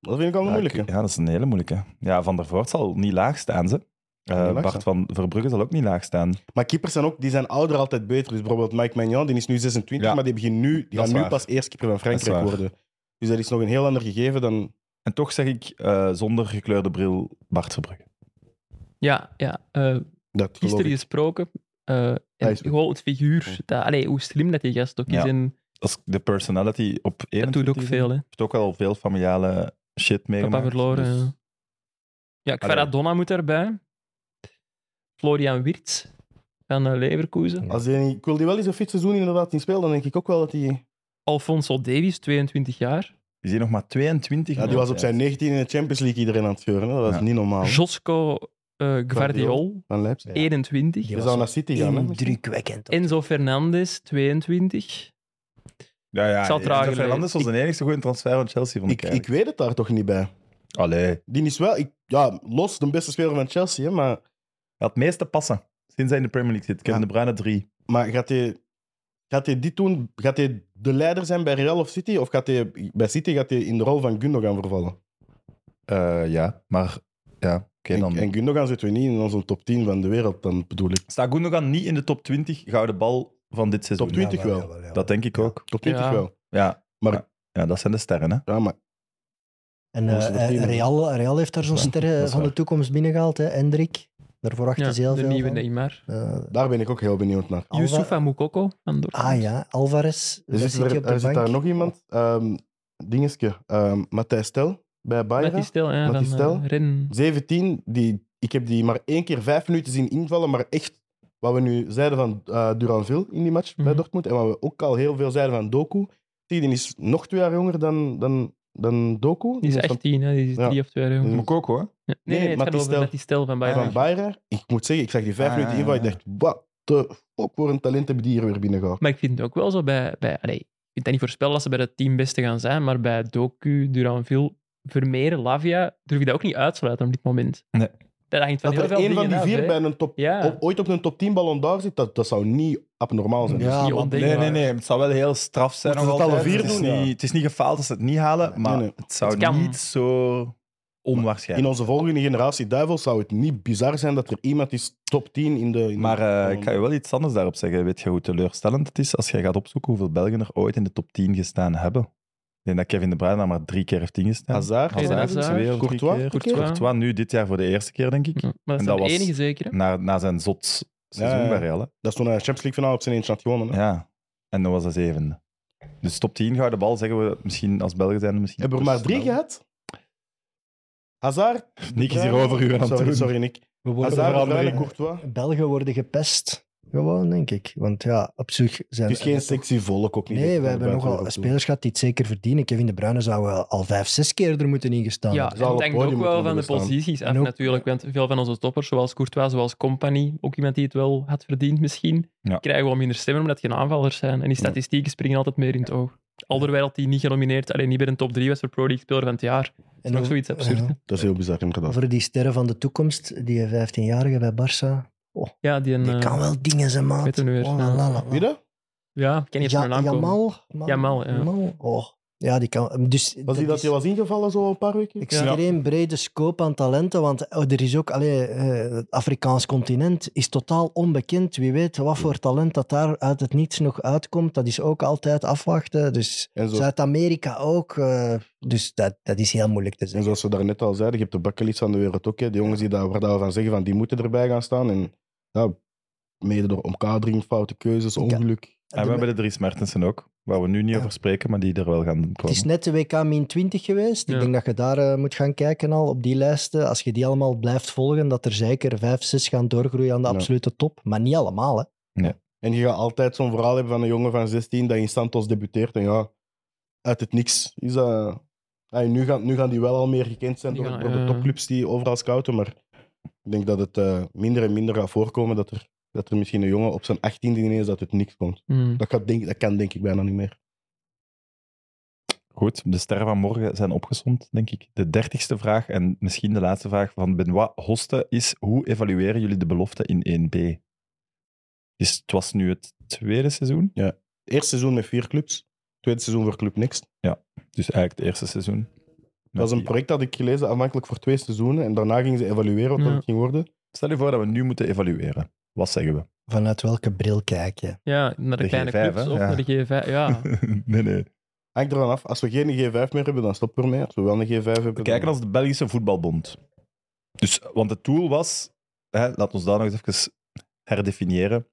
[SPEAKER 3] Dat vind ik al een
[SPEAKER 2] Ja,
[SPEAKER 3] moeilijke.
[SPEAKER 2] ik- Ja, dat is een hele moeilijke. Ja, Van der Voort zal niet laag staan, ze. Eh,
[SPEAKER 3] Niet laag
[SPEAKER 2] Bart
[SPEAKER 3] staan.
[SPEAKER 2] van Verbrugge zal ook niet laag staan.
[SPEAKER 3] Maar keepers zijn ook, die zijn ouder altijd beter. Dus bijvoorbeeld Mike Magnan, die is nu 26,
[SPEAKER 2] Ja.
[SPEAKER 3] maar die, begint nu, die
[SPEAKER 2] Dat
[SPEAKER 3] gaat
[SPEAKER 2] is
[SPEAKER 3] nu
[SPEAKER 2] waar.
[SPEAKER 3] pas eerste keeper van Frankrijk
[SPEAKER 2] waar.
[SPEAKER 3] worden. Dus dat is nog een heel ander gegeven dan...
[SPEAKER 2] En toch zeg ik eh, zonder gekleurde bril Bart Verbrugge.
[SPEAKER 4] Ja, ja. eh,
[SPEAKER 3] Dat geloof
[SPEAKER 4] gisteren
[SPEAKER 3] ik.
[SPEAKER 4] gesproken. eh,
[SPEAKER 3] Hij
[SPEAKER 4] en
[SPEAKER 3] is goed.
[SPEAKER 4] gewoon het figuur. Dat, allee, hoe slim dat die gast ook is.
[SPEAKER 2] Ja.
[SPEAKER 4] En
[SPEAKER 2] Dat is de personality op één.
[SPEAKER 4] dat doet ook veel. Hè.
[SPEAKER 2] heeft ook al veel familiale shit meegemaakt.
[SPEAKER 4] Papa verloren.
[SPEAKER 2] dus-
[SPEAKER 4] ja. Ja,
[SPEAKER 2] Allee.
[SPEAKER 4] Kvaradonna moet erbij. Florian Wirtz van eh, Leverkusen.
[SPEAKER 3] Als hij niet- ik wil die wel eens een fit seizoen inderdaad in spelen, dan denk ik ook wel dat hij...
[SPEAKER 4] Alfonso Davies, 22 jaar.
[SPEAKER 2] Is hij nog maar 22?
[SPEAKER 3] Ja, die was op zijn 19 in de Champions League iedereen aan het scheuren. hè. Dat is
[SPEAKER 2] Ja.
[SPEAKER 3] niet normaal.
[SPEAKER 4] Josco eh Gvardiol,
[SPEAKER 3] Van Leipzig.
[SPEAKER 5] Ja.
[SPEAKER 4] 21.
[SPEAKER 5] Die
[SPEAKER 3] Je
[SPEAKER 5] was
[SPEAKER 3] zou naar City gaan, hè? misschien.
[SPEAKER 5] indrukwekkend.
[SPEAKER 4] Enzo Fernandes, 22.
[SPEAKER 2] Ja, ja.
[SPEAKER 4] Ik zal het trager lezen.
[SPEAKER 2] Fernandes was de enige goede transfer van Chelsea, vond ik,
[SPEAKER 3] Ik, ik
[SPEAKER 2] eigenlijk.
[SPEAKER 3] weet het daar toch niet bij.
[SPEAKER 2] Allee. Hij
[SPEAKER 3] Die is wel... Ik, ja, los de beste speler van Chelsea, hè, maar,
[SPEAKER 2] had het meeste passen sinds hij in de Premier League zit. Kevin
[SPEAKER 3] Ja.
[SPEAKER 2] De Bruyne drie.
[SPEAKER 3] maar gaat hij... Gaat hij dit doen? Gaat hij de leider zijn bij Real of City? Of gaat hij bij City gaat hij in de rol van Gundogan vervallen?
[SPEAKER 2] Eh, ja, maar ja, oké
[SPEAKER 3] En,
[SPEAKER 2] dan.
[SPEAKER 3] en Gundogan zitten we niet in onze top 10 van de wereld, dan bedoel ik.
[SPEAKER 2] Staat Gundogan niet in de top 20 gouden bal van dit seizoen?
[SPEAKER 3] Top 20 wel.
[SPEAKER 2] Dat denk ik ook.
[SPEAKER 3] Top 20
[SPEAKER 4] Ja.
[SPEAKER 3] wel.
[SPEAKER 2] Ja.
[SPEAKER 3] Maar-
[SPEAKER 2] ja. Ja, dat zijn de sterren, hè.
[SPEAKER 3] Ja, maar
[SPEAKER 5] En
[SPEAKER 3] Onze
[SPEAKER 5] eh,
[SPEAKER 3] team.
[SPEAKER 5] Real, Real heeft daar zo'n
[SPEAKER 2] Ja,
[SPEAKER 5] ster
[SPEAKER 2] dat
[SPEAKER 5] eh,
[SPEAKER 2] is
[SPEAKER 5] van de
[SPEAKER 2] waar.
[SPEAKER 5] toekomst binnengehaald, hè, Hendrik. Daarvoor wachten
[SPEAKER 4] Ja,
[SPEAKER 5] ze heel
[SPEAKER 4] de
[SPEAKER 5] veel
[SPEAKER 4] nieuwe
[SPEAKER 5] van.
[SPEAKER 4] Neymar.
[SPEAKER 5] Eh,
[SPEAKER 3] Daar ben ik ook heel benieuwd naar.
[SPEAKER 5] Alva-
[SPEAKER 4] Youssoufa Moukoko van Dortmund.
[SPEAKER 5] Ah ja, Alvarez.
[SPEAKER 3] Er
[SPEAKER 5] Dus
[SPEAKER 3] zit, er,
[SPEAKER 5] zit je op de
[SPEAKER 3] er zit
[SPEAKER 5] bank.
[SPEAKER 3] daar nog iemand. ehm dingetje. ehm Matthijs Stel bij
[SPEAKER 4] Met die
[SPEAKER 3] Bayern.
[SPEAKER 4] stel, ja,
[SPEAKER 3] Met
[SPEAKER 4] van
[SPEAKER 3] die stel.
[SPEAKER 4] eh, Rennes.
[SPEAKER 3] 17, die, ik heb die maar één keer vijf minuten zien invallen. Maar echt wat we nu zeiden van eh Duranville in die match bij
[SPEAKER 4] Mhm.
[SPEAKER 3] Dortmund. En wat we ook al heel veel zeiden van Doku. Die die is nog twee jaar jonger dan, dan, dan Doku.
[SPEAKER 4] Die is
[SPEAKER 3] van-
[SPEAKER 4] 18, hè, die is
[SPEAKER 3] Ja.
[SPEAKER 4] drie of twee jaar jonger.
[SPEAKER 3] Ja.
[SPEAKER 2] Mokoko, hè?
[SPEAKER 4] Ja. Nee, nee,
[SPEAKER 3] Nee, maar
[SPEAKER 4] het
[SPEAKER 3] die
[SPEAKER 4] gaat over
[SPEAKER 3] stel- Ah,
[SPEAKER 4] met die stel van Bayern.
[SPEAKER 3] van Bayern. Ik moet zeggen, ik zag die vijf
[SPEAKER 2] Ah,
[SPEAKER 3] minuten
[SPEAKER 2] ja,
[SPEAKER 3] invallen. Ik
[SPEAKER 2] ja.
[SPEAKER 3] dacht, wat de fuck voor een talent hebben die hier weer binnengehaald.
[SPEAKER 4] Maar ik vind het ook wel zo bij... bij allee, ik kan dat niet voorspellen dat ze bij het team beste gaan zijn, maar bij Doku, Duranville, Vermeer, Lavia, durf ik dat ook niet uitsluiten op dit moment.
[SPEAKER 2] Nee.
[SPEAKER 4] Dat hangt van
[SPEAKER 3] Dat
[SPEAKER 4] heel
[SPEAKER 3] er
[SPEAKER 4] veel
[SPEAKER 3] één van
[SPEAKER 4] dingen
[SPEAKER 3] die
[SPEAKER 4] af,
[SPEAKER 3] vier
[SPEAKER 4] hè.
[SPEAKER 3] bij een top,
[SPEAKER 4] Ja.
[SPEAKER 3] op- ooit op een top 10 ballon daar zit, dat, dat zou niet abnormaal zijn.
[SPEAKER 5] Ja,
[SPEAKER 4] Niet
[SPEAKER 5] maar-
[SPEAKER 4] ondenkbaar.
[SPEAKER 2] Nee, nee, nee. Het zou wel heel straf zijn.
[SPEAKER 3] Moeten
[SPEAKER 2] nog
[SPEAKER 3] ze het alle
[SPEAKER 2] altijd.
[SPEAKER 3] vier
[SPEAKER 2] is
[SPEAKER 3] doen, ja?
[SPEAKER 2] niet, Het is niet gefaald als ze het niet halen, maar
[SPEAKER 3] nee.
[SPEAKER 2] het zou
[SPEAKER 4] Het kan.
[SPEAKER 2] niet zo
[SPEAKER 3] In
[SPEAKER 2] onwaarschijnlijk
[SPEAKER 3] onze volgende generatie duivels zou het niet bizar zijn dat er iemand is top 10 in de... in de-
[SPEAKER 2] Maar eh, ik
[SPEAKER 3] van-
[SPEAKER 2] ga je wel iets anders daarop zeggen. Weet je hoe teleurstellend het is als je gaat opzoeken hoeveel Belgen er ooit in de top 10 gestaan hebben? Ik denk dat Kevin De Bruyne daar maar drie keer heeft ingestaan.
[SPEAKER 3] Hazard,
[SPEAKER 4] Eden Hazard,
[SPEAKER 2] twee of drie
[SPEAKER 3] Courtois,
[SPEAKER 2] keer.
[SPEAKER 4] Courtois.
[SPEAKER 2] Courtois nu dit jaar voor de eerste keer, denk ik.
[SPEAKER 4] Ja, maar
[SPEAKER 2] En
[SPEAKER 4] dat is
[SPEAKER 2] dat
[SPEAKER 4] de
[SPEAKER 2] was-
[SPEAKER 4] enige zekere.
[SPEAKER 2] Na, na zijn zot seizoen
[SPEAKER 3] Ja, ja.
[SPEAKER 2] bij Real. hè.
[SPEAKER 3] dat is toen hij de Champions League finale op zijn eentje had gewonnen. hè.
[SPEAKER 2] Ja, en dan was dat zevende. Dus top 10 gouden bal zeggen we misschien als Belgen zijn. Misschien
[SPEAKER 3] Hebben we er maar
[SPEAKER 2] plus
[SPEAKER 3] drie
[SPEAKER 2] Belgen.
[SPEAKER 3] gehad? Hazard...
[SPEAKER 2] Nick is hier
[SPEAKER 3] Bruyne-
[SPEAKER 2] over u aan het
[SPEAKER 3] sorry,
[SPEAKER 2] doen.
[SPEAKER 3] Sorry, Nick.
[SPEAKER 5] We worden
[SPEAKER 3] Hazard,
[SPEAKER 5] vooral-
[SPEAKER 3] De Bruyne, Courtois.
[SPEAKER 5] Belgen worden gepest. Gewoon, denk ik. Want ja, op zich zijn...
[SPEAKER 3] Het is geen sexy volk ook niet.
[SPEAKER 5] Nee,
[SPEAKER 3] Dat
[SPEAKER 5] we
[SPEAKER 3] er
[SPEAKER 5] hebben
[SPEAKER 3] buiten
[SPEAKER 5] nogal
[SPEAKER 3] ook toe.
[SPEAKER 5] spelers gehad die het zeker verdienen. Kevin De Bruyne zou wel al vijf, zes keer er moeten ingestaan
[SPEAKER 4] Ja,
[SPEAKER 5] hebben.
[SPEAKER 3] zal
[SPEAKER 4] en
[SPEAKER 3] op
[SPEAKER 4] denk
[SPEAKER 3] podium
[SPEAKER 4] ook wel
[SPEAKER 3] moeten
[SPEAKER 4] van de
[SPEAKER 3] bestaan.
[SPEAKER 4] posities af
[SPEAKER 5] En ook-
[SPEAKER 4] natuurlijk. Want veel van onze toppers, zoals Courtois, zoals Company, ook iemand die het wel had verdiend misschien,
[SPEAKER 2] Ja.
[SPEAKER 4] krijgen wel minder stemmen omdat het geen aanvallers zijn. En die statistieken springen altijd meer in het oog. Alderwijl die niet genomineerd, alleen niet bij een top 3 was voor Pro League speler van het jaar.
[SPEAKER 5] En
[SPEAKER 4] nog
[SPEAKER 5] over-
[SPEAKER 4] zoiets absurd, hè?
[SPEAKER 3] Dat is heel bizar, inderdaad.
[SPEAKER 5] Over die sterren van de toekomst, die 15-jarige bij Barça.
[SPEAKER 4] Ja, die, een,
[SPEAKER 5] Die
[SPEAKER 4] eh,
[SPEAKER 5] kan wel dingen zijn, maat.
[SPEAKER 4] weet hem nu weer.
[SPEAKER 5] Oh, la, la, la, la.
[SPEAKER 3] Wie dat?
[SPEAKER 4] ja, ik ken niet eens
[SPEAKER 5] Ja,
[SPEAKER 4] mijn naam komen.
[SPEAKER 5] Jamal? Man-
[SPEAKER 4] Jamal, ja.
[SPEAKER 5] Jamal? Oh. Ja, die kan... Dus,
[SPEAKER 3] Was die dat
[SPEAKER 5] is
[SPEAKER 3] hij was ingevallen zo een paar weken?
[SPEAKER 5] Extreem brede scope aan talenten, want oh, er is ook... Allee, eh, het Afrikaans continent is totaal onbekend. Wie weet wat voor talent dat daar uit het niets nog uitkomt, dat is ook altijd afwachten. Dus
[SPEAKER 3] En zo
[SPEAKER 5] Zuid-Amerika ook. eh, dus dat, dat is heel moeilijk te
[SPEAKER 3] En
[SPEAKER 5] zeggen.
[SPEAKER 3] zoals we daarnet al zeiden, je hebt de bakkelits van de wereld ook. Hè. De jongens die daar, waar dat we van zeggen, van, die moeten erbij gaan staan. En ja, mede door omkadering, foute keuzes, ongeluk.
[SPEAKER 2] En we hebben de drie Smertensen ook, waar we nu niet
[SPEAKER 5] Ja.
[SPEAKER 2] over spreken, maar die er wel gaan komen.
[SPEAKER 5] Het is net de WK-20 geweest.
[SPEAKER 4] Ja.
[SPEAKER 5] Ik denk dat je daar eh, moet gaan kijken al, op die lijsten. Als je die allemaal blijft volgen, dat er zeker vijf, zes gaan doorgroeien aan de
[SPEAKER 3] Ja.
[SPEAKER 5] absolute top. Maar niet allemaal, hè.
[SPEAKER 3] En je gaat altijd zo'n verhaal hebben van een jongen van 16 dat in Santos debuteert. En ja, uit het niks is dat... Ja, nu, gaan, nu gaan die wel al meer gekend zijn
[SPEAKER 4] Die
[SPEAKER 3] door,
[SPEAKER 4] gaan, eh.
[SPEAKER 3] door de
[SPEAKER 4] ja.
[SPEAKER 3] topclubs die overal scouten. Maar ik denk dat het eh, minder en minder gaat voorkomen dat er, dat er misschien een jongen op zijn 18e ineens uit het niks komt.
[SPEAKER 4] Hmm.
[SPEAKER 3] Dat, gaat, denk, dat kan denk ik bijna niet meer.
[SPEAKER 2] Goed, de sterren van morgen zijn opgezond, denk ik. De dertigste vraag en misschien de laatste vraag van Benoit Hoste is: hoe evalueren jullie de belofte in 1B? Dus het was nu het tweede seizoen,
[SPEAKER 3] Eerste seizoen met vier clubs. Tweede seizoen voor Club Next.
[SPEAKER 2] dus eigenlijk het eerste seizoen.
[SPEAKER 3] Dat was een project dat ik gelezen aanvankelijk voor twee seizoenen. En daarna gingen ze evalueren wat dat
[SPEAKER 4] Ja.
[SPEAKER 3] het ging worden.
[SPEAKER 2] Stel je voor dat we nu moeten evalueren. Wat zeggen we?
[SPEAKER 5] Vanuit welke bril kijk je?
[SPEAKER 4] Ja, naar de,
[SPEAKER 2] De
[SPEAKER 4] kleine
[SPEAKER 2] G5,
[SPEAKER 4] clubs
[SPEAKER 2] hè?
[SPEAKER 4] of
[SPEAKER 2] Ja.
[SPEAKER 4] naar de
[SPEAKER 2] [laughs]
[SPEAKER 4] G5. Ja,
[SPEAKER 2] nee, nee.
[SPEAKER 3] Hangt ervan af. Als we geen G5 meer hebben, dan stoppen we ermee. Als we wel een G5 hebben...
[SPEAKER 2] We
[SPEAKER 3] dan-
[SPEAKER 2] kijken als de Belgische voetbalbond. Dus, want het doel was, hè, laat ons daar nog eens even herdefiniëren.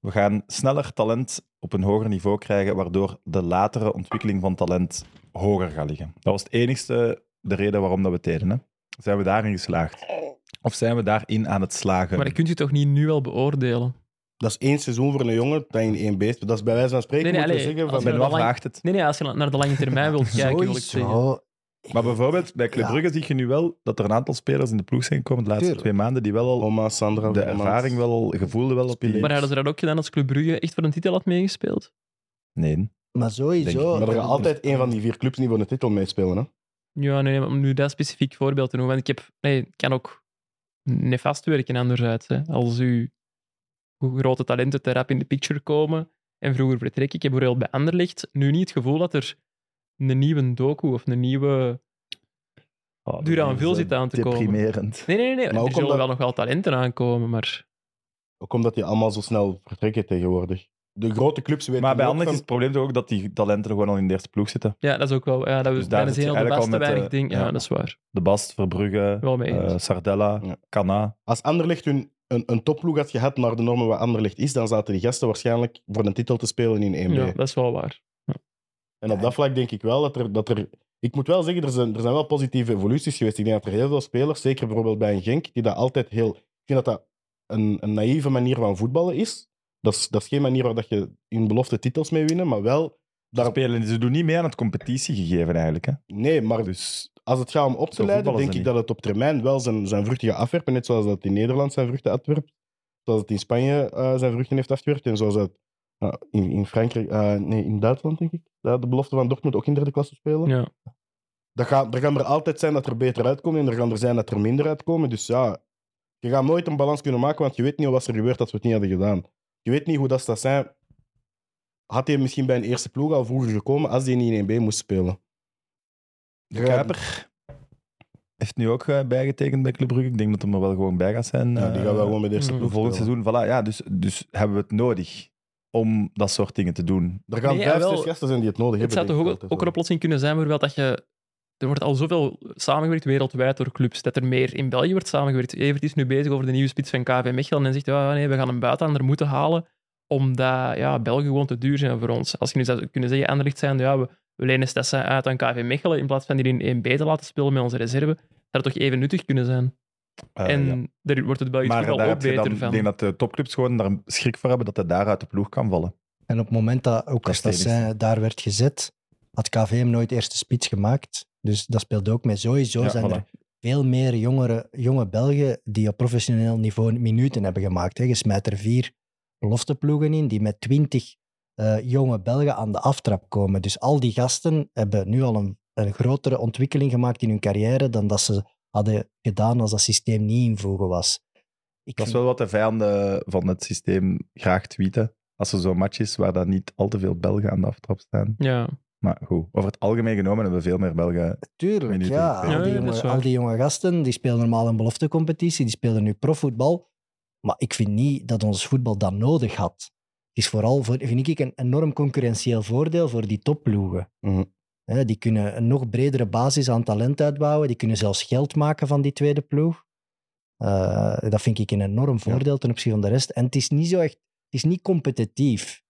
[SPEAKER 2] We gaan sneller talent op een hoger niveau krijgen, waardoor de latere ontwikkeling van talent hoger gaat liggen. Dat was het enigste de reden waarom dat we het deden. Hè. Zijn we daarin geslaagd? Of zijn we daarin aan het slagen?
[SPEAKER 4] maar dat kunt u toch niet nu al beoordelen?
[SPEAKER 3] Dat is één seizoen voor een jongen dat in één beest. Dat is bij wijze van spreken
[SPEAKER 4] Nee, nee,
[SPEAKER 3] moeten we
[SPEAKER 4] allee,
[SPEAKER 3] zeggen
[SPEAKER 4] als
[SPEAKER 3] van...
[SPEAKER 4] we
[SPEAKER 2] ben
[SPEAKER 4] dat
[SPEAKER 2] wel
[SPEAKER 4] lang-
[SPEAKER 2] vraagt het.
[SPEAKER 4] Nee, nee, als je naar de lange termijn wilt kijken, wil ik zeggen.
[SPEAKER 5] Sowieso.
[SPEAKER 2] Maar bijvoorbeeld bij Club
[SPEAKER 5] Ja.
[SPEAKER 2] Brugge zie je nu wel dat er een aantal spelers in de ploeg zijn gekomen de laatste
[SPEAKER 5] Tuurlijk.
[SPEAKER 2] twee maanden die wel al
[SPEAKER 3] Oma, Sandra...
[SPEAKER 2] de
[SPEAKER 3] Roman.
[SPEAKER 2] ervaring wel al gevoelde wel op je
[SPEAKER 4] Maar hadden ze dat ook gedaan als Club Brugge echt voor een titel had meegespeeld?
[SPEAKER 2] Nee.
[SPEAKER 5] Maar
[SPEAKER 2] Denk ik.
[SPEAKER 5] sowieso.
[SPEAKER 3] Maar er gaat altijd één van die vier clubs niet voor de titel meespelen. Hè?
[SPEAKER 4] Ja, nee, maar om nu dat specifiek voorbeeld te noemen, want ik heb, nee, het kan ook nefast werken anderzijds. Hè. Als uw uw grote talenten te rap in de picture komen en vroeger vertrekken. Ik heb bijvoorbeeld bij Anderlecht nu niet het gevoel dat er een nieuwe docu of een nieuwe...
[SPEAKER 2] Oh,
[SPEAKER 4] Duranville
[SPEAKER 2] dat is,
[SPEAKER 4] zit aan te
[SPEAKER 2] eh,
[SPEAKER 4] komen.
[SPEAKER 2] Deprimerend.
[SPEAKER 4] Nee, nee, nee,
[SPEAKER 3] ook
[SPEAKER 4] er zullen
[SPEAKER 3] omdat-
[SPEAKER 4] wel nog wel talenten aankomen, maar...
[SPEAKER 3] Ook omdat die allemaal zo snel vertrekken tegenwoordig. de grote clubs weten
[SPEAKER 2] Maar bij
[SPEAKER 3] ook
[SPEAKER 2] Anderlecht is
[SPEAKER 3] van-
[SPEAKER 2] het probleem toch ook dat die talenten er gewoon al in de eerste ploeg zitten.
[SPEAKER 4] Ja, dat is ook wel. Ja, dat
[SPEAKER 2] Dus
[SPEAKER 4] is
[SPEAKER 2] daar
[SPEAKER 4] bijna
[SPEAKER 2] zit je
[SPEAKER 4] heel de
[SPEAKER 2] eigenlijk al
[SPEAKER 4] beste
[SPEAKER 2] met,
[SPEAKER 4] weinig
[SPEAKER 2] eh,
[SPEAKER 4] ding. Ja,
[SPEAKER 2] ja.
[SPEAKER 4] dat is waar.
[SPEAKER 2] De Bast, Verbrugge,
[SPEAKER 4] Wel mee
[SPEAKER 2] eh,
[SPEAKER 4] eens.
[SPEAKER 2] Sardella,
[SPEAKER 3] Ja.
[SPEAKER 2] Cana.
[SPEAKER 3] Als Anderlecht hun een, een topploeg had gehad naar de normen waar Anderlecht is, dan zaten die gasten waarschijnlijk voor een titel te spelen in 1B.
[SPEAKER 4] ja, dat is wel waar.
[SPEAKER 3] En op dat vlak denk ik wel dat er... Dat er ik moet wel zeggen, er zijn, er zijn wel positieve evoluties geweest. Ik denk dat er heel veel spelers, zeker bijvoorbeeld bij een Genk, die dat altijd heel... Ik vind dat dat een, een naïeve manier van voetballen is. Dat is, dat is geen manier waar dat je in belofte titels mee winnen, maar wel...
[SPEAKER 2] Ze,
[SPEAKER 3] Daar,
[SPEAKER 2] spelen, ze doen niet mee aan het competitiegegeven eigenlijk. Hè.
[SPEAKER 3] nee, maar
[SPEAKER 2] Dus
[SPEAKER 3] als het gaat om op
[SPEAKER 2] Zo
[SPEAKER 3] te leiden,
[SPEAKER 2] voetballen
[SPEAKER 3] denk
[SPEAKER 2] ze niet.
[SPEAKER 3] ik dat het op termijn wel zijn, zijn vruchten gaat afwerpen. Net zoals dat in Nederland zijn vruchten afwerpt. Zoals het in Spanje eh, zijn vruchten heeft afgewerkt. En zoals het eh, in, in Frankrijk, eh, nee, in Duitsland, denk ik. Dat de belofte van Dortmund ook in derde klasse spelen.
[SPEAKER 4] Ja.
[SPEAKER 3] Dat gaat, er gaan er altijd zijn dat er beter uitkomen. En er gaan er zijn dat er minder uitkomen. Dus ja, je gaat nooit een balans kunnen maken. Want je weet niet wat er gebeurt als we het niet hadden gedaan. Je weet niet hoe dat zou zijn. Had hij misschien bij een eerste ploeg al vroeger gekomen als hij niet in 1B moest spelen?
[SPEAKER 2] de Kuiper heeft nu ook eh, bijgetekend bij Club Brugge. Ik denk dat hem er wel gewoon bij gaat zijn.
[SPEAKER 3] Ja, die
[SPEAKER 2] eh,
[SPEAKER 3] gaan wel gewoon bij de eerste
[SPEAKER 4] mm,
[SPEAKER 3] ploeg
[SPEAKER 2] volgend
[SPEAKER 3] spelen.
[SPEAKER 2] seizoen. Voilà, ja, dus, dus hebben we het nodig om dat soort dingen te doen.
[SPEAKER 3] Er gaan
[SPEAKER 4] Nee,
[SPEAKER 3] vijf,
[SPEAKER 4] jawel.
[SPEAKER 3] zes gasten zijn die het nodig
[SPEAKER 4] Het
[SPEAKER 3] hebben.
[SPEAKER 4] zou toch
[SPEAKER 3] denk ik
[SPEAKER 4] ook,
[SPEAKER 3] altijd
[SPEAKER 4] ook een
[SPEAKER 3] wel.
[SPEAKER 4] oplossing kunnen zijn, bijvoorbeeld dat je. Er wordt al zoveel samengewerkt wereldwijd door clubs, dat er meer in België wordt samengewerkt. Evert is nu bezig over de nieuwe spits van KV Mechelen en zegt, ja, nee, we gaan een buitenlander moeten halen, omdat ja, België gewoon te duur zijn voor ons. Als je nu zou kunnen zeggen, Anderlecht zijn, ja, we, we lenen Stessa uit aan KV Mechelen, in plaats van die in 1B te laten spelen met onze reserve, zou dat toch even nuttig kunnen zijn.
[SPEAKER 2] Eh,
[SPEAKER 4] en
[SPEAKER 2] ja.
[SPEAKER 4] daar wordt het Belgisch
[SPEAKER 2] Maar
[SPEAKER 4] voetbal
[SPEAKER 2] daar
[SPEAKER 4] ook
[SPEAKER 2] heb je
[SPEAKER 4] beter
[SPEAKER 2] dan, ik
[SPEAKER 4] van.
[SPEAKER 2] denk dat de topclubs gewoon daar schrik voor hebben dat hij daar uit de ploeg kan vallen.
[SPEAKER 5] En op het moment dat ook als dat
[SPEAKER 2] Kastelen is-
[SPEAKER 5] zijn, daar werd gezet, had KVM nooit eerste spits gemaakt. Dus dat speelde ook mee. Sowieso
[SPEAKER 2] Ja,
[SPEAKER 5] zijn
[SPEAKER 2] voilà.
[SPEAKER 5] er veel meer jongere, jonge Belgen die op professioneel niveau minuten hebben gemaakt. Hè. Je smijt er vier belofteploegen in die met twintig eh, jonge Belgen aan de aftrap komen. Dus al die gasten hebben nu al een, een grotere ontwikkeling gemaakt in hun carrière dan dat ze hadden gedaan als dat systeem niet invoegen was. Ik
[SPEAKER 2] Dat is
[SPEAKER 5] vind-
[SPEAKER 2] wel wat de vijanden van het systeem graag tweeten. Als er zo'n match is waar dan niet al te veel Belgen aan de aftrap staan.
[SPEAKER 4] Ja,
[SPEAKER 2] Maar goed, over het algemeen genomen hebben we veel meer Belgen.
[SPEAKER 5] Tuurlijk,
[SPEAKER 2] minuten
[SPEAKER 5] ja.
[SPEAKER 2] spelen.
[SPEAKER 5] Al die,
[SPEAKER 4] Ja, dat is
[SPEAKER 5] jonge,
[SPEAKER 4] waar.
[SPEAKER 5] al die jonge gasten, die spelen normaal een beloftecompetitie, die spelen nu profvoetbal. Maar ik vind niet dat ons voetbal dat nodig had. Het is vooral, voor, vind ik, een enorm concurrentieel voordeel voor die topploegen.
[SPEAKER 3] Mhm.
[SPEAKER 5] Hè, die kunnen een nog bredere basis aan talent uitbouwen. Die kunnen zelfs geld maken van die tweede ploeg. Eh, dat vind ik een enorm voordeel ten opzichte van de rest. En het is niet zo echt, het is niet competitief.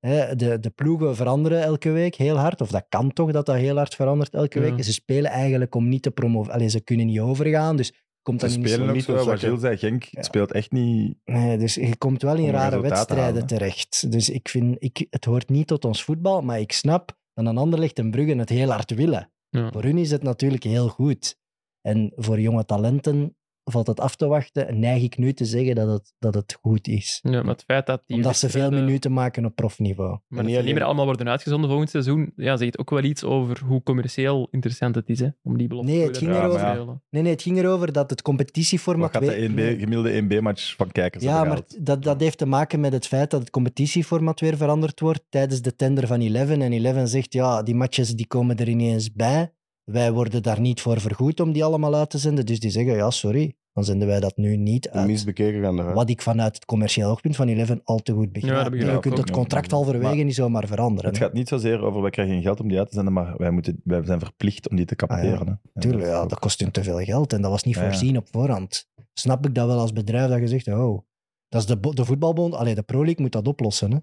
[SPEAKER 5] Hè, de, de ploegen veranderen elke week heel hard. Of dat kan toch dat dat heel hard verandert elke
[SPEAKER 4] Ja.
[SPEAKER 2] Mhm.
[SPEAKER 5] week. Ze spelen eigenlijk om niet te promoveren. Allee, ze kunnen niet overgaan. Dus komt
[SPEAKER 2] Ze
[SPEAKER 5] dan in die
[SPEAKER 2] spelen ook
[SPEAKER 3] niet
[SPEAKER 2] zo,
[SPEAKER 3] zo
[SPEAKER 2] wat
[SPEAKER 3] zakken.
[SPEAKER 2] Gilles zei, Genk
[SPEAKER 5] Ja.
[SPEAKER 2] speelt echt niet...
[SPEAKER 5] Nee, dus je komt wel
[SPEAKER 2] Om
[SPEAKER 5] in
[SPEAKER 2] een
[SPEAKER 5] rare
[SPEAKER 2] resultaat te
[SPEAKER 5] wedstrijden
[SPEAKER 2] halen, hè.
[SPEAKER 5] terecht. Dus ik vind, ik, het hoort niet tot ons voetbal, maar ik snap dat een ander ligt en Brugge het heel hard willen.
[SPEAKER 4] Ja.
[SPEAKER 5] Voor hun is het natuurlijk heel goed. En voor jonge talenten valt het af te wachten. En neig ik nu te zeggen dat het, dat het goed is.
[SPEAKER 4] ja, maar het feit dat die...
[SPEAKER 5] Omdat ze veel
[SPEAKER 4] wedstrijden-
[SPEAKER 5] minuten maken op profniveau.
[SPEAKER 4] Maar
[SPEAKER 3] En
[SPEAKER 4] dat
[SPEAKER 3] niet
[SPEAKER 4] ze niet
[SPEAKER 3] alleen-
[SPEAKER 4] meer allemaal worden uitgezonden volgend seizoen, ja, zegt ook wel iets over hoe commercieel interessant het is hè, om die belofte
[SPEAKER 5] Nee, het
[SPEAKER 4] te
[SPEAKER 5] ging
[SPEAKER 4] doen.
[SPEAKER 2] erover- Ja, maar
[SPEAKER 5] Nee, nee, het ging erover dat het
[SPEAKER 2] Wat
[SPEAKER 5] competitieformat...
[SPEAKER 2] gaat de
[SPEAKER 5] weer-
[SPEAKER 2] 1B, gemiddelde 1B-match van kijkers
[SPEAKER 5] Ja,
[SPEAKER 2] hebben
[SPEAKER 5] maar
[SPEAKER 2] gehaald?
[SPEAKER 5] dat, dat heeft te maken met het feit dat het competitieformat weer veranderd wordt tijdens de tender van Eleven. En Eleven zegt, ja, die matches die komen er ineens bij. Wij worden daar niet voor vergoed om die allemaal uit te zenden. Dus die zeggen, ja, sorry, dan zenden wij dat nu niet
[SPEAKER 3] De minst
[SPEAKER 5] uit.
[SPEAKER 3] bekeken gaan eruit.
[SPEAKER 5] Wat ik vanuit het commercieel oogpunt van Eleven al te goed begrijp.
[SPEAKER 4] Ja, dat begrijp
[SPEAKER 5] je
[SPEAKER 4] ik
[SPEAKER 5] kunt
[SPEAKER 4] ook,
[SPEAKER 5] het
[SPEAKER 2] ja.
[SPEAKER 5] contract halverwege
[SPEAKER 2] Maar-
[SPEAKER 5] niet zomaar veranderen.
[SPEAKER 2] Het gaat niet zozeer over, wij krijgen geen geld om die uit te zenden, maar wij, moeten, wij zijn verplicht om die te capteren.
[SPEAKER 5] Ah,
[SPEAKER 2] hè. Ja,
[SPEAKER 5] Tuurlijk,
[SPEAKER 2] dat is
[SPEAKER 5] ja,
[SPEAKER 2] ook-
[SPEAKER 5] dat kost hun te veel geld en dat was niet
[SPEAKER 2] Ja, ja.
[SPEAKER 5] voorzien op voorhand. Snap ik dat wel als bedrijf dat je zegt, oh, dat is de, bo- de voetbalbond, allee, de Pro League moet dat oplossen. Hè?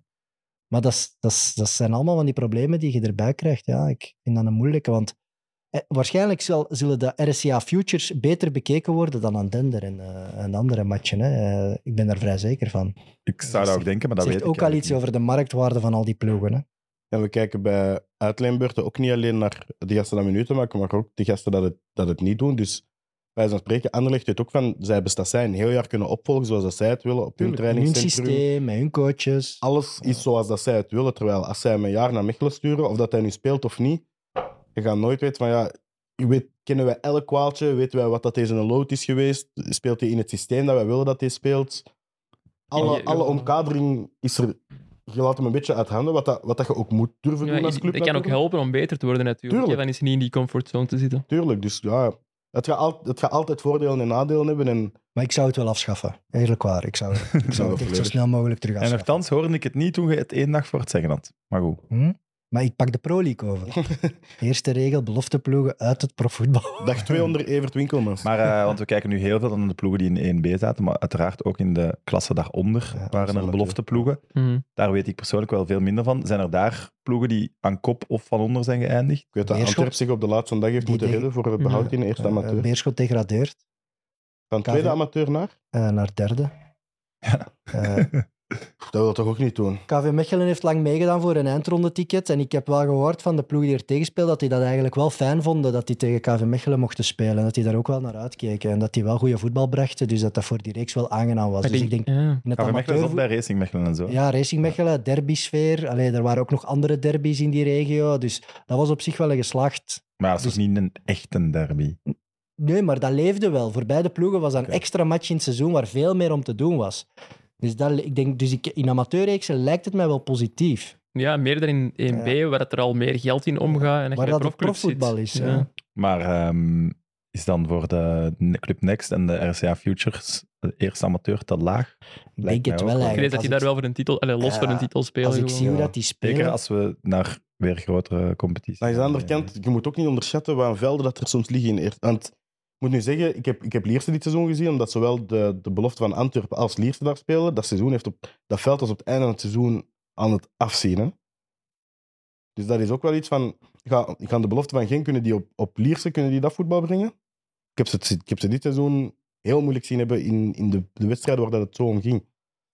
[SPEAKER 5] Maar dat, is- dat, is- dat zijn allemaal van die problemen die je erbij krijgt. Ja, ik vind dat een moeilijke, want eh, waarschijnlijk zal, zullen de RSCA Futures beter bekeken worden dan aan Dender en, eh, en andere matchen. Hè? Eh, ik ben daar vrij zeker van.
[SPEAKER 2] Ik zou dat ook denken, maar dat
[SPEAKER 5] Dat
[SPEAKER 2] weet
[SPEAKER 5] zegt
[SPEAKER 2] ik
[SPEAKER 5] ook al
[SPEAKER 2] eigenlijk
[SPEAKER 5] iets
[SPEAKER 2] niet.
[SPEAKER 5] over de marktwaarde van al die ploegen. Hè?
[SPEAKER 3] En we kijken bij uitleenbeurten ook niet alleen naar de gasten dat minuten maken, maar ook de gasten dat het, dat het niet doen. Dus wij zijn spreken, Anderlecht weet ook van, zij hebben dat zij een heel jaar kunnen opvolgen zoals dat zij het willen, op hun
[SPEAKER 5] Tuurlijk, in hun
[SPEAKER 3] trainingscentrum.
[SPEAKER 5] systeem, met hun coaches.
[SPEAKER 3] Alles is zoals dat zij het willen, terwijl als zij hem een jaar naar Mechelen sturen, of dat hij nu speelt of niet, je gaat nooit weten van, ja, je weet, kennen wij elk kwaaltje, weten wij wat dat deze een lood is geweest, speelt hij in het systeem dat wij willen dat hij speelt. Alle,
[SPEAKER 4] Ja,
[SPEAKER 3] alle
[SPEAKER 4] ja.
[SPEAKER 3] omkadering is er, je laat hem een beetje uit handen, wat dat, wat dat je ook moet durven
[SPEAKER 4] Ja,
[SPEAKER 3] doen als
[SPEAKER 4] ik
[SPEAKER 3] club.
[SPEAKER 4] dat kan ook
[SPEAKER 3] natuurlijk.
[SPEAKER 4] helpen om beter te worden natuurlijk. hè.
[SPEAKER 3] Tuurlijk.
[SPEAKER 4] Dan is hij niet in die comfortzone te zitten.
[SPEAKER 3] Tuurlijk, dus ja, Het gaat, al, het gaat altijd voordelen en nadelen hebben. En
[SPEAKER 5] Maar ik zou het wel afschaffen. Eerlijk waar.
[SPEAKER 3] [laughs]
[SPEAKER 5] Ik zou,
[SPEAKER 2] [laughs]
[SPEAKER 5] ik zou het echt zo
[SPEAKER 3] volledig.
[SPEAKER 5] snel mogelijk terug
[SPEAKER 2] En
[SPEAKER 5] afschaffen.
[SPEAKER 2] nogthans hoorde ik het niet toen je het één dag voor het zeggen had. Maar goed.
[SPEAKER 5] Hm? Maar ik pak de Pro
[SPEAKER 3] [laughs]
[SPEAKER 5] League over. Eerste regel, belofteploegen uit het profvoetbal.
[SPEAKER 3] dag 2
[SPEAKER 4] [laughs]
[SPEAKER 3] onder Evert Winkelmans.
[SPEAKER 2] Maar, eh, want we kijken nu heel veel aan de ploegen die in 1B zaten, maar uiteraard ook in de klasse daaronder
[SPEAKER 3] Ja,
[SPEAKER 2] waren er
[SPEAKER 3] absoluut,
[SPEAKER 2] belofteploegen.
[SPEAKER 4] Mhm.
[SPEAKER 2] Daar weet ik persoonlijk wel veel minder van. Zijn er daar ploegen die aan kop of van onder zijn geëindigd?
[SPEAKER 3] ik weet dat
[SPEAKER 5] Beerschot.
[SPEAKER 3] Antwerp zich op de laatste dag heeft
[SPEAKER 5] Die
[SPEAKER 3] moeten
[SPEAKER 5] tegen-
[SPEAKER 3] redden voor het behoud in de eerste
[SPEAKER 5] Eh,
[SPEAKER 3] amateur.
[SPEAKER 5] Beerschot degradeert
[SPEAKER 3] Van
[SPEAKER 5] KV.
[SPEAKER 3] tweede amateur naar?
[SPEAKER 5] eh, naar derde. Eh,
[SPEAKER 3] Dat wil dat toch ook niet doen?
[SPEAKER 5] KV Mechelen heeft lang meegedaan voor een eindrondeticket. En ik heb wel gehoord van de ploeg die er tegen speelde dat die dat eigenlijk wel fijn vonden dat die tegen KV Mechelen mochten spelen. En dat die daar ook wel naar uitkeken. En dat die wel goede voetbal brachten. Dus dat dat voor die reeks wel aangenaam was.
[SPEAKER 4] Maar
[SPEAKER 5] Dus ik denk,
[SPEAKER 4] ja.
[SPEAKER 5] in het
[SPEAKER 2] KV Mechelen zat
[SPEAKER 5] amateurvoet-
[SPEAKER 2] bij Racing Mechelen en zo.
[SPEAKER 5] Ja, Racing Mechelen, derbysfeer. Allee, er waren ook nog andere derbies in die regio. Dus dat was op zich wel een geslaagd.
[SPEAKER 2] Maar dat is
[SPEAKER 3] dus-
[SPEAKER 2] toch niet een echte derby?
[SPEAKER 5] Nee, maar dat leefde wel. Voor beide ploegen was dat een
[SPEAKER 2] Oké.
[SPEAKER 5] extra match in het seizoen waar veel meer om te doen was. Dus, dat, ik denk, dus ik, in amateurreeksen lijkt het mij wel positief.
[SPEAKER 4] ja, meer dan in 1B, waar het er al meer geld in omgaat. En echt
[SPEAKER 5] Waar
[SPEAKER 4] bij
[SPEAKER 5] dat het
[SPEAKER 4] profclubs zit.
[SPEAKER 5] profvoetbal is, ja.
[SPEAKER 2] Maar ehm, is dan voor de ne- Club Next en de RCA Futures de eerste amateur te laag?
[SPEAKER 5] Ik
[SPEAKER 2] Lijkt
[SPEAKER 5] denk het
[SPEAKER 2] mij ook
[SPEAKER 5] wel
[SPEAKER 2] wel.
[SPEAKER 5] eigenlijk.
[SPEAKER 4] Ik weet dat die
[SPEAKER 5] Als
[SPEAKER 4] daar
[SPEAKER 5] ik-
[SPEAKER 4] wel voor een titel, allee, los
[SPEAKER 5] Ja,
[SPEAKER 4] voor een titel spelen.
[SPEAKER 5] Als ik
[SPEAKER 4] gewoon.
[SPEAKER 5] zie hoe
[SPEAKER 3] Ja.
[SPEAKER 5] dat die spelen...
[SPEAKER 2] Zeker als we naar weer grotere competities.
[SPEAKER 3] Maar aan de andere
[SPEAKER 2] gaan. eh,
[SPEAKER 3] kant, je moet ook niet onderschatten wat een velden dat er soms liggen in de eerste. Want ik moet nu zeggen, ik heb, ik heb Lierse dit seizoen gezien, omdat zowel de, de belofte van Antwerpen als Lierse daar spelen. Dat seizoen heeft op dat veld als op het einde van het seizoen aan het afzien. Hè? Dus dat is ook wel iets van. Ga, gaan de belofte van Geen kunnen die op, op Lierse kunnen die dat voetbal brengen? Ik heb ze, ik heb ze dit seizoen heel moeilijk zien hebben in, in de, de wedstrijden waar dat het zo om ging.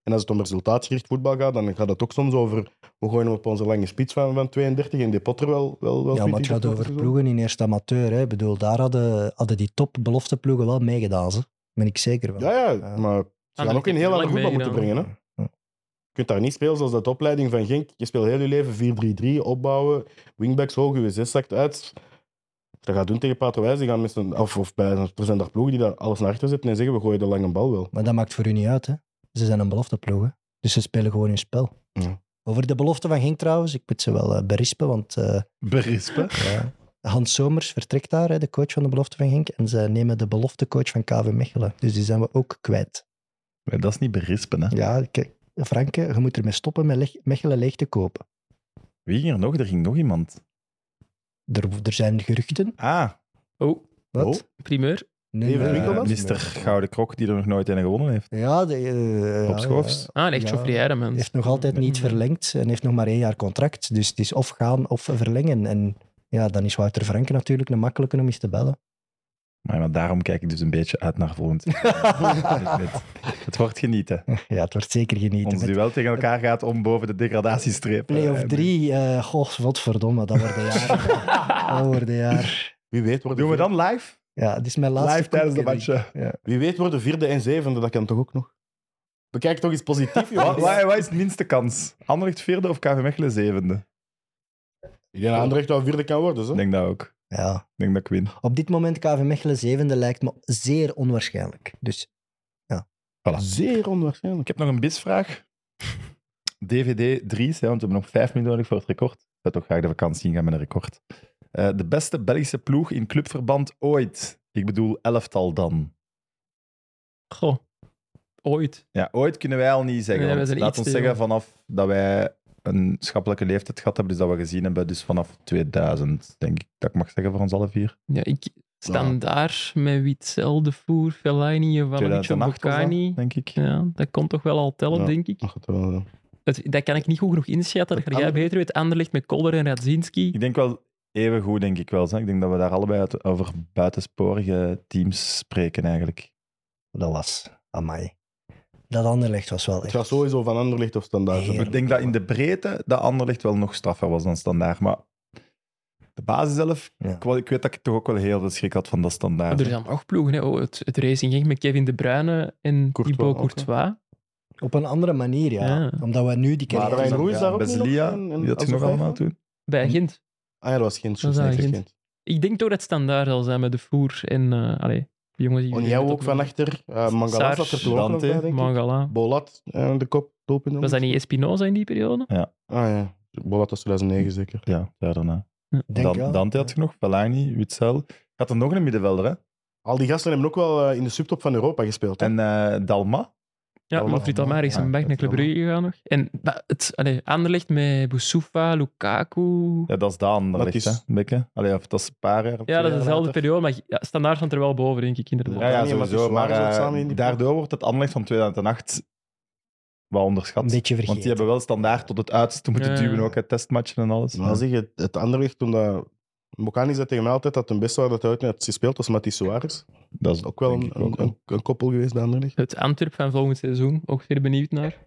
[SPEAKER 3] En als het om resultaatgericht voetbal gaat, dan gaat het ook soms over we gooien hem op onze lange spits van, van 32 en die potter wel. wel, wel
[SPEAKER 5] Ja, maar het
[SPEAKER 3] 20
[SPEAKER 5] gaat over
[SPEAKER 3] seizoen.
[SPEAKER 5] ploegen in eerste amateur. Hè. Ik bedoel, daar hadden, hadden die topbelofte ploegen wel meegedaan. Ze. Daar ben ik zeker van.
[SPEAKER 3] Ja, ja,
[SPEAKER 5] Ja.
[SPEAKER 3] maar ze gaan ook een
[SPEAKER 4] dat heeft
[SPEAKER 3] heel
[SPEAKER 4] heel
[SPEAKER 3] ander
[SPEAKER 4] lang
[SPEAKER 3] voetbal moeten brengen. Hè?
[SPEAKER 5] meegedaan. Ja.
[SPEAKER 3] Je kunt daar niet spelen zoals dat de opleiding van Genk. Je speelt heel je leven 4-3-3, opbouwen, wingbacks hoog, je 6 zakt uit. Dat gaat doen tegen Paterwijs. Die gaan met z'n- of, of bij, er zijn daar ploegen die daar alles naar achter zetten en zeggen we gooien de lange bal wel.
[SPEAKER 5] Maar dat maakt voor u niet uit. Hè. Ze zijn een belofte ploeg. hè. Dus ze spelen gewoon hun spel.
[SPEAKER 3] Ja.
[SPEAKER 5] Over de belofte van Genk trouwens, ik moet ze wel eh, berispen,
[SPEAKER 3] [laughs]
[SPEAKER 5] want eh,
[SPEAKER 2] Berispen.
[SPEAKER 5] ja, Hans Somers vertrekt daar, hè, de coach van de belofte van Genk. En ze nemen de beloftecoach van KV Mechelen. Dus die zijn we ook kwijt.
[SPEAKER 2] Maar Dat is niet berispen, hè?
[SPEAKER 5] Ja, kijk, Franke, je moet ermee stoppen met Leg- Mechelen leeg te kopen.
[SPEAKER 2] Wie ging er nog? Er ging nog iemand.
[SPEAKER 5] Er, er zijn geruchten.
[SPEAKER 2] Ah,
[SPEAKER 4] Oh,
[SPEAKER 5] Wat?
[SPEAKER 2] Oh.
[SPEAKER 4] primeur.
[SPEAKER 5] Nee,
[SPEAKER 3] Even
[SPEAKER 5] nee.
[SPEAKER 3] winkel
[SPEAKER 2] eh
[SPEAKER 3] wat?
[SPEAKER 2] Mr. Gouden Krok, die er nog nooit een gewonnen heeft.
[SPEAKER 5] Ja, de, eh,
[SPEAKER 2] Rob
[SPEAKER 5] ja,
[SPEAKER 2] Schoofs.
[SPEAKER 5] ja.
[SPEAKER 4] Ah, en echt
[SPEAKER 5] Ja.
[SPEAKER 4] Geoffrey Heiremans.
[SPEAKER 5] heeft nog altijd niet verlengd en heeft nog maar één jaar contract. Dus het is of gaan of verlengen. En ja, dan is Wouter Franke natuurlijk een makkelijke om eens te bellen.
[SPEAKER 2] Maar, maar daarom kijk ik dus een beetje uit naar volgend jaar.
[SPEAKER 5] [laughs]
[SPEAKER 2] Dus het, het- het wordt genieten.
[SPEAKER 5] Ja, het wordt zeker genieten.
[SPEAKER 2] Ons
[SPEAKER 5] Met
[SPEAKER 2] duel tegen elkaar gaat om boven de degradatiestreep.
[SPEAKER 5] play-off
[SPEAKER 2] Eh,
[SPEAKER 5] 3, eh goh, godverdomme, dat
[SPEAKER 2] [laughs]
[SPEAKER 5] wordt een jaar. dat wordt een jaar.
[SPEAKER 3] Wie weet worden,
[SPEAKER 2] Doen we
[SPEAKER 3] vierde-
[SPEAKER 2] dan live?
[SPEAKER 5] Ja, het is mijn laatste...
[SPEAKER 2] Live tijdens de
[SPEAKER 5] koekcurry.
[SPEAKER 2] matchen.
[SPEAKER 3] Wie weet worden vierde en zevende, dat kan toch ook nog? Bekijk toch eens positief, [laughs]
[SPEAKER 2] Wat,
[SPEAKER 3] joh.
[SPEAKER 2] wat, wat is de minste kans? Anderlecht vierde of KV Mechelen zevende?
[SPEAKER 3] Ik denk dat Anderlecht wel vierde kan worden. Zo.
[SPEAKER 2] Ik denk dat ook.
[SPEAKER 5] Ja.
[SPEAKER 2] Ik denk dat ik win.
[SPEAKER 5] Op dit moment KV Mechelen zevende lijkt me zeer onwaarschijnlijk. Dus
[SPEAKER 2] Voilà.
[SPEAKER 3] Zeer onwaarschijnlijk.
[SPEAKER 2] Ik heb nog een
[SPEAKER 4] [laughs]
[SPEAKER 2] bisvraag. DVD 3's, hè, want we hebben nog vijf minuten nodig voor het record. Ik zou toch graag de vakantie ingaan met een record. Eh, de beste Belgische ploeg in clubverband ooit. Ik bedoel elftal dan.
[SPEAKER 4] Goh. Ooit.
[SPEAKER 2] Ja, ooit kunnen wij al niet zeggen.
[SPEAKER 4] Nee,
[SPEAKER 2] want
[SPEAKER 4] we zijn
[SPEAKER 2] laat
[SPEAKER 4] iets
[SPEAKER 2] ons
[SPEAKER 4] te
[SPEAKER 2] zeggen
[SPEAKER 4] jong.
[SPEAKER 2] vanaf dat wij een schappelijke leeftijd gehad hebben, dus dat we gezien hebben, dus vanaf 2000, denk ik. Dat ik mag zeggen voor ons alle vier.
[SPEAKER 4] Ja, ik staan daar met Witzel, De Voer, Fellaini, Jovanovic en
[SPEAKER 2] 2008 of zo,
[SPEAKER 4] Bocani.
[SPEAKER 2] denk ik.
[SPEAKER 4] Ja, dat kon toch wel al tellen,
[SPEAKER 3] Ja.
[SPEAKER 4] denk ik.
[SPEAKER 3] Mag het wel zijn.
[SPEAKER 4] Het- dat kan ik niet goed genoeg inschatten. Dat ga jij
[SPEAKER 3] Anderlecht-
[SPEAKER 4] beter weten. Anderlecht met Kolder en Radzinski.
[SPEAKER 2] Ik denk wel even goed, denk ik wel. zeg. Ik denk dat we daar allebei uit- over buitensporige teams spreken, eigenlijk.
[SPEAKER 5] dat was... Amai. Dat Anderlecht was wel
[SPEAKER 3] Het
[SPEAKER 5] echt...
[SPEAKER 3] gaat sowieso van Anderlecht of standaard.
[SPEAKER 5] Heerlijk.
[SPEAKER 2] Ik denk dat in de breedte dat Anderlecht wel nog straffer was dan standaard. Maar de basis zelf,
[SPEAKER 5] Ja.
[SPEAKER 2] ik, wel- ik weet dat ik toch ook wel heel veel schrik had van dat standaard.
[SPEAKER 4] Er zijn nog ploegen. Hè. Oh, het, het Racing Genk met Kevin De Bruyne en
[SPEAKER 3] Courtois
[SPEAKER 4] Thibaut
[SPEAKER 3] ook, hè.
[SPEAKER 4] Courtois.
[SPEAKER 5] Op een andere manier, ja.
[SPEAKER 4] Ja.
[SPEAKER 5] Omdat we nu die
[SPEAKER 3] Maar
[SPEAKER 5] carrière...
[SPEAKER 3] wij-
[SPEAKER 5] hebben.
[SPEAKER 3] Roei is daar ook
[SPEAKER 2] Basilia,
[SPEAKER 3] niet nog? En- en
[SPEAKER 2] die had zich
[SPEAKER 3] Azor
[SPEAKER 2] nog allemaal
[SPEAKER 3] Vijver?
[SPEAKER 2] toen.
[SPEAKER 4] Bij Gent.
[SPEAKER 3] Ah ja, dat was geen
[SPEAKER 4] Dat is
[SPEAKER 3] Sjoerd, nee,
[SPEAKER 4] eigenlijk
[SPEAKER 3] geen.
[SPEAKER 4] Ik denk toch dat het standaard zal zijn met De Voer en... eh allee, die jongens die...
[SPEAKER 3] Onjou ook van achter. eh Mangala
[SPEAKER 4] Saar,
[SPEAKER 3] zat er toen ook nog
[SPEAKER 2] Dante,
[SPEAKER 3] bij, denk ik.
[SPEAKER 4] Mangala.
[SPEAKER 3] Bolat, eh, de kop, doelpunt.
[SPEAKER 4] Was dat niet Espinoza in die periode?
[SPEAKER 3] Ah ja, Bolat was 2009 zeker.
[SPEAKER 2] Ja, daar daarna.
[SPEAKER 5] Denk
[SPEAKER 2] Dan-
[SPEAKER 5] wel.
[SPEAKER 2] Dante had je nog, Pelani, Witzel. Had er nog een middenvelder, hè?
[SPEAKER 3] Al die gasten hebben ook wel eh, in de subtop van Europa gespeeld. hè.
[SPEAKER 2] En eh, Dalma?
[SPEAKER 4] Ja,
[SPEAKER 3] Allemaal.
[SPEAKER 4] Wilfried Almari is
[SPEAKER 2] Ja,
[SPEAKER 4] een back naar
[SPEAKER 2] dat is
[SPEAKER 4] Club Brugge gegaan nog. En dat- het allee, Anderlecht met Boussoufa, Lukaku...
[SPEAKER 2] Ja, dat is Daan. Dat
[SPEAKER 3] Dat
[SPEAKER 2] ligt,
[SPEAKER 3] is-
[SPEAKER 2] hè? Bekke. Allee, of dat is een paar jaar.
[SPEAKER 4] Ja, dat is
[SPEAKER 3] jaar
[SPEAKER 4] dezelfde
[SPEAKER 3] later.
[SPEAKER 4] periode, maar ja, standaard staat er wel boven, denk ik, inderdaad.
[SPEAKER 2] Ja, ja,
[SPEAKER 3] Ja, nee, maar
[SPEAKER 2] sowieso.
[SPEAKER 3] die
[SPEAKER 2] Maar
[SPEAKER 3] Suarez
[SPEAKER 2] eh,
[SPEAKER 3] zat samen in die-
[SPEAKER 2] daardoor wordt het Anderlecht van 2008 wel onderschat.
[SPEAKER 5] Een beetje
[SPEAKER 2] Want die
[SPEAKER 5] vergeten.
[SPEAKER 2] hebben wel standaard tot het uiterste moeten
[SPEAKER 4] Ja.
[SPEAKER 2] duwen, ook uit testmatchen en alles.
[SPEAKER 3] Maar zeg je, het andere weg toen dat... Mokani zei tegen mij altijd dat het beste waar dat hij ooit mee had gespeeld was Mati Suarez.
[SPEAKER 2] dat is
[SPEAKER 3] Ook wel
[SPEAKER 2] denk
[SPEAKER 3] een,
[SPEAKER 2] ik ook
[SPEAKER 3] een, een koppel geweest bij Anderlecht.
[SPEAKER 4] Het Antwerp van volgend seizoen, ook zeer benieuwd naar.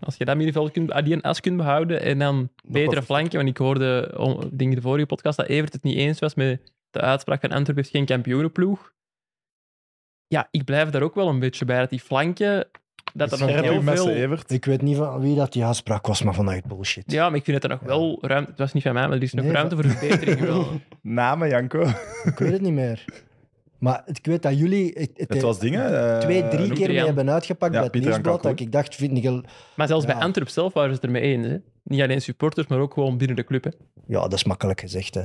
[SPEAKER 4] Als je dat middenveld kunt, ah, die een as kunt behouden en dan betere
[SPEAKER 3] wat-
[SPEAKER 4] flanken. Want ik hoorde, oh, ik denk de vorige podcast, dat Evert het niet eens was met de uitspraak van Antwerp heeft geen kampioenenploeg. Ja, ik blijf daar ook wel een beetje bij. Dat die flanken, dat er nog
[SPEAKER 2] Scherp
[SPEAKER 4] heel
[SPEAKER 2] uw messen,
[SPEAKER 4] veel...
[SPEAKER 2] Evert.
[SPEAKER 5] Ik weet niet van wie dat die aanspraak was, maar vandaag bullshit.
[SPEAKER 4] Ja, maar ik vind dat er nog
[SPEAKER 5] Ja.
[SPEAKER 4] wel ruimte... Het was niet van mij, maar er is nog
[SPEAKER 5] Nee,
[SPEAKER 4] ruimte voor verbetering wel.
[SPEAKER 5] [laughs]
[SPEAKER 2] Namen, [laughs] Janko.
[SPEAKER 5] Ik weet het niet meer. Maar ik weet dat jullie het, het-
[SPEAKER 2] Het was dingen. eh,
[SPEAKER 5] twee, drie
[SPEAKER 2] noem-
[SPEAKER 5] keer mee
[SPEAKER 4] Jan.
[SPEAKER 5] hebben uitgepakt
[SPEAKER 2] Ja,
[SPEAKER 5] bij het
[SPEAKER 2] Pieter Jan
[SPEAKER 5] nieuwsblad. Dat
[SPEAKER 2] Kalkoen.
[SPEAKER 5] ik dacht, vind ik heel-
[SPEAKER 4] Maar zelfs bij
[SPEAKER 5] Ja.
[SPEAKER 4] Antwerp zelf waren ze het er mee eens. Hè? Niet alleen supporters, maar ook gewoon binnen de club. Hè?
[SPEAKER 5] Ja, dat is makkelijk gezegd. Hè.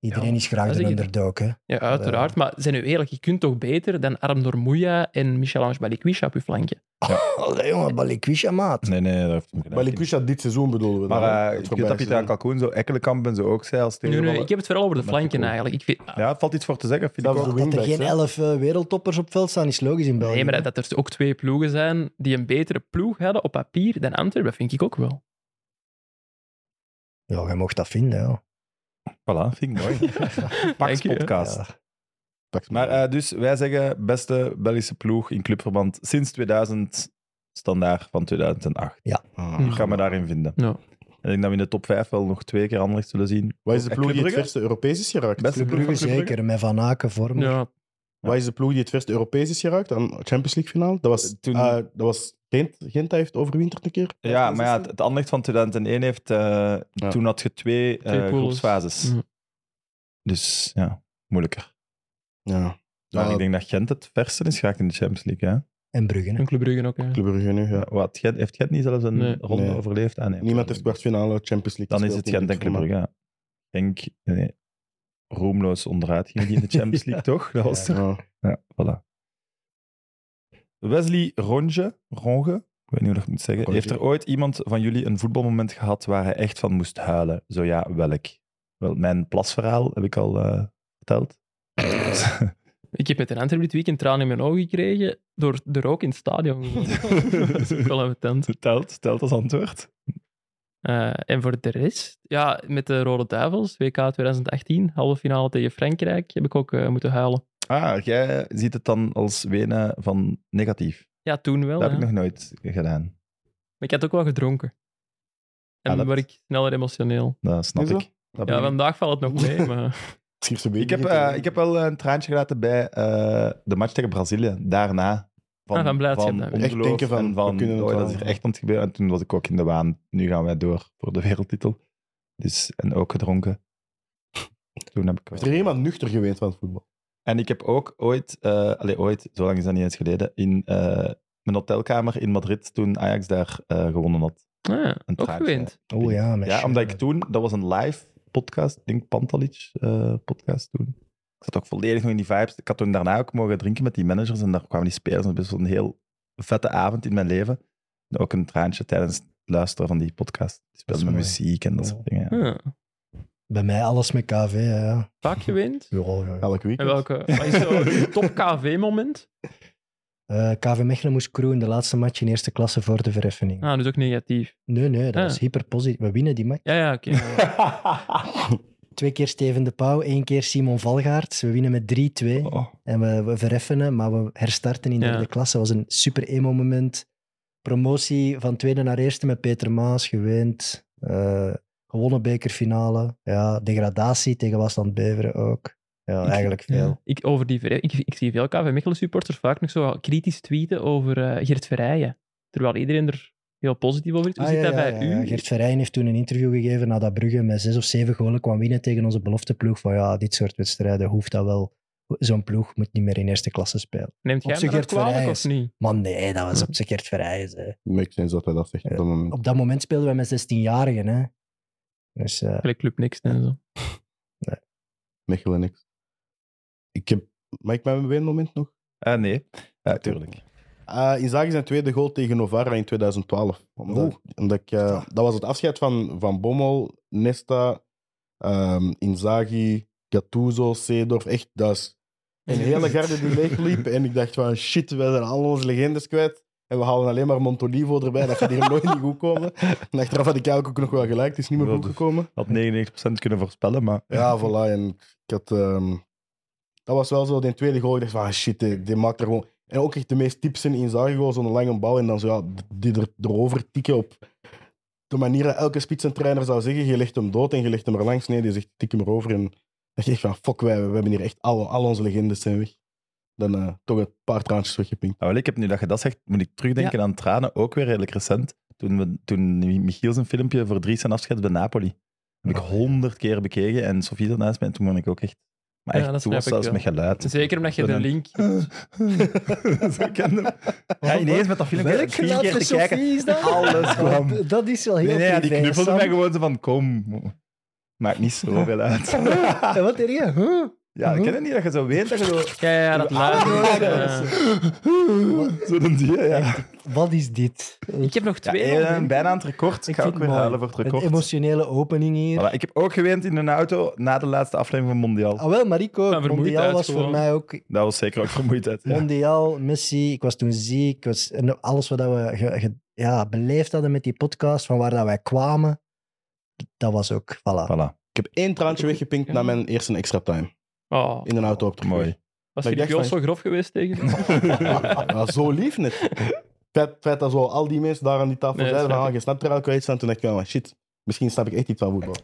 [SPEAKER 5] Iedereen
[SPEAKER 4] Ja,
[SPEAKER 5] is graag
[SPEAKER 4] dat
[SPEAKER 5] de
[SPEAKER 4] zeg ik.
[SPEAKER 5] underdog. Hè.
[SPEAKER 4] Ja,
[SPEAKER 2] eh,
[SPEAKER 4] uiteraard. Maar zijn nu eerlijk, je kunt toch beter dan Arm Dormouya en Michel-Ange Balikwisha op je flankje?
[SPEAKER 5] Allee, jongen, Balikwisha, maat.
[SPEAKER 2] Nee, nee, dat heeft me gedaan.
[SPEAKER 3] Balikwisha dit seizoen bedoelen we dan, hè.
[SPEAKER 2] Maar
[SPEAKER 3] Het
[SPEAKER 2] eh ik weet
[SPEAKER 3] voorbije
[SPEAKER 2] dat Pieter
[SPEAKER 3] seizoen.
[SPEAKER 2] Kalkoen zo Ekkelenkamp en zo ook zei als
[SPEAKER 4] Nee, nee,
[SPEAKER 2] tegenvaller.
[SPEAKER 4] ik heb het vooral over de
[SPEAKER 2] Maar
[SPEAKER 4] flanken
[SPEAKER 2] goed.
[SPEAKER 4] eigenlijk. Ik vind,
[SPEAKER 2] Ja, valt iets voor te zeggen, vind
[SPEAKER 3] Dat
[SPEAKER 2] ik
[SPEAKER 3] was
[SPEAKER 2] ook.
[SPEAKER 3] de
[SPEAKER 5] Dat er
[SPEAKER 3] wingbacks,
[SPEAKER 5] geen
[SPEAKER 3] hè.
[SPEAKER 5] elf eh, wereldtoppers op veld staan, is logisch in België.
[SPEAKER 4] Ah, nee, maar dat, dat er ook twee ploegen zijn die een betere ploeg hadden op papier dan Antwerp, dat vind ik ook wel.
[SPEAKER 5] Ja, jij mocht dat vinden. Ja.
[SPEAKER 2] Voilà, vind ik mooi. [laughs] Pax
[SPEAKER 4] Dank je, hè.
[SPEAKER 2] podcast.
[SPEAKER 5] Ja.
[SPEAKER 3] Pak
[SPEAKER 2] Maar eh, dus wij zeggen beste Belgische ploeg in clubverband sinds 2000, standaard van 2008.
[SPEAKER 3] Ah.
[SPEAKER 2] Ik ga me daarin vinden.
[SPEAKER 4] Ja.
[SPEAKER 2] En ik denk dat we in de top 5 wel nog twee keer Anderlecht zullen zien.
[SPEAKER 3] Wat is de
[SPEAKER 2] En
[SPEAKER 3] ploeg die het
[SPEAKER 2] Club Brugge?
[SPEAKER 3] verste Europees is geraakt?
[SPEAKER 2] Best-
[SPEAKER 5] Club Brugge zeker, met Van Aken, Vormer.
[SPEAKER 4] Ja,
[SPEAKER 3] Wat is de ploeg die het verste Europees is geraakt aan Champions League finale? Dat was,
[SPEAKER 2] Toen-
[SPEAKER 3] eh, dat was Gent, Gent dat heeft overwinterd een keer.
[SPEAKER 2] Ja, maar ja, het, het Anderlecht van 2001 heeft... eh, Toen had je twee, eh,
[SPEAKER 4] Twee Mm. pools.
[SPEAKER 2] groepsfases.
[SPEAKER 4] Ja.
[SPEAKER 2] Dus ja, moeilijker.
[SPEAKER 3] Ja.
[SPEAKER 2] Maar
[SPEAKER 3] Ja,
[SPEAKER 2] ik denk dat Gent het verste is geraakt in de Champions League. Hè?
[SPEAKER 5] En Brugge. hè.
[SPEAKER 4] en Club Brugge ook. Ja.
[SPEAKER 3] Club Brugge nu, ja.
[SPEAKER 2] Wat, Gent, heeft Gent niet zelfs een
[SPEAKER 4] Nee.
[SPEAKER 2] ronde
[SPEAKER 3] Nee.
[SPEAKER 2] overleefd? Ah, nee,
[SPEAKER 3] Niemand heeft kwartfinale Champions League
[SPEAKER 2] Dan is
[SPEAKER 3] gespeeld
[SPEAKER 2] het
[SPEAKER 3] in
[SPEAKER 2] Gent
[SPEAKER 3] dit
[SPEAKER 2] en Club
[SPEAKER 3] formaat.
[SPEAKER 2] Brugge. ja. Genk, nee, roemloos onderuit ging die in
[SPEAKER 3] [laughs]
[SPEAKER 2] de Champions League, toch? Dat was toch?
[SPEAKER 3] Ja.
[SPEAKER 2] Ja, voilà. Wesley Ronge, Ronge, ik weet niet hoe dat ik moet zeggen.
[SPEAKER 3] Ronge.
[SPEAKER 2] Heeft er ooit iemand van jullie een voetbalmoment gehad waar hij echt van moest huilen? Zo ja, welk? Wel, mijn plasverhaal heb ik al eh,
[SPEAKER 3] [laughs]
[SPEAKER 2] verteld. [laughs]
[SPEAKER 4] Ik heb met een Antwerp dit weekend tranen in mijn ogen gekregen door de rook in het stadion.
[SPEAKER 2] [laughs]
[SPEAKER 4] [laughs] dat is ook wel een tent.
[SPEAKER 2] telt, telt als antwoord.
[SPEAKER 4] Eh, en voor de rest, ja, met de Rode Duivels, WK 2018, halve finale tegen Frankrijk, heb ik ook eh, moeten huilen.
[SPEAKER 2] Ah, jij ziet het dan als wenen van negatief.
[SPEAKER 4] Ja, toen wel.
[SPEAKER 2] Dat heb
[SPEAKER 4] Oh, ja.
[SPEAKER 2] ik nog nooit gedaan.
[SPEAKER 4] Maar ik had ook wel gedronken. En
[SPEAKER 2] Ah, dat-
[SPEAKER 4] dan word ik sneller emotioneel.
[SPEAKER 2] Dat snap
[SPEAKER 3] Is dat?
[SPEAKER 2] ik. Dat
[SPEAKER 4] Ja,
[SPEAKER 2] ben ik.
[SPEAKER 4] vandaag valt het nog
[SPEAKER 5] [laughs]
[SPEAKER 4] mee, maar...
[SPEAKER 3] Het schiet zo'n
[SPEAKER 2] Ik
[SPEAKER 3] beetje
[SPEAKER 2] heb,
[SPEAKER 3] tegen.
[SPEAKER 2] eh, ik heb wel een traantje gelaten bij eh, de match tegen Brazilië. Daarna. Van,
[SPEAKER 4] Ah, van blijdschap dan
[SPEAKER 2] ongeloof
[SPEAKER 4] weer.
[SPEAKER 3] Echt denken van,
[SPEAKER 2] en van
[SPEAKER 3] we kunnen het
[SPEAKER 2] oh, dat is
[SPEAKER 3] wel.
[SPEAKER 2] hier echt aan het gebeuren. En toen was ik ook in de waan. Nu gaan wij door voor de [laughs] wereldtitel. Dus, en ook gedronken. Toen heb ik wel-
[SPEAKER 3] Heeft er iemand nuchter geweest van het voetbal?
[SPEAKER 2] En ik heb ook ooit, eh allee, ooit, zo lang is dat niet eens geleden, in eh, mijn hotelkamer in Madrid, toen Ajax daar eh, gewonnen had.
[SPEAKER 4] Ah,
[SPEAKER 2] Een
[SPEAKER 4] ook
[SPEAKER 2] traantje.
[SPEAKER 4] gewend.
[SPEAKER 5] Oh ja, met
[SPEAKER 2] Ja,
[SPEAKER 5] Schürrle.
[SPEAKER 2] omdat ik toen, dat was een live podcast, ik denk Pantalic eh, podcast toen. Ik zat ook volledig nog in die vibes. Ik had toen daarna ook mogen drinken met die managers en daar kwamen die spelers. En het was best wel een heel vette avond in mijn leven. En ook een traantje tijdens het luisteren van die podcast. Die speelde met
[SPEAKER 5] mooi.
[SPEAKER 2] muziek en dat soort dingen. ja.
[SPEAKER 4] Ah,
[SPEAKER 5] Bij mij alles met KV, hè, ja.
[SPEAKER 4] vaak
[SPEAKER 5] [laughs]
[SPEAKER 4] gewend.
[SPEAKER 5] Ja, ja, ja.
[SPEAKER 3] Elk [laughs]
[SPEAKER 4] En
[SPEAKER 3] weekend?
[SPEAKER 4] welke? Wat is zo
[SPEAKER 5] [laughs]
[SPEAKER 4] je top KV-moment?
[SPEAKER 5] Eh, KV Mechelen moest kroen de laatste match in eerste klasse voor de verheffening.
[SPEAKER 4] Ah, dus ook negatief.
[SPEAKER 5] Nee, nee, dat
[SPEAKER 4] Ah.
[SPEAKER 5] was hyperpositief. We winnen die match.
[SPEAKER 4] Ja, ja,
[SPEAKER 5] [laughs]
[SPEAKER 4] oké.
[SPEAKER 5] Twee keer Steven de Pauw, één keer Simon Valgaard. We winnen met 3-2.
[SPEAKER 2] Oh,
[SPEAKER 5] En we, we vereffenen, maar we herstarten in de
[SPEAKER 4] Ja.
[SPEAKER 5] derde klasse. Dat was een super emo-moment. Promotie van tweede naar eerste met Peter Maas, gewend. Eh, gewonnen bekerfinale. Ja, degradatie tegen Wasland Beveren ook. Ja, eigenlijk
[SPEAKER 4] Ja.
[SPEAKER 5] veel.
[SPEAKER 4] Ik, over die, Verre- ik, ik zie veel KV Mechelen-supporters vaak nog zo kritisch tweeten over eh, Geert Verrijen. Terwijl iedereen er heel positief over is. Hoe
[SPEAKER 5] Ah,
[SPEAKER 4] zit
[SPEAKER 5] ja,
[SPEAKER 4] dat
[SPEAKER 5] ja,
[SPEAKER 4] bij
[SPEAKER 5] ja, ja.
[SPEAKER 4] u?
[SPEAKER 5] Geert Verheyen heeft toen een interview gegeven nadat Brugge met zes of zeven golen kwam winnen tegen onze belofteploeg. Van ja, dit soort wedstrijden hoeft dat wel. Zo'n ploeg moet niet meer in eerste klasse spelen.
[SPEAKER 4] Neemt jij
[SPEAKER 5] Op zich
[SPEAKER 4] hem dan
[SPEAKER 5] Geert
[SPEAKER 4] kwalijk
[SPEAKER 5] Verrijen
[SPEAKER 4] of
[SPEAKER 5] is-
[SPEAKER 4] niet?
[SPEAKER 5] Maar nee, dat was op zijn Geert Verheyen. hè.
[SPEAKER 3] Makes sense dat hij dat zegt op dat moment.
[SPEAKER 5] Op dat moment speelden wij met 16-jarigen. Hè. Dus eh, [laughs]
[SPEAKER 4] Gelijk Club niks en zo.
[SPEAKER 3] Mechelen niks. Ik heb Mag ik mijn moment nog?
[SPEAKER 2] Eh, nee.
[SPEAKER 3] Natuurlijk. Eh Inzaghi zijn tweede goal tegen Novara in 2012. Omdat, omdat ik, eh, dat was het afscheid van, van Bommel, Nesta, ehm Inzaghi, Gattuso, Seedorf. Echt, dat is een hele garde die leegliep. En ik dacht van, shit, we zijn al onze legendes kwijt. En we halen alleen maar Montolivo erbij. Dat gaat hier nooit niet goed komen. En achteraf had ik eigenlijk ook nog wel gelijk. Het is niet meer
[SPEAKER 2] Wel,
[SPEAKER 3] goed
[SPEAKER 2] dus-
[SPEAKER 3] gekomen.
[SPEAKER 2] Had 99% kunnen voorspellen, maar...
[SPEAKER 3] Ja, voilà. En ik had, ehm, dat was wel zo, die tweede goal. Ik dacht van, ah, shit, die, die maakt er gewoon... En ook echt de meest tips in Inzaghi, gewoon zo'n lange bal. En dan zo, ja, die er, erover tikken op de manier dat elke spitsentrainer zou zeggen. Je legt hem dood en je legt hem er langs. Nee, die zegt, tik hem erover. En dan dacht ik echt van, fuck, wij, we hebben hier echt al, al onze legendes zijn weg. Dan eh, toch een paar traantjes weggepinkt.
[SPEAKER 2] Nou, wel, ik heb nu dat je dat zegt, moet ik terugdenken aan tranen, ook weer redelijk recent. Toen, we, toen Michiel zijn filmpje voor Dries zijn afscheid bij Napoli. Heb
[SPEAKER 4] Oh,
[SPEAKER 2] ik honderd keer bekeken en Sofie daarnaast mij. En toen ben ik ook echt... Maar
[SPEAKER 4] Ja,
[SPEAKER 2] echt,
[SPEAKER 4] dat
[SPEAKER 2] toen was
[SPEAKER 4] snap ik
[SPEAKER 2] zelfs met
[SPEAKER 4] wel.
[SPEAKER 2] geluid.
[SPEAKER 4] Zeker omdat je de
[SPEAKER 2] Dan-
[SPEAKER 4] link...
[SPEAKER 2] [laughs] Ze kenden hem.
[SPEAKER 4] [laughs]
[SPEAKER 2] Ja, ineens met dat filmpje
[SPEAKER 5] Welk
[SPEAKER 2] vier
[SPEAKER 5] geluid
[SPEAKER 2] keer
[SPEAKER 5] van
[SPEAKER 2] te kijken.
[SPEAKER 5] Sophie is dat? [laughs]
[SPEAKER 2] Alles kwam.
[SPEAKER 5] Dat- Dat is wel heel
[SPEAKER 2] Nee, nee ja, die
[SPEAKER 5] privé,
[SPEAKER 2] knuffelde
[SPEAKER 5] Sam.
[SPEAKER 2] mij gewoon zo van, kom. Maakt niet zoveel uit.
[SPEAKER 4] [laughs]
[SPEAKER 5] [laughs] En wat deed je? Huh?
[SPEAKER 2] Ja, ik ken het niet dat je zo weet dat
[SPEAKER 4] [laughs]
[SPEAKER 2] je zo...
[SPEAKER 4] Ja, ja, ja,
[SPEAKER 5] [laughs] Ah,
[SPEAKER 4] dat laat. eh.
[SPEAKER 2] Zo'n dier, ja.
[SPEAKER 5] Wat is dit?
[SPEAKER 4] ik heb nog
[SPEAKER 2] Ja,
[SPEAKER 4] twee.
[SPEAKER 2] eh, bijna aan het record. Ik
[SPEAKER 5] Ik
[SPEAKER 2] ga
[SPEAKER 5] vind
[SPEAKER 2] ook weer
[SPEAKER 5] het mooi.
[SPEAKER 2] huilen voor het
[SPEAKER 5] Een
[SPEAKER 2] record.
[SPEAKER 5] emotionele opening hier.
[SPEAKER 2] Voilà, ik heb ook gewend in een auto na de laatste aflevering van Mondial.
[SPEAKER 5] Ah wel, Marico,
[SPEAKER 4] Van vermoeidheid
[SPEAKER 5] Mondial was voor
[SPEAKER 4] gewoon.
[SPEAKER 5] mij ook...
[SPEAKER 2] Dat was zeker ook vermoeidheid. Ja.
[SPEAKER 5] Mondial, Messi, ik was toen ziek. ik Was, en alles wat dat we ge- ge- ja, beleefd hadden met die podcast, van waar dat wij kwamen, dat was ook, voilà.
[SPEAKER 2] Voilà,
[SPEAKER 3] Ik heb één traantje weggepinkt na mijn eerste extra time.
[SPEAKER 4] Oh,
[SPEAKER 3] In een auto op de
[SPEAKER 2] mooi.
[SPEAKER 4] was
[SPEAKER 3] Maar ik
[SPEAKER 4] Filip
[SPEAKER 3] dacht
[SPEAKER 4] Joos
[SPEAKER 3] van-
[SPEAKER 4] zo grof geweest tegen?
[SPEAKER 3] [laughs] Ja, zo lief net. Het feit, het feit dat zo al die mensen daar aan die tafel
[SPEAKER 4] Nee, dat
[SPEAKER 3] zeiden,
[SPEAKER 4] snap
[SPEAKER 3] van, ah, je snapt er elke iets aan. Toen dacht ik, van, shit, misschien snap ik echt iets van voetbal.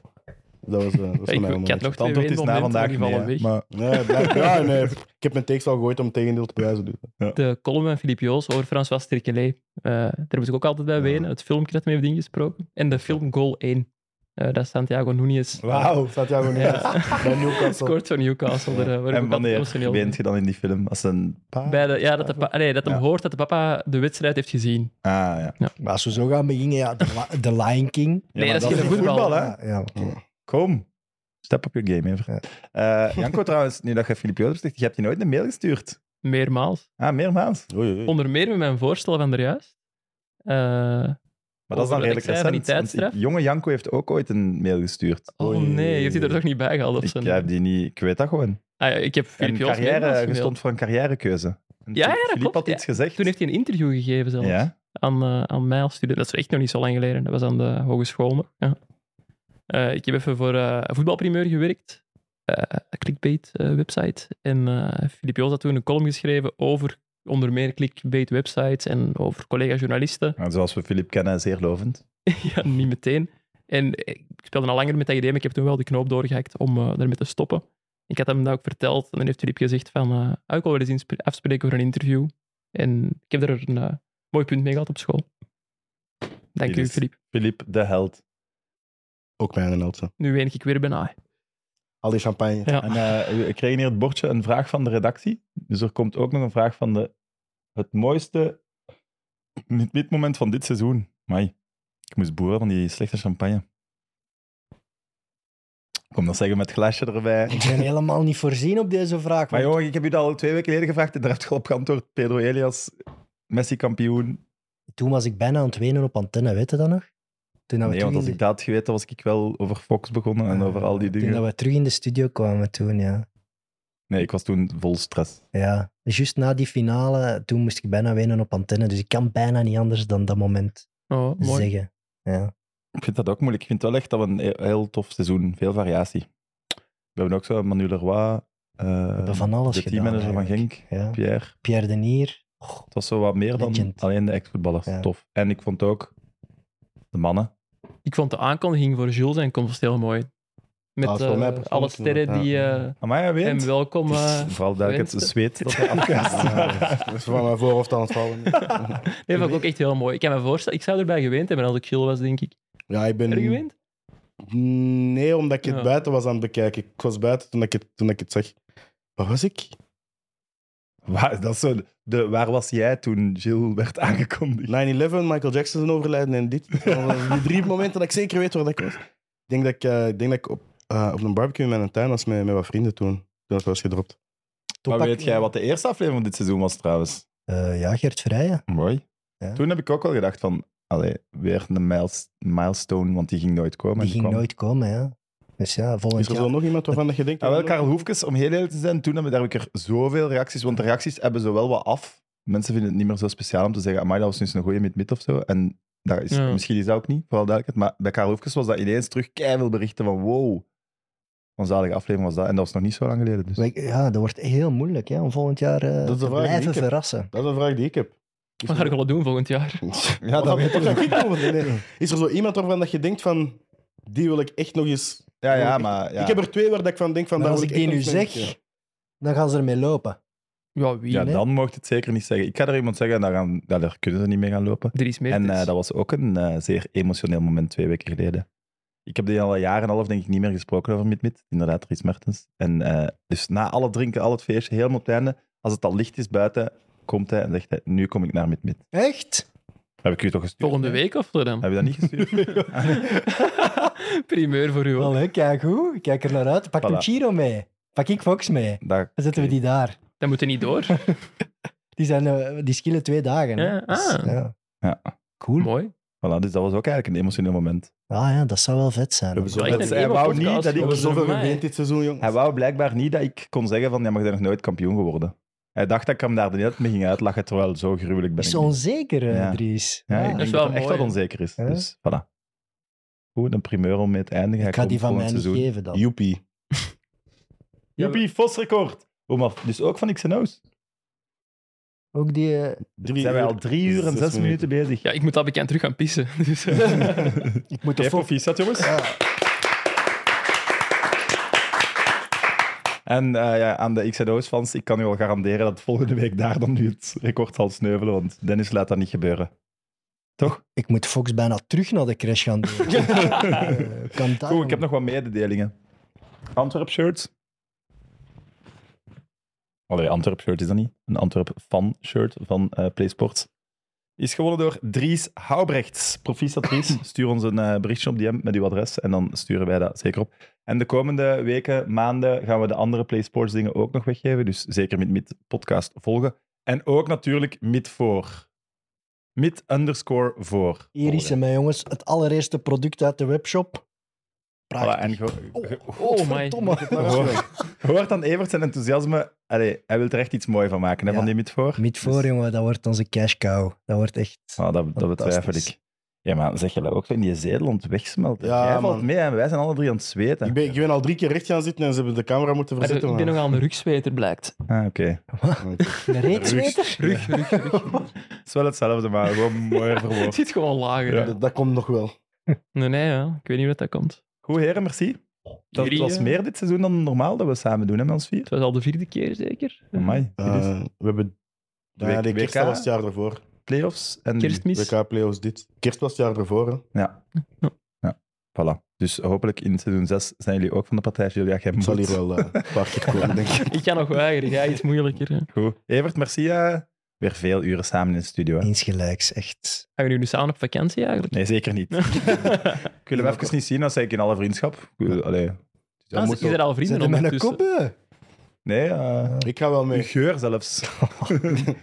[SPEAKER 3] Dat was, eh, dat was
[SPEAKER 4] Ja,
[SPEAKER 3] voor
[SPEAKER 4] ik,
[SPEAKER 3] mij een
[SPEAKER 4] ik had
[SPEAKER 2] Het
[SPEAKER 4] nog twee
[SPEAKER 2] antwoord is na
[SPEAKER 4] winmomenten, maar
[SPEAKER 2] vandaag
[SPEAKER 4] die
[SPEAKER 2] nee,
[SPEAKER 4] vallen weg.
[SPEAKER 2] hè. Maar
[SPEAKER 3] Nee, blijkbaar. Ja, nee. Ik heb mijn tekst al gegooid om het tegendeel te bewijzen. Dus.
[SPEAKER 4] De column van Filip Joos over François Sterkelet. Eh, daar moet ik ook altijd bij wenen. Het filmpje dat mee heeft ingesproken. En de film Goal 1. Eh, dat is Santiago
[SPEAKER 2] Oh,
[SPEAKER 4] Nunez.
[SPEAKER 2] Wauw.
[SPEAKER 3] Santiago Nunes, bij Newcastle.
[SPEAKER 4] Scoort van Newcastle. Daar, eh, word ik
[SPEAKER 2] En
[SPEAKER 4] ook altijd
[SPEAKER 2] wanneer
[SPEAKER 4] emotioneel
[SPEAKER 2] weent je dan in die film? Als een pa?
[SPEAKER 4] Bij de, ja, dat, de pa- nee, dat hem
[SPEAKER 2] Ja.
[SPEAKER 4] hoort dat de papa de wedstrijd heeft gezien.
[SPEAKER 2] Ah, ja.
[SPEAKER 5] Maar als we zo gaan beginnen, ja, de, Li- de
[SPEAKER 2] [laughs]
[SPEAKER 5] Lion King.
[SPEAKER 4] Nee,
[SPEAKER 2] maar
[SPEAKER 4] dat is geen voetbal.
[SPEAKER 2] hè?
[SPEAKER 5] Ja, ja, oké.
[SPEAKER 2] Kom. Step op your game, hè. vriend. Eh, Janko, [laughs] trouwens, nu dat je Filip Joos zegt, je hebt die nooit een mail gestuurd.
[SPEAKER 4] Meermaals.
[SPEAKER 2] Ah, meermaals.
[SPEAKER 3] Oei, oei.
[SPEAKER 4] Onder meer met mijn voorstellen van daarjuist. Eh
[SPEAKER 2] Maar dat is dan
[SPEAKER 4] Over
[SPEAKER 2] redelijk
[SPEAKER 4] extra van die
[SPEAKER 2] recent. want die
[SPEAKER 4] tijdstraf.
[SPEAKER 2] jonge Janko heeft ook ooit een mail gestuurd.
[SPEAKER 4] oh
[SPEAKER 3] Oei.
[SPEAKER 4] nee, je hebt die er toch niet bij gehaald? Of
[SPEAKER 2] Ik
[SPEAKER 4] zo?
[SPEAKER 2] heb die niet... Ik weet dat gewoon.
[SPEAKER 4] Ah, ja, ik heb Filip
[SPEAKER 2] Een
[SPEAKER 4] Joos meermaals
[SPEAKER 2] carrière, je
[SPEAKER 4] gemaild.
[SPEAKER 2] stond voor een carrièrekeuze. En
[SPEAKER 4] Ja, ja, dat
[SPEAKER 2] Filip
[SPEAKER 4] klopt,
[SPEAKER 2] had
[SPEAKER 4] ja.
[SPEAKER 2] iets gezegd.
[SPEAKER 4] Toen heeft hij een interview gegeven zelfs.
[SPEAKER 2] Ja.
[SPEAKER 4] aan, eh, aan mij als student. Dat is echt nog niet zo lang geleden. Dat was aan de hogeschool nog. Ja. Eh, ik heb even voor eh, voetbalprimeur gewerkt. eh, een clickbait eh, website. En eh Filip Joos had toen een column geschreven over onder meer clickbait websites en over collega-journalisten.
[SPEAKER 2] Nou, zoals we Filip kennen, zeer lovend.
[SPEAKER 4] [laughs] ja, niet meteen. En eh, ik speelde al langer met dat idee, maar ik heb toen wel de knoop doorgehakt om eh daarmee te stoppen. Ik had hem dat ook verteld en dan heeft Filip gezegd van, eh ah, ik wil wel eens insp- afspreken voor een interview. En ik heb er een eh, mooi punt mee gehad op school. Dank
[SPEAKER 2] Hier
[SPEAKER 4] u,
[SPEAKER 2] is-
[SPEAKER 4] Filip.
[SPEAKER 2] Filip, de held.
[SPEAKER 3] Ook mijn en Elsa.
[SPEAKER 4] Nu ween ik weer bijna.
[SPEAKER 3] Al die champagne.
[SPEAKER 4] Ja.
[SPEAKER 2] En eh, we kregen hier het bordje een vraag van de redactie. Dus er komt ook nog een vraag van de, het mooiste moment van dit seizoen. Mai, ik moest boeren van die slechte champagne. Ik Kom dat zeggen met glaasje erbij.
[SPEAKER 5] Ik ben helemaal niet voorzien op deze vraag.
[SPEAKER 2] Maar
[SPEAKER 5] want-
[SPEAKER 2] jongen, ik heb u dat al twee weken geleden gevraagd en daar heb je al op geantwoord. Pedro Elias, Messi kampioen.
[SPEAKER 5] Nou, Toen was ik bijna aan het wenen op antenne, weet je dat nog? Toen dat we
[SPEAKER 2] Nee,
[SPEAKER 5] terug
[SPEAKER 2] want
[SPEAKER 5] in
[SPEAKER 2] als
[SPEAKER 5] de-
[SPEAKER 2] ik dat had geweten, was ik wel over Fox begonnen en over al die
[SPEAKER 5] Toen dat
[SPEAKER 2] dingen.
[SPEAKER 5] we terug in de studio kwamen toen, ja.
[SPEAKER 2] Nee, ik was toen vol stress.
[SPEAKER 5] Ja, juist na die finale, toen moest ik bijna wenen op antenne. Dus ik kan bijna niet anders dan dat moment
[SPEAKER 4] Oh, mooi.
[SPEAKER 5] zeggen. Ja.
[SPEAKER 2] Ik vind dat ook moeilijk. Ik vind wel echt dat we een he- heel tof seizoen, veel variatie. We hebben ook zo Manu Leroy, eh
[SPEAKER 5] hebben van alles
[SPEAKER 2] de
[SPEAKER 5] gedaan,
[SPEAKER 2] teammanager van
[SPEAKER 5] eigenlijk.
[SPEAKER 2] Genk,
[SPEAKER 5] Ja.
[SPEAKER 2] Pierre.
[SPEAKER 5] Pierre Denier. Oh,
[SPEAKER 2] Het was zo wat meer dan
[SPEAKER 5] Legend.
[SPEAKER 2] alleen de ex-voetballers.
[SPEAKER 5] Ja.
[SPEAKER 2] Tof. En ik vond ook de mannen.
[SPEAKER 4] Ik vond de aankondiging voor Jules en komst heel mooi. Met
[SPEAKER 3] Ah, dat is voor
[SPEAKER 4] eh,
[SPEAKER 3] mij persoonlijk
[SPEAKER 4] alle sterren
[SPEAKER 3] inderdaad,
[SPEAKER 4] die
[SPEAKER 3] ja.
[SPEAKER 4] eh,
[SPEAKER 2] Amai, hij
[SPEAKER 4] hem
[SPEAKER 2] weent.
[SPEAKER 4] welkom...
[SPEAKER 2] Het is
[SPEAKER 4] eh,
[SPEAKER 2] Vooral duidelijk het
[SPEAKER 4] wensen.
[SPEAKER 2] zweet dat
[SPEAKER 5] [laughs]
[SPEAKER 2] hij afkast.
[SPEAKER 3] Dat is van mijn voorhoofd aan het
[SPEAKER 4] [laughs]
[SPEAKER 3] vallen.
[SPEAKER 4] nee, vond ik ook echt heel mooi. Ik kan me voorstellen, ik zou erbij geweend hebben als ik chill was, denk ik.
[SPEAKER 3] Ja, ik ben...
[SPEAKER 4] Heb je geweend?
[SPEAKER 3] Nee, omdat ik het
[SPEAKER 4] Ja.
[SPEAKER 3] buiten was aan het bekijken. Ik was buiten toen ik het, toen ik het zag. Waar was ik?
[SPEAKER 2] Waar, dat is zo de, waar was jij toen Gilles werd aangekondigd?
[SPEAKER 3] 9-11, Michael Jackson zijn overlijden en dit. Dat waren Die drie momenten dat ik zeker weet waar dat ik was. Ik denk dat ik, eh, ik, denk dat ik op, eh, op een barbecue in mijn tuin was met, met wat vrienden toen. Toen dat was gedropt.
[SPEAKER 2] Maar
[SPEAKER 5] Topak-
[SPEAKER 2] weet jij wat de eerste aflevering van dit seizoen was trouwens?
[SPEAKER 5] Eh, ja, Gert Vrijen.
[SPEAKER 2] Mooi.
[SPEAKER 5] Ja.
[SPEAKER 2] Toen heb ik ook wel gedacht van, allee, weer een miles- milestone, want die ging nooit komen.
[SPEAKER 5] Die
[SPEAKER 2] en
[SPEAKER 5] ging
[SPEAKER 2] kwam.
[SPEAKER 5] nooit komen, ja. Dus ja, volgend
[SPEAKER 3] Is er
[SPEAKER 5] jaar...
[SPEAKER 3] zo nog iemand waarvan dat je denkt... eh,
[SPEAKER 2] Ah, wel, Karel Hoefkes, om heel eerlijk te zijn, toen heb, daar heb ik er zoveel reacties, want de reacties hebben ze wel wat af. Mensen vinden het niet meer zo speciaal om te zeggen, amai, dat was nu eens een goeie met mid of zo. En daar is,
[SPEAKER 4] Ja.
[SPEAKER 2] misschien is dat ook niet, vooral duidelijkheid. Maar bij Karel Hoefkes was dat ineens terug keihard berichten van, wow, een zalige aflevering was dat. En dat was nog niet zo lang geleden. Dus.
[SPEAKER 5] Maar ik- Ja, dat wordt heel moeilijk hè, om volgend jaar eh,
[SPEAKER 3] is de
[SPEAKER 5] te
[SPEAKER 3] vraag die
[SPEAKER 5] blijven
[SPEAKER 3] ik heb.
[SPEAKER 5] verrassen.
[SPEAKER 3] Dat is een vraag die ik heb. Is
[SPEAKER 4] Wat ga
[SPEAKER 3] er- [laughs]
[SPEAKER 4] ik wel doen volgend jaar?
[SPEAKER 2] Ja,
[SPEAKER 3] Wat
[SPEAKER 2] dat
[SPEAKER 3] dat
[SPEAKER 2] weet ik
[SPEAKER 3] wat
[SPEAKER 2] nog.
[SPEAKER 3] dat ik doen? Nee, nee. Is er zo iemand waarvan dat je denkt van... Die wil ik echt nog eens...
[SPEAKER 2] Ja, ja, maar... Ja.
[SPEAKER 3] Ik heb er twee waar dat ik van denk van...
[SPEAKER 5] Maar
[SPEAKER 3] daar
[SPEAKER 5] als
[SPEAKER 3] wil
[SPEAKER 5] ik die
[SPEAKER 3] echt
[SPEAKER 5] nu
[SPEAKER 3] nog eens mee-
[SPEAKER 5] zeg, dan gaan ze ermee lopen.
[SPEAKER 4] Ja, wie?
[SPEAKER 2] ja,
[SPEAKER 5] nee.
[SPEAKER 2] dan mocht je het zeker niet zeggen. Ik ga er iemand zeggen, daar, gaan, ja, daar kunnen ze niet mee gaan lopen.
[SPEAKER 4] Er is meer.
[SPEAKER 2] En
[SPEAKER 4] dus.
[SPEAKER 2] eh, dat was ook een eh, zeer emotioneel moment twee weken geleden. Ik heb die al een jaar en een half denk ik niet meer gesproken over Mid-Mid. Inderdaad, Ries Mertens. En eh, dus na al het drinken, al het feestje, helemaal op het einde, als het al licht is buiten, komt hij en zegt hij, nu kom ik naar Mid-Mid.
[SPEAKER 5] Echt?
[SPEAKER 2] Heb ik u toch gestuurd?
[SPEAKER 4] Volgende
[SPEAKER 2] Nee?
[SPEAKER 4] week of zo dan?
[SPEAKER 2] Heb je dat niet
[SPEAKER 4] [laughs]
[SPEAKER 2] gestuurd? Ah, nee.
[SPEAKER 4] Primeur voor u. hoor.
[SPEAKER 5] Wel, hè, kijk hoe. Ik Kijk er naar uit. Pak
[SPEAKER 2] Voilà.
[SPEAKER 5] een Chiro mee. Pak ik Fox mee.
[SPEAKER 2] Daar-
[SPEAKER 5] Dan zetten we die daar.
[SPEAKER 4] Dat moet er niet door.
[SPEAKER 5] Die, zijn, eh, die skillen twee dagen. hè.
[SPEAKER 4] Ja,
[SPEAKER 5] Dus,
[SPEAKER 4] ah.
[SPEAKER 5] ja.
[SPEAKER 2] Ja.
[SPEAKER 5] Cool.
[SPEAKER 4] Mooi.
[SPEAKER 2] Voilà, dus dat was ook eigenlijk een emotioneel moment.
[SPEAKER 5] Ah ja, dat zou wel vet zijn.
[SPEAKER 2] We hebben zo-
[SPEAKER 4] Ja, ik ben
[SPEAKER 2] hij
[SPEAKER 4] één
[SPEAKER 2] wou
[SPEAKER 4] podcast
[SPEAKER 2] niet dat
[SPEAKER 4] voor
[SPEAKER 2] ik
[SPEAKER 4] de
[SPEAKER 3] Zoveel
[SPEAKER 4] voor mij.
[SPEAKER 3] gemeend dit seizoen, jongens.
[SPEAKER 2] Hij wou blijkbaar niet dat ik kon zeggen van, ja, maar je bent nog nooit kampioen geworden. Hij dacht dat ik hem daar de hele tijd mee ging uitlachen, terwijl zo gruwelijk ben
[SPEAKER 5] is
[SPEAKER 2] ik
[SPEAKER 5] zo
[SPEAKER 2] niet.
[SPEAKER 5] onzeker, eh,
[SPEAKER 2] Ja.
[SPEAKER 5] Dries.
[SPEAKER 2] Ja, ik
[SPEAKER 5] Ah.
[SPEAKER 2] denk
[SPEAKER 4] is
[SPEAKER 2] dat,
[SPEAKER 4] wel
[SPEAKER 2] dat echt
[SPEAKER 4] mooi,
[SPEAKER 2] wat
[SPEAKER 4] hè?
[SPEAKER 2] onzeker is.
[SPEAKER 5] Ja.
[SPEAKER 2] Dus voilà. Goed, een primeur om mee te eindigen.
[SPEAKER 5] Ik ga die van mij
[SPEAKER 2] volgend
[SPEAKER 5] niet
[SPEAKER 2] seizoen.
[SPEAKER 5] geven dan.
[SPEAKER 3] Joepie.
[SPEAKER 2] Joepie, Vos record. Om af. Dus ook van XNO's.
[SPEAKER 5] Ook die... eh,
[SPEAKER 3] Drie
[SPEAKER 2] Zijn wij al drie uur en
[SPEAKER 3] zes
[SPEAKER 2] zes minuten bezig. [laughs]
[SPEAKER 4] Ja, ik moet dat bekend terug gaan pissen. [laughs] Dus, eh,
[SPEAKER 5] ik moet
[SPEAKER 2] Oké,
[SPEAKER 5] de volgende...
[SPEAKER 2] proficiat jongens. En eh, ja, aan de XNO's fans, ik kan u al garanderen dat volgende week daar dan nu het record zal sneuvelen, want Dennis laat dat niet gebeuren.
[SPEAKER 5] Ik moet Fox bijna terug naar de crash [laughs] gaan doen. Eh, kan dat
[SPEAKER 2] Goed, ik heb nog wat mededelingen. Antwerp shirt. Allee, Antwerp shirt is dat niet. Een Antwerp fan shirt van eh PlaySports. Is gewonnen door Dries Houbrechts. Proficiat Dries. Stuur ons een eh, berichtje op DM met uw adres en dan sturen wij dat zeker op. En de komende weken, maanden, gaan we de andere PlaySports dingen ook nog weggeven. Dus zeker met Mid Podcast volgen. En ook natuurlijk Mid voor. Mid underscore voor.
[SPEAKER 5] Hier is hem, hè, jongens. Het allereerste product uit de webshop. Prachtig.
[SPEAKER 2] Voilà, en ge- ge-
[SPEAKER 4] oh my.
[SPEAKER 5] Godverdomme.
[SPEAKER 2] Hoor, hoort aan Evert zijn enthousiasme. Allee, hij wil er echt iets moois van maken, hè,
[SPEAKER 5] Ja.
[SPEAKER 2] van die midvoor.
[SPEAKER 5] Niet voor, jongen. Dat wordt onze cash cow. Dat wordt echt...
[SPEAKER 2] Dus- Ah, dat, dat betwijfel
[SPEAKER 5] Fantastisch.
[SPEAKER 2] ik. Ja, maar zeg je dat ook zo in die zeeland wegsmelten?
[SPEAKER 3] Ja,
[SPEAKER 2] Jij valt
[SPEAKER 3] man.
[SPEAKER 2] mee en wij zijn alle drie aan het zweten.
[SPEAKER 3] Ik ben, ik ben al drie keer recht gaan zitten en ze hebben de camera moeten
[SPEAKER 4] Maar
[SPEAKER 3] verzetten.
[SPEAKER 4] ik ben
[SPEAKER 3] man.
[SPEAKER 4] nog aan de rugsweter, blijkt.
[SPEAKER 2] Ah, oké.
[SPEAKER 5] Een reeks meter?
[SPEAKER 4] Rug, rug, rug.
[SPEAKER 2] [laughs] Het is wel hetzelfde, maar gewoon mooier
[SPEAKER 3] [laughs]
[SPEAKER 4] Het
[SPEAKER 2] verwoord.
[SPEAKER 4] zit gewoon lager.
[SPEAKER 2] Ja.
[SPEAKER 4] hè.
[SPEAKER 3] Dat, dat komt nog wel.
[SPEAKER 4] Nee, nee, ja. ik weet niet wat dat komt.
[SPEAKER 2] Goed, heren, merci. Dat
[SPEAKER 4] Jullie,
[SPEAKER 2] was
[SPEAKER 4] eh,
[SPEAKER 2] meer dit seizoen dan normaal dat we samen doen, hè, met ons vier.
[SPEAKER 4] Het was al de vierde keer, zeker.
[SPEAKER 2] Amai, dit is
[SPEAKER 3] Eh, we hebben...
[SPEAKER 2] De
[SPEAKER 3] ja,
[SPEAKER 2] week-
[SPEAKER 3] de kerst
[SPEAKER 2] WK.
[SPEAKER 3] was het jaar ervoor.
[SPEAKER 2] playoffs en nu.
[SPEAKER 4] Kerstmis.
[SPEAKER 3] WK-playoffs dit. Kerst was het jaar ervoor, hè.
[SPEAKER 2] Ja.
[SPEAKER 4] Ja.
[SPEAKER 2] ja. Voilà. Dus hopelijk in seizoen 6 zijn jullie ook van de partij. Julia, jij
[SPEAKER 3] Het zal
[SPEAKER 2] moet.
[SPEAKER 3] hier wel eh, een paar keer komen,
[SPEAKER 2] [laughs]
[SPEAKER 3] denk ik.
[SPEAKER 4] Ik ga nog weigeren. Ja, iets moeilijker. hè.
[SPEAKER 2] Goed. Evert, merci. eh. weer veel uren samen in de studio. Hè.
[SPEAKER 5] Insgelijks, echt.
[SPEAKER 4] Gaan we nu samen op vakantie eigenlijk? Ah,
[SPEAKER 2] Nee, zeker niet. ik wil hem even niet zien, dat zei ik in alle vriendschap. Ik wil- Allee.
[SPEAKER 4] Ah, ze- Is er al vrienden
[SPEAKER 5] Zet hem met een
[SPEAKER 4] ondertussen?
[SPEAKER 5] koppen.
[SPEAKER 2] Nee, eh
[SPEAKER 3] Ik ga wel
[SPEAKER 2] uw
[SPEAKER 3] mee.
[SPEAKER 2] geur zelfs.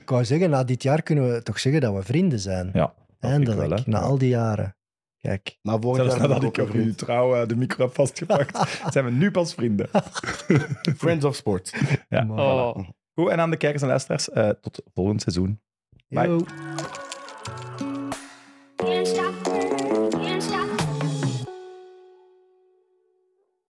[SPEAKER 5] Ik wou zeggen, na dit jaar kunnen we toch zeggen dat we vrienden zijn.
[SPEAKER 2] Ja,
[SPEAKER 5] Eindelijk,
[SPEAKER 2] ik wel, hè.
[SPEAKER 5] na al die jaren. Kijk,
[SPEAKER 3] Na volgend
[SPEAKER 2] Zelfs
[SPEAKER 3] jaar
[SPEAKER 2] nadat
[SPEAKER 3] ben
[SPEAKER 2] ik
[SPEAKER 3] ook
[SPEAKER 2] op
[SPEAKER 3] weer
[SPEAKER 2] uw
[SPEAKER 3] vriend.
[SPEAKER 2] trouw eh, de micro heb
[SPEAKER 5] [laughs]
[SPEAKER 2] vastgepakt, zijn we nu pas vrienden.
[SPEAKER 3] Friends of Sport.
[SPEAKER 2] Ja.
[SPEAKER 5] mooi.
[SPEAKER 4] Oh.
[SPEAKER 2] Goed, en aan de kijkers en luisteraars, eh, tot volgend seizoen. Bye.
[SPEAKER 5] Yo.